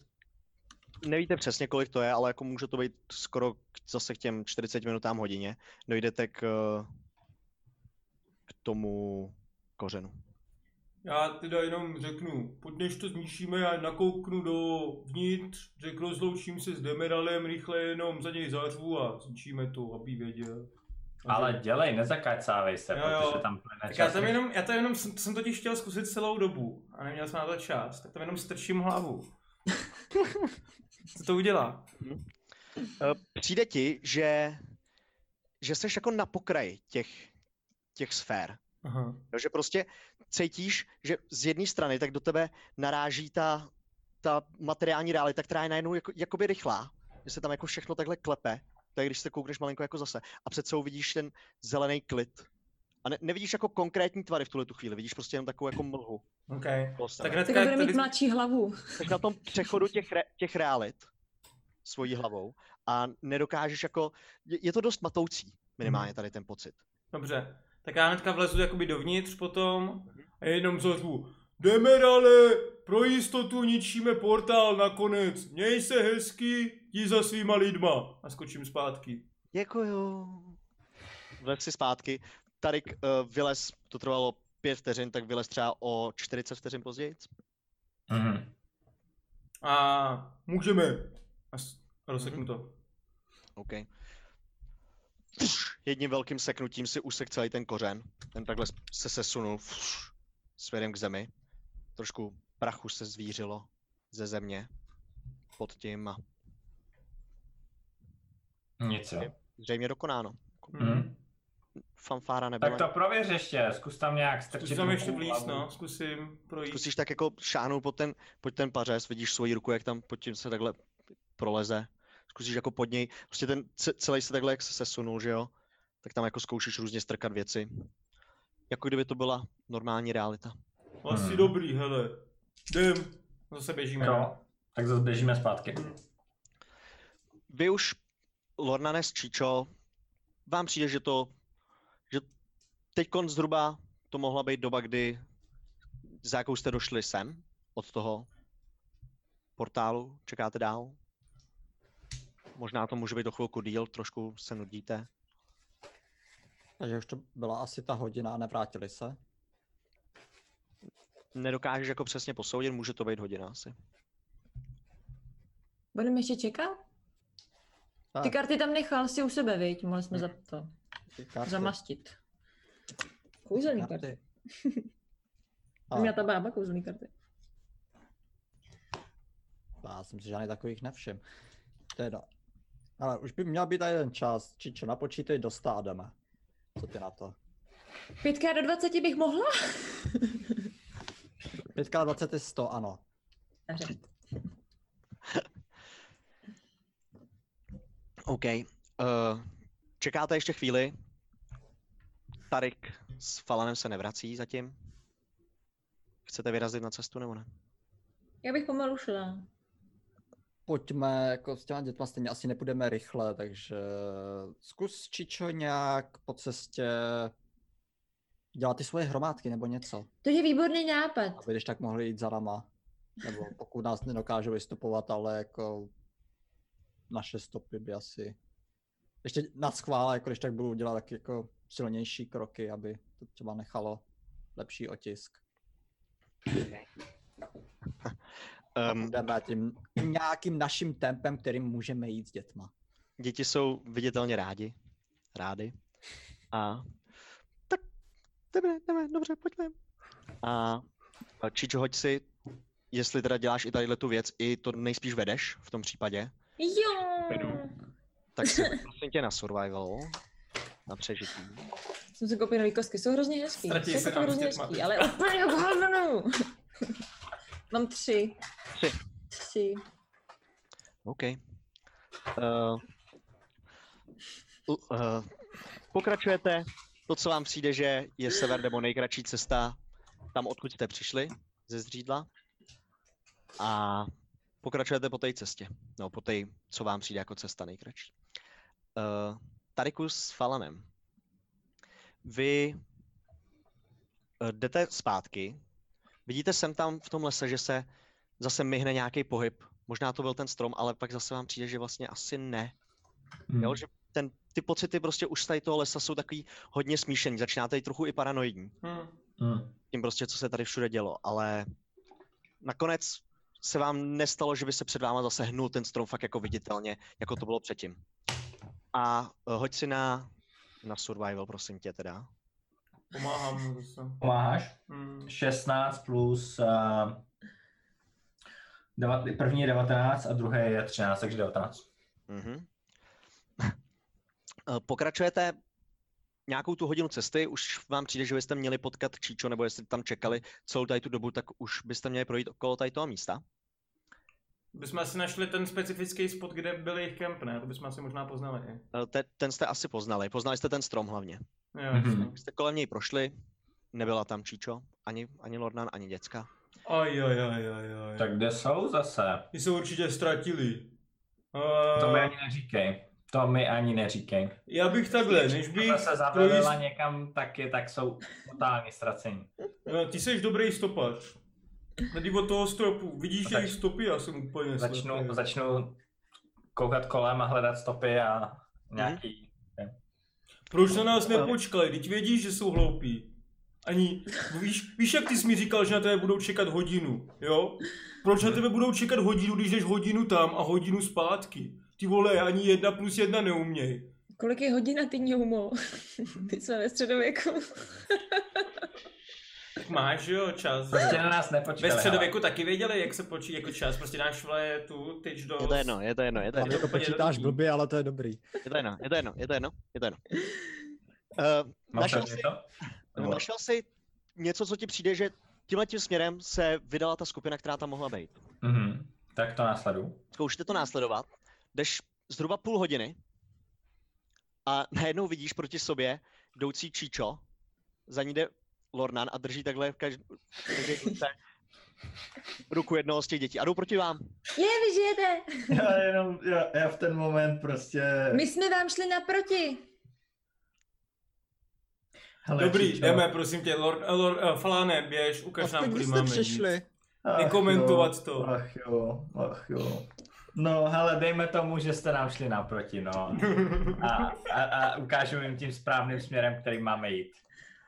C: nevíte přesně kolik to je, ale jako může to být skoro k- zase k těm 40 minutám hodině, dojdete k, eh, k tomu kořenu.
G: Já teda jenom řeknu, pod než to zničíme, já nakouknu do vnitř, řeknu, rozloučím se s Demeralem, rychle jenom za něj zařvu a zničíme to, aby věděl.
D: Ale dělej, nezakacávej se,
G: Jo, jo.
D: protože tam plyne
G: Tak já
D: čas.
G: tam jenom, já tam jenom jsem, jsem totiž chtěl zkusit celou dobu a neměl jsem na to čas, tak tam jenom strčím hlavu. Co to udělá?
C: Eh, Přijde ti, že, že jsi jako na pokraji těch, těch sfér.
G: Aha.
C: Jo, že prostě cítíš, že z jedné strany tak do tebe naráží ta, ta materiální realita, která je najednou jako, jakoby rychlá, že se tam jako všechno takhle klepe, tak když se koukneš malinko jako zase a před sebou vidíš ten zelený klid. A ne, nevidíš jako konkrétní tvary v tuhle tu chvíli, vidíš prostě jenom takovou jako mlhu.
G: OK.
C: okolo
G: Tak
C: sebe.
F: tak
G: hnedka,
F: bude
G: jak
F: mít
G: tady,
F: mladší hlavu.
C: Jsi na tom přechodu těch, re, těch realit svojí hlavou a nedokážeš jako, je, je to dost matoucí minimálně tady ten pocit.
G: dobře, tak já hnedka vlezu jakoby dovnitř potom a jenom zařvu. Demerale, pro jistotu ničíme portál nakonec, měj se hezky, jdi za svýma lidma. A skočím zpátky.
C: Děkuju. Vlez si zpátky. Tarik uh, vylez, to trvalo pět vteřin, tak vylez třeba o 40 vteřin později.
D: Mhm.
G: A můžeme. A s- rozseknu to.
C: OK. Pš, Jedním velkým seknutím si usek celý ten kořen. Ten takhle se sesunul pš, směrem k zemi. Trošku prachu se zvířilo ze země pod tím a
D: Nic jo.
C: zřejmě dokonáno.
D: Mhm.
C: Fanfára nebyla.
D: Tak to prověř ještě, zkus tam nějak strčit
G: Zkusím tam ještě
D: ruku,
G: vlíz,
D: hlavu.
G: no, zkusím projít.
C: Zkusíš tak jako šáhnout pod ten, pod ten pařez, vidíš svoji ruku, jak tam pod tím se takhle proleze. Zkusíš jako pod něj, prostě ten ce- celý se takhle jak se sesunul, že jo? Tak tam jako zkoušíš různě strkat věci. Jako kdyby to byla normální realita.
G: Asi
D: Mhm.
G: dobrý, hele. Jdem. Zase běžíme.
D: Jo, tak zase běžíme zpátky.
C: Vy už, Lornanes Čičo, vám přijde, že to, že teď zhruba to mohla být doba, kdy za jakou jste došli sem od toho portálu, čekáte dál. Možná to může být do chvilku díl, trošku se nudíte.
E: Takže už to byla asi ta hodina a nevrátili se.
C: Nedokážeš jako přesně posoudit, může to být hodina asi.
F: Budeme ještě čekat?
E: Tak,
F: Ty karty tam nechal si u sebe, viď? Mohli jsme za to
E: ty karty,
F: zamastit. Kouzelní karty.
E: karty.
F: [LAUGHS] Tam měla ta bába kouzelní karty.
E: Já jsem si žádný takových nevšiml. Teda. Ale už by měl být tady jeden čas. Čičo, napočítej do sta a jdeme. Co ty na to?
F: Pětkrát do 20 bych mohla?
E: 5 20 je 100, ano.
F: Dobře.
C: OK. Uh, čekáte ještě chvíli. Tarik s Falanem se nevrací zatím. Chcete vyrazit na cestu nebo ne?
F: Já bych pomalu šla.
E: Pojďme, jako s těma dětma stejně asi nepůjdeme rychle, takže zkus Čičo nějak po cestě dělat ty svoje hromádky nebo něco,
F: To je výborný nápad.
E: aby když tak mohli jít za náma. Nebo pokud nás nedokážou vystupovat, ale jako naše stopy by asi... Ještě na schvále, jako když tak budou dělat tak jako silnější kroky, aby to třeba nechalo lepší otisk.
C: Um,
E: Jdeme tím nějakým naším tempem, kterým můžeme jít s dětma.
C: děti jsou viditelně rádi, rády. A tak jdeme, jdeme, dobře, pojďme. A a Čičo, hoď si, jestli teda děláš i tadyhle tu věc, i to nejspíš vedeš v tom případě,
F: Jo!
C: tak si hoď, prosím tě na survival, na přežití.
F: Jsem si koupil nový kostky, jsou hrozně hezký.
A: Ztratí
F: jsou
A: se
F: fakt
A: nám
F: hrozně
A: s dětma
F: hezký,
A: teď.
F: ale úplně v hovnu. Mám tři.
C: Tři.
F: Tři.
C: OK. Eh, Uh, uh, pokračujete. To, co vám přijde, že je sever nebo nejkratší cesta tam, odkud jste přišli ze Zřídla. A pokračujete po té cestě. No, po té, co vám přijde jako cesta nejkratší. Uh, Tariku s Falanem. Vy eh, jdete zpátky. Vidíte sem tam v tom lese, že se zase mihne nějaký pohyb. Možná to byl ten strom, ale pak zase vám přijde, že vlastně asi ne.
D: Hmm.
C: Jo, že ten, ty pocity prostě už z tady toho lesa jsou takový hodně smíšený. Začínáte i trochu i paranoidní
G: Mhm.
A: Hm.
D: Hmm.
C: tím prostě, co se tady všude dělo, ale nakonec se vám nestalo, že by se před váma zase hnul ten strom fakt jako viditelně, jako to bylo předtím. A eh, hoď si na, na survival, prosím tě teda.
A: Pomáhám mu zase.
D: Pomáháš?
G: Mhm.
A: Hm.
D: 16 plus uh, deva, první je 19 a druhý je 13, takže 19.
C: Mhm. [LAUGHS] Eh, Pokračujete nějakou tu hodinu cesty, už vám přijde, že byste měli potkat Číčo, nebo jestli tam čekali celou tady tu dobu, tak už byste měli projít okolo tady toho místa.
A: Bychom asi našli ten specifický spot, kde byl jejich kemp, ne? To bychom asi možná poznali. i.
C: Eh, Te, ten jste asi poznali, poznali jste ten strom hlavně.
A: Jo,
D: Mhm.
A: mm-hmm.
C: Když jste kolem něj prošli, nebyla tam Číčo, ani, ani Lornan, ani děcka.
A: Aj, aj, aj, aj, aj.
D: Tak kde jsou zase?
A: Ty se určitě ztratili.
D: To mi
A: Uh,
D: ani neříkej. To mi ani neříkej.
A: já bych takhle, než bych...
D: Když se zavelila
A: projist-
D: někam taky, tak jsou totálně ztracení.
A: No, ty jsi dobrý stopař. Tady od toho stropu, vidíš
D: Zač-
A: jejich stopy, já jsem úplně
D: Začnu,
A: slepý.
D: začnu koukat kolem a hledat stopy a nějaký...
A: Proč na nás nepočkali? Teď vědí, že jsou hloupí. Ani, víš, víš, jak ty jsi mi říkal, že na tebe budou čekat hodinu, jo? Proč na tebe budou čekat hodinu, když jdeš hodinu tam a hodinu zpátky? Ty vole, ani jedna plus jedna neuměj.
F: Kolik je hodina týdní humo? Teď jsme ve středověku.
A: Tak máš, jo, čas.
D: Prostě na nás nepočkali.
A: Ve středověku taky věděli, jak se počí jako čas, prostě dáš vole tu tyč do...
C: Je to jedno, je to jedno, je to jedno,
E: Tam to
A: úplně
E: počítáš
A: jednoduchý.
E: blbě, ale to je dobrý.
C: je to jedno, je to jedno, je to jedno, je to jedno. Uh,
D: hele. Máš
C: našel,
D: tady
C: jsi,
D: to? Nebo-
C: našel jsi něco, co ti přijde, že tímhle tím směrem se vydala ta skupina, která tam mohla být.
D: Mhm. Tak to následu.
C: Zkoušíte to následovat, jdeš zhruba půl hodiny a najednou vidíš proti sobě jdoucí Číčo, za ní jde Lornan a drží takhle v každé ruku jednoho z těch dětí a jdou proti vám.
F: Je, vy žijete!
D: Já jenom, já, já v ten moment prostě...
F: My jsme vám šli naproti.
D: Hele,
A: Dobrý,
D: Číčo.
A: jdeme, prosím tě, Lord, eh, Lord uh, Falane, běž, ukaž nám,
E: Aspoň vy
A: kudy
E: jste
A: máme. jít.
E: přišli. No,
D: Ach
A: Nekomentovat
D: jo,
A: to.
D: Ach jo, ach jo. No hele, dejme tomu, že jste nám šli naproti, no. A, a, a ukážu jim tím správným směrem, který máme jít.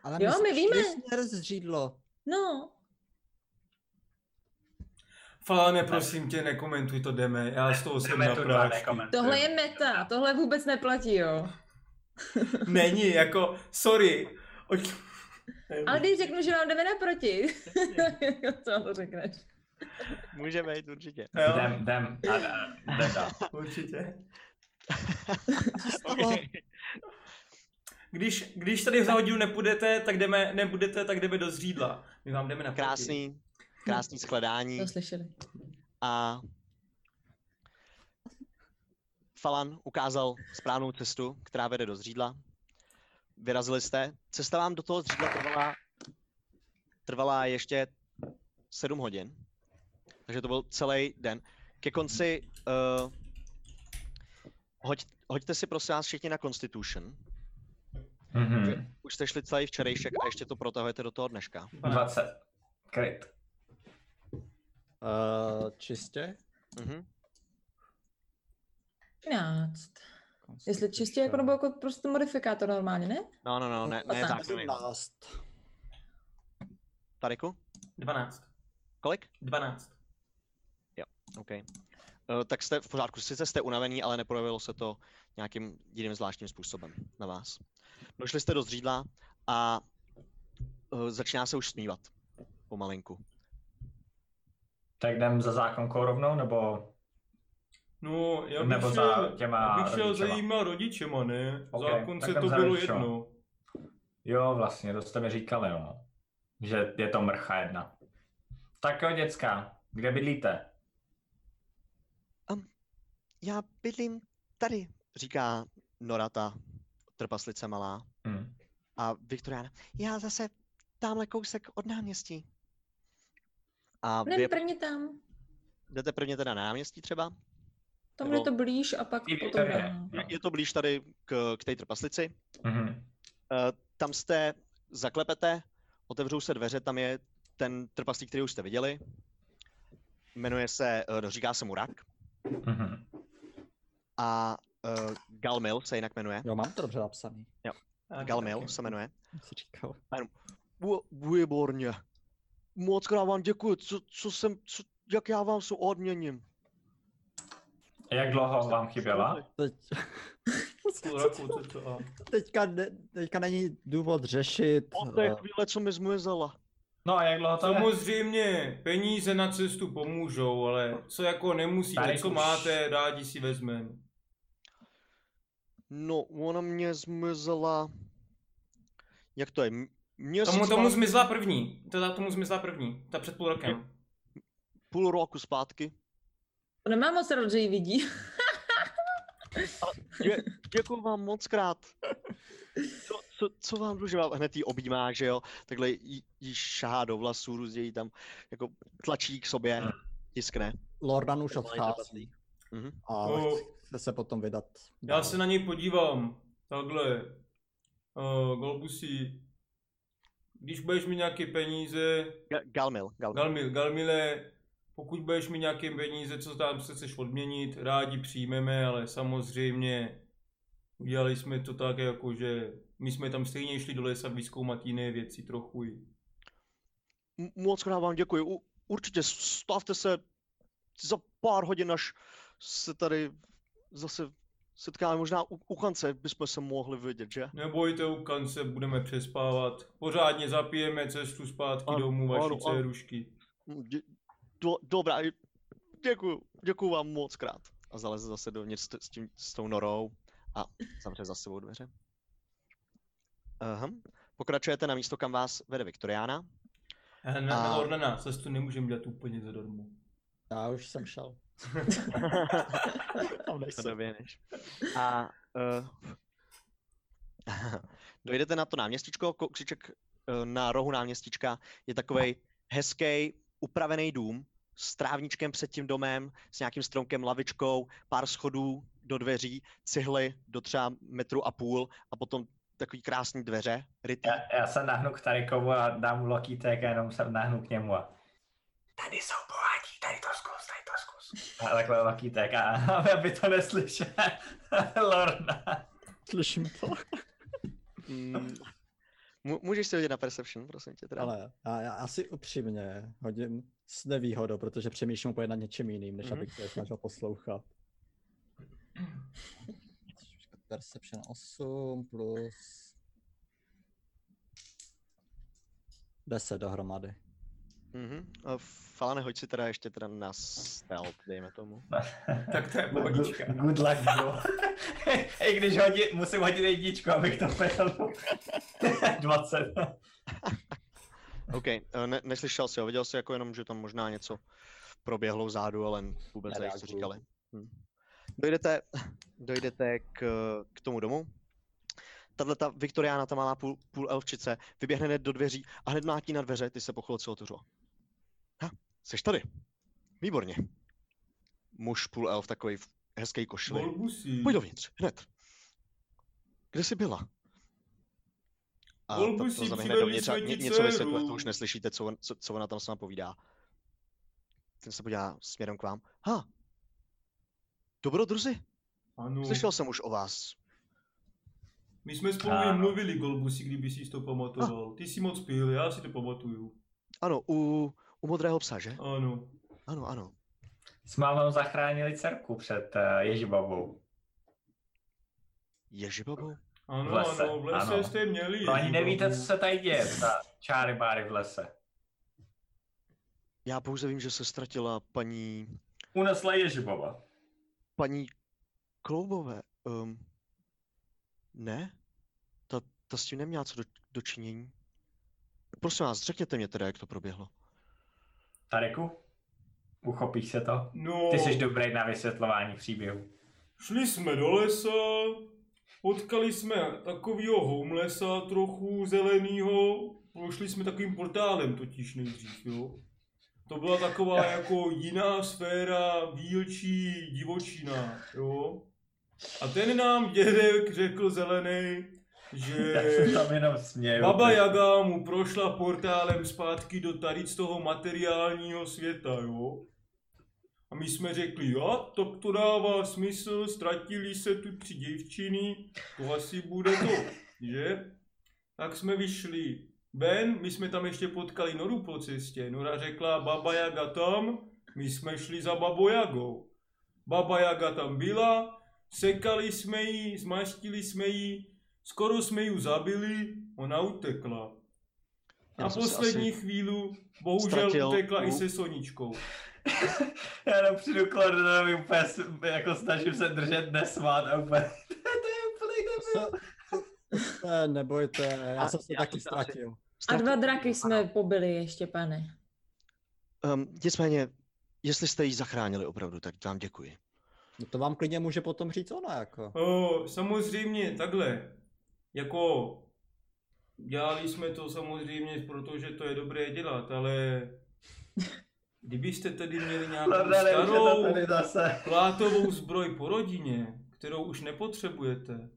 B: Ale
F: Jo, my
B: jsme
F: víme.
B: šli směr zřídlo.
F: No,
A: [LAUGHS] Falane, prosím tě, nekomentuj to, jdeme, já z toho jsem
D: Jdeme
A: na
D: tu dva
A: prášky.
D: nekomentovat.
F: tohle je meta, tohle vůbec neplatí, jo.
A: Není, jako, sorry. Oč-
F: Ale když řeknu, že vám jdeme naproti, [LAUGHS] co to řekneš?
C: Můžeme jít určitě.
A: Jo,
D: Jdem, jdem, a, a, jdem dál.
A: určitě.
E: Jako,
B: Stalo.
A: Když, když tady za hodinu nepůjdete, tak jdeme, nebudete, tak jdeme do zřídla. My vám jdeme na
C: Krásný, krásný shledání.
F: To slyšeli.
C: a Falan ukázal správnou cestu, která vede do zřídla. Vyrazili jste. Cesta vám do toho zřídla trvala, trvala ještě 7 hodin. Takže to byl celý den. Ke konci uh, hoď, hoďte si prosím vás všichni na Constitution.
D: Mhm.
C: Už jste šli celý včerejšek a ještě to protahujete do toho dneška.
D: 20. Kryt.
E: Uh, čistě?
C: Mhm.
F: 13. Jestli čistě jako nebo jako prostě modifikátor normálně, ne?
C: No, no, no, ne, ne,
F: Patnáct.
C: zákony.
E: 17.
C: Tariku,
A: 12.
C: kolik?
A: 12.
C: OK. Uh, tak jste v pořádku, sice jste unavení, ale neprojevilo se to nějakým jiným zvláštním způsobem na vás. Došli jste do zřídla a uh, eh, začíná se už smívat. pomalinku.
D: Tak jdem za zákonkou rovnou, nebo,
G: No, já bych
D: nebo
G: šel,
D: za těma
G: bych šel za
D: rodičema?
G: jejíma rodičema, ne?
D: Ok,
G: Okay, Zákonce
D: tak jdem
G: to
D: za
G: bylo
D: rodičema.
G: jedno.
D: Jo, vlastně, to jste mi říkali, no. Že je to mrcha jedna. Tak jo, děcka, kde bydlíte?
C: Já bydlím tady, říká Norata, trpaslice malá.
D: Hm.
C: A Viktoriána, já zase tamhle kousek od náměstí. A vy
F: Jdem prvně tam.
C: jdete prvně teda na náměstí třeba?
F: Tam je
C: Nebo-
F: to blíž a pak
D: Ty
F: potom
D: Viktorie.
F: dál.
D: No.
C: Je to blíž tady k, k té trpaslici.
D: Mhm.
C: Eh, tam jste, zaklepete, otevřou se dveře, tam je ten trpaslík, který už jste viděli. Jmenuje se, eh, říká se mu Rak
D: Mhm.
C: a uh, Galmil se jinak jmenuje.
E: Jo, mám to dobře napsaný.
A: A
C: Galmil se jmenuje.
E: Jak jsi říkal.
C: Bu- Výborně. Moc krát vám děkuji, co, co jsem, co, jak já vám se odměním.
D: Jak dlouho vám chyběla?
G: [LAUGHS]
E: Teď,
G: Půl roku, co to a...
E: teďka, ne, teďka není důvod řešit.
G: No,
C: Od té
E: eh,
C: chvíle, co mi zmizela.
D: No a jak dlouho to je?
G: Samozřejmě, peníze na cestu pomůžou, ale co jako nemusíte,
D: Tady
G: co
D: už-
G: máte, rádi si vezmeme.
C: No, ona mě zmizela. Jak to je? M- Měsíc
G: Tomu, tomu
C: mám-
G: zmizla první, teda tomu zmizla první, ta před půl rokem.
C: půl roku zpátky.
F: To nemá moc rád, že ji vidí.
C: Dě, děkuji vám moc krát. Co, co, co vám dlužím? Vám Hned jí objímá, že jo? Takhle jí, jí šahá do vlasů, různě jí tam jako tlačí k sobě, tiskne.
E: Lordan už
C: Ten malý
E: odchází.
C: trpaslík. Mhm.
E: A
G: No.
E: chce se potom vydat.
G: Já
E: dál.
G: se na něj podívám, takhle. Uh, Golbusi, když budeš mít nějaké peníze,
C: Ga- Galmil, Galmil.
G: Galmil, Galmile, pokud budeš mít nějaké peníze, co tam se chceš odměnit, rádi přijmeme, ale samozřejmě udělali jsme to tak, jako že my jsme tam stejně šli do lesa vyzkoumat jiné věci trochu. i.
C: M- Moc krát vám děkuji. U, určitě stavte se za pár hodin, až se tady zase setkáme. Možná u, u kance bychom se mohli vidět, že?
G: Nebojte, u kance budeme přespávat. Pořádně zapijeme cestu zpátky
C: Ano,
G: domů vaší
C: ano, ano.
G: dcerušky.
C: Mm, dě- Do, dobrá, děkuji, děkuji vám moc krát. A zaleze zase dovnitř s, t- s, tím, s tou norou a zavře za sebou dveře. Aha. Pokračujete na místo, kam vás vede Viktoriána.
A: [LAUGHS]
G: Na,
C: A-
G: na Ornana, cestu nemůžeme dělat úplně zadarmo.
E: Já už jsem
G: [LAUGHS]
E: šel. Tam
C: To
E: nejsem.
C: doběhneš. A [LAUGHS] uh, dojdete na to náměstíčko, kousíček eh, na rohu náměstíčka je takový hezký, upravený dům s trávničkem před tím domem, s nějakým stromkem, lavičkou, pár schodů do dveří, cihly do třeba metru a půl a potom takový krásný dveře, rytý.
D: Já, já se nahnu k Tarikovu a dám mu lokítek a jenom se nahnu k němu a tady jsou bohatí, tady to zkus, tady to zkus. A takhle lokítek a [LAUGHS] aby to neslyšel [LAUGHS] Lorna.
E: Slyším to.
C: Mm. Mu- Můžeš si hodit na Perception, prosím tě. Teda.
E: Ale já, já asi upřímně hodím s nevýhodou, protože přemýšlím úplně nad něčím jiným, než
C: Mhm.
E: abych se snažil poslouchat. Perception 8 plus 10 dohromady.
C: Mhm. A Falane, hoď si teda ještě teda na stealth, dejme tomu.
G: Tak to je
D: Good,
G: pohodička.
D: good luck, bro. [LAUGHS] I když hodí, musím hodit jedničku, abych to [LAUGHS] pil. 20.
C: OK, eh, ne, neslyšel jsi ho, viděl jsi jako jenom, že tam možná něco proběhlo vzadu, ale n- vůbec nevíš, co
E: Nereaguju.
C: říkali. Hm. Dojdete, dojdete k, k tomu domu. Tahle ta Viktoriána, ta malá půl, půl elfčice, vyběhne hned do dveří a hned mlátí na dveře, ty se po chvilce otevřou. Ha, jsi tady. Výborně. Muž půl elf, takový v hezký košili.
G: Golbusi,
C: Pojď dovnitř, hned. Kde jsi byla? A to,
G: Volbu
C: to
G: si
C: zaběhne
G: přivedli
C: dovnitř a
G: své
C: ně,
G: ti
C: něco vysvětluje, to
G: dceru.
C: už neslyšíte, co, on- co, co ona tam s vámi povídá. Ten se podívá směrem k vám. Ha! Dobrodruzi,
G: Hmm. ano.
C: slyšel jsem už o vás.
G: My jsme spolu
D: Ano.
G: i mluvili, Golbusi, kdyby si to pamatoval. Ty si moc pil, já si to pamatuju.
C: Ano, u, u modrého psa, že?
G: Ano.
C: Ano, ano.
D: S mámou zachránili dcerku před uh, Ježibabou.
C: Ježibabou?
G: Ano,
D: V lese,
G: ano, v lese
D: ano.
G: jste měli.
D: No ani
G: Ježíbabu.
D: nevíte, co se tady děje, ta čáry báry v lese.
C: Já pouze vím, že se ztratila paní,
D: Unesla Ježibaba.
C: paní Kloubové. Um, ne? Ta, ta s tím neměla co do, dočinění. Prosím vás, řekněte mě teda, jak to proběhlo.
D: Tareku, uchopíš se to?
G: No,
D: Ty jsi dobrý na vysvětlování příběhu.
G: šli jsme do lesa, potkali jsme takovýho homelessa trochu zelenýho, prošli jsme takovým portálem totiž nejdřív, jo. To byla taková jako jiná sféra, výlčí divočina, jo. A ten nám dědek řekl zelený,
D: [LAUGHS]
G: že...
D: Tak se tam jenom směju.
G: Baba Jaga mu prošla portálem zpátky do tady z toho materiálního světa, jo? A my jsme řekli, jo, to, to dává smysl, ztratili se tu tři děvčiny, to asi bude to, že? Tak jsme vyšli ven, my jsme tam ještě potkali Noru po cestě. Nora řekla, Baba Jaga tam, my jsme šli za Babou Jagou. Baba Jaga tam byla, sekali jsme ji, zmaštili jsme ji, Skoro jsme ji zabili, ona utekla.
C: Já
G: Na
C: jsem se
G: poslední
C: asi-
G: chvíli bohužel
C: ztratil
G: utekla i
C: u-
G: se Soničkou.
D: Já jenom přijdu k Lordovi, úplně s- jako snažím se držet nesmát a úplně... [LAUGHS] to je úplný debil.
E: Se, se nebojte, já
C: A-
E: jsem se
C: já
E: taky
C: jsem se asi-
E: ztratil.
F: A dva
C: Ztratil-
F: draky jsme pobili ještě, pane.
C: Um, nicméně, jestli jste ji zachránili opravdu, tak vám děkuji.
E: No to vám klidně může potom říct ona, jako.
G: O, samozřejmě, takhle. Jako, dělali jsme to samozřejmě, protože to je dobré dělat, ale kdybyste tady měli nějakou
D: Lorde, už je No, to
G: starou
D: tady zase.
G: plátovou zbroj po rodině, kterou už nepotřebujete,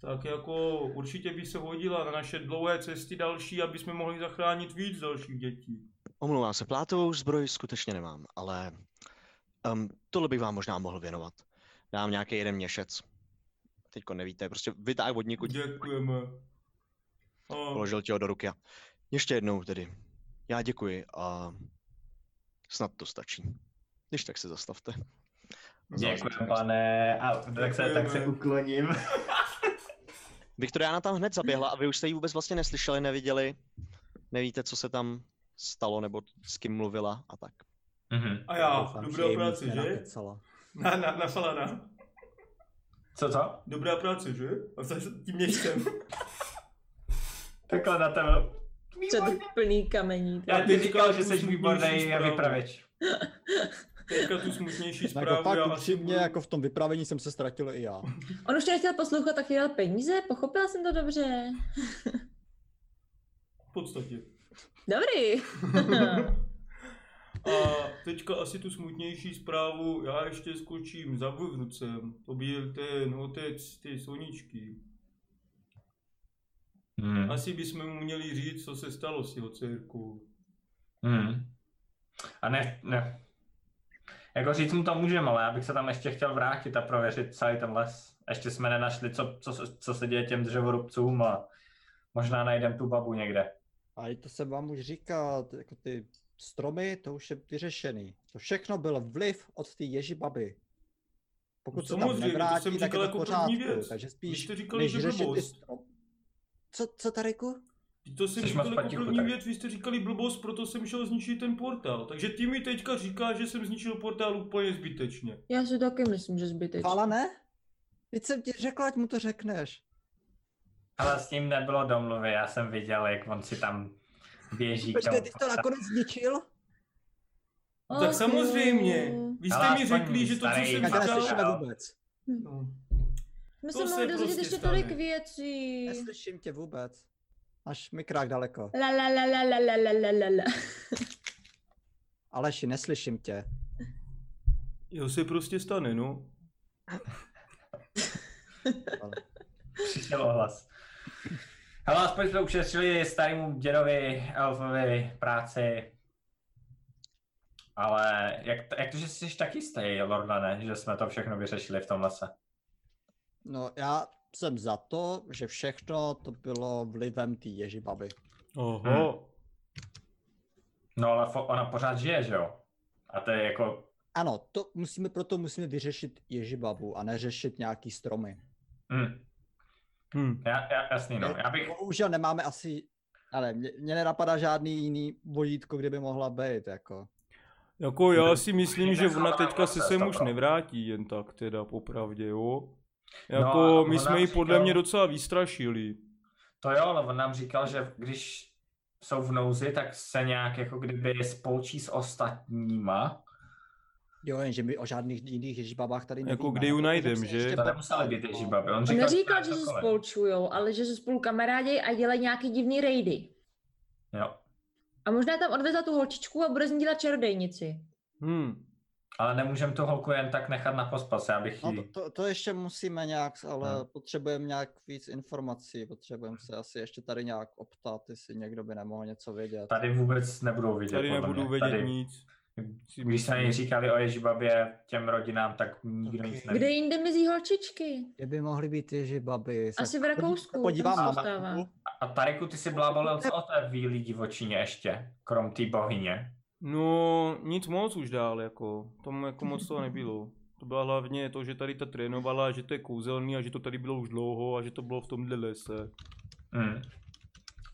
G: tak jako určitě by se hodila na naše dlouhé cesty další, aby jsme mohli zachránit víc dalších dětí.
C: Omlouvám se, plátovou zbroj skutečně nemám, ale um, tohle bych vám možná mohl věnovat. Dám nějaký jeden měšec. Teďko nevíte, prostě vytáhl od někud,
G: Děkujeme. A,
C: položil ti ho do ruky. a- Ještě jednou tedy. Já děkuji a snad to stačí. Když tak se zastavte.
D: Děkuji, pane. A tak se, tak se
G: Děkujeme.
D: ukloním.
C: Viktoriána tam hned zaběhla a vy už jste ji vůbec vlastně neslyšeli, neviděli. Nevíte, co se tam stalo nebo s kým mluvila a tak.
D: Mhm.
G: a já,
E: Doufám, že
G: dobrá
E: jim nic
G: práce, že?
E: nenakecala.
G: Na, na, na Falana.
D: Co to?
G: Dobrá práce, že? A za- tím měšcem.
D: Takhle na tebe.
F: Co ty plný kamení. ty.
D: Já
G: Já ti
D: ti říkal,
G: říkám,
D: že jsi
G: tu
D: výborný
G: smutnější
D: vypravěč.
G: Teďka tu smutnější
E: Jako
G: zprávu.
E: fakt
G: já asi
E: upřímně,
G: budu-
E: jako v tom vypravení jsem se ztratil i já.
F: On už tě nechtěl poslouchat, tak jí dal peníze, pochopila jsem to dobře.
G: V podstatě.
E: [LAUGHS]
F: Dobrý.
G: A teďka asi tu smutnější zprávu, já ještě skočím za vnucem. To byl ten otec ty Soničky.
D: Mhm.
G: Asi bychom mu měli říct, co se stalo s jeho dcerkou.
D: Hmm. A ne, ne. Jako říct mu to můžeme, ale já bych se tam ještě chtěl vrátit a prověřit celý ten les. Ještě jsme nenašli, co, co, se- co se děje těm dřevorubcům a možná najdem tu babu někde.
E: Ale to jsem vám už říkal, ty- jako ty stromy, to už je vyřešený. To všechno byl vliv od té ježibaby. Pokud
G: No
E: se tam
G: samozřejmě, to
E: nevrátí,
G: jsem
E: tak je
G: říkal
E: to
G: jako
E: v
G: první
E: pořádku.
G: věc.
E: Takže
G: Když
E: spíš,
G: jste říkali,
E: než
G: že
E: řešit ty
G: blbost.
E: stromy. Co, co Tareku?
G: To jsem
D: Což
G: říkal
D: máš
G: jako
D: patichu,
G: první
D: tak.
G: věc, vy jste říkali blbost, proto jsem šel zničit ten portál. Takže ty mi teďka říká, že jsem zničil portál úplně zbytečně.
F: Já si taky myslím, že zbytečně.
E: Fala ne? Teď jsem ti řekla, ať mu to řekneš.
D: Ale s ním nebylo domluvy, já jsem viděl, jak on si tam běží. k
E: Počkej,
D: tomu
E: ty jsi to nakonec zničil?
G: No, tak samozřejmě. Vy jste
D: Ale
G: mi
D: aspoň
G: řekli, že to, co
D: starý
G: jsem
E: Tak já
D: Říkal-
E: slyšíme
G: říkal...
E: vůbec.
G: No.
F: My
G: To
F: se
G: se
F: mohli dozvědět
G: prostě
F: ještě
G: stane.
F: tolik věcí.
E: Neslyším tě vůbec. Až mikrák daleko.
F: La la la la la la la la la la.
E: Aleši, neslyším tě.
G: Jo, se prostě stane, no.
D: Přišel ohlas. Hele, aspoň jsme ušetřili starému dědovi Elfovi práci. Ale jak, jak to, že jsi tak jistý, Lordane, že jsme to všechno vyřešili v tom lese?
E: No já jsem za to, že všechno to bylo vlivem té ježibaby.
G: Oho.
D: No ale fo- ona pořád žije, že jo? A to je jako...
E: Ano, to musíme, proto musíme vyřešit ježibabu a neřešit nějaký stromy.
D: Mm,
G: Hm.
D: Hm. já, já, jasný, no. Já bych...
E: Bohužel nemáme asi Ale mě, mě nenapadá žádný jiný vojítko, kde by mohla být, jako.
G: Jako já si myslím, že ona teďka se sem už nevrátí jen tak teda popravdě, jo. Jako
D: No,
G: no,
D: a
G: my
D: ona
G: jsme ji podle
D: říkala-
G: mě docela vystrašili.
D: To jo, ale on nám říkal, že když jsou v nouzi, tak se nějak jako kdyby spolčí s ostatníma.
B: Jo, jenže my o žádných jiných ježibabách tady
G: Jako
B: nevíme,
G: kde ju
E: prostě
B: protože
G: najdem,
B: jsme
G: že?
B: ještě
D: To
B: po-
D: nemuseli být ježibaby.
E: No,
D: On
F: On
D: říkal,
F: neříkal,
D: dělá
F: že se
D: cokoliv.
F: spolčujou, ale že se spolu kamarádi a dělají nějaký divný rejdy.
D: Jo.
F: A možná tam odvezla tu holčičku a bude z ní dělat čarodejnici.
G: Hm.
D: Ale nemůžem tu holku jen tak nechat na pospas, já bych
E: No
D: jí...
E: to, to, to ještě musíme nějak, ale
G: Hmm.
D: No.
E: potřebujeme nějak víc informací, potřebujeme se asi ještě tady nějak optat, jestli někdo by nemohl něco vědět.
D: Tady vůbec nebudou vidět.
G: Tady
D: podle
G: nebudu
D: mě.
G: vědět
D: Tady-
G: nic. Si
D: Když jsme
G: myslím.
D: jí říkali o Ježibabě těm rodinám, tak nikdo nic
B: Ok.
D: neví.
F: Kde jinde mizí holčičky?
E: Kde by mohly být ježibaby? Se
F: Asi v
E: podí-
F: Rakousku,
E: Podívám
F: tam
E: na
F: se stává.
E: mapu.
D: A Tariku, ty si blábolil co o té bílý divočině ještě, krom té bohyně.
G: No, nic moc už dál, jako. Tomu jako moc toho nebylo. To bylo hlavně to, že tady ta trénovala, že to je kouzelný a že to tady bylo už dlouho a že to bylo v tomhle lese.
D: Mm.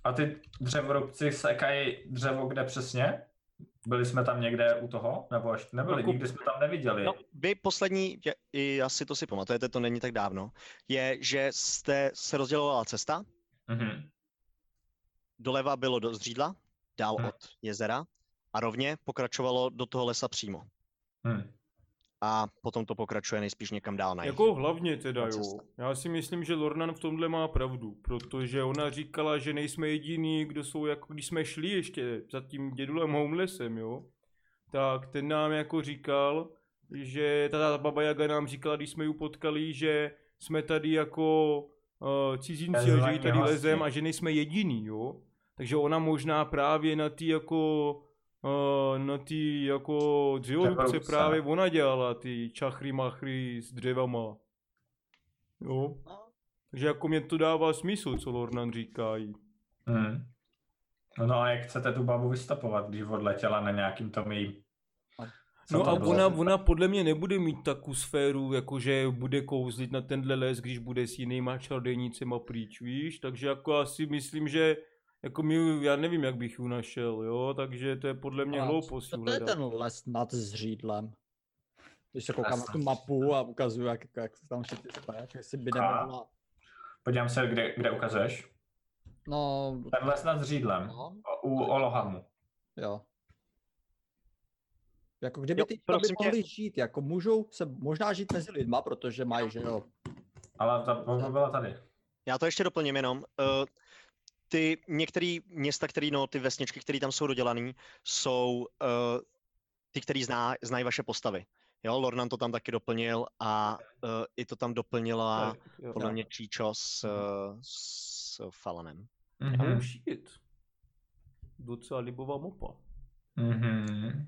D: A ty dřevorubci sekají dřevo kde přesně? Byli jsme tam někde u toho? Nebo ještě nebyli?
G: Jako-
D: Nikdy jsme tam neviděli.
C: No, vy poslední, je- i asi to si pamatujete, to není tak dávno, je, že jste se rozdělovala cesta,
D: Mhm.
C: doleva bylo do zřídla, dál
D: Hm.
C: od jezera a rovně pokračovalo do toho lesa přímo.
D: Mhm.
C: A potom to pokračuje nejspíš někam dál na jih.
G: Jako hlavně teda,
C: Ta
G: jo.
C: cesta.
G: Já si myslím, že Lornan v tomhle má pravdu, protože ona říkala, že nejsme jediní, kdo jsou, jako když jsme šli ještě za tím dědulem Homelessem, jo. Tak ten nám jako říkal, že ta, ta baba Jaga nám říkala, když jsme ji potkali, že jsme tady jako uh, cizinci, a že ji
D: Bezvadně
G: tady
D: vlastně.
G: lezem a že nejsme jediní, jo. Takže ona možná právě na ty jako eh, na ty jako dřevorubce
D: Dřevorubce.
G: právě ona dělala ty čachry machry s dřevama. Jo. Takže jako mě to dává smysl, co Lornan říkají.
D: Mhm. No a jak chcete tu babu vystopovat, když odletěla na nějakým tom její... Co
G: No
D: to
G: a
D: bylo
G: ona,
E: vlastně
D: za-
G: ona podle mě nebude mít takovou sféru, jakože bude kouzlit na tenhle les, když bude s jinýma čarodejnicema pryč, víš? Takže jako asi myslím, že jako mi, já nevím, jak bych ji našel, jo? Takže to je podle mě
E: Ale
G: hloupost.
E: Co
G: ji
E: to je
G: hledat.
E: ten les nad zřídlem? Když se koukám na
D: Les
E: tu
D: nad
E: mapu a ukazuju, jak, jak se tam všechny spáš, jestli by nemohla...
D: Podívám se, kde, kde ukazuješ.
E: No,
D: Ten les nad zřídlem.
E: no,
D: U Olohamu.
E: Jo. Jako kdyby
C: Jo,
E: ty baby
C: prosím tě.
E: mohly žít, jako můžou se možná žít mezi lidma, protože mají, že jo.
D: Ale ta baba byla tady.
C: Já to ještě doplním jenom. eh, Ty některé města, který, no, ty vesničky, které tam jsou dodělané, jsou eh, ty, který zná, znají vaše postavy. Jo, Lornan to tam taky doplnil a eh, i to tam doplnila
G: Tak, jo.
C: podle mě Číčo s, eh, s Falanem.
G: Mm.
D: Mhm.
G: Oh shit. Docela libová mopa.
D: Mhm.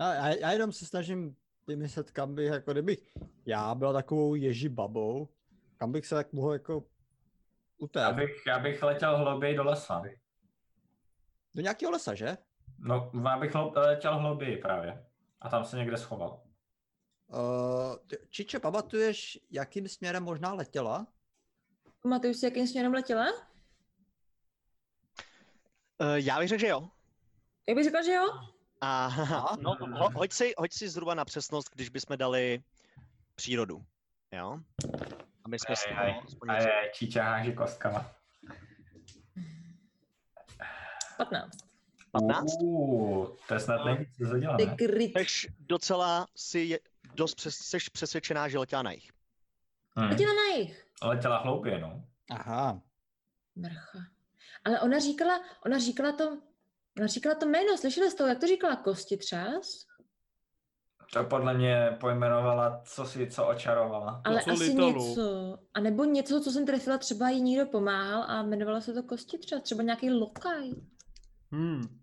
E: Já, já, já jenom se snažím vymyslet, kam bych, jako kdybych já byla takovou ježi babou, kam bych se tak mohl jako
D: Já
E: utéct.
D: bych, já bych letěl hlouběji do lesa.
E: Do nějakého lesa, že?
D: No, já bych hloub, letěl hlouběji právě. A tam se někde schoval.
E: Uh, Čiče, pamatuješ, jakým směrem možná letěla?
F: Pamatuju si, jakým směrem letěla?
C: Eh, Já bych řekl, že jo.
F: Já bych řekla, že jo.
C: A [LAUGHS] no,
D: Mhm.
C: ho, hoď, si, hoď si zhruba na přesnost, když bychom dali přírodu. Jo? Aby jsme si
D: Aj, aj,
C: aspoň
D: A
C: něco-
D: je číče háží kostkama.
F: 15.
C: 15?
D: Uuu, to je snad není co zadělané.
F: Ty kryt.
C: Seš docela si je, dost přes, seš přesvědčená, že letěla na jich.
D: Hmm.
F: Letěla na jich.
D: Letěla hlouběji, no.
E: Aha.
F: Mrcha. Ale ona říkala, ona říkala to, ona říkala to jméno, slyšeli jste to, jak to říkala, kosti třás?
D: To podle mě pojmenovala, co si co očarovala.
F: Ale
G: co
F: asi
G: litalu.
F: něco, a nebo něco, co jsem trefila, třeba jí někdo pomáhal a jmenovalo se to kosti třás, třeba nějaký lokaj.
G: Hmm.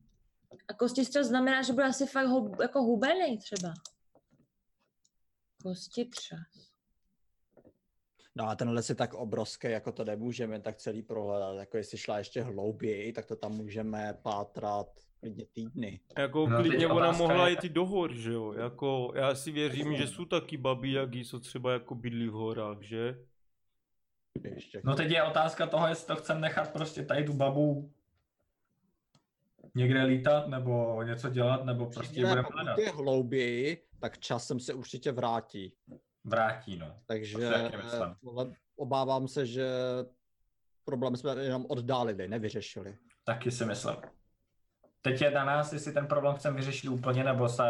F: A kosti třás znamená, že byl asi fakt hub, jako hubenej třeba. Kosti třás.
E: No a ten les je tak obrovský, jako to nemůžeme tak celý prohledat. Jako jestli šla ještě hlouběji, tak to tam můžeme pátrat klidně týdny.
G: Jako
D: No,
G: no,
D: teď
G: klidně ona
D: otázka
G: mohla
D: je-
G: jít i do hor, že jo? Jako, já si věřím, že jsou taky babi jagi, co třeba jako bydlí v horách, že?
E: Ještě.
D: No teď je otázka toho, jestli to chcem nechat prostě tady tu babu někde lítat, nebo něco dělat, nebo prostě ji
E: Ne,
D: budeme hledat.
E: pokud je hlouběji, tak časem se určitě vrátí.
D: Vrátí, no.
E: Takže
D: To si taky myslím.
E: eh, tohle obávám se, že problém jsme jenom oddálili, nevyřešili.
D: Taky si myslím. Teď je na nás, jestli ten problém chceme vyřešit úplně, nebo se...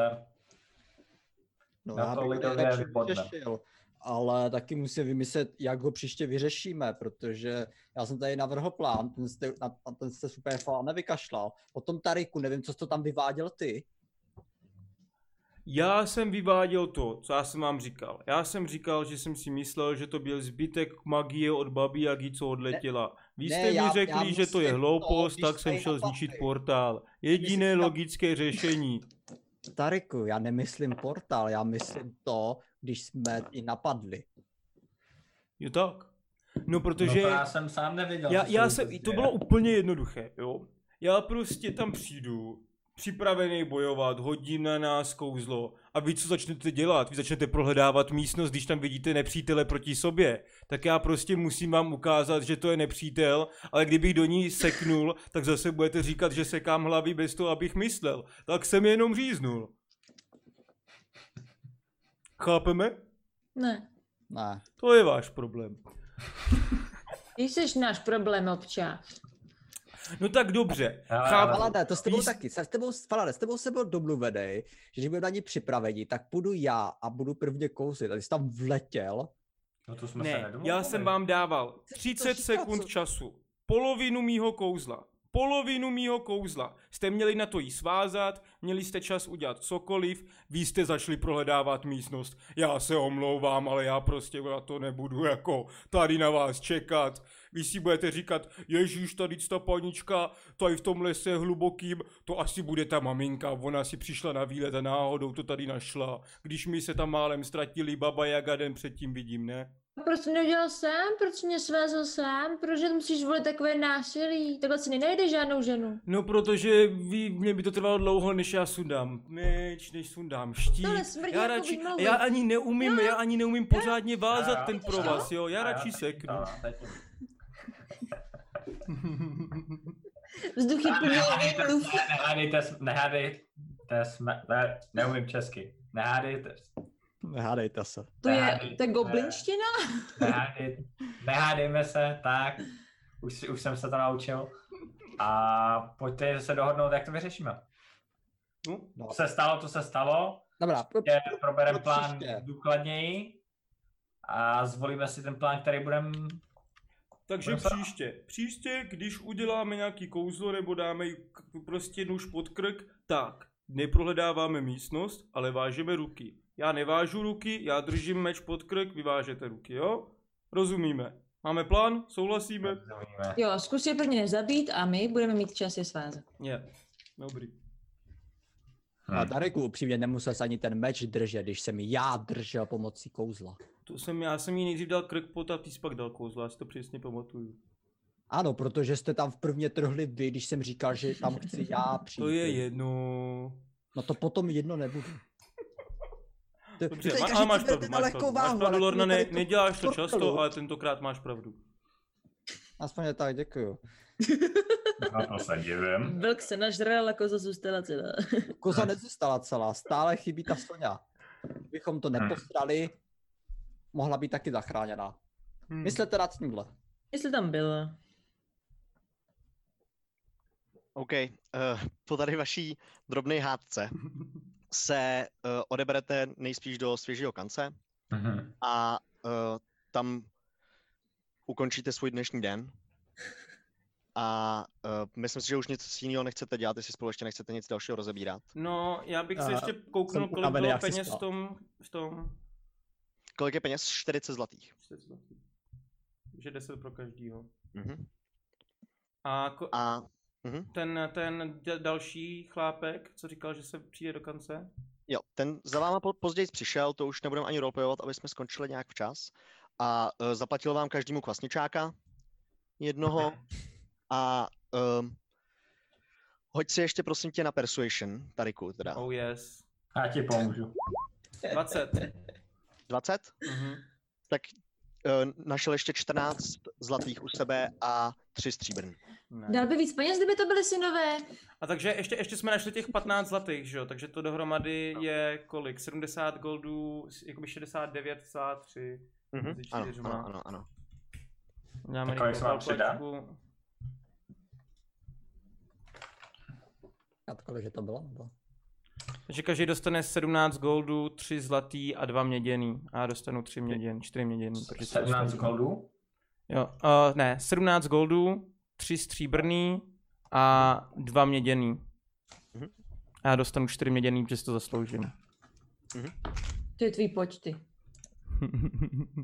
E: No,
D: Na
E: já
D: to
E: bych
D: lidově
E: nejradši
D: vypadne.
E: vyřešil, ale taky musím vymyslet, jak ho příště vyřešíme, protože já jsem tady navrhl plán, ten jste, na, na ten jste super plán nevykašlal. O tom Tariku, nevím, co jsi to tam vyváděl ty.
G: Já jsem vyváděl to, co já jsem vám říkal. Já jsem říkal, že jsem si myslel, že to byl zbytek magie od babi Jagi, co odletěla. Vy
E: Ne,
G: jste mi
E: já- já
G: řekli, že to je
E: myslím to,
G: hloupost,
E: když
G: tak jsem
E: tady
G: šel
E: napadli.
G: zničit portál. Jediné
E: Myslím, že-
G: logické řešení.
E: Tariku, já nemyslím portál, já myslím to, když jsme i napadli.
G: Jo tak? No
D: No to
G: protože...
D: já jsem sám neviděl.
G: já,
D: co se
G: já
D: vůbec
G: jsem, prostě to
D: děje.
G: bylo úplně jednoduché, jo. Já prostě tam přijdu, připravený bojovat, hodí na nás kouzlo. A vy co začnete dělat? Vy začnete prohledávat místnost, když tam vidíte nepřítele proti sobě. Tak já prostě musím vám ukázat, že to je nepřítel, ale kdybych do ní seknul, tak zase budete říkat, že sekám hlavy bez toho, abych myslel. Tak jsem jenom říznul. Chápeme?
F: Ne.
E: Ne.
G: To je váš problém.
F: Ty jsi náš problém občas.
G: No tak dobře,
D: Ale-
G: chápu.
E: Ale ne, to s tebou
G: Víš-
E: taky. Se s tebou, Falade, s tebou se byl domluvený, že když budeme na ní připraveni, tak půjdu já a budu prvně kouzlit. A ty jsi tam vletěl,
D: No to jsme se
G: Ne,
D: nedomluvili.
G: já jsem vám dával
E: to
G: 30
E: říkal,
G: sekund
E: co-
G: času. Polovinu mýho kouzla. Polovinu mýho kouzla. Jste měli na to jí svázat, měli jste čas udělat cokoliv, vy jste zašli prohledávat místnost. Já se omlouvám, ale já prostě na to nebudu jako tady na vás čekat. Vy si budete říkat, ježíš, tady ta panička, tady v tom lese hlubokým, to asi bude ta maminka, ona si přišla na výlet a náhodou to tady našla. Když my se tam málem ztratili, baba Jaga den předtím vidím, ne?
F: Proč to neudělal sám? Proč mě svázal sám? Proč musíš volit takové násilí? Takhle si nenajde žádnou ženu.
G: No protože ví, mě by to trvalo dlouho, než já sundám meč, než sundám štít.
F: Tohle smrdí
G: já,
F: jako
G: radši,
F: výmluva.
G: já ani neumím, já ani neumím pořádně
D: Já-
G: vázat ten
D: vidíš
G: pro
F: to?
G: vás, jo, já
D: A
G: radši
D: teď-
G: seknu.
D: no, teď-
F: Vzduch je plný
D: Nehádejte,
F: omylů.
D: ne- nehádejte, s- nehádejte, jsme, ne, neumím česky. Nehádejte,
E: Hádejte se.
F: To je, to je goblinština?
D: nehádej, nehádejme se, tak, už, si, už jsem se to naučil. A pojďte se dohodnout, jak to vyřešíme.
E: No.
D: To se stalo, to se stalo,
E: Dobrá, pro-
D: je, probereme
E: Pro
D: plán
E: příště.
D: důkladněji a zvolíme si ten plán, který budeme...
G: Takže příště, příště, když uděláme nějaký kouzlo nebo dáme jí k- prostě nůž pod krk, tak neprohledáváme místnost, ale vážeme ruky. Já nevážu ruky, já držím meč pod krk, vy vážete ruky, jo? Rozumíme. Máme plán, souhlasíme?
D: Rozumíme.
F: Jo, zkus je prvně nezabít a my budeme mít čas je svázat.
G: Je. Dobrý.
A: Hmm.
D: Hm.
G: Hmm.
E: a Tariku, upřímně nemusel jsi ani ten meč držet, když jsem já držel pomocí kouzla.
G: To jsem, já jsem jí nejdřív dal krk pot a ty jsi pak dal kouzlo, já si to přesně pamatuju.
E: Ano, protože jste tam v prvně trhli vy, když jsem říkal, že tam chci já přijít.
G: [LAUGHS] To je jedno.
E: No to potom jedno nebudu. To,
G: Dobře,
E: teďka,
G: má,
E: že
G: ale
E: si
G: máš
E: berete
G: pravdu,
E: na
G: máš
E: lehkou
G: pravdu. Máš
E: váhu,
G: pravdu,
E: ale
G: Lorna, ne,
E: tady tu
G: neděláš to často,
E: portelu.
G: ale tentokrát máš pravdu.
E: Aspoň je tak, děkuju.
G: Hmm.
D: No to se [LAUGHS] divím.
F: Vlk se nažral, jako zůstala celá.
E: Koza nezůstala celá, stále chybí ta Sonja. Kdybychom
G: Hmm.
E: to nepostrali, mohla být taky zachráněna.
G: Hmm.
E: Myslete nad tímhle.
F: Jestli tam bylo.
C: OK, eh, po tady vaší drobné hádce se eh, odeberete nejspíš do svěžího kance
D: Mhm.
C: a eh, tam ukončíte svůj dnešní den. A eh, myslím si, že už nic jiného nechcete dělat, jestli spolu ještě nechcete nic dalšího rozebírat.
G: No, já bych se
E: A
G: ještě kouknul,
E: jsem
G: kolik
E: unavený,
G: bylo
E: jak jsi
G: peněz v
E: spal.
G: tom, v tom,
C: Kolik je peněz? 40 zlatých.
G: že 10 pro každýho.
C: Mhm.
G: A, ko-
C: A
G: ten, ten d- další chlápek, co říkal, že se přijde do kance?
C: Jo, ten za váma po- později přišel, to už nebudeme ani roleplayovat, aby jsme skončili nějak včas. A uh, zaplatil vám každému kvasničáka jednoho. A um, hoď si ještě prosím tě na Persuasion, Tariku teda.
G: Oh yes.
D: Já ti pomůžu.
G: 20.
C: 20?
G: Mhm.
C: Tak eh, našel ještě 14 zlatých u sebe a 3 stříbrný.
F: Dal by víc peněz, kdyby to byly synové.
A: A takže ještě, ještě jsme našli těch 15 zlatých, že jo? Takže to
E: No.
A: dohromady je kolik? 70 goldů, s- jakoby 69,3.
C: Mhm.
A: Mezi
C: Ano,
A: čtyřma.
C: ano, ano, ano.
A: Dáme
D: Tak kolik
A: rychlou
D: se vám přidá?
A: kalkulačku.
E: A to kolik je to bylo? Nebo?
A: Takže každý dostane 17 goldů, 3 zlatý a 2 měděný. A já dostanu 3 měděný, 4 měděný. protože Hmm, to
D: 17
A: dostanu.
D: goldů.
A: Jo, uh, ne, 17 goldů, 3 stříbrný a 2 měděný.
C: Mhm.
A: A já dostanu 4 měděný, protože si to zasloužím.
F: To je tvý počty.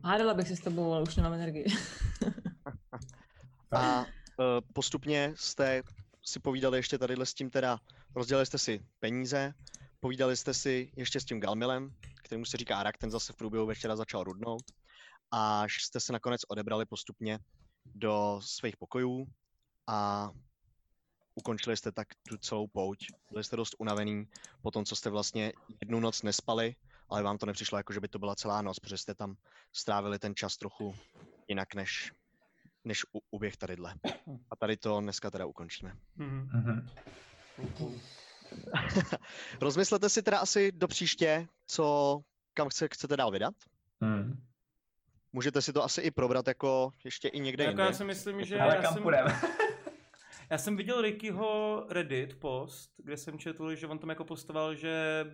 F: Hádala bych se s tebou, ale už nemám energii.
C: A eh, postupně jste si povídali ještě tady s tím teda, rozdělili jste si peníze, povídali jste si ještě s tím Galmilem, kterému se říká Arak, ten zase v průběhu večera začal rudnout, až jste se nakonec odebrali postupně do svých pokojů a ukončili jste tak tu celou pouť. Byli jste dost unavený po tom, co jste vlastně jednu noc nespali, ale vám to nepřišlo jako, že by to byla celá noc, protože jste tam strávili ten čas trochu jinak než než u, uběh tadyhle. A tady to dneska teda ukončíme.
A: Mhm.
D: Mhm.
C: Rozmyslete si teda asi do příště, co, kam chce, chcete dál vydat.
A: Hmm.
D: Mhm.
C: Můžete si to asi i probrat jako ještě i někde
A: Jako
C: jinde.
A: já si myslím, že
D: Ale
A: já
D: kam
A: jsem, [LAUGHS]
D: půjdeme?
A: já jsem viděl Rickyho Reddit post, kde jsem četl, že on tam jako postoval, že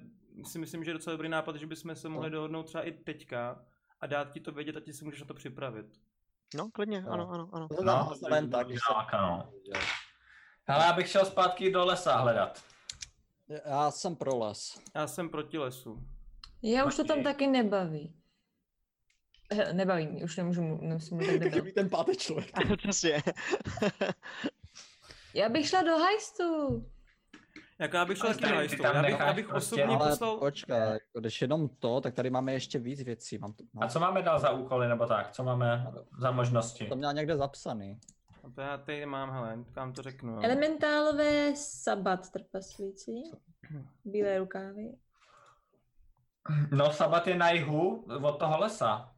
A: si myslím, že je docela dobrý nápad, že bychom se
D: No.
A: mohli dohodnout třeba i teďka a dát ti to vědět a ti si můžeš na to připravit.
C: No, klidně,
E: No.
C: ano, ano, ano.
E: To se dá
D: No,
E: no, len tak, když se...
D: tak, no. Hele, já bych šel zpátky do lesa hledat.
E: Já jsem pro les.
A: Já jsem proti lesu.
F: Já už to tam
D: Matěj.
F: taky nebaví. Eh, Nebaví mě, už nemůžu, mlu- nemusím mluvit debil.
E: Kdyby ten pátý člověk.
C: Přesně.
F: Já bych šla do hajstu.
A: Jako já bych šel
D: Ale
A: taky
D: tady
A: na
D: ty
A: listu.
D: tam
A: Já bych,
D: necháš
A: já bych
D: prostě,
A: osobně
D: ale
E: Ale
A: poslal...
E: počkej, když jenom to, tak tady máme ještě víc věcí. Mám to,
A: No.
E: mám
D: A co máme dál za úkoly nebo tak? Co máme za možnosti?
E: to
A: No.
E: měl někde zapsaný.
A: A To já tady mám, hele, kam to řeknu. jo.
F: Elementálové sabat trpaslíci. Bílé rukávy.
D: No, sabat je na jihu od toho lesa. A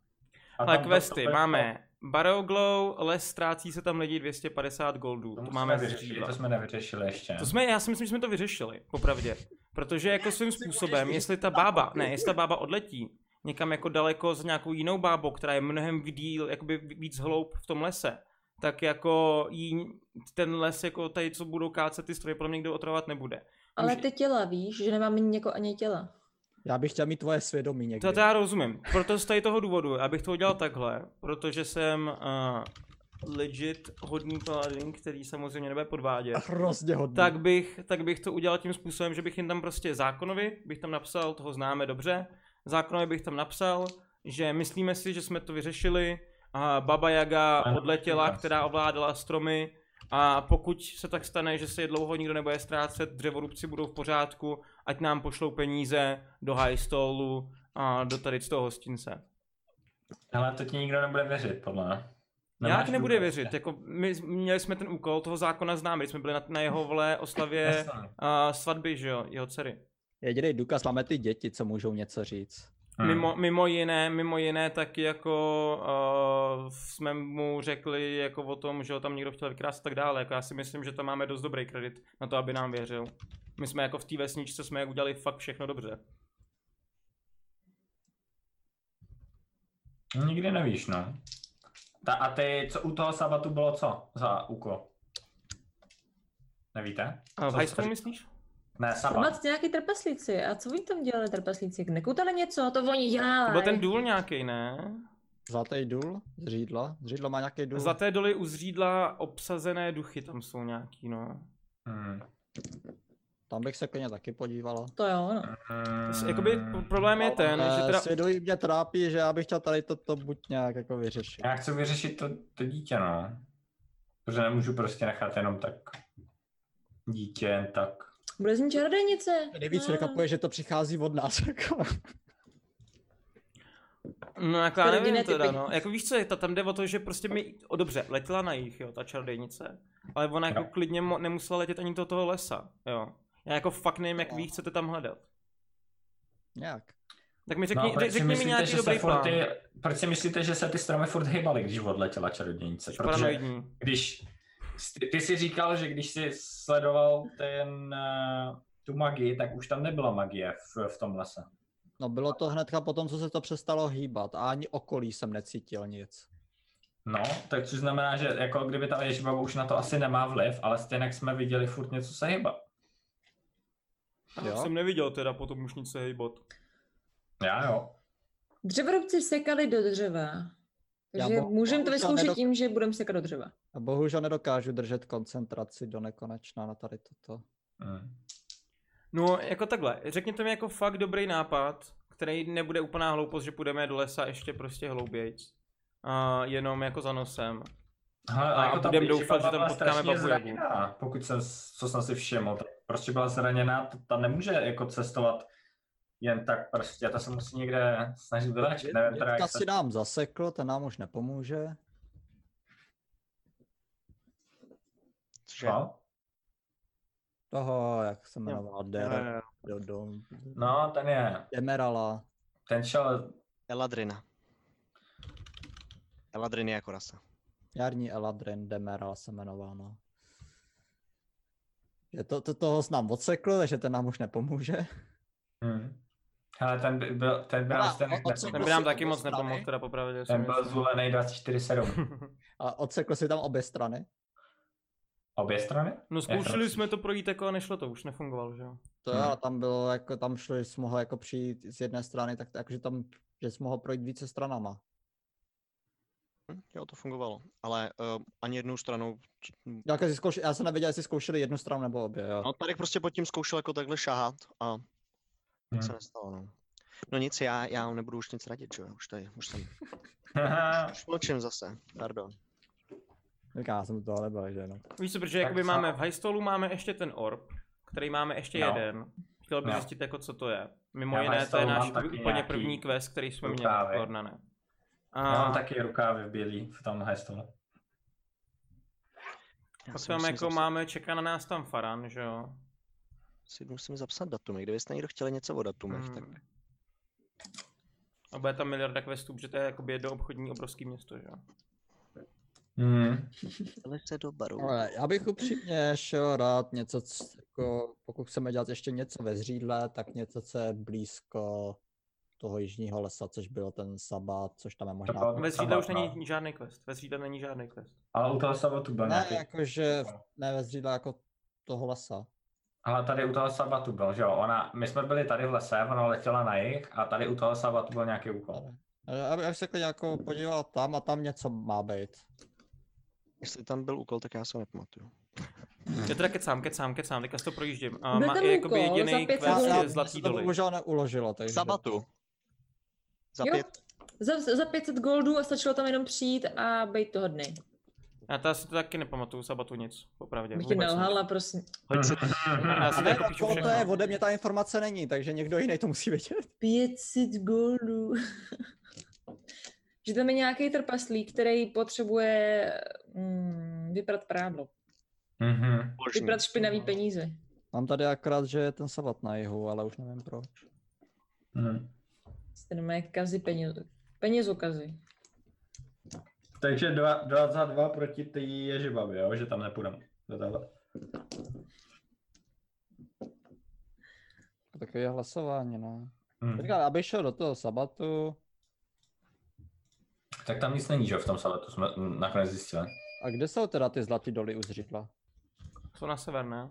A: Ale
D: tam to-
A: questy,
D: to-
A: máme Baroglow, les ztrácí se tam lidi 250 goldů,
D: To,
A: to,
D: musíme
A: máme z
D: vyřešit,
A: dříva.
D: to jsme nevyřešili ještě.
A: To jsme, já si myslím, že jsme to vyřešili, popravdě. Protože jako svým způsobem, jestli ta bába, ne, jestli ta bába odletí někam jako daleko s nějakou jinou bábou, která je mnohem díl, jakoby víc hloub v tom lese, tak jako jí, ten les, jako tady, co budou kácet ty stroje, pro mě nikdo otrovat nebude.
F: Ale
A: Může-
F: ty těla, víš, že nemám ani, jako, ani těla.
E: Já bych chtěl mít tvoje svědomí někdy.
A: To, to já rozumím. Proto z tady toho důvodu, abych to udělal takhle, protože jsem uh, legit hodný paladin, který samozřejmě nebude podvádět.
E: [LAUGHS] Hrozně hodně.
A: tak bych, tak bych to udělal tím způsobem, že bych jim tam prostě zákonovi, bych tam napsal, toho známe dobře, zákonovi bych tam napsal, že myslíme si, že jsme to vyřešili a Baba Jaga
D: Ano,
A: odletěla,
D: krásně.
A: která ovládala stromy a pokud se tak stane, že se je dlouho nikdo nebude ztrácet, dřevorubci budou v pořádku, ať nám pošlou peníze do highstolu a do tady z toho hostince.
D: Hele, to ti nikdo nebude věřit, podle mě.
A: Jak
D: Nemáš
A: nebude
D: důkaz.
A: věřit, jako my měli jsme ten úkol, toho zákona známe, když jsme byli na, na jeho vole oslavě
D: Jasně.
A: a svatby, že jo, jeho dcery.
E: Jediný důkaz máme ty děti, co můžou něco říct.
D: Hmm.
A: Mimo, mimo jiné, mimo jiné taky jako uh, jsme mu řekli jako o tom, že ho tam někdo chtěl vykrást a tak dále. Jako já si myslím, že tam máme dost dobrý kredit na to, aby nám věřil. My jsme jako v té vesničce jsme jak udělali fakt všechno dobře.
D: Nikdy nevíš, no. Ta, a ty, co u toho sabatu bylo co za úkol? Nevíte?
A: A v
D: Co
A: high
D: jste-
A: myslíš?
D: Ne, sabat.
F: Sabat nějaký trpaslíci. A co oni tam dělali, trpaslíci? Nekutali něco, to oni dělali.
A: To byl ten důl nějaký, ne?
E: Zlatý důl? Zřídlo? Zřídlo má nějaký důl?
A: Zlaté doly u zřídla obsazené duchy tam jsou nějaký, no.
D: Hmm.
E: Tam bych se klidně taky podívala.
F: To jo, no.
A: S- Jakoby
D: Hmm.
A: p- problém je ten, že
E: Eh,
A: teda...
E: Svědomí mě trápí, že já bych chtěl tady toto buď nějak jako vyřešit.
D: Já chci vyřešit to, to dítě, no. Protože nemůžu prostě nechat jenom tak dítě, jen tak.
F: Bude z ní čarodejnice.
E: Nejvíc
F: No, no.
E: překvapuje, že to přichází od nás. [LAUGHS] Jako.
A: No jako já
F: Rodinné
A: nevím
F: typy.
A: teda, no. Jako víš co, je to, tam jde o to, že prostě mi, o dobře, letěla na jich, jo, ta čarodejnice, ale ona jako
D: Jo.
A: klidně mo- nemusela letět ani do toho lesa, jo. Já jako fakt nevím, jak vy ji chcete tam hledat.
E: Nějak.
A: Tak mi
D: No,
A: řekni,
D: a proč si
A: řekni mi
D: myslíte,
A: nějaký
D: že se
A: dobrý
D: furt
A: plán.
D: ty, proč si myslíte, že se ty stromy furt hýbaly, když odletěla čarodějnice?
A: Jsi
D: Protože
A: paranoidní.
D: když ty, ty jsi říkal, že když jsi sledoval ten, eh, tu magii, tak už tam nebyla magie v, v tom lese.
E: No bylo to hnedka potom, co se to přestalo hýbat a ani okolí jsem necítil nic.
D: No, tak což znamená, že jako kdyby ta ježbaba už na to asi nemá vliv, ale stejně jsme viděli furt něco se hýbat.
E: Jo?
G: Jsem neviděl teda potom už nic se hejbat.
D: Já jo.
F: Dřevorubci sekali do dřeva.
E: Já
F: Takže
E: bo-
F: můžeme to
E: bohužel
F: vyzkoušet
E: nedok-
F: tím, že budeme sekat do dřeva.
E: A bohužel nedokážu držet koncentraci do nekonečna na tady toto.
D: Mm.
A: No, jako takhle, řekněte mi jako fakt dobrý nápad, který nebude úplná hloupost, že půjdeme do lesa ještě prostě hloubějc. A jenom jako za nosem.
D: Hele,
A: A budem
D: Ježíška
A: doufat, že tam
D: byla
A: potkáme
D: strašně
A: babu Jagu.
D: zraněná, Pokud jsem, co jsem si všiml, tak prostě byla zraněná, ta, ta nemůže jako cestovat jen tak prostě, ta se musí někde snažit vyléčit, nevím teda
E: Dětka
D: jak se...
E: si nám zasekl, ten nám už nepomůže.
C: Cože?
D: No,
E: Toho, jak se jmenoval,
C: Jo, jo,
E: Der,
C: jo.
E: do, do,
D: no, ten je,
E: Demerala.
D: ten šel,
C: Eladrina. Eladrin je jako rasa.
E: Jarní Eladrin Demeral se jmenoval, no. Je to, to, toho jsi nám odsekl, takže ten nám už nepomůže.
D: hm. Hele, ten by byl, ten by
E: Hele,
D: nás ten,
E: o- o co
A: Ten by
E: si
A: nám taky
E: obě
A: moc
E: strany.
A: nepomohl, teda popravdě. si
D: ten byl
A: myslím.
D: zvolený 24-7. [LAUGHS]
E: A odsekl si tam obě strany.
D: Obě [LAUGHS] strany?
G: No zkoušeli
D: Jak to-
G: jsme to projít jako a nešlo to, už nefungovalo, že jo?
E: To
D: Mhm.
E: jo, tam bylo, jako tam šlo, že jsi mohl jako přijít z jedné strany, tak jakože tam, že jsi mohl projít více stranama.
C: Hm, Jo, to fungovalo. Ale uh, ani jednou stranou...
E: Já, jako si zkouš- já jsem nevěděl, jestli zkoušeli jednu stranu nebo obě, jo.
C: No, Tarek prostě pod tím zkoušel jako takhle šahat a nic se
D: Hm.
C: nestalo, no. No nic, já, já nebudu už nic radit, že jo, už tady, už jsem, už mlčím zase, pardon.
E: Říkám, já jsem toho nebyl, že no.
A: Víš co, protože
D: Tak
A: jakoby
D: co?
A: máme v Highstolu máme ještě ten orb, který máme ještě
D: No.
A: jeden. Chtěl bych
D: No.
A: zjistit jako co to je. Mimo
D: Já v
A: jiné to je
D: Heistolu
A: náš
D: mám taky
A: úplně
D: nějaký
A: první quest, který jsme měli,
D: rukávy.
A: Ornane.
D: Já mám
A: A
D: taky rukávy v bílý v tom hajstolu.
C: Já
A: pak
C: si
A: tam
C: musím
A: jako
C: zapsat-
A: máme, čeká na nás tam Faran, že jo.
C: Si musím zapsat datumy, kdybyste někdo chtěli něco o datumech, tak
A: Hmm. A bude tam miliarda questů, protože to je jakoby jedno obchodní obrovský město, že jo.
D: Hmm.
C: chtěli se do baru.
E: Ale já bych upřímně šel rád něco, co, jako, pokud chceme dělat ještě něco ve zřídle, tak něco, co je blízko toho jižního lesa, což byl ten sabát, což tam je možná...
D: bylo-
A: Ve Zřídle
D: Tam
A: už
D: má-
A: není žádný quest, ve Zřídle není žádný quest.
D: Ale u toho sabatu byl
E: Ne,
D: nějaký.
E: jakože ne ve zřídle jako toho lesa.
D: Ale tady u toho sabatu byl, že jo? Ona, my jsme byli tady v lese, ona letěla na jich a tady u toho sabatu byl nějaký úkol.
E: Já bych se klidně jako podíval tam a tam něco má být.
C: Jestli tam byl úkol, tak já se ho nepamatuju.
D: Hmm.
A: Já teda kecám, kecám, kecám, teďka si to projíždím. A
F: Byl
A: má
F: tam
A: i jakoby
F: úkol za
A: jediný
F: pět
A: quest
F: sekund.
A: je
E: mně se
A: Zlatý
E: to
A: doly.
E: bohužel neuložilo, takže...
C: Sabatu. Za
F: Jo.
C: pět,
F: Za, za 500 goldů a stačilo tam jenom přijít a být toho dny.
A: Já to asi to taky nepamatuju, sabatu nic, popravdě.
F: Bych ti
A: vůbec nic.
F: nelhala, prosím.
A: Já si to
E: Ne,
A: jako píšu
E: jako to je,
A: všechno.
E: ode mě ta informace není, takže někdo jiný to musí vědět.
F: 500 goldů. [LAUGHS] že tam je nějaký trpaslík, který potřebuje mm, vyprat prádlo.
D: Mhm.
C: možný.
F: Vyprat
A: no.
F: špinavý peníze.
E: Mám tady akorát, že je ten sabat na jihu, ale už nevím proč.
D: Mhm.
F: Jste normálně kazy peněz, penězokazy.
D: Takže dva- 22 proti té ježibabě, jo? Že tam nepůjdeme. Do tohohle.
E: Takové hlasování, no.
A: Hm.
D: Mhm.
E: Říkám, abych šel do toho sabatu
D: Tak tam nic není, že jo? V tom sabatu jsme mm, nakonec zjistili.
E: a kde jsou teda ty zlatý doly u zřidla?
A: Jsou na sever, ne?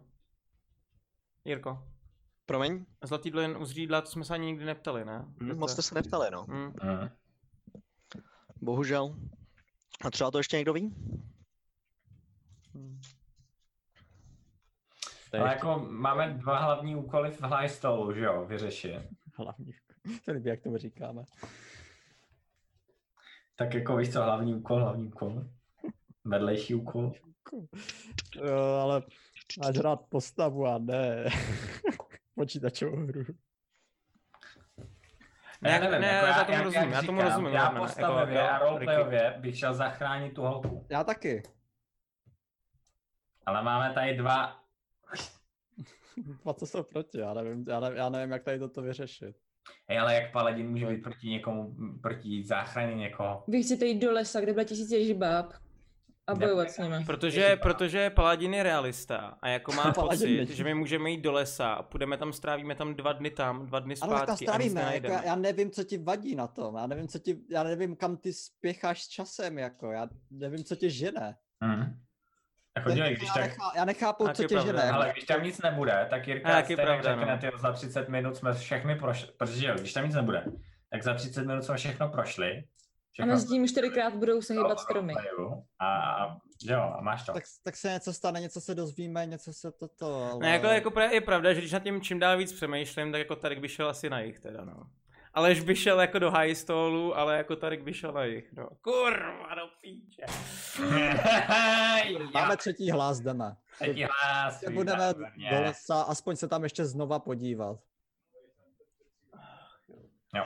A: Jirko,
C: Promiň,
A: Zlatý dlen u zřídla, to jsme se ani nikdy neptali, ne? Kde
C: moc jste se neptali, no.
A: Mm.
D: Mhm.
C: Bohužel. A třeba to ještě někdo ví?
E: To je
D: Ale
E: ještě
D: jako máme dva hlavní úkoly v Highstolu, že jo? Vyřešit.
E: hlavní. [LAUGHS] Se líbí, jak tomu říkáme.
D: Tak jako víš co, hlavní úkol, hlavní úkol. Vedlejší úkol.
E: Jo, ale máš rád postavu a ne [LAUGHS] počítačovou hru.
D: No,
A: Ne, ne,
D: jako
A: ne, já tomu rozumím, já tomu rozumím,
D: Já
A: Romane, jako-
D: postavově a
A: jako-
D: roleplayově bych šel zachránit tu holku.
E: Já taky.
D: Ale máme tady dva,
E: A co jsou proti? Já nevím, já nevím, já nevím jak tady toto vyřešit.
D: Hej, ale jak paladin může být proti někomu, proti záchraně někoho?
F: Vy chcete jít do lesa, kde byla tisíc ježibáb a
D: Ne.
F: bojovat s nimi.
D: Ježi,
A: Protože,
D: pán.
A: protože Paladin je realista a
E: [LAUGHS]
A: jako má
B: Paladin
A: pocit,
B: není.
A: že my můžeme jít do lesa a půjdeme tam, strávíme tam dva dny tam, dva dny
E: Ale tak tam
A: zpátky a nic
E: strávíme, jako
A: nenajdeme.
E: já, já nevím, co ti vadí na tom, já nevím, co ti, já nevím, kam ty spěcháš s časem, jako, já nevím, co tě žene.
D: Hm. Jako
E: Já,
D: dělej, když tak,
E: nechá, já nechápu,
A: Tak
E: co
A: je
E: tě
A: pravda,
E: žene. jako.
D: ale když tam nic nebude, tak
A: A
D: Jirka
A: jak je
D: stejně
A: pravda,
D: řekne,
A: no.
D: tyjo, za 30 minut jsme všechny prošli, protože jo, když tam nic nebude, tak za 30 minut jsme všechno prošli.
F: A
D: Všechno
F: mezi tím čtyřikrát budou se hýbat stromy.
D: rozpleju A, a, jo, a máš to. [LAUGHS]
E: Tak, tak se něco stane, něco se dozvíme, něco se toto, ale...
A: Ne, jako, jako pra- je pravda, že když nad tím čím dál víc přemýšlím, tak jako Tarek by šel asi na jich teda, no. Alež by šel jako do highstolu, ale jako Tarek by šel na jich, no. Kurva, do píče.
D: Já,
E: Máme třetí hlas, jdeme.
D: třetí hlas,
E: Že budeme
D: výborně.
E: do lesa, aspoň se tam ještě znova podívat.
A: Jo,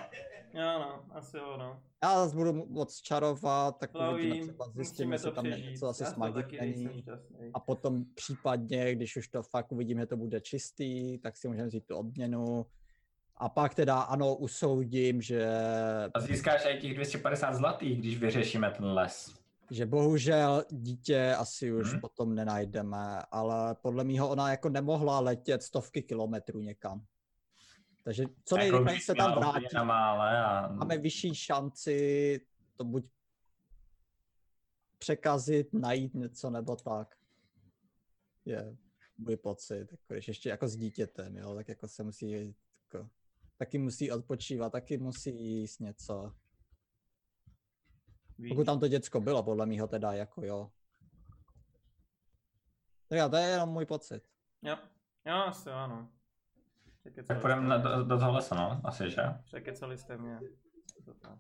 A: no, asi jo, no.
E: Já zase budu mu- moc čarovat, tak uvidíme,
A: Plavím,
E: třeba Jako zjistíme,
A: musíme
E: jestli
A: to
E: tam je
A: přežít.
E: něco asi
A: Já
E: s
A: z toho taky
E: magic
A: nejsem
E: není.
A: šťastný.
E: A potom případně, když už to fakt uvidím, že to bude čistý, tak si můžeme vzít tu odměnu. A pak teda ano, usoudím, že,
D: A získáš i těch 250 zlatých, když vyřešíme ten les.
E: že bohužel dítě asi už
D: Mhm.
E: potom nenajdeme, ale podle mýho ona jako nemohla letět stovky kilometrů někam. Takže
A: Jako
E: co nejrychleji
D: když
E: se tam
D: Jako měla úplně
E: vrátí.
D: Na mále a...
E: máme
A: Hmm.
E: vyšší šanci to buď překazit, najít něco nebo tak. Je můj pocit, jako když ještě jako s dítětem, jo, tak jako se musí jako, taky musí odpočívat, taky musí jíst něco. Pokud tam to děcko bylo, podle mýho teda, jako jo. Tak já, to je jenom můj pocit.
A: Jo, jo, asi jo, no. Čekaj,
D: Tak půjdeme na- do, do toho lesa, no, asi, že?
A: Překecali jste mě. To tak.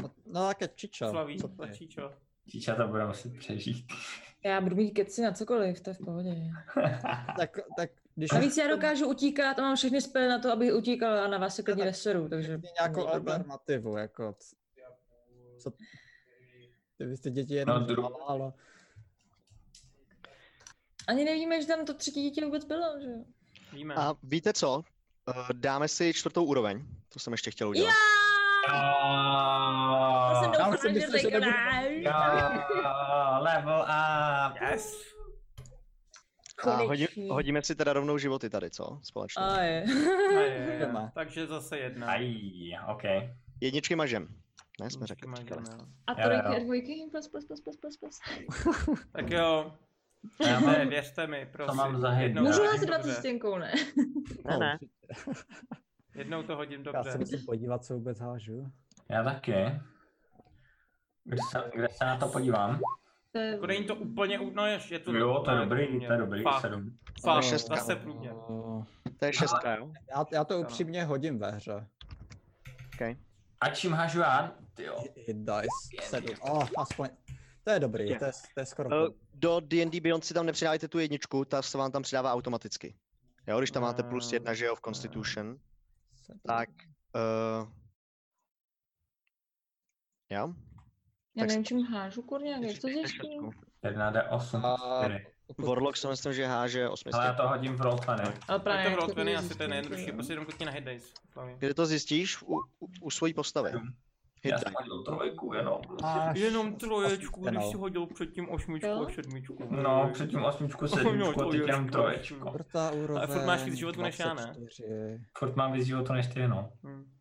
E: No, no tak je čičo.
A: Slaví,
E: co to je?
A: tlačí čo?
D: Číča to bude muset přežít.
F: Já budu mít keci na cokoliv, to je v pohodě.
E: Tak, tak když už
F: Navíc já dokážu utíkat a mám všechny spely na to, abych utíkala a na vás se klidně
E: tak-
F: neseru, takže...
E: Řekni nějakou
F: není problém.
E: alternativu, jako c- co, ty byste děti
D: No,
E: jenom
D: dru-
E: no, ale
F: Ani nevíme, že tam to třetí dítě vůbec bylo, že jo?
A: Víme.
C: A víte co? Eh, Dáme si čtvrtou úroveň. To jsem ještě chtěl udělat.
F: Já! Já jsem
D: Jo,
E: Já už jsem
F: doufala, že
E: myslel, že nebudu-
F: Legolas-
D: jo, [LAUGHS] level up.
A: Yes!
F: Jako
C: A hodí,
F: Konečně.
C: hodíme si teda rovnou životy tady, co? Společně.
F: A je.
A: A je, je, je.
E: Jdeme.
A: Takže zase jedna.
D: Aj, OK.
C: Jedničky mažem. Ne, jsme
A: Musíme
C: řekli.
A: mít
C: počkali.
A: jeden, jo.
F: A
D: Jo, jo.
F: trojky a dvojky, plus, plus, plus, plus, plus, plus.
A: Tak jo,
D: Já
A: ne,
D: mám,
A: věřte mi, prosím.
D: mám za
A: Jednou
D: jednu?
F: Můžu
A: to
D: já
F: já
A: hodím
F: si 20
A: dobře.
F: stěnkou, ne?
C: Ne, ne.
A: Jednou to hodím
E: já
A: dobře.
E: se musím podívat, co vůbec hážu.
D: Já taky. Kde se, kde se na to podívám?
F: To je...
A: Jako není to úplně u- no jež, je to...
D: Jo, to je
A: no,
D: dobrý, to je dobrý,
A: Fakt,
D: sedm.
A: fakt,
E: No,
C: To je šestka.
A: zase průměr.
C: To je šestka, jo?
E: Já, já to upřímně hodím ve hře.
D: A čím hažu já? Tyjo.
E: Hit dice, sedm, oh, aspoň, to je dobrý, to je, to je skoro
C: Eh,
E: půl.
C: Do D&D Beyond si tam nepřidáte tu jedničku, ta se vám tam přidává automaticky. Jo, když tam máte plus jedna, že jo, v Constitution, tak... Uh, jo?
F: Já
C: tak-
F: nevím, čím hážu, kurně, jak
C: Jestli
F: to
C: chcete
F: zjištím.
C: šestku.
D: Hm. Jedna d osm.
E: A-
D: čtyři.
C: Warlock si myslím, že háže
D: Ale já
C: osmisky.
D: to hodím v rollfany.
F: Ale
A: Tak to
F: jak
A: roll 20 asi
F: zjistím,
A: to je nejjednodušší,
F: jo.
A: prostě jenom klikni na hit dice. Flavie.
C: Kde to zjistíš? U, u, u svojí postavy. Hit
D: Já
C: die.
D: jsem hodil trojku jenom.
E: Máš
A: Jenom
E: os-
A: troječku, když
E: osmičku,
A: si
E: no.
A: hodil předtím osmičku
F: Jo?
A: a sedmičku.
D: No, předtím osmičku, sedmičku, a teď jenom troječko.
E: Čtvrtá úroveň,
A: furt máš víc životů než já, ne?
E: 24.
D: Furt mám víc životu než ty, no.
A: Hm.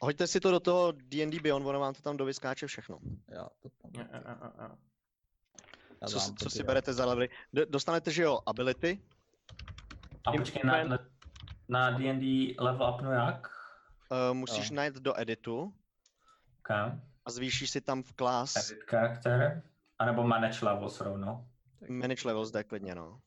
C: Hoďte si to do toho D&D Beyond, ono vám to tam dovyskáče všechno.
E: Jo, to tam,
A: Jo, jo, jo, jo.
E: já
C: Co,
E: dám
C: co si
E: podívat.
C: berete za levely? D- dostanete, že jo, ability,
D: A
C: Tím
D: počkej, na, na- na D&D level upnu jak?
C: uh, musíš
E: Jo.
C: najít do editu
D: Kam?
C: a zvýšíš si tam v class
D: Edit character? A nebo manage levels rovnou?
C: manage levels, jde klidně, no.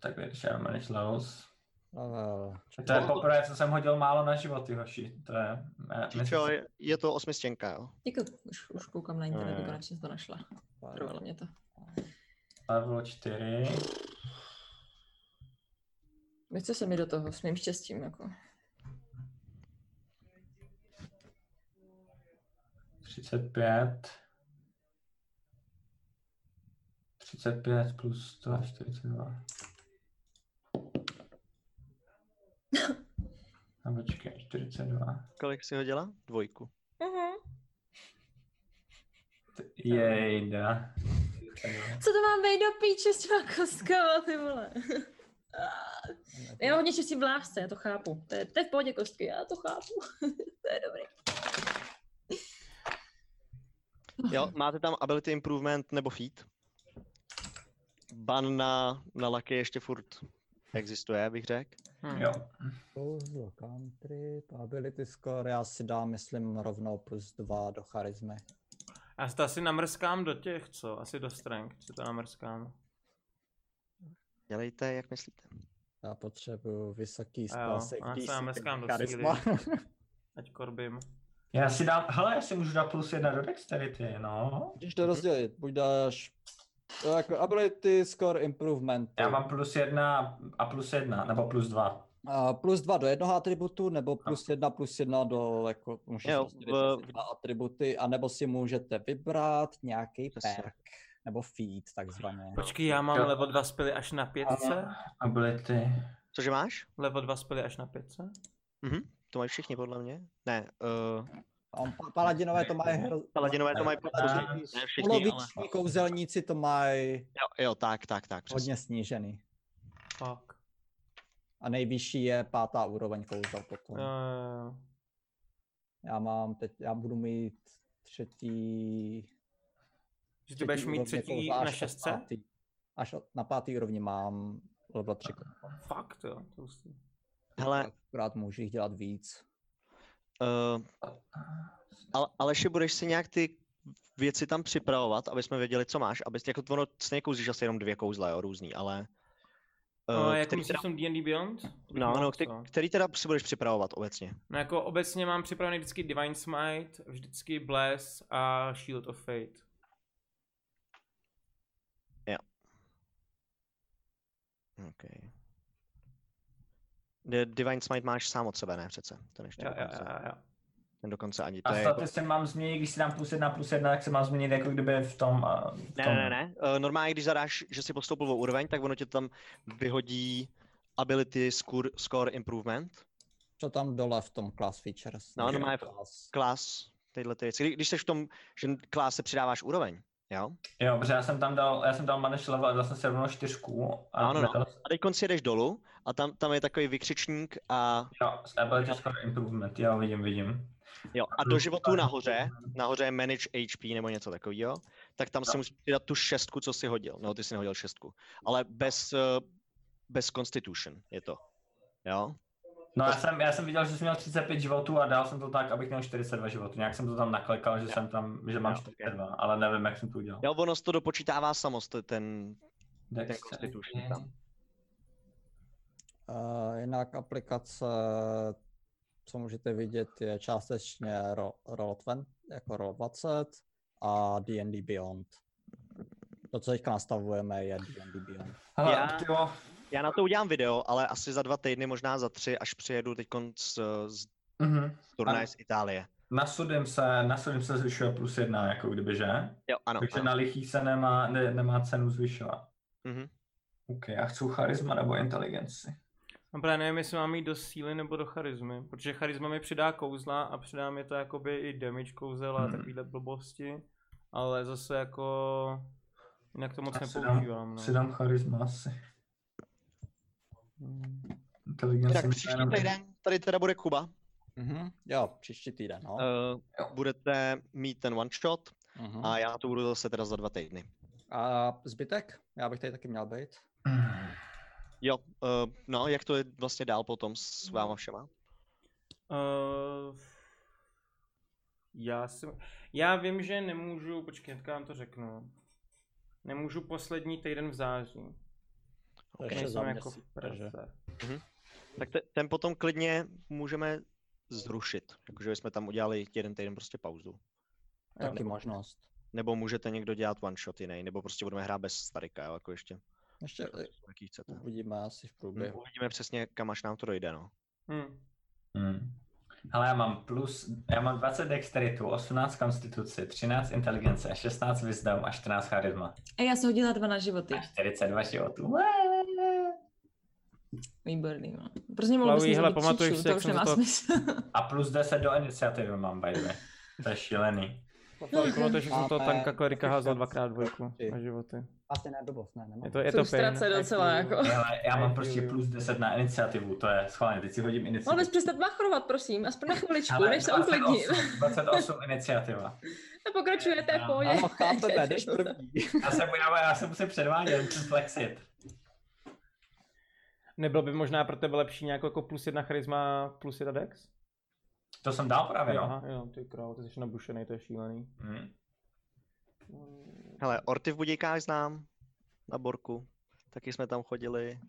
D: Tak když já manage levels.
E: Level.
D: To je poprvé, co jsem hodil málo na životy, hoši. To je... já- myslím
C: Jo,
D: si-
C: je, je to osmistěnka, jo.
F: Děkuji, už, už koukám na internetu, konečně jsem to našla. Trvalo mě to.
D: Level 4.
F: Nechce se mi do toho, s mým štěstím, jako.
D: 35.
C: [LAUGHS]
D: 35 plus 142. A No, počkej, 42.
C: Kolik si hodila? Dvojku.
F: Mhm.
D: T- Jejda.
F: Co to mám být do píče s těma kostkama, ty vole? Já mám hodně štěstí v lásce, já to chápu. To je, to je v pohodě kostky, já to chápu. to je dobrý.
C: Jo, máte tam ability improvement nebo feat. Ban na, na laky ještě furt existuje, bych řekl.
A: Hm.
D: Jo.
E: Kouzlo, country, ability score, já si dám, myslím, rovnou plus dva do charismy.
A: Já si to asi namrskám do těch, co? Asi do strength si to namrskám.
C: Dělejte, jak myslíte.
E: Já potřebuju vysoký
A: A jo,
E: spell save
A: a já se dám
E: DC,
A: hezkám do
E: charisma.
A: Ať
C: No.
A: korbím.
D: Já si dám, hele, já si můžu dát plus jedna do dexterity, no.
E: [LAUGHS] Když
C: Mhm.
E: to rozdělit, buď dáš to jako ability score improvement.
D: Já mám plus jedna a plus jedna, nebo plus dva.
E: A plus dva do jednoho atributu, nebo plus jedna plus jedna do jako, můžeš
C: No. Jo,
E: rozdělit
C: v-
E: mezi dva atributy, anebo si můžete vybrat nějaký
C: Přesně.
E: perk, nebo feed takzvaně.
A: Počkej, já mám
D: Jo.
A: level 2 spily až na pětce.
D: Ability.
C: Cože máš?
A: Level 2 spily až na pětce.
C: To mají všichni podle mě. Ne, uh,
E: A on- pa- Paladinové to mají hro...
C: paladinové to mají
E: Paladini-
C: ne všichni, ale...
E: Poloviční kouzelníci to mají
C: Jo, jo, tak, tak, tak, přesně.
E: hodně snížený.
A: Fuck.
E: A nejvyšší je pátá úroveň kouzel potom.
A: Jo, jo,
G: Eh,
A: jo.
E: Já mám teď, já budu mít třetí...
A: Že ty budeš mít
E: úrovně
A: třetí
E: kouzla až
A: na
E: od
A: šestce?
E: pátý- Až od- na pátý úrovni mám level 3
A: Fakt jo, to hustý.
C: Hele,
E: Akorát můžu jich dělat víc.
C: uh, ale, Aleši, budeš si nějak ty věci tam připravovat, aby jsme věděli, co máš, aby jako ono stejně kouzíš asi jenom dvě kouzla, jo, různý, ale...
A: Uh,
C: eh,
A: jako
C: který
A: myslíš
C: teda,
A: v tom D&D Beyond?
C: no, no,
A: Moc,
C: který,
A: jo.
C: který teda si budeš připravovat obecně?
A: No jako obecně mám připravený vždycky Divine Smite, vždycky Bless a Shield of Fate.
C: Okay. The Divine Smite máš sám od sebe, ne přece? Ten ještě
A: Jo, jo,
C: dokonce,
A: jo, jo.
C: ten dokonce ani. To
D: A
C: je jako...
D: staty se mám změnit, když si dám plus jedna, plus jedna, tak se mám změnit jako kdyby v tom... a, V
C: Ne,
D: tom.
C: ne, ne. Uh, normálně, když zadáš, že si postoupil o úroveň, tak ono tě tam vyhodí ability score, score improvement.
E: Co tam dole v tom class features?
C: No,
E: Takže
C: no, má-
E: class.
C: Class, tyhle ty věci. Kdy- Když jsi v tom, že class se přidáváš úroveň, jo?
D: Jo, protože já jsem tam dal, já jsem dal manage level a dal jsem se rovnou čtyřku. A
C: Ano, no.
D: dal-
C: A teď si jdeš dolů a tam, tam je takový vykřičník a,
D: Jo, ability score improvement, jo, vidím, vidím.
C: jo, a do životů nahoře, nahoře je manage HP nebo něco takového, tak tam si musíš přidat tu šestku, co jsi hodil. No, ty jsi nehodil šestku. Ale bez, eh, bez constitution je to. Jo?
D: No já jsem, já jsem viděl, že jsem měl 35 životů a dal jsem to tak, abych měl 42 životů. Nějak jsem to tam naklekal, že jsem tam, že mám
C: Jo,
D: 42, ale nevím, jak jsem to udělal.
C: Jo, ono to dopočítává samost, ten,
D: Dexterity.
C: Constitution prostě tam.
E: Eh, jinak aplikace, co můžete vidět, je částečně Ro- Roll20, jako Roll20 a D&D Beyond. To, co teďka nastavujeme, je D&D Beyond.
D: Hele,
C: Já-
D: jo,
C: Já na to udělám video, ale asi za dva týdny, možná za tři, až přijedu teď z, z
D: mhm.
C: turnaje
D: Ano.
C: z Itálie.
D: Nasudem se, nasudem se zvyšuje plus jedna, jako kdyby, že?
C: Jo, ano.
D: Takže
C: No, ano.
D: na lichých se nemá, ne, nemá cenu zvyšovat.
C: Mhm.
D: OK, já chci charisma nebo inteligenci.
A: A právě nevím, jestli mám jít do síly nebo do charizmy, protože charisma mi přidá kouzla a přidá mi to jakoby i damage kouzel a
D: Mhm.
A: takovýhle blbosti, ale zase jako jinak to moc
D: Já si dám-
A: nepoužívám.
D: Si
A: No.
D: dám charisma asi.
A: Hmm.
D: Inteligence
C: Tak
D: mi to
C: příští
D: jenom-
C: týden, tady teda bude Kuba.
E: Mhm. Jo, příští týden, no.
A: Eh,
C: Uh,
D: Jo.
C: budete mít ten one shot
E: Mhm.
C: a já to budu zase teda za dva týdny.
E: A zbytek? Já bych tady taky měl být.
D: Hmm.
C: Jo, uh, no, jak to je vlastně dál potom s váma všema?
A: Uh, já, si, já vím, že nemůžu, počkej, jak vám to řeknu. Nemůžu poslední týden v září.
E: To
C: Ok.
E: ještě za
A: Nejsem jako
E: měsíc,
A: v
E: takže.
A: Praze.
C: Tak te, ten potom klidně můžeme zrušit, jakože jsme tam udělali jeden týden prostě pauzu.
E: Taky možnost.
C: Nebo můžete někdo dělat one shot jiný, nebo prostě budeme hrát bez starika, jo, jako ještě,
E: Ještě
C: jaký chcete.
E: uvidíme asi v
C: Hmm,
E: průběhu.
C: Uvidíme přesně, kam až nám to dojde, no.
A: Hm.
D: Hmm. Ale já mám plus, já mám 20 dexteritu, 18 konstituci, 13 inteligence, 16 wisdom a 14 charisma.
F: A já jsem hodila dva na životy.
D: A 42 životů.
F: Výborný, no. Proč němu vůbec
A: Lauji, hele,
F: nezabít
A: pamatuješ
F: příčku,
A: si,
F: to
A: jak
F: už
A: jsem
F: nemá
A: to-
F: smysl.
D: A plus 10 do iniciativy mám, by the way. To je šílený.
A: Pamatuješ, že jsem No, to
B: Máme
A: tanka klerika házel
B: taky
A: dvakrát dvojku na životy.
B: Máte na dobost, ne, nemám.
A: Je to, je
F: To
A: to
F: už ztrace
A: pain.
F: docela, jako.
D: Hele, já mám prostě plus 10 na iniciativu, to je schválně, teď si hodím
F: Mohl bys
D: iniciativu.
F: přestat machrovat, prosím, aspoň na chviličku,
D: Hele,
F: než se uklidním.
D: 28, 28 iniciativa.
F: A [LAUGHS] pokračujete v pohodě.
B: Ano, chápeme, jdeš první.
D: Já se, já, já se musím předvádět, musím flexit.
A: Nebylo by možná pro tebe lepší nějakou jako plus jedna charisma, plus jedna dex?
D: To jsem dal právě, no.
A: Aha, jo, ty král, ty jsi nabušený, to je šílený.
D: Hm.
C: Hele, Orty v Budějkách znám, na Borku. Taky jsme tam chodili.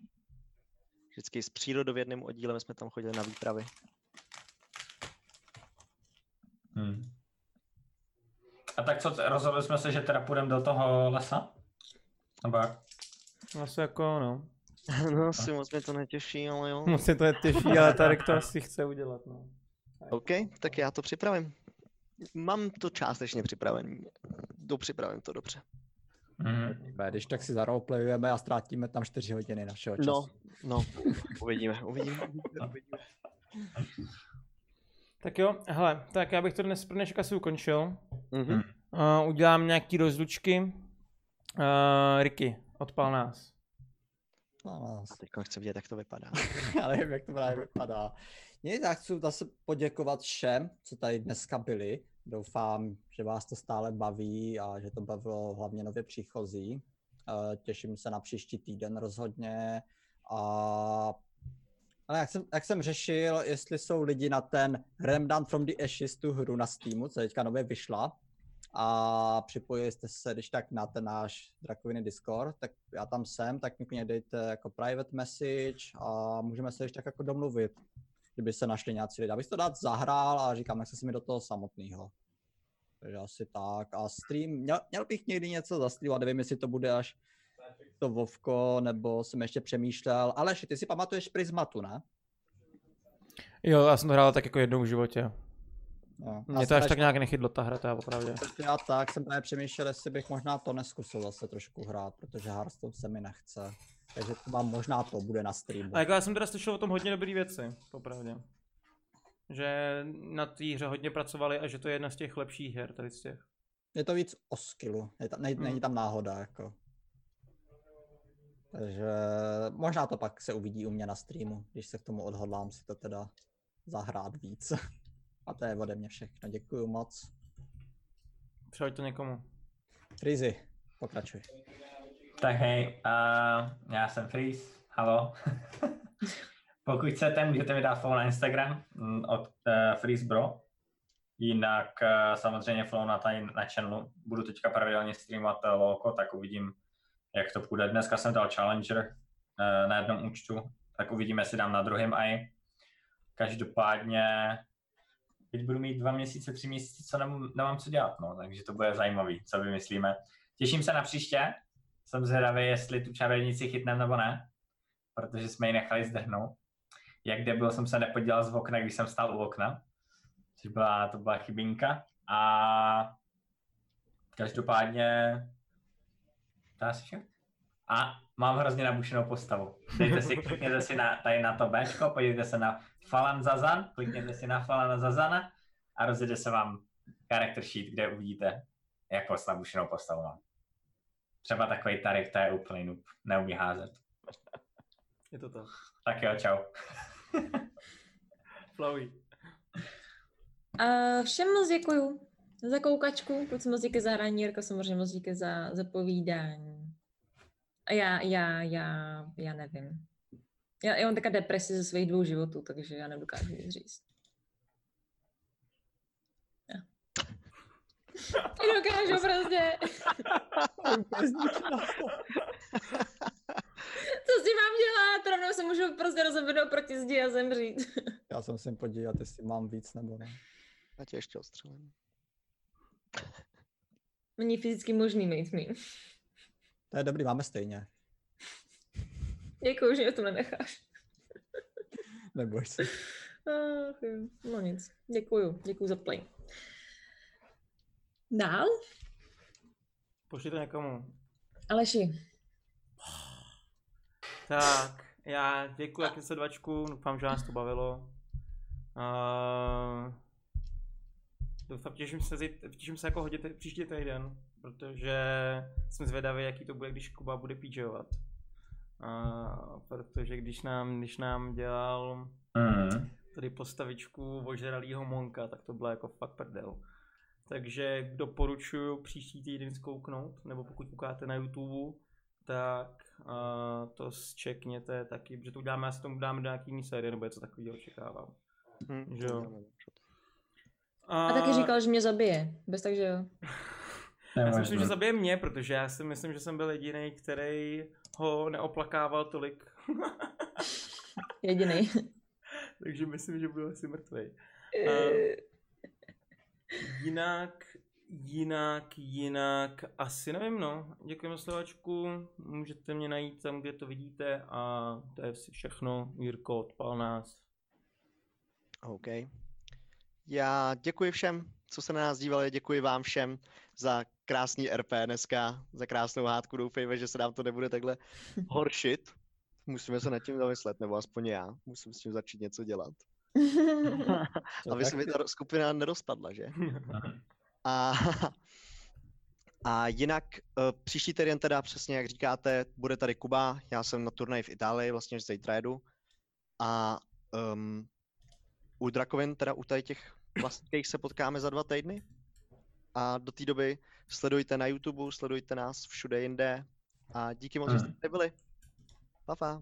C: Vždycky s přírodovědným oddílem jsme tam chodili na výpravy.
D: Hm. A tak co, rozhodli jsme se, že teda půjdeme do toho lesa? Nebo jak?
A: Asi jako, no.
C: [LAUGHS] No, asi moc mě to netěší, ale jo.
A: Moc se to netěší,
D: [LAUGHS]
A: ale Tarek to asi chce udělat, no.
C: OK, tak já to připravím. Mám to částečně připravený. Dopřipravím to dobře.
D: Hm.
E: Když tak si zaroleplayujeme a ztrátíme tam 4 hodiny našeho času.
C: No, no, uvidíme, uvidíme. uvidíme, uvidíme.
A: Tak jo, hele, tak já bych to dnes pro dnešek asi ukončil.
C: Mhm.
A: Uh, udělám nějaký rozlučky. Uh, Ricky, odpal nás.
E: Na nás.
C: A teď chci vidět, jak to vypadá.
E: [LAUGHS] Já nevím, jak to právě vypadá. Mě tak chci zase poděkovat všem, co tady dneska byli. Doufám, že vás to stále baví a že to bavilo hlavně nově příchozí. Eh, Těším se na příští týden rozhodně. A... Ale jak jsem, jak jsem řešil, jestli jsou lidi na ten Remnant from the Ashes, tu hru na Steamu, co teďka nově vyšla, a připojili jste se, když tak na ten náš Drakoviny Discord, tak já tam jsem, tak mi klidně dejte jako private message a můžeme se ještě tak jako domluvit, kdyby se našli nějací lidé. Abych to dát zahrál a říkám, nechce si mi do toho samotného. Takže asi tak. A stream, měl, měl bych někdy něco zastreamovat, nevím, jestli to bude až to Vovko, nebo jsem ještě přemýšlel. Aleši, ty si pamatuješ Prismatu, ne?
A: Jo, já jsem to hrál tak jako jednou v životě.
E: No.
A: Mě to až tak nějak nechytlo ta hra, to já opravdu.
E: Takže Prostě já tak jsem právě přemýšlel, jestli bych možná to neskusil zase trošku hrát, protože Hearthstone se mi nechce. Takže třeba možná to bude na streamu.
A: A jako já jsem teda slyšel o tom hodně dobrý věci, popravdě. Že na té hře hodně pracovali a že to je jedna z těch lepších her tady z těch.
E: Je to víc o skillu, je tam, ne,
A: Hmm.
E: není tam náhoda jako. Takže možná to pak se uvidí u mě na streamu, když se k tomu odhodlám si to teda zahrát víc. [LAUGHS] A to je ode mě všechno, děkuji moc.
A: Přehoď to někomu.
E: Frizy, pokračuj.
D: Tak hej, uh, já jsem Freeze, halo. [LAUGHS] Pokud chcete, můžete mi dát follow na Instagram mm, od uh, Freeze Bro. Jinak uh, samozřejmě follow na, tady, na channelu. Budu teďka pravidelně streamovat uh, Lolko, tak uvidím, jak to půjde. Dneska jsem dal Challenger uh, na jednom účtu, tak uvidíme, jestli dám na druhém i. Každopádně teď budu mít dva měsíce, tři měsíce, co nemám, nemám co dělat, no, takže to bude zajímavý, co vymyslíme. Těším se na příště, jsem zvědavý, jestli tu čarodějnici chytneme nebo ne, protože jsme ji nechali zdrhnout. Jak debil jsem se nepodíval z okna, když jsem stál u okna, což byla, to byla chybinka. A každopádně to asi vše. A mám hrozně nabušenou postavu. Dejte si, klikněte si na, tady na to Bčko, podívejte se na Falan Zazan, klikněte si na Falan Zazana a rozjede se vám character sheet, kde uvidíte, jak moc nabušenou postavu mám. Třeba takový Tarek, to je úplný noob, neumí házet.
A: Je to tak.
D: Tak jo, čau.
A: Flowey.
F: A všem moc děkuju za koukačku, kluci moc díky za hraní, Jirko samozřejmě moc díky za, za povídání. A já, já, já, já nevím. Já, já mám taká depresi ze svých dvou životů, takže já nedokážu nic říct. Já. Nedokážu prostě. Co s tím mám dělat? Rovnou se můžu prostě rozhodnout proti zdi a zemřít.
E: Já se musím podívat, jestli mám víc nebo ne.
C: Já tě ještě odstřelím.
F: Není fyzicky možný mít mým.
E: To je dobrý, máme stejně.
F: Děkuji, že mě to nenecháš.
E: Neboj se.
F: Ach, jo. no nic, děkuju, děkuju za play. Dál?
A: Pošli to někomu.
F: Aleši,
A: Tak, Já děkuji jak se dvačku, doufám, že vás to bavilo. Uh, doufám, těším se, zít- těším se jako hodit příští týden, protože jsem zvědavý, jaký to bude, když Kuba bude PJovat. Uh, protože když nám, když nám dělal
D: Mm.
A: tady postavičku ožralýho Monka, tak to byla jako fakt prdel. Takže doporučuji příští týden zkouknout, nebo pokud koukáte na YouTube, tak uh, to zčekněte taky, protože to uděláme, asi tomu dáme do nějaký jiný série, nebo něco takového očekávám.
C: Hm,
A: Že jo.
C: jdeme.
F: A taky říkal, že mě zabije. Bez tak, že jo.
A: Eh, Já si
D: Nemožný.
A: myslím, že zabije mě, protože já si myslím, že jsem byl jediný, který ho neoplakával tolik.
F: Jediný.
A: Takže myslím, že byl asi mrtvý. Eh,
F: [LAUGHS]
A: Jinak, jinak, jinak, asi nevím, no. Děkujeme slovačku, můžete mě najít tam, kde to vidíte a to je asi všechno. Jirko, odpal nás.
C: OK. Já děkuji všem, co se na nás dívali, děkuji vám všem za krásný RP dneska, za krásnou hádku, doufejme, že se nám to nebude takhle horšit. Musíme se nad tím zamyslet, nebo aspoň já, musím s tím začít něco dělat.
E: Co
C: No, Aby
E: tak
C: se mi
E: ty-
C: ta skupina nerozpadla, že? A, a jinak eh, příští týden teda přesně, jak říkáte, bude tady Kuba, já jsem na turnaji v Itálii, vlastně zítra jedu. A um, u Drakovin, teda u tady těch vlastních se potkáme za dva týdny. A do té doby sledujte na YouTube, sledujte nás všude jinde. A díky moc, že
D: Mhm.
C: jste tady byli. Pa, pa.